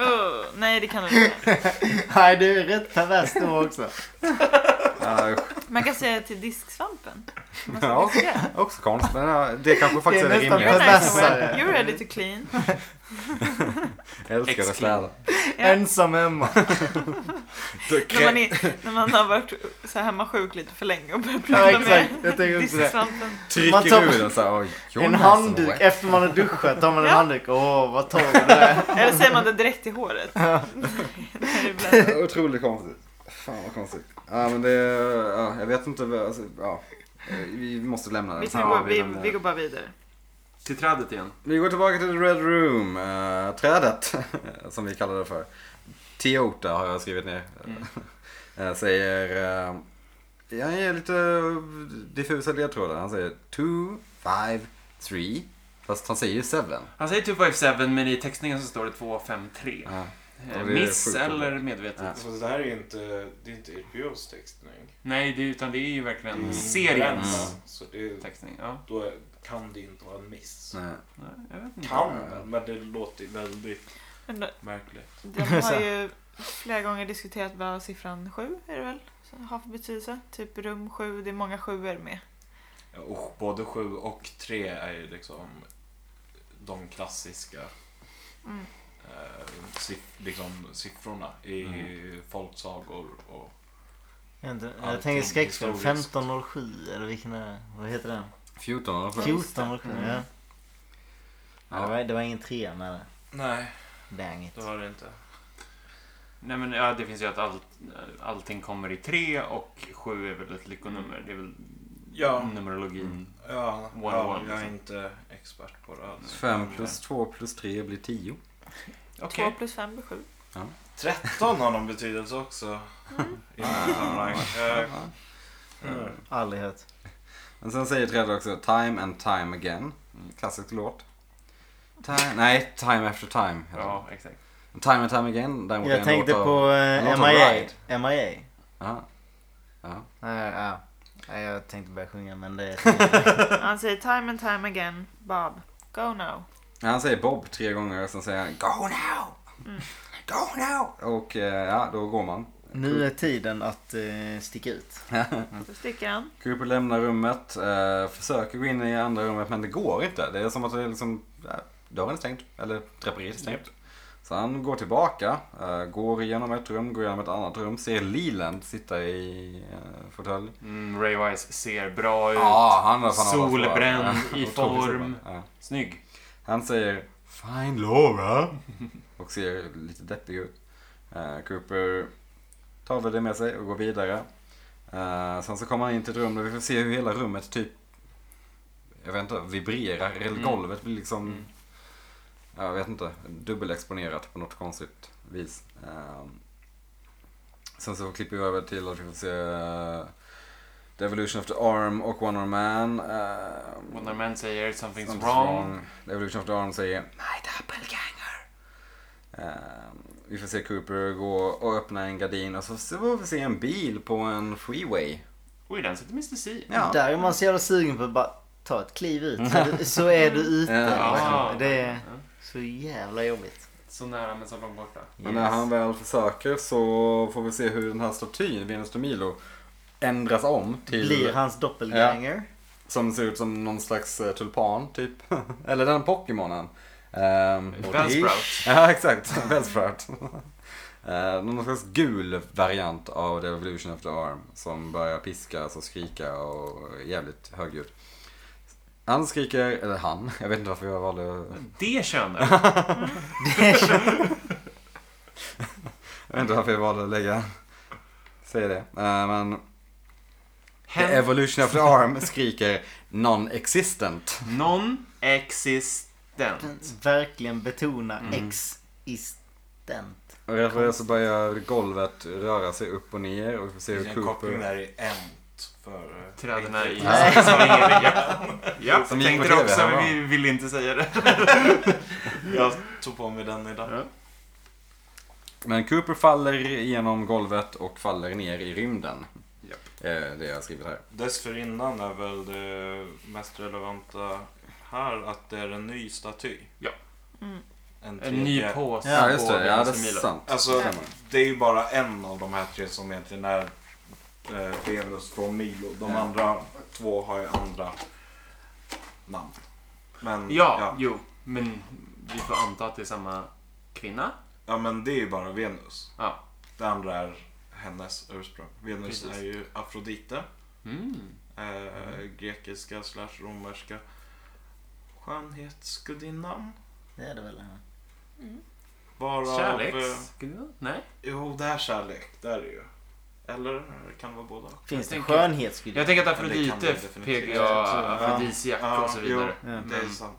[SPEAKER 2] Ugh, nej, det kan du inte.
[SPEAKER 1] Nej, du är rätt pervers då också.
[SPEAKER 3] Eh,
[SPEAKER 2] Man kan säga till disksvampen. Man ska
[SPEAKER 3] ja,
[SPEAKER 2] diska.
[SPEAKER 3] också konstigt. Men ja, det kanske faktiskt är
[SPEAKER 1] Det är
[SPEAKER 3] det
[SPEAKER 1] nästan
[SPEAKER 3] rimliga.
[SPEAKER 2] You're nice and
[SPEAKER 1] Perversare.
[SPEAKER 2] wet. You're ready to
[SPEAKER 1] *laughs*
[SPEAKER 2] clean.
[SPEAKER 3] Jag älskar det
[SPEAKER 5] Excellent.
[SPEAKER 3] städa.
[SPEAKER 1] Ensam *laughs* hemma.
[SPEAKER 2] När man, är, när man har varit så här hemma sjuk lite för länge och börjar
[SPEAKER 1] Ja,
[SPEAKER 2] prata
[SPEAKER 1] exakt.
[SPEAKER 2] med
[SPEAKER 1] Jag tänker också det.
[SPEAKER 2] disksvampen.
[SPEAKER 1] Man
[SPEAKER 3] Trycker
[SPEAKER 1] tar-
[SPEAKER 3] ur den såhär.
[SPEAKER 1] En handduk. Efter man har duschat tar man en
[SPEAKER 2] Ja.
[SPEAKER 1] handduk. Åh, vad torr du är.
[SPEAKER 2] Eller säger man det direkt i håret? *laughs* När det blöder.
[SPEAKER 3] Otroligt konstigt. Fan vad konstigt. Ja men det, ja, jag vet inte. vad- Alltså, ja. Vi måste lämna den.
[SPEAKER 2] Vi,
[SPEAKER 3] här
[SPEAKER 2] kan gå, vi,
[SPEAKER 3] bilden.
[SPEAKER 2] vi går bara vidare.
[SPEAKER 5] Till trädet igen.
[SPEAKER 3] Vi går tillbaka till The Red Room, eh, trädet *laughs* som vi kallar det för. Teota har jag skrivit ner.
[SPEAKER 5] Mm.
[SPEAKER 3] *laughs* Eh, säger, eh, jag ger lite diffusa ledtrådar. Han säger 2, 5, 3. Fast han säger ju 7.
[SPEAKER 5] Han säger 257 men i textningen så står det 253.
[SPEAKER 3] Ja.
[SPEAKER 5] Eh,
[SPEAKER 3] Och det är
[SPEAKER 5] Miss
[SPEAKER 3] sjukt.
[SPEAKER 5] eller medvetet?
[SPEAKER 3] Ja.
[SPEAKER 4] Så det här är ju inte, det är inte RPOs textning.
[SPEAKER 5] Nej, det, utan det är ju verkligen
[SPEAKER 3] Mm.
[SPEAKER 4] Det är ju
[SPEAKER 5] seriens
[SPEAKER 4] gränsen, Så det,
[SPEAKER 5] textning. Ja.
[SPEAKER 4] då är- kan det inte vara en miss.
[SPEAKER 3] Nej.
[SPEAKER 5] Nej, jag vet inte.
[SPEAKER 4] Kan,
[SPEAKER 3] Mm.
[SPEAKER 4] men det låter ju väldigt
[SPEAKER 2] Men
[SPEAKER 3] *laughs*
[SPEAKER 2] då-
[SPEAKER 4] märkligt.
[SPEAKER 2] De har ju flera gånger diskuterat vad siffran 7 är det väl har för betydelse. Typ rum 7, det är många sjuor med.
[SPEAKER 4] Ja, Och både 7 och 3 är ju liksom de klassiska
[SPEAKER 2] Mm.
[SPEAKER 4] eh, siff- liksom, siffrorna i folksagor och
[SPEAKER 1] Jag, vet inte, jag
[SPEAKER 4] Allting
[SPEAKER 1] tänker skräckfilm.
[SPEAKER 4] historiskt.
[SPEAKER 1] 1507 eller vilken är det? Vad heter den?
[SPEAKER 3] 14 eller 7.
[SPEAKER 1] 1407 ja. Ja, det, var, det var ingen trea med det.
[SPEAKER 4] Nej,
[SPEAKER 1] Dang it.
[SPEAKER 4] det har det inte.
[SPEAKER 5] Nej, men ja, det finns ju att allt, allting kommer i tre och sju är väl ett lyckonummer. Det är väl
[SPEAKER 4] Ja.
[SPEAKER 5] numerologin.
[SPEAKER 4] Ja,
[SPEAKER 5] One
[SPEAKER 4] ja
[SPEAKER 5] one,
[SPEAKER 4] jag är
[SPEAKER 5] liksom.
[SPEAKER 4] inte expert på det alls.
[SPEAKER 3] 5 plus 2 plus 3 blir 10.
[SPEAKER 5] Okej.
[SPEAKER 2] 2 plus 5 blir 7.
[SPEAKER 4] 13 har någon betydelse också. I något sammanhang. Eh, mm.
[SPEAKER 1] Aldrig hört.
[SPEAKER 3] Men sen säger trädet också Time and time again. Klassisk låt. Time, nej, Time after time. heter den.
[SPEAKER 5] Ja, exakt.
[SPEAKER 3] Time and time again. Den var en
[SPEAKER 1] Jag tänkte
[SPEAKER 3] låt av-
[SPEAKER 1] på eh,
[SPEAKER 3] en låt av
[SPEAKER 1] MIA.
[SPEAKER 3] Ride.
[SPEAKER 1] MIA.
[SPEAKER 3] Ja. Ja.
[SPEAKER 1] Nej, ja. Nej, jag
[SPEAKER 3] *laughs*
[SPEAKER 1] tänkte börja sjunga men det...
[SPEAKER 2] Han säger time and time again, Bob, go now.
[SPEAKER 3] Han säger Bob tre gånger och sen säger han Go now! Go now! Och eh, ja, då går man.
[SPEAKER 1] Nu är tiden att eh, sticka ut.
[SPEAKER 3] Mm.
[SPEAKER 2] Då sticker han.
[SPEAKER 3] Cooper lämnar rummet, eh, försöker gå in i andra rummet men det går inte. Det är som att det är liksom, eh, dörren är stängd, eller draperiet är stängt. Så han går tillbaka, eh, går igenom ett rum, går igenom ett annat rum, ser Leland sitta i eh, fåtölj.
[SPEAKER 5] Mm, Ray Wise ser bra ut.
[SPEAKER 3] Ja, han har fan alla
[SPEAKER 5] Solbränd,
[SPEAKER 3] svar.
[SPEAKER 5] i
[SPEAKER 3] Otroligt
[SPEAKER 5] form.
[SPEAKER 3] solbränd. Ja.
[SPEAKER 5] Snygg.
[SPEAKER 3] Han säger Fine Laura *laughs* och ser lite deppig ut. Eh, Cooper tar väl det med sig och går vidare. Eh, sen så kommer han in till ett rum där vi får se hur hela rummet typ jag vet inte, vibrerar. Eller
[SPEAKER 5] Mm.
[SPEAKER 3] golvet blir liksom
[SPEAKER 5] Mm.
[SPEAKER 3] jag vet inte, dubbelexponerat på något konstigt vis. Eh, sen så klipper vi över till att vi får se eh, The Evolution of the Arm och One Arm Man. eh,
[SPEAKER 5] When a man säger something's,
[SPEAKER 3] Something's
[SPEAKER 5] wrong.
[SPEAKER 3] The Evolution of the Arm säger My doppelganger. Eh, vi får se Cooper gå och öppna en gardin och så så får vi se en bil på en freeway.
[SPEAKER 5] Oj, den sitter Mr. C.
[SPEAKER 3] Ja.
[SPEAKER 1] Där är man så jävla sugen på att bara ta ett kliv
[SPEAKER 3] *laughs*
[SPEAKER 1] ut. Så, du- så är du ute.
[SPEAKER 3] Ja.
[SPEAKER 1] Liksom. Det är så jävla jobbigt.
[SPEAKER 5] Så nära men så långt borta.
[SPEAKER 3] Men när han väl försöker så får vi se hur den här statyn, Venus de Milo, ändras om till...
[SPEAKER 1] Blir hans doppelganger.
[SPEAKER 3] Som ser ut som någon slags eh, tulpan typ. *laughs* Eller den Pokémonen. Um,
[SPEAKER 5] Bellsprout.
[SPEAKER 3] Ja, exakt. *laughs* Bellsprout. Eh, någon slags gul variant av The Evolution of the Arm som börjar piska och skrika och är jävligt högljudd. Han skriker, eller han, *laughs* jag vet inte varför jag valde att-
[SPEAKER 5] Det könet.
[SPEAKER 3] Jag vet inte varför jag valde att lägga Säg det. Eh, men The
[SPEAKER 5] Hen-
[SPEAKER 3] Evolution of the Arm skriker non-existent.
[SPEAKER 5] Non-existent.
[SPEAKER 1] Verkligen betona
[SPEAKER 3] Mm.
[SPEAKER 1] existent.
[SPEAKER 3] Och därför så börjar golvet röra sig upp och ner och vi får se
[SPEAKER 4] Det
[SPEAKER 3] hur
[SPEAKER 4] är en koppling
[SPEAKER 3] Cooper...
[SPEAKER 4] där i ämt för... eh,
[SPEAKER 5] Träderna i...
[SPEAKER 4] Nej.
[SPEAKER 5] *laughs* Som ingen begrepp. Ja,
[SPEAKER 3] Som
[SPEAKER 5] som
[SPEAKER 3] gick
[SPEAKER 5] tänkte
[SPEAKER 3] på
[SPEAKER 5] det
[SPEAKER 3] TV
[SPEAKER 5] också, men
[SPEAKER 3] häromdagen.
[SPEAKER 5] vi vill inte säga det.
[SPEAKER 4] Jag tog på mig den idag.
[SPEAKER 3] Men Cooper faller genom golvet och faller ner i rymden.
[SPEAKER 5] Japp.
[SPEAKER 3] Eh, Det jag har skrivit här.
[SPEAKER 4] Dessförinnan är väl det mest relevanta här att det är en ny staty.
[SPEAKER 5] Ja.
[SPEAKER 2] Mm.
[SPEAKER 5] En ny påse
[SPEAKER 3] Ja, just
[SPEAKER 5] på
[SPEAKER 3] det. Ja, det är
[SPEAKER 5] Venus de Milo.
[SPEAKER 3] sant.
[SPEAKER 4] Alltså,
[SPEAKER 3] Stämmer.
[SPEAKER 4] det är ju bara en av de här tre som egentligen är eh, Venus från Milo. De
[SPEAKER 3] Ja.
[SPEAKER 4] andra två har ju andra namn. Men,
[SPEAKER 5] Ja, jo. Men vi får anta att det är samma kvinna.
[SPEAKER 4] ja, men det är ju bara Venus.
[SPEAKER 5] Ja.
[SPEAKER 4] Det andra är hennes ursprung. Venus
[SPEAKER 5] Precis.
[SPEAKER 4] är ju Afrodite.
[SPEAKER 5] Mm.
[SPEAKER 4] Eh, grekiska slash romerska skönhetsgudinnan.
[SPEAKER 1] Det är det väl. ja.
[SPEAKER 4] Varav, eh,
[SPEAKER 5] Kärleks... Nej.
[SPEAKER 4] Jo, det är kärlek. Det är det ju. Eller kan det vara båda?
[SPEAKER 1] Finns det
[SPEAKER 5] tänker-
[SPEAKER 1] skönhetsgudinna?
[SPEAKER 5] Jag tänker att
[SPEAKER 4] Ja, det kan det
[SPEAKER 5] Afrodite
[SPEAKER 4] definitivt.
[SPEAKER 5] pekar
[SPEAKER 4] Ja,
[SPEAKER 5] afrodisiak
[SPEAKER 4] ja,
[SPEAKER 5] och så vidare.
[SPEAKER 1] jo,
[SPEAKER 4] Det är
[SPEAKER 5] Men-
[SPEAKER 4] sant.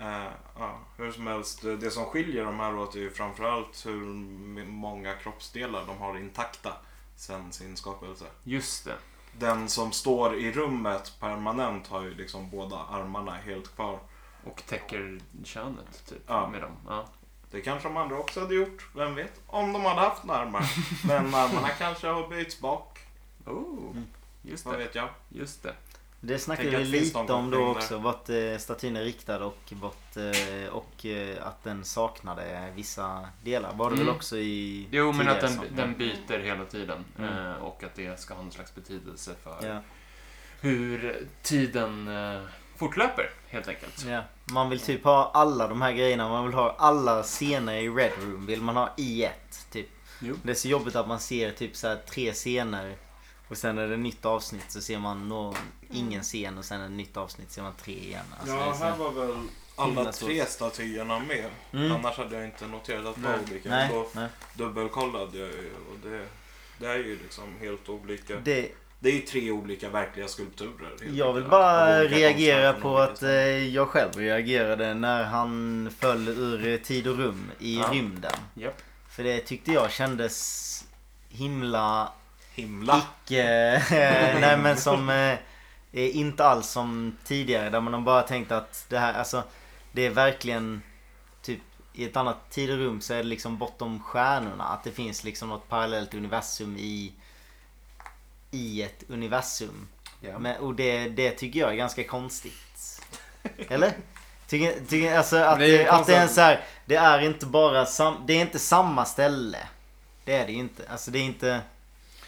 [SPEAKER 4] Eh, ja, hur som helst, eh, det det som skiljer de här åt är ju framförallt hur m- många kroppsdelar de har intakta sen sin skapelse.
[SPEAKER 5] Just det.
[SPEAKER 4] Den som står i rummet permanent har ju liksom båda armarna helt kvar.
[SPEAKER 5] Och täcker könet typ
[SPEAKER 4] Ja.
[SPEAKER 5] med dem. Ja.
[SPEAKER 4] Det kanske de andra också hade gjort, vem vet? Om de hade haft några *laughs* armar. Men armarna kanske har böjts bak,
[SPEAKER 5] Oh. Just
[SPEAKER 4] vad
[SPEAKER 5] det.
[SPEAKER 4] vet jag?
[SPEAKER 5] Just det.
[SPEAKER 1] Det snackade
[SPEAKER 4] Tänker
[SPEAKER 1] vi
[SPEAKER 4] att det finns
[SPEAKER 1] lite
[SPEAKER 4] någon
[SPEAKER 1] om då
[SPEAKER 4] koppling där.
[SPEAKER 1] också. Vart eh, statyn är riktad och, vart, eh, och eh, att den saknade vissa delar. Var det
[SPEAKER 5] Mm.
[SPEAKER 1] väl också i...
[SPEAKER 5] Jo, men att
[SPEAKER 1] tidigare
[SPEAKER 5] den,
[SPEAKER 1] saker?
[SPEAKER 4] Mm.
[SPEAKER 5] den byter hela tiden.
[SPEAKER 1] Mm.
[SPEAKER 5] eh, Och att det ska ha någon slags betydelse för
[SPEAKER 1] Ja,
[SPEAKER 5] hur tiden eh, fortlöper, helt enkelt.
[SPEAKER 1] ja. Man vill typ ha alla de här grejerna. Man vill ha alla scener i Red Room. Vill man ha i ett. Typ.
[SPEAKER 5] Jo.
[SPEAKER 1] Det är så jobbigt att man ser typ så här tre scener. Och sen är det nytt avsnitt så ser man nå ingen scen och sen är det nytt avsnitt så ser man tre igen. Alltså, det är
[SPEAKER 4] Ja,
[SPEAKER 1] så-
[SPEAKER 4] här var väl alla
[SPEAKER 1] Himla svårt.
[SPEAKER 4] tre statyerna med.
[SPEAKER 1] Mm.
[SPEAKER 4] Annars hade jag inte noterat att det var
[SPEAKER 5] Nej.
[SPEAKER 4] olika.
[SPEAKER 1] Nej,
[SPEAKER 4] Då
[SPEAKER 1] nej.
[SPEAKER 4] dubbelkollade jag ju eh, och det, det är ju liksom helt olika. Det,
[SPEAKER 1] Det,
[SPEAKER 4] är ju tre olika verkliga skulpturer. helt
[SPEAKER 1] Jag vill
[SPEAKER 4] enkelt,
[SPEAKER 1] bara
[SPEAKER 4] av olika
[SPEAKER 1] reagera
[SPEAKER 4] konstnärer från
[SPEAKER 1] på
[SPEAKER 4] olika
[SPEAKER 1] att eh,
[SPEAKER 4] ställen.
[SPEAKER 1] jag själv reagerade när han föll ur eh, tid och rum i
[SPEAKER 5] Ja.
[SPEAKER 1] rymden.
[SPEAKER 5] Japp.
[SPEAKER 1] För det tyckte jag kändes himla
[SPEAKER 4] Himla!
[SPEAKER 1] icke... *laughs* nej men som... Eh, eh, inte alls som tidigare där man har bara tänkt att det här, alltså det är verkligen typ i ett annat tid och rum så är det liksom bortom stjärnorna. Att det finns liksom något parallellt universum i i ett universum. Men, och det, det tycker jag är ganska konstigt. Eller? Tycker, tycker, alltså att
[SPEAKER 3] det är ju
[SPEAKER 1] det, att det är en
[SPEAKER 3] konstigt.
[SPEAKER 1] så här, det är inte bara sam, det är inte samma ställe. Det är det ju inte. Alltså det är inte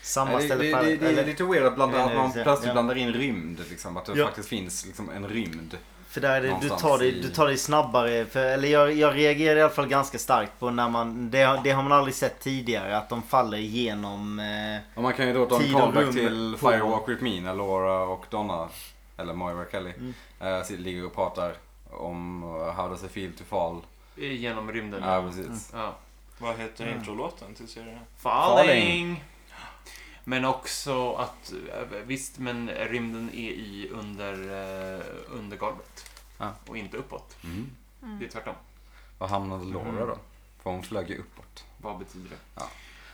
[SPEAKER 1] samma
[SPEAKER 3] Nej, Det,
[SPEAKER 1] ställe
[SPEAKER 3] det,
[SPEAKER 1] på
[SPEAKER 3] det, det är
[SPEAKER 1] eller-
[SPEAKER 3] lite weird att, blanda,
[SPEAKER 1] Eller-
[SPEAKER 3] att man plötsligt
[SPEAKER 1] Ja.
[SPEAKER 3] blandar in rymd. Liksom, att det
[SPEAKER 1] Ja.
[SPEAKER 3] faktiskt finns liksom, en rymd.
[SPEAKER 1] För där är det, du,
[SPEAKER 3] Någonstans
[SPEAKER 1] tar dig,
[SPEAKER 3] i-
[SPEAKER 1] du tar dig snabbare. För, eller jag, jag reagerar i alla fall ganska starkt på när man... Det, har- det har man aldrig sett tidigare. Att de faller igenom... Eh,
[SPEAKER 3] Och man kan ju då dra en
[SPEAKER 1] Tid och
[SPEAKER 3] callback
[SPEAKER 1] rum
[SPEAKER 3] till
[SPEAKER 1] på-
[SPEAKER 3] Firewalk With Me när Laura och Donna, eller Moira Kelly,
[SPEAKER 1] Mm.
[SPEAKER 3] eh, sitter- ligger och pratar om eh, How does it feel to fall?
[SPEAKER 5] Genom rymden.
[SPEAKER 1] Mm.
[SPEAKER 3] Ja, precis.
[SPEAKER 5] Ja.
[SPEAKER 4] Vad heter introlåten till serien?
[SPEAKER 5] Falling.
[SPEAKER 3] Falling.
[SPEAKER 5] Men också att, eh, visst men rymden är i under, eh, under golvet.
[SPEAKER 3] Ja.
[SPEAKER 5] Och inte uppåt.
[SPEAKER 3] Mm.
[SPEAKER 5] Det är tvärtom.
[SPEAKER 3] Var hamnade Laura
[SPEAKER 1] Mm.
[SPEAKER 3] då? För hon flög ju uppåt.
[SPEAKER 5] Vad betyder det?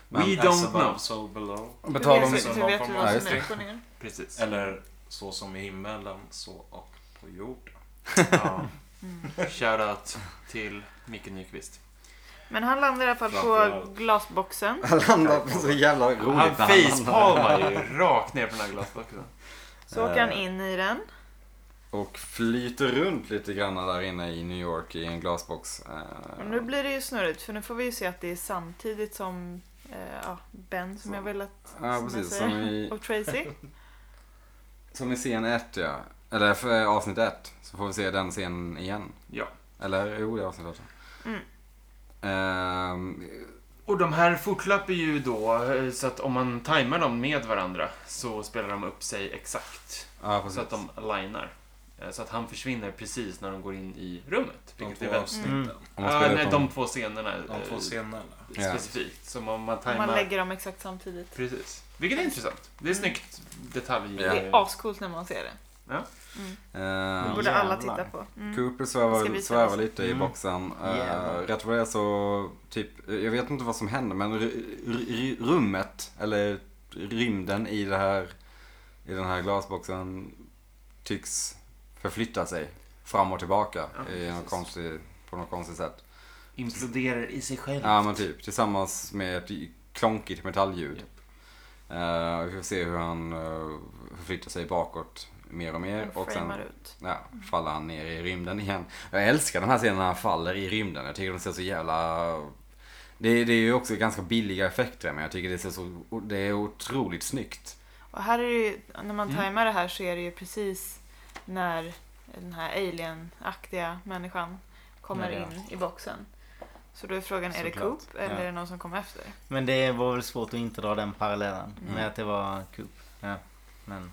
[SPEAKER 3] Men-
[SPEAKER 5] We
[SPEAKER 4] As
[SPEAKER 5] don't
[SPEAKER 4] above,
[SPEAKER 5] know.
[SPEAKER 4] So below.
[SPEAKER 3] Och
[SPEAKER 2] Du
[SPEAKER 3] betala om
[SPEAKER 2] vet,
[SPEAKER 4] så-
[SPEAKER 2] du vet hur
[SPEAKER 3] Ja,
[SPEAKER 2] vad
[SPEAKER 3] just
[SPEAKER 2] som
[SPEAKER 3] det.
[SPEAKER 2] är upp och ner.
[SPEAKER 5] Precis.
[SPEAKER 4] Eller så som i himmelen, så och på jorden.
[SPEAKER 5] Ja. Shoutout Mm. till Micke Nyqvist.
[SPEAKER 2] Men han landar i alla fall på
[SPEAKER 4] Framförallt.
[SPEAKER 2] glasboxen.
[SPEAKER 3] Han landar på så jävla roligt.
[SPEAKER 5] Han
[SPEAKER 3] när landar.
[SPEAKER 5] facepalmar ju rakt ner på den här glasboxen.
[SPEAKER 2] Så åker
[SPEAKER 3] Eh,
[SPEAKER 2] han in i den.
[SPEAKER 3] Och flyter runt lite grann där inne i New York i en glasbox. eh,
[SPEAKER 2] Och nu blir det ju snurrigt för nu får vi ju se att det är samtidigt som eh, ja, Ben som jag vill att
[SPEAKER 3] Ja,
[SPEAKER 2] som jag
[SPEAKER 3] precis.
[SPEAKER 2] säger,
[SPEAKER 3] Som i,
[SPEAKER 2] *laughs* och Tracy.
[SPEAKER 3] som i scen 1, ja. Eller för avsnitt 1. Så får vi se den scenen igen.
[SPEAKER 5] Ja.
[SPEAKER 3] Eller, jo, det är avsnitt 8.
[SPEAKER 2] Mm.
[SPEAKER 3] Ehm,
[SPEAKER 5] Och de här fortlöper ju då eh, så att om man tajmar dem med varandra så spelar de upp sig exakt.
[SPEAKER 3] ja, precis.
[SPEAKER 5] Så att de linar. Eh, Så att han försvinner precis när de går in i rummet.
[SPEAKER 4] De
[SPEAKER 5] Vilket
[SPEAKER 4] två
[SPEAKER 5] är väldigt
[SPEAKER 4] avsnitten.
[SPEAKER 1] mm.
[SPEAKER 4] Mm.
[SPEAKER 3] Om man
[SPEAKER 5] Ja,
[SPEAKER 3] spelar
[SPEAKER 5] nej,
[SPEAKER 3] upp
[SPEAKER 5] de
[SPEAKER 3] dem.
[SPEAKER 5] två scenerna.
[SPEAKER 4] De
[SPEAKER 5] eh,
[SPEAKER 4] två scenerna.
[SPEAKER 3] Ja.
[SPEAKER 5] Specifikt. Som om man
[SPEAKER 2] Om
[SPEAKER 5] tajmar.
[SPEAKER 2] man lägger dem exakt samtidigt.
[SPEAKER 5] Precis. Vilket är intressant. Det är snyggt detalj.
[SPEAKER 3] Ja.
[SPEAKER 2] Det är ascoolt när man ser det. Det
[SPEAKER 3] Ehm,
[SPEAKER 2] borde alla
[SPEAKER 1] Jävlar.
[SPEAKER 2] titta på. Mm.
[SPEAKER 3] Cooper
[SPEAKER 2] Ska
[SPEAKER 3] svävar,
[SPEAKER 2] vi
[SPEAKER 3] svävar
[SPEAKER 2] sätta
[SPEAKER 3] lite i
[SPEAKER 1] Mm.
[SPEAKER 3] boxen. Eh,
[SPEAKER 1] Jävlar.
[SPEAKER 3] rätt vad det är så, typ, eh, jag vet inte vad som händer men r- r- rummet, eller rymden i, det här, i den här glasboxen tycks förflytta sig fram och tillbaka
[SPEAKER 5] Ja,
[SPEAKER 3] i någon
[SPEAKER 5] precis.
[SPEAKER 3] konstig, på något konstigt sätt.
[SPEAKER 5] Imploderar i sig själv.
[SPEAKER 3] Ja men typ, tillsammans med ett klonkigt metallljud.
[SPEAKER 5] Japp.
[SPEAKER 3] Eh, vi får se hur han eh, förflyttar sig bakåt mer och mer.
[SPEAKER 2] Och
[SPEAKER 3] Och sen
[SPEAKER 2] framar ut.
[SPEAKER 3] Ja, faller han ner i rymden igen. Jag älskar den här scenen när han faller i rymden. Jag tycker den ser så jävla... Det, det är ju också ganska billiga effekter men jag tycker det ser så... Det är otroligt snyggt.
[SPEAKER 2] Och här är det ju, när
[SPEAKER 1] Mm.
[SPEAKER 2] man tajmar det här så är det ju precis när den här alien-aktiga människan kommer
[SPEAKER 3] Ja, ja.
[SPEAKER 2] in i boxen. Så då är frågan, är det
[SPEAKER 1] Såklart.
[SPEAKER 2] Coop eller
[SPEAKER 1] Ja.
[SPEAKER 2] är det någon som kommer efter?
[SPEAKER 1] Men det var väl svårt att inte dra den parallellen.
[SPEAKER 2] Mm.
[SPEAKER 1] Med att det var Coop. Ja. Men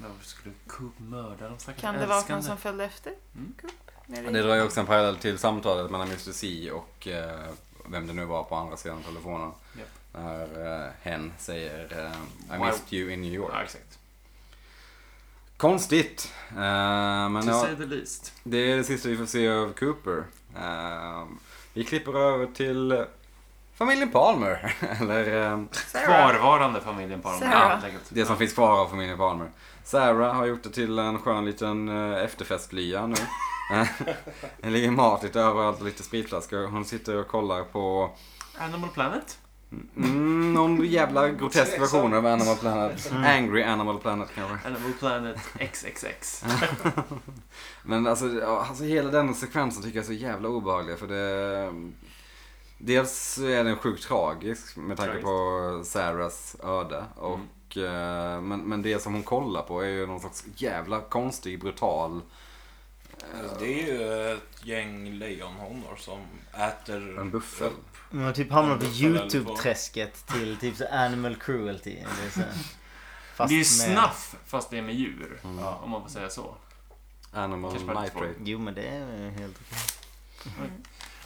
[SPEAKER 5] Varför skulle Coop mörda de stackars
[SPEAKER 2] Kan det vara någon
[SPEAKER 5] älskande?
[SPEAKER 2] som följde efter
[SPEAKER 5] Mm.
[SPEAKER 2] Coop? Nere i-
[SPEAKER 3] Det drar ju också en parallell till samtalet mellan Mr. C och eh, vem det nu var på andra sidan telefonen.
[SPEAKER 5] Japp.
[SPEAKER 3] När eh, hen säger eh, I
[SPEAKER 5] Wow.
[SPEAKER 3] missed you in New York.
[SPEAKER 5] Ja, exakt.
[SPEAKER 3] Konstigt. Eh, men
[SPEAKER 5] to
[SPEAKER 3] ja,
[SPEAKER 5] say the least.
[SPEAKER 3] det är det sista vi får se av Cooper. Eh, vi klipper över till familjen Palmer. *laughs* Eller... eh,
[SPEAKER 5] Kvarvarande familjen Palmer.
[SPEAKER 2] Sarah.
[SPEAKER 5] helt enkelt.
[SPEAKER 3] Det som finns kvar av familjen Palmer. Sarah har gjort det till en skön liten eh, efterfestlya nu. *laughs* det ligger mat lite överallt och lite spritflaskor. Hon sitter och kollar på
[SPEAKER 5] Animal Planet.
[SPEAKER 3] mm, någon jävla grotesk
[SPEAKER 4] Tveksam.
[SPEAKER 3] version av Animal Planet. Angry Animal Planet kanske.
[SPEAKER 5] Animal Planet XXX.
[SPEAKER 3] *laughs* Men alltså, ja, alltså hela den sekvensen tycker jag är så jävla obehaglig för det... Dels är den sjukt tragisk med tanke
[SPEAKER 5] Tragiskt.
[SPEAKER 3] på Sarahs öde. Och,
[SPEAKER 5] Mm.
[SPEAKER 3] eh, men, men det som hon kollar på är ju någon slags jävla konstig, brutal...
[SPEAKER 4] Alltså, Det är ju ett gäng lejonhonor som äter
[SPEAKER 3] eh, En buffel.
[SPEAKER 4] upp.
[SPEAKER 1] man typ hamnar på
[SPEAKER 4] Ja, det är parallell
[SPEAKER 1] YouTube-träsket till typ så Animal Cruelty. Eller så. här. Fast
[SPEAKER 5] det är ju
[SPEAKER 1] med-
[SPEAKER 5] snaff fast det är med djur.
[SPEAKER 3] Mm.
[SPEAKER 5] Ja, Om man får säga så.
[SPEAKER 3] Animal
[SPEAKER 5] Kanske bara
[SPEAKER 3] nitrate.
[SPEAKER 1] Jo men det är ju helt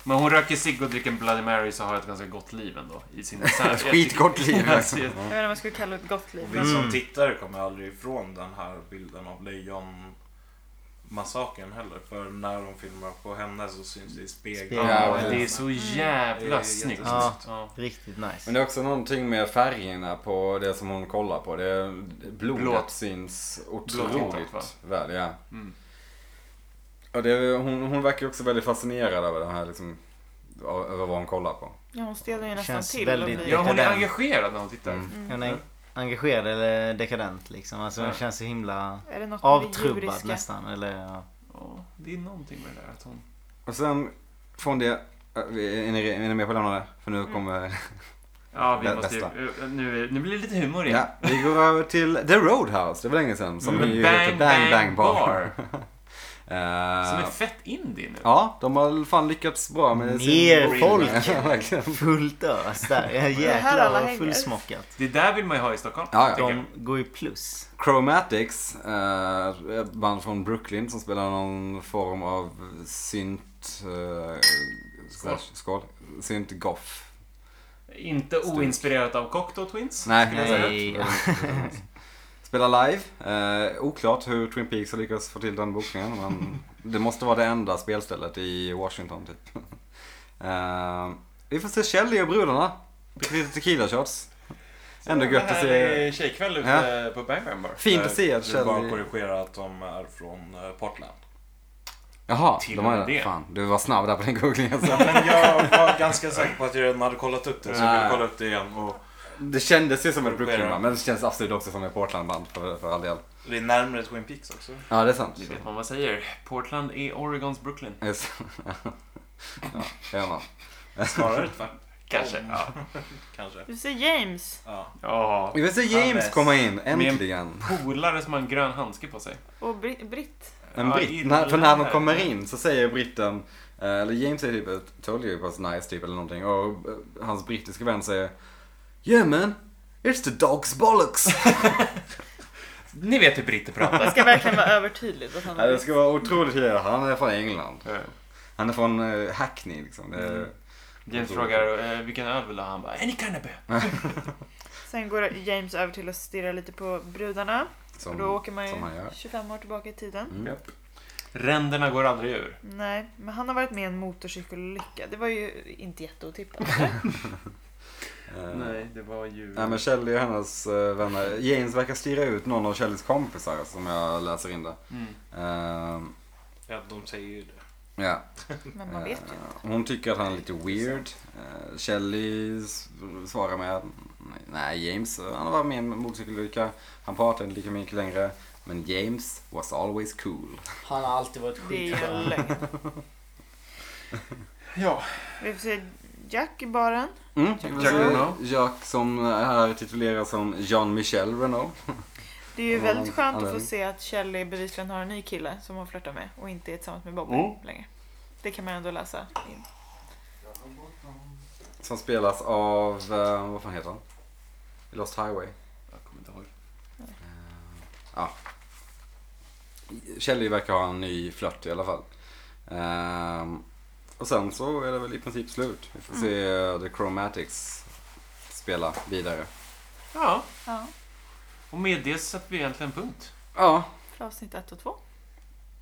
[SPEAKER 5] Men hon röker cigg och dricker en Bloody Mary så har ett ganska gott liv ändå. I
[SPEAKER 3] *laughs*
[SPEAKER 5] sin dessert.
[SPEAKER 3] Skitgott
[SPEAKER 5] *laughs*
[SPEAKER 3] liv. liksom.
[SPEAKER 5] Alltså, jag-
[SPEAKER 2] Jag vet inte om jag skulle kalla det ett gott liv.
[SPEAKER 4] Och
[SPEAKER 2] men-
[SPEAKER 4] vi som
[SPEAKER 1] Mm.
[SPEAKER 4] tittare kommer aldrig ifrån den här bilden av lejon heller. För när de filmar på henne så syns det i spegeln.
[SPEAKER 5] Ja,
[SPEAKER 3] Ja,
[SPEAKER 5] det är så
[SPEAKER 4] Det
[SPEAKER 5] jävla
[SPEAKER 4] är
[SPEAKER 5] snyggt.
[SPEAKER 1] jättesnyggt.
[SPEAKER 5] Ja.
[SPEAKER 1] riktigt
[SPEAKER 3] Men
[SPEAKER 1] nice.
[SPEAKER 3] det är också någonting med färgerna på det som hon kollar på. Det är, blodet
[SPEAKER 5] Blått.
[SPEAKER 3] syns
[SPEAKER 5] Blått, va?
[SPEAKER 3] otroligt väl. Ja.
[SPEAKER 5] Mm.
[SPEAKER 3] Och det, hon, hon verkar också väldigt fascinerad över det här liksom, av- över vad hon kollar på.
[SPEAKER 2] Ja, hon stelnar ju nästan
[SPEAKER 1] Känns
[SPEAKER 2] till.
[SPEAKER 1] väldigt-
[SPEAKER 2] och blir-
[SPEAKER 5] ja, hon är
[SPEAKER 1] Dekadent.
[SPEAKER 5] engagerad när hon tittar.
[SPEAKER 3] Mm.
[SPEAKER 2] Mm.
[SPEAKER 1] Hon är engagerad eller dekadent liksom. Alltså hon
[SPEAKER 5] Ja.
[SPEAKER 1] känns så himla
[SPEAKER 2] Är det något med det
[SPEAKER 1] avtrubbad
[SPEAKER 2] djuriska?
[SPEAKER 1] nästan. Eller ja.
[SPEAKER 5] Ja, ja, det är någonting med det där att hon...
[SPEAKER 3] Och sen från det, eh, vi- är ni, är ni med på att lämna det? För nu
[SPEAKER 2] Mm.
[SPEAKER 3] kommer...
[SPEAKER 5] Ja, vi
[SPEAKER 3] Bä-
[SPEAKER 5] måste ju,
[SPEAKER 3] bästa.
[SPEAKER 5] eh, nu, nu blir det lite humor igen.
[SPEAKER 3] Ja, vi går över till The Roadhouse, det var länge sedan. Som
[SPEAKER 5] Mm.
[SPEAKER 3] ju
[SPEAKER 5] Bang,
[SPEAKER 3] heter Bang
[SPEAKER 5] Bang
[SPEAKER 3] Bang Bar. *laughs*
[SPEAKER 5] Som är
[SPEAKER 3] Eh,
[SPEAKER 5] fett indie nu.
[SPEAKER 3] Ja, de har fan lyckats bra med
[SPEAKER 1] Mer folk.
[SPEAKER 3] *laughs* Ja, verkligen.
[SPEAKER 1] Fullt ös
[SPEAKER 3] *laughs*
[SPEAKER 1] där. Ja,
[SPEAKER 2] här alla
[SPEAKER 1] Jäklar vad
[SPEAKER 2] hänger.
[SPEAKER 1] fullsmockat.
[SPEAKER 5] Det där vill man ju ha i Stockholm.
[SPEAKER 3] Ja, ja.
[SPEAKER 5] tänker jag.
[SPEAKER 1] De går ju plus.
[SPEAKER 3] Chromatics, eh, band från Brooklyn som spelar någon form av synt... Eh,
[SPEAKER 5] Skål.
[SPEAKER 3] skål. Synt goff.
[SPEAKER 5] Inte oinspirerat av Cocteau Twins.
[SPEAKER 3] Nej,
[SPEAKER 5] skulle jag säga.
[SPEAKER 1] Nej.
[SPEAKER 3] *laughs* Spelar live. Eh, oklart hur Twin Peaks har lyckats få till den bokningen. Men det måste vara det enda spelstället i Washington typ. *laughs* Eh, vi får se Kjell och brudarna. Dricker lite tequila shots. Ändå gött att se.
[SPEAKER 6] är tjejkväll ute på Bang Bang Bar.
[SPEAKER 3] Fint att se att
[SPEAKER 4] Jag vill Eh, bara
[SPEAKER 3] Kjell...
[SPEAKER 4] korrigera att de är från eh, Portland.
[SPEAKER 3] Jaha,
[SPEAKER 5] Till
[SPEAKER 3] de
[SPEAKER 5] och med
[SPEAKER 3] har...
[SPEAKER 5] det.
[SPEAKER 3] Fan, du var snabb där på den *laughs* googlingen.
[SPEAKER 4] *laughs* Ja, men jag var ganska säker på att jag redan hade kollat upp det, så jag ville
[SPEAKER 3] Nej.
[SPEAKER 4] kolla upp det igen. Och
[SPEAKER 3] Det kändes ju som ett Brooklyn-band, men det känns absolut också som ett Portland-band för, för all del.
[SPEAKER 4] det är närmare Twin Peaks också.
[SPEAKER 3] Ja, det är sant.
[SPEAKER 5] Nu vet man vad jag säger. Portland är Oregons Brooklyn.
[SPEAKER 3] Just- *laughs* ja, det gör man.
[SPEAKER 4] Snarare tvärtom,
[SPEAKER 6] Mm.
[SPEAKER 5] Kanske. Ja.
[SPEAKER 4] kanske.
[SPEAKER 2] Du ser James
[SPEAKER 4] Ja.
[SPEAKER 5] ja.
[SPEAKER 3] Vi vill se James
[SPEAKER 4] Hannes.
[SPEAKER 3] komma in, äntligen.
[SPEAKER 5] Polare som har en grön handske på sig.
[SPEAKER 2] och Bri- Britt.
[SPEAKER 3] En
[SPEAKER 5] Ja,
[SPEAKER 3] britt.
[SPEAKER 5] gillar
[SPEAKER 3] När, för när de
[SPEAKER 5] det.
[SPEAKER 3] kommer in så säger britten, eh, eller James säger typ "I told you it was nice typ eller någonting. Och eh, hans brittiska vän säger Yeah man, it's the dog's bollocks.
[SPEAKER 5] Ni vet hur britter pratar.
[SPEAKER 2] Det ska verkligen vara övertydligt att han
[SPEAKER 3] ja,
[SPEAKER 2] är
[SPEAKER 3] det
[SPEAKER 2] britt.
[SPEAKER 3] ska vara otroligt kul. Han är från England.
[SPEAKER 5] Eh,
[SPEAKER 3] Han är från eh, Hackney liksom. Det är-
[SPEAKER 5] James frågar eh, vilken öl vill du ha? Han bara, any kind of beer.
[SPEAKER 2] Sen går James över till att stirra lite på brudarna.
[SPEAKER 3] som,
[SPEAKER 2] och då åker man ju
[SPEAKER 3] som han gör.
[SPEAKER 2] 25 år tillbaka i tiden.
[SPEAKER 3] Mm.
[SPEAKER 5] Ränderna går aldrig ur.
[SPEAKER 2] Nej, men han har varit med i en motorcykelolycka. Det var ju inte jätteotippat. eller?
[SPEAKER 3] Eh,
[SPEAKER 5] det var ju...
[SPEAKER 3] Nej men Kjell är hennes eh, vänner. James verkar styra ut någon av Kjellis kompisar som jag läser in det.
[SPEAKER 5] Mm.
[SPEAKER 3] Ehm,
[SPEAKER 4] Ja, de säger ju det.
[SPEAKER 3] ja.
[SPEAKER 2] Men man vet ju.
[SPEAKER 3] Eh, Hon tycker att han är lite weird. Eh, Shelly s- svarar med att nej James, eh, han har varit med i en motorcykelolycka. Han pratar inte lika mycket längre. Men James was always cool.
[SPEAKER 1] Han har alltid varit
[SPEAKER 2] Det är ju en lögn.
[SPEAKER 5] *laughs* Ja.
[SPEAKER 2] Vi får se Jack i baren.
[SPEAKER 3] Mm.
[SPEAKER 5] Jack Renault.
[SPEAKER 3] Jack som här tituleras som Jean-Michel Renault.
[SPEAKER 2] Det är ju
[SPEAKER 3] Ja,
[SPEAKER 2] väldigt skönt att få
[SPEAKER 3] anledning.
[SPEAKER 2] se att Kelly bevisligen har en ny kille som hon flörtar med och inte är tillsammans med Bobby
[SPEAKER 5] Mm.
[SPEAKER 2] längre. Det kan man ändå läsa in.
[SPEAKER 3] Som spelas av, eh, vad fan heter han? I Lost Highway. Eh,
[SPEAKER 5] Jag kommer inte ihåg.
[SPEAKER 3] Kjell verkar ha en ny flört i alla fall. Ehm, och sen så är det väl i princip slut. Vi får se
[SPEAKER 5] Mm.
[SPEAKER 3] eh, The Chromatics spela vidare.
[SPEAKER 5] Ja,
[SPEAKER 2] Ja,
[SPEAKER 5] och med det sätter vi egentligen punkt.
[SPEAKER 3] Ja,
[SPEAKER 2] för avsnitt 1 och 2.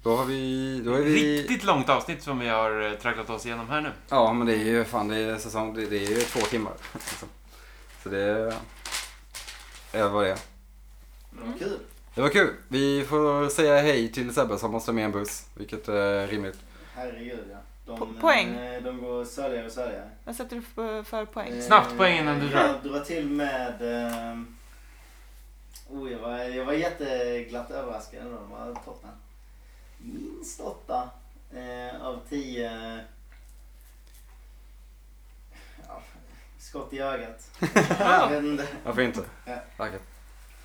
[SPEAKER 3] då har vi... Då är vi
[SPEAKER 5] Riktigt långt avsnitt som vi har eh, tragglat oss igenom här nu.
[SPEAKER 3] ja, men det är ju fan det är säsong... Det, det är ju två timmar. *laughs* liksom. Så det... Är vad det är.
[SPEAKER 4] Kul.
[SPEAKER 3] Det var kul. Vi får säga hej till Sebbe som måste med en buss. Vilket är rimligt.
[SPEAKER 1] Herregud ja.
[SPEAKER 2] Po- poäng.
[SPEAKER 1] eh, De går sörjare och sörjare.
[SPEAKER 2] Vad sätter du för, för poäng?
[SPEAKER 1] Eh,
[SPEAKER 5] Snabbt poäng innan du
[SPEAKER 1] Jag drar till med... ehm, Oh, jag, var, jag var jätteglatt överraskad när de var toppen. Minst åtta eh, av tio ja, skott i ögat. jag vet inte.
[SPEAKER 3] Varför inte?
[SPEAKER 1] Ja.
[SPEAKER 3] Tack.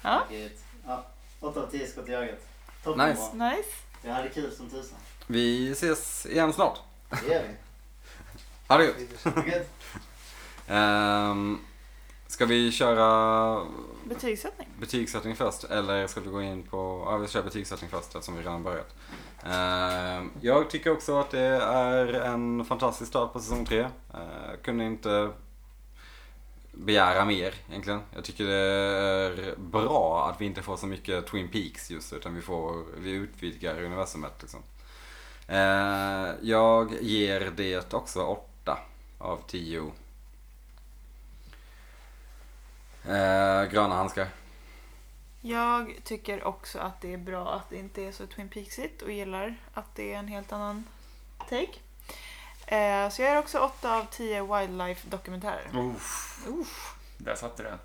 [SPEAKER 2] Ja,
[SPEAKER 1] Ja, åtta av tio skott i ögat. Toppen
[SPEAKER 3] Nice.
[SPEAKER 1] bra.
[SPEAKER 2] nice.
[SPEAKER 1] Jag hade kul som tusan.
[SPEAKER 3] Vi ses igen snart.
[SPEAKER 1] Det gör vi.
[SPEAKER 3] Ha det gött.
[SPEAKER 1] Gud.
[SPEAKER 3] Ehm, ska vi köra
[SPEAKER 2] Betygssättning.
[SPEAKER 3] betygssättning först eller ska vi gå in på, ja vi kör betygssättning först eftersom vi redan börjat. Ehm, jag tycker också att det är en fantastisk start på säsong tre. Uh, kunde inte begära mer egentligen. Jag tycker det är bra att vi inte får så mycket Twin Peaks just utan vi får, vi utvidgar universumet liksom. Ehm, jag ger det också 8 av 10 Ehm, gröna handskar.
[SPEAKER 2] Jag tycker också att det är bra att det inte är så Twin Peaksigt och gillar att det är en helt annan take. Eh, så jag är också 8 av 10 wildlife-dokumentärer.
[SPEAKER 5] Uff. Där satte du den.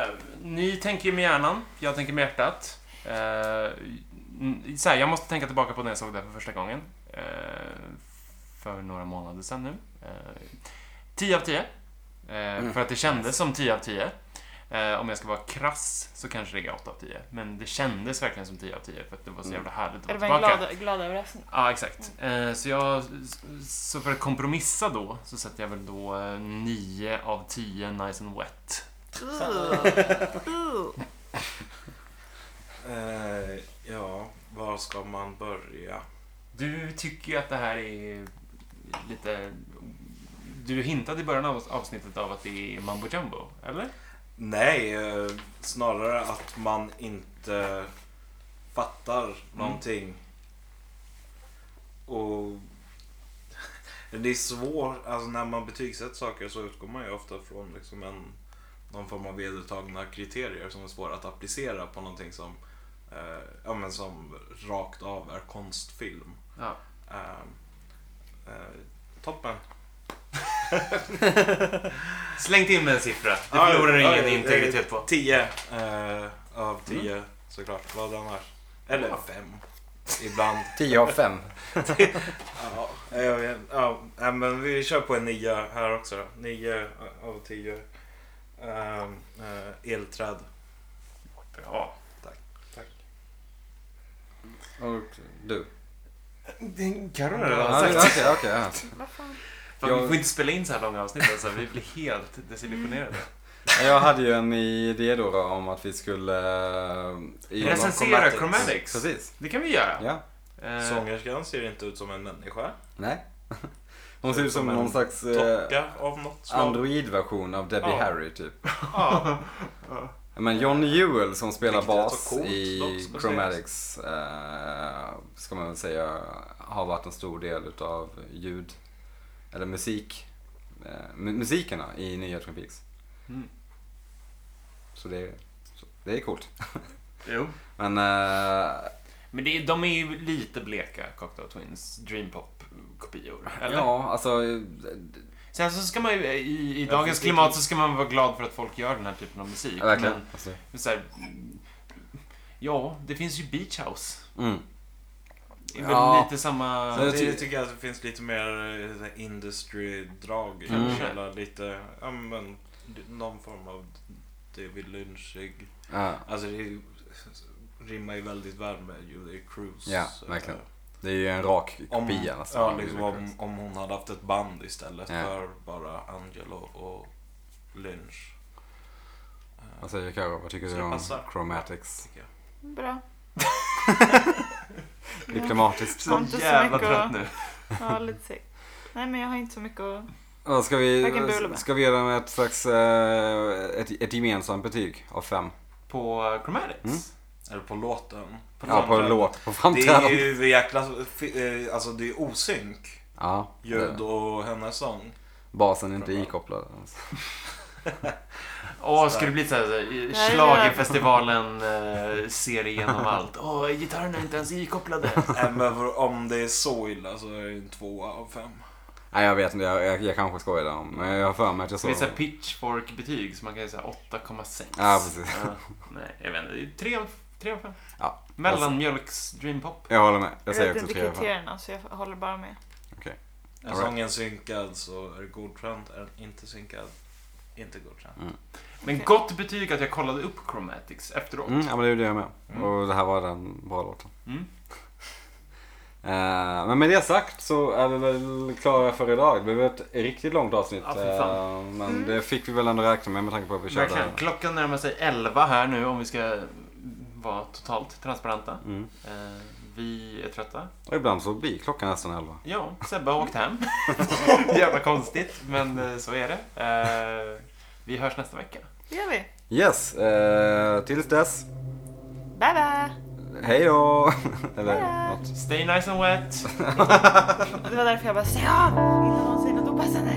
[SPEAKER 5] Eh, ni tänker med hjärnan, jag tänker med hjärtat. Eh, Mm, Så här, jag måste tänka tillbaka på när jag såg det här för första gången. Eh, för några månader sedan nu. Eh, 10 av 10. Eh, För att det kändes som 10 av 10. Eh, om jag ska vara krass så kanske det är 8 av 10. Men det kändes verkligen som 10 av 10 för att Mm. det var så jävla härligt att
[SPEAKER 2] Det
[SPEAKER 5] vara
[SPEAKER 2] var en
[SPEAKER 5] tillbaka.
[SPEAKER 2] glad, glad överraskning.
[SPEAKER 5] Ja, exakt. Eh, Så, jag, så för att kompromissa då så sätter jag väl då eh, 9 av 10 nice and wet.
[SPEAKER 2] Ooh.
[SPEAKER 4] Eh, ja, var ska man börja?
[SPEAKER 5] Du tycker ju att det här är lite... Du hintade i början av avsnittet av att det är mambo jumbo, eller?
[SPEAKER 4] Nej, eh, snarare att man inte fattar någonting. Och det är svårt, alltså när man betygsätter saker så utgår man ju ofta från liksom en, någon form av vedertagna kriterier som är svåra att applicera på någonting som, eh, ja, men som rakt av är konstfilm.
[SPEAKER 5] Ja.
[SPEAKER 4] Eh, eh, toppen!
[SPEAKER 5] Slängt in med en siffra. Det
[SPEAKER 4] Ja,
[SPEAKER 5] förlorar
[SPEAKER 4] ja,
[SPEAKER 5] ingen
[SPEAKER 4] ja,
[SPEAKER 5] integritet på.
[SPEAKER 4] 10 eh, av 10 såklart. Vad annars? Eller 5. Ibland.
[SPEAKER 3] 10 av 5.
[SPEAKER 4] ja, jag vet, ja, nej, men vi kör på en 9 här också. då. 9 av 10. Ehm, eh, elträd.
[SPEAKER 5] Bra.
[SPEAKER 3] Och du?
[SPEAKER 5] Carro
[SPEAKER 3] Ja, Okej, okej. ja.
[SPEAKER 2] Vad fan?
[SPEAKER 5] Fan, vi
[SPEAKER 3] Jag-
[SPEAKER 5] får inte spela in så här långa avsnitt alltså. Vi blir helt desillusionerade.
[SPEAKER 3] Jag hade ju en idé då, då om att vi skulle... eh, i-
[SPEAKER 5] Recensera Chromatics.
[SPEAKER 3] Precis.
[SPEAKER 5] Det kan vi göra.
[SPEAKER 3] Ja.
[SPEAKER 5] Eh,
[SPEAKER 4] Sångerskan ser inte ut som en människa.
[SPEAKER 3] *laughs* Nej. Hon ser ut som
[SPEAKER 4] Som en
[SPEAKER 3] någon slags eh,
[SPEAKER 4] Docka av något slag.
[SPEAKER 3] Android-version av Debbie
[SPEAKER 5] Ja.
[SPEAKER 3] Harry typ.
[SPEAKER 4] *laughs* Ja.
[SPEAKER 3] Men John Ewell som spelar
[SPEAKER 4] Riktigt
[SPEAKER 3] bas
[SPEAKER 4] så coolt dock,
[SPEAKER 3] i
[SPEAKER 4] ska
[SPEAKER 3] Chromatics eh, ska man väl säga har varit en stor del utav ljud eller musik eh, mu- musikerna i nya Twin Peaks.
[SPEAKER 5] Mm.
[SPEAKER 3] Så det, så det är coolt.
[SPEAKER 5] Jo.
[SPEAKER 3] Men eh,
[SPEAKER 5] Men det, är- de är ju lite bleka, Cocktail Twins Dreampop-kopior. Eller?
[SPEAKER 3] ja, alltså eh,
[SPEAKER 5] Sen så ska man ju, i, i
[SPEAKER 4] Ja,
[SPEAKER 5] dagens
[SPEAKER 4] precis.
[SPEAKER 5] klimat så ska man vara glad för att folk gör den här typen av musik.
[SPEAKER 3] verkligen. Alltså,
[SPEAKER 5] Men så här, mm, ja, det finns ju Beach House.
[SPEAKER 3] mm.
[SPEAKER 5] Det är väl
[SPEAKER 3] Ja.
[SPEAKER 5] lite samma...
[SPEAKER 3] Så-
[SPEAKER 4] Samtidigt tycker jag att det finns lite mer eh, så här industry-drag i
[SPEAKER 3] Mm.
[SPEAKER 4] det hela. Lite, ja, men, någon form av David Lynchig
[SPEAKER 3] Ja,
[SPEAKER 4] Alltså det rimmar ju väldigt väl med Julia Cruise.
[SPEAKER 3] Ja, verkligen. det är ju en rak
[SPEAKER 4] Om,
[SPEAKER 3] kopia nästan.
[SPEAKER 4] ja,
[SPEAKER 3] av
[SPEAKER 4] liksom,
[SPEAKER 3] Julia
[SPEAKER 4] om,
[SPEAKER 3] Cruise.
[SPEAKER 4] om hon hade haft ett band istället
[SPEAKER 3] Ja.
[SPEAKER 4] för bara Angelo och Lynch.
[SPEAKER 3] Vad säger Karo? Vad tycker
[SPEAKER 4] Så
[SPEAKER 3] du
[SPEAKER 4] det
[SPEAKER 3] om
[SPEAKER 4] passar.
[SPEAKER 3] Chromatics?
[SPEAKER 4] Tycker jag.
[SPEAKER 2] Bra.
[SPEAKER 3] Diplomatiskt.
[SPEAKER 5] så
[SPEAKER 2] inte så
[SPEAKER 5] jävla
[SPEAKER 2] mycket
[SPEAKER 5] trött
[SPEAKER 2] att-
[SPEAKER 5] nu.
[SPEAKER 2] Ja, lite segt. Nej, men jag har inte så mycket att...
[SPEAKER 3] Ja, Ska
[SPEAKER 2] Varken bu eller
[SPEAKER 3] vi,
[SPEAKER 2] bä.
[SPEAKER 3] ska vi ge dem ett slags, eh, ett, ett gemensamt betyg av fem?
[SPEAKER 5] På eh, Chromatics.
[SPEAKER 3] Mm.
[SPEAKER 4] Eller på låten.
[SPEAKER 3] Ja, på
[SPEAKER 4] framträdandet.
[SPEAKER 3] låt, på
[SPEAKER 4] Det är
[SPEAKER 3] framträdande.
[SPEAKER 4] ju jäkla... fi- eh, Alltså det är osynk.
[SPEAKER 3] Ja, det är
[SPEAKER 4] Ljud
[SPEAKER 3] det.
[SPEAKER 4] och
[SPEAKER 3] *laughs*
[SPEAKER 4] hennes sång.
[SPEAKER 3] basen är inte ikopplad. alltså.
[SPEAKER 5] Åh, ska det bli såhär
[SPEAKER 2] Nej,
[SPEAKER 5] schlagerfestivalen eh, ser igenom allt. Åh, gitarrerna är inte ens ikopplade.
[SPEAKER 4] Nej, Men för- om det är så illa så är det en tvåa av fem.
[SPEAKER 3] Nej, jag vet inte, jag, jag, jag kanske skojar där om, men jag har för mig att jag
[SPEAKER 5] Så det
[SPEAKER 3] såg
[SPEAKER 5] är såhär pitchfork-betyg, så man kan ju säga 8,6.
[SPEAKER 3] Ja, precis.
[SPEAKER 5] Ja, nej, jag vet inte. Det är 3 av 3 av 5.
[SPEAKER 3] Ja.
[SPEAKER 5] Mellanmjölks dreampop.
[SPEAKER 3] Jag håller med,
[SPEAKER 2] Jag,
[SPEAKER 3] jag säger
[SPEAKER 2] vet
[SPEAKER 3] också
[SPEAKER 2] inte
[SPEAKER 3] tre av fem.
[SPEAKER 2] kriterierna, så jag håller bara med.
[SPEAKER 4] Är
[SPEAKER 3] All right.
[SPEAKER 4] sången synkad så är det godkänt. Är den inte synkad, inte godkänt.
[SPEAKER 5] Men gott betyg att jag kollade upp Chromatics efteråt.
[SPEAKER 3] Mm, ja, men det är ju det jag med.
[SPEAKER 5] Mm.
[SPEAKER 3] Och det här var den bra låten.
[SPEAKER 5] Mm.
[SPEAKER 3] Eh, men med det sagt så är vi väl klara för idag. Det blev ett riktigt långt avsnitt.
[SPEAKER 5] Ja, fy fan.
[SPEAKER 3] eh, men
[SPEAKER 2] Mm.
[SPEAKER 3] det fick vi väl ändå räkna med med tanke på att vi körde.
[SPEAKER 5] Verkligen. Klockan närmar sig 11 här nu om vi ska vara totalt transparenta.
[SPEAKER 3] Mm.
[SPEAKER 5] Eh, vi är trötta.
[SPEAKER 3] Och ibland så blir klockan nästan elva.
[SPEAKER 5] Ja, Sebbe har
[SPEAKER 3] *laughs*
[SPEAKER 5] åkt hem. Jävla konstigt, men eh, så är det. Eh, vi hörs nästa vecka.
[SPEAKER 2] Det gör vi.
[SPEAKER 3] Yes, eh, tills dess.
[SPEAKER 2] Bye, bye!
[SPEAKER 3] Hej då! *laughs*
[SPEAKER 2] Hej
[SPEAKER 3] Eller
[SPEAKER 2] då.
[SPEAKER 3] något.
[SPEAKER 5] Stay nice and wet.
[SPEAKER 2] Det var därför jag bara stäng av innan någon säger något opassande.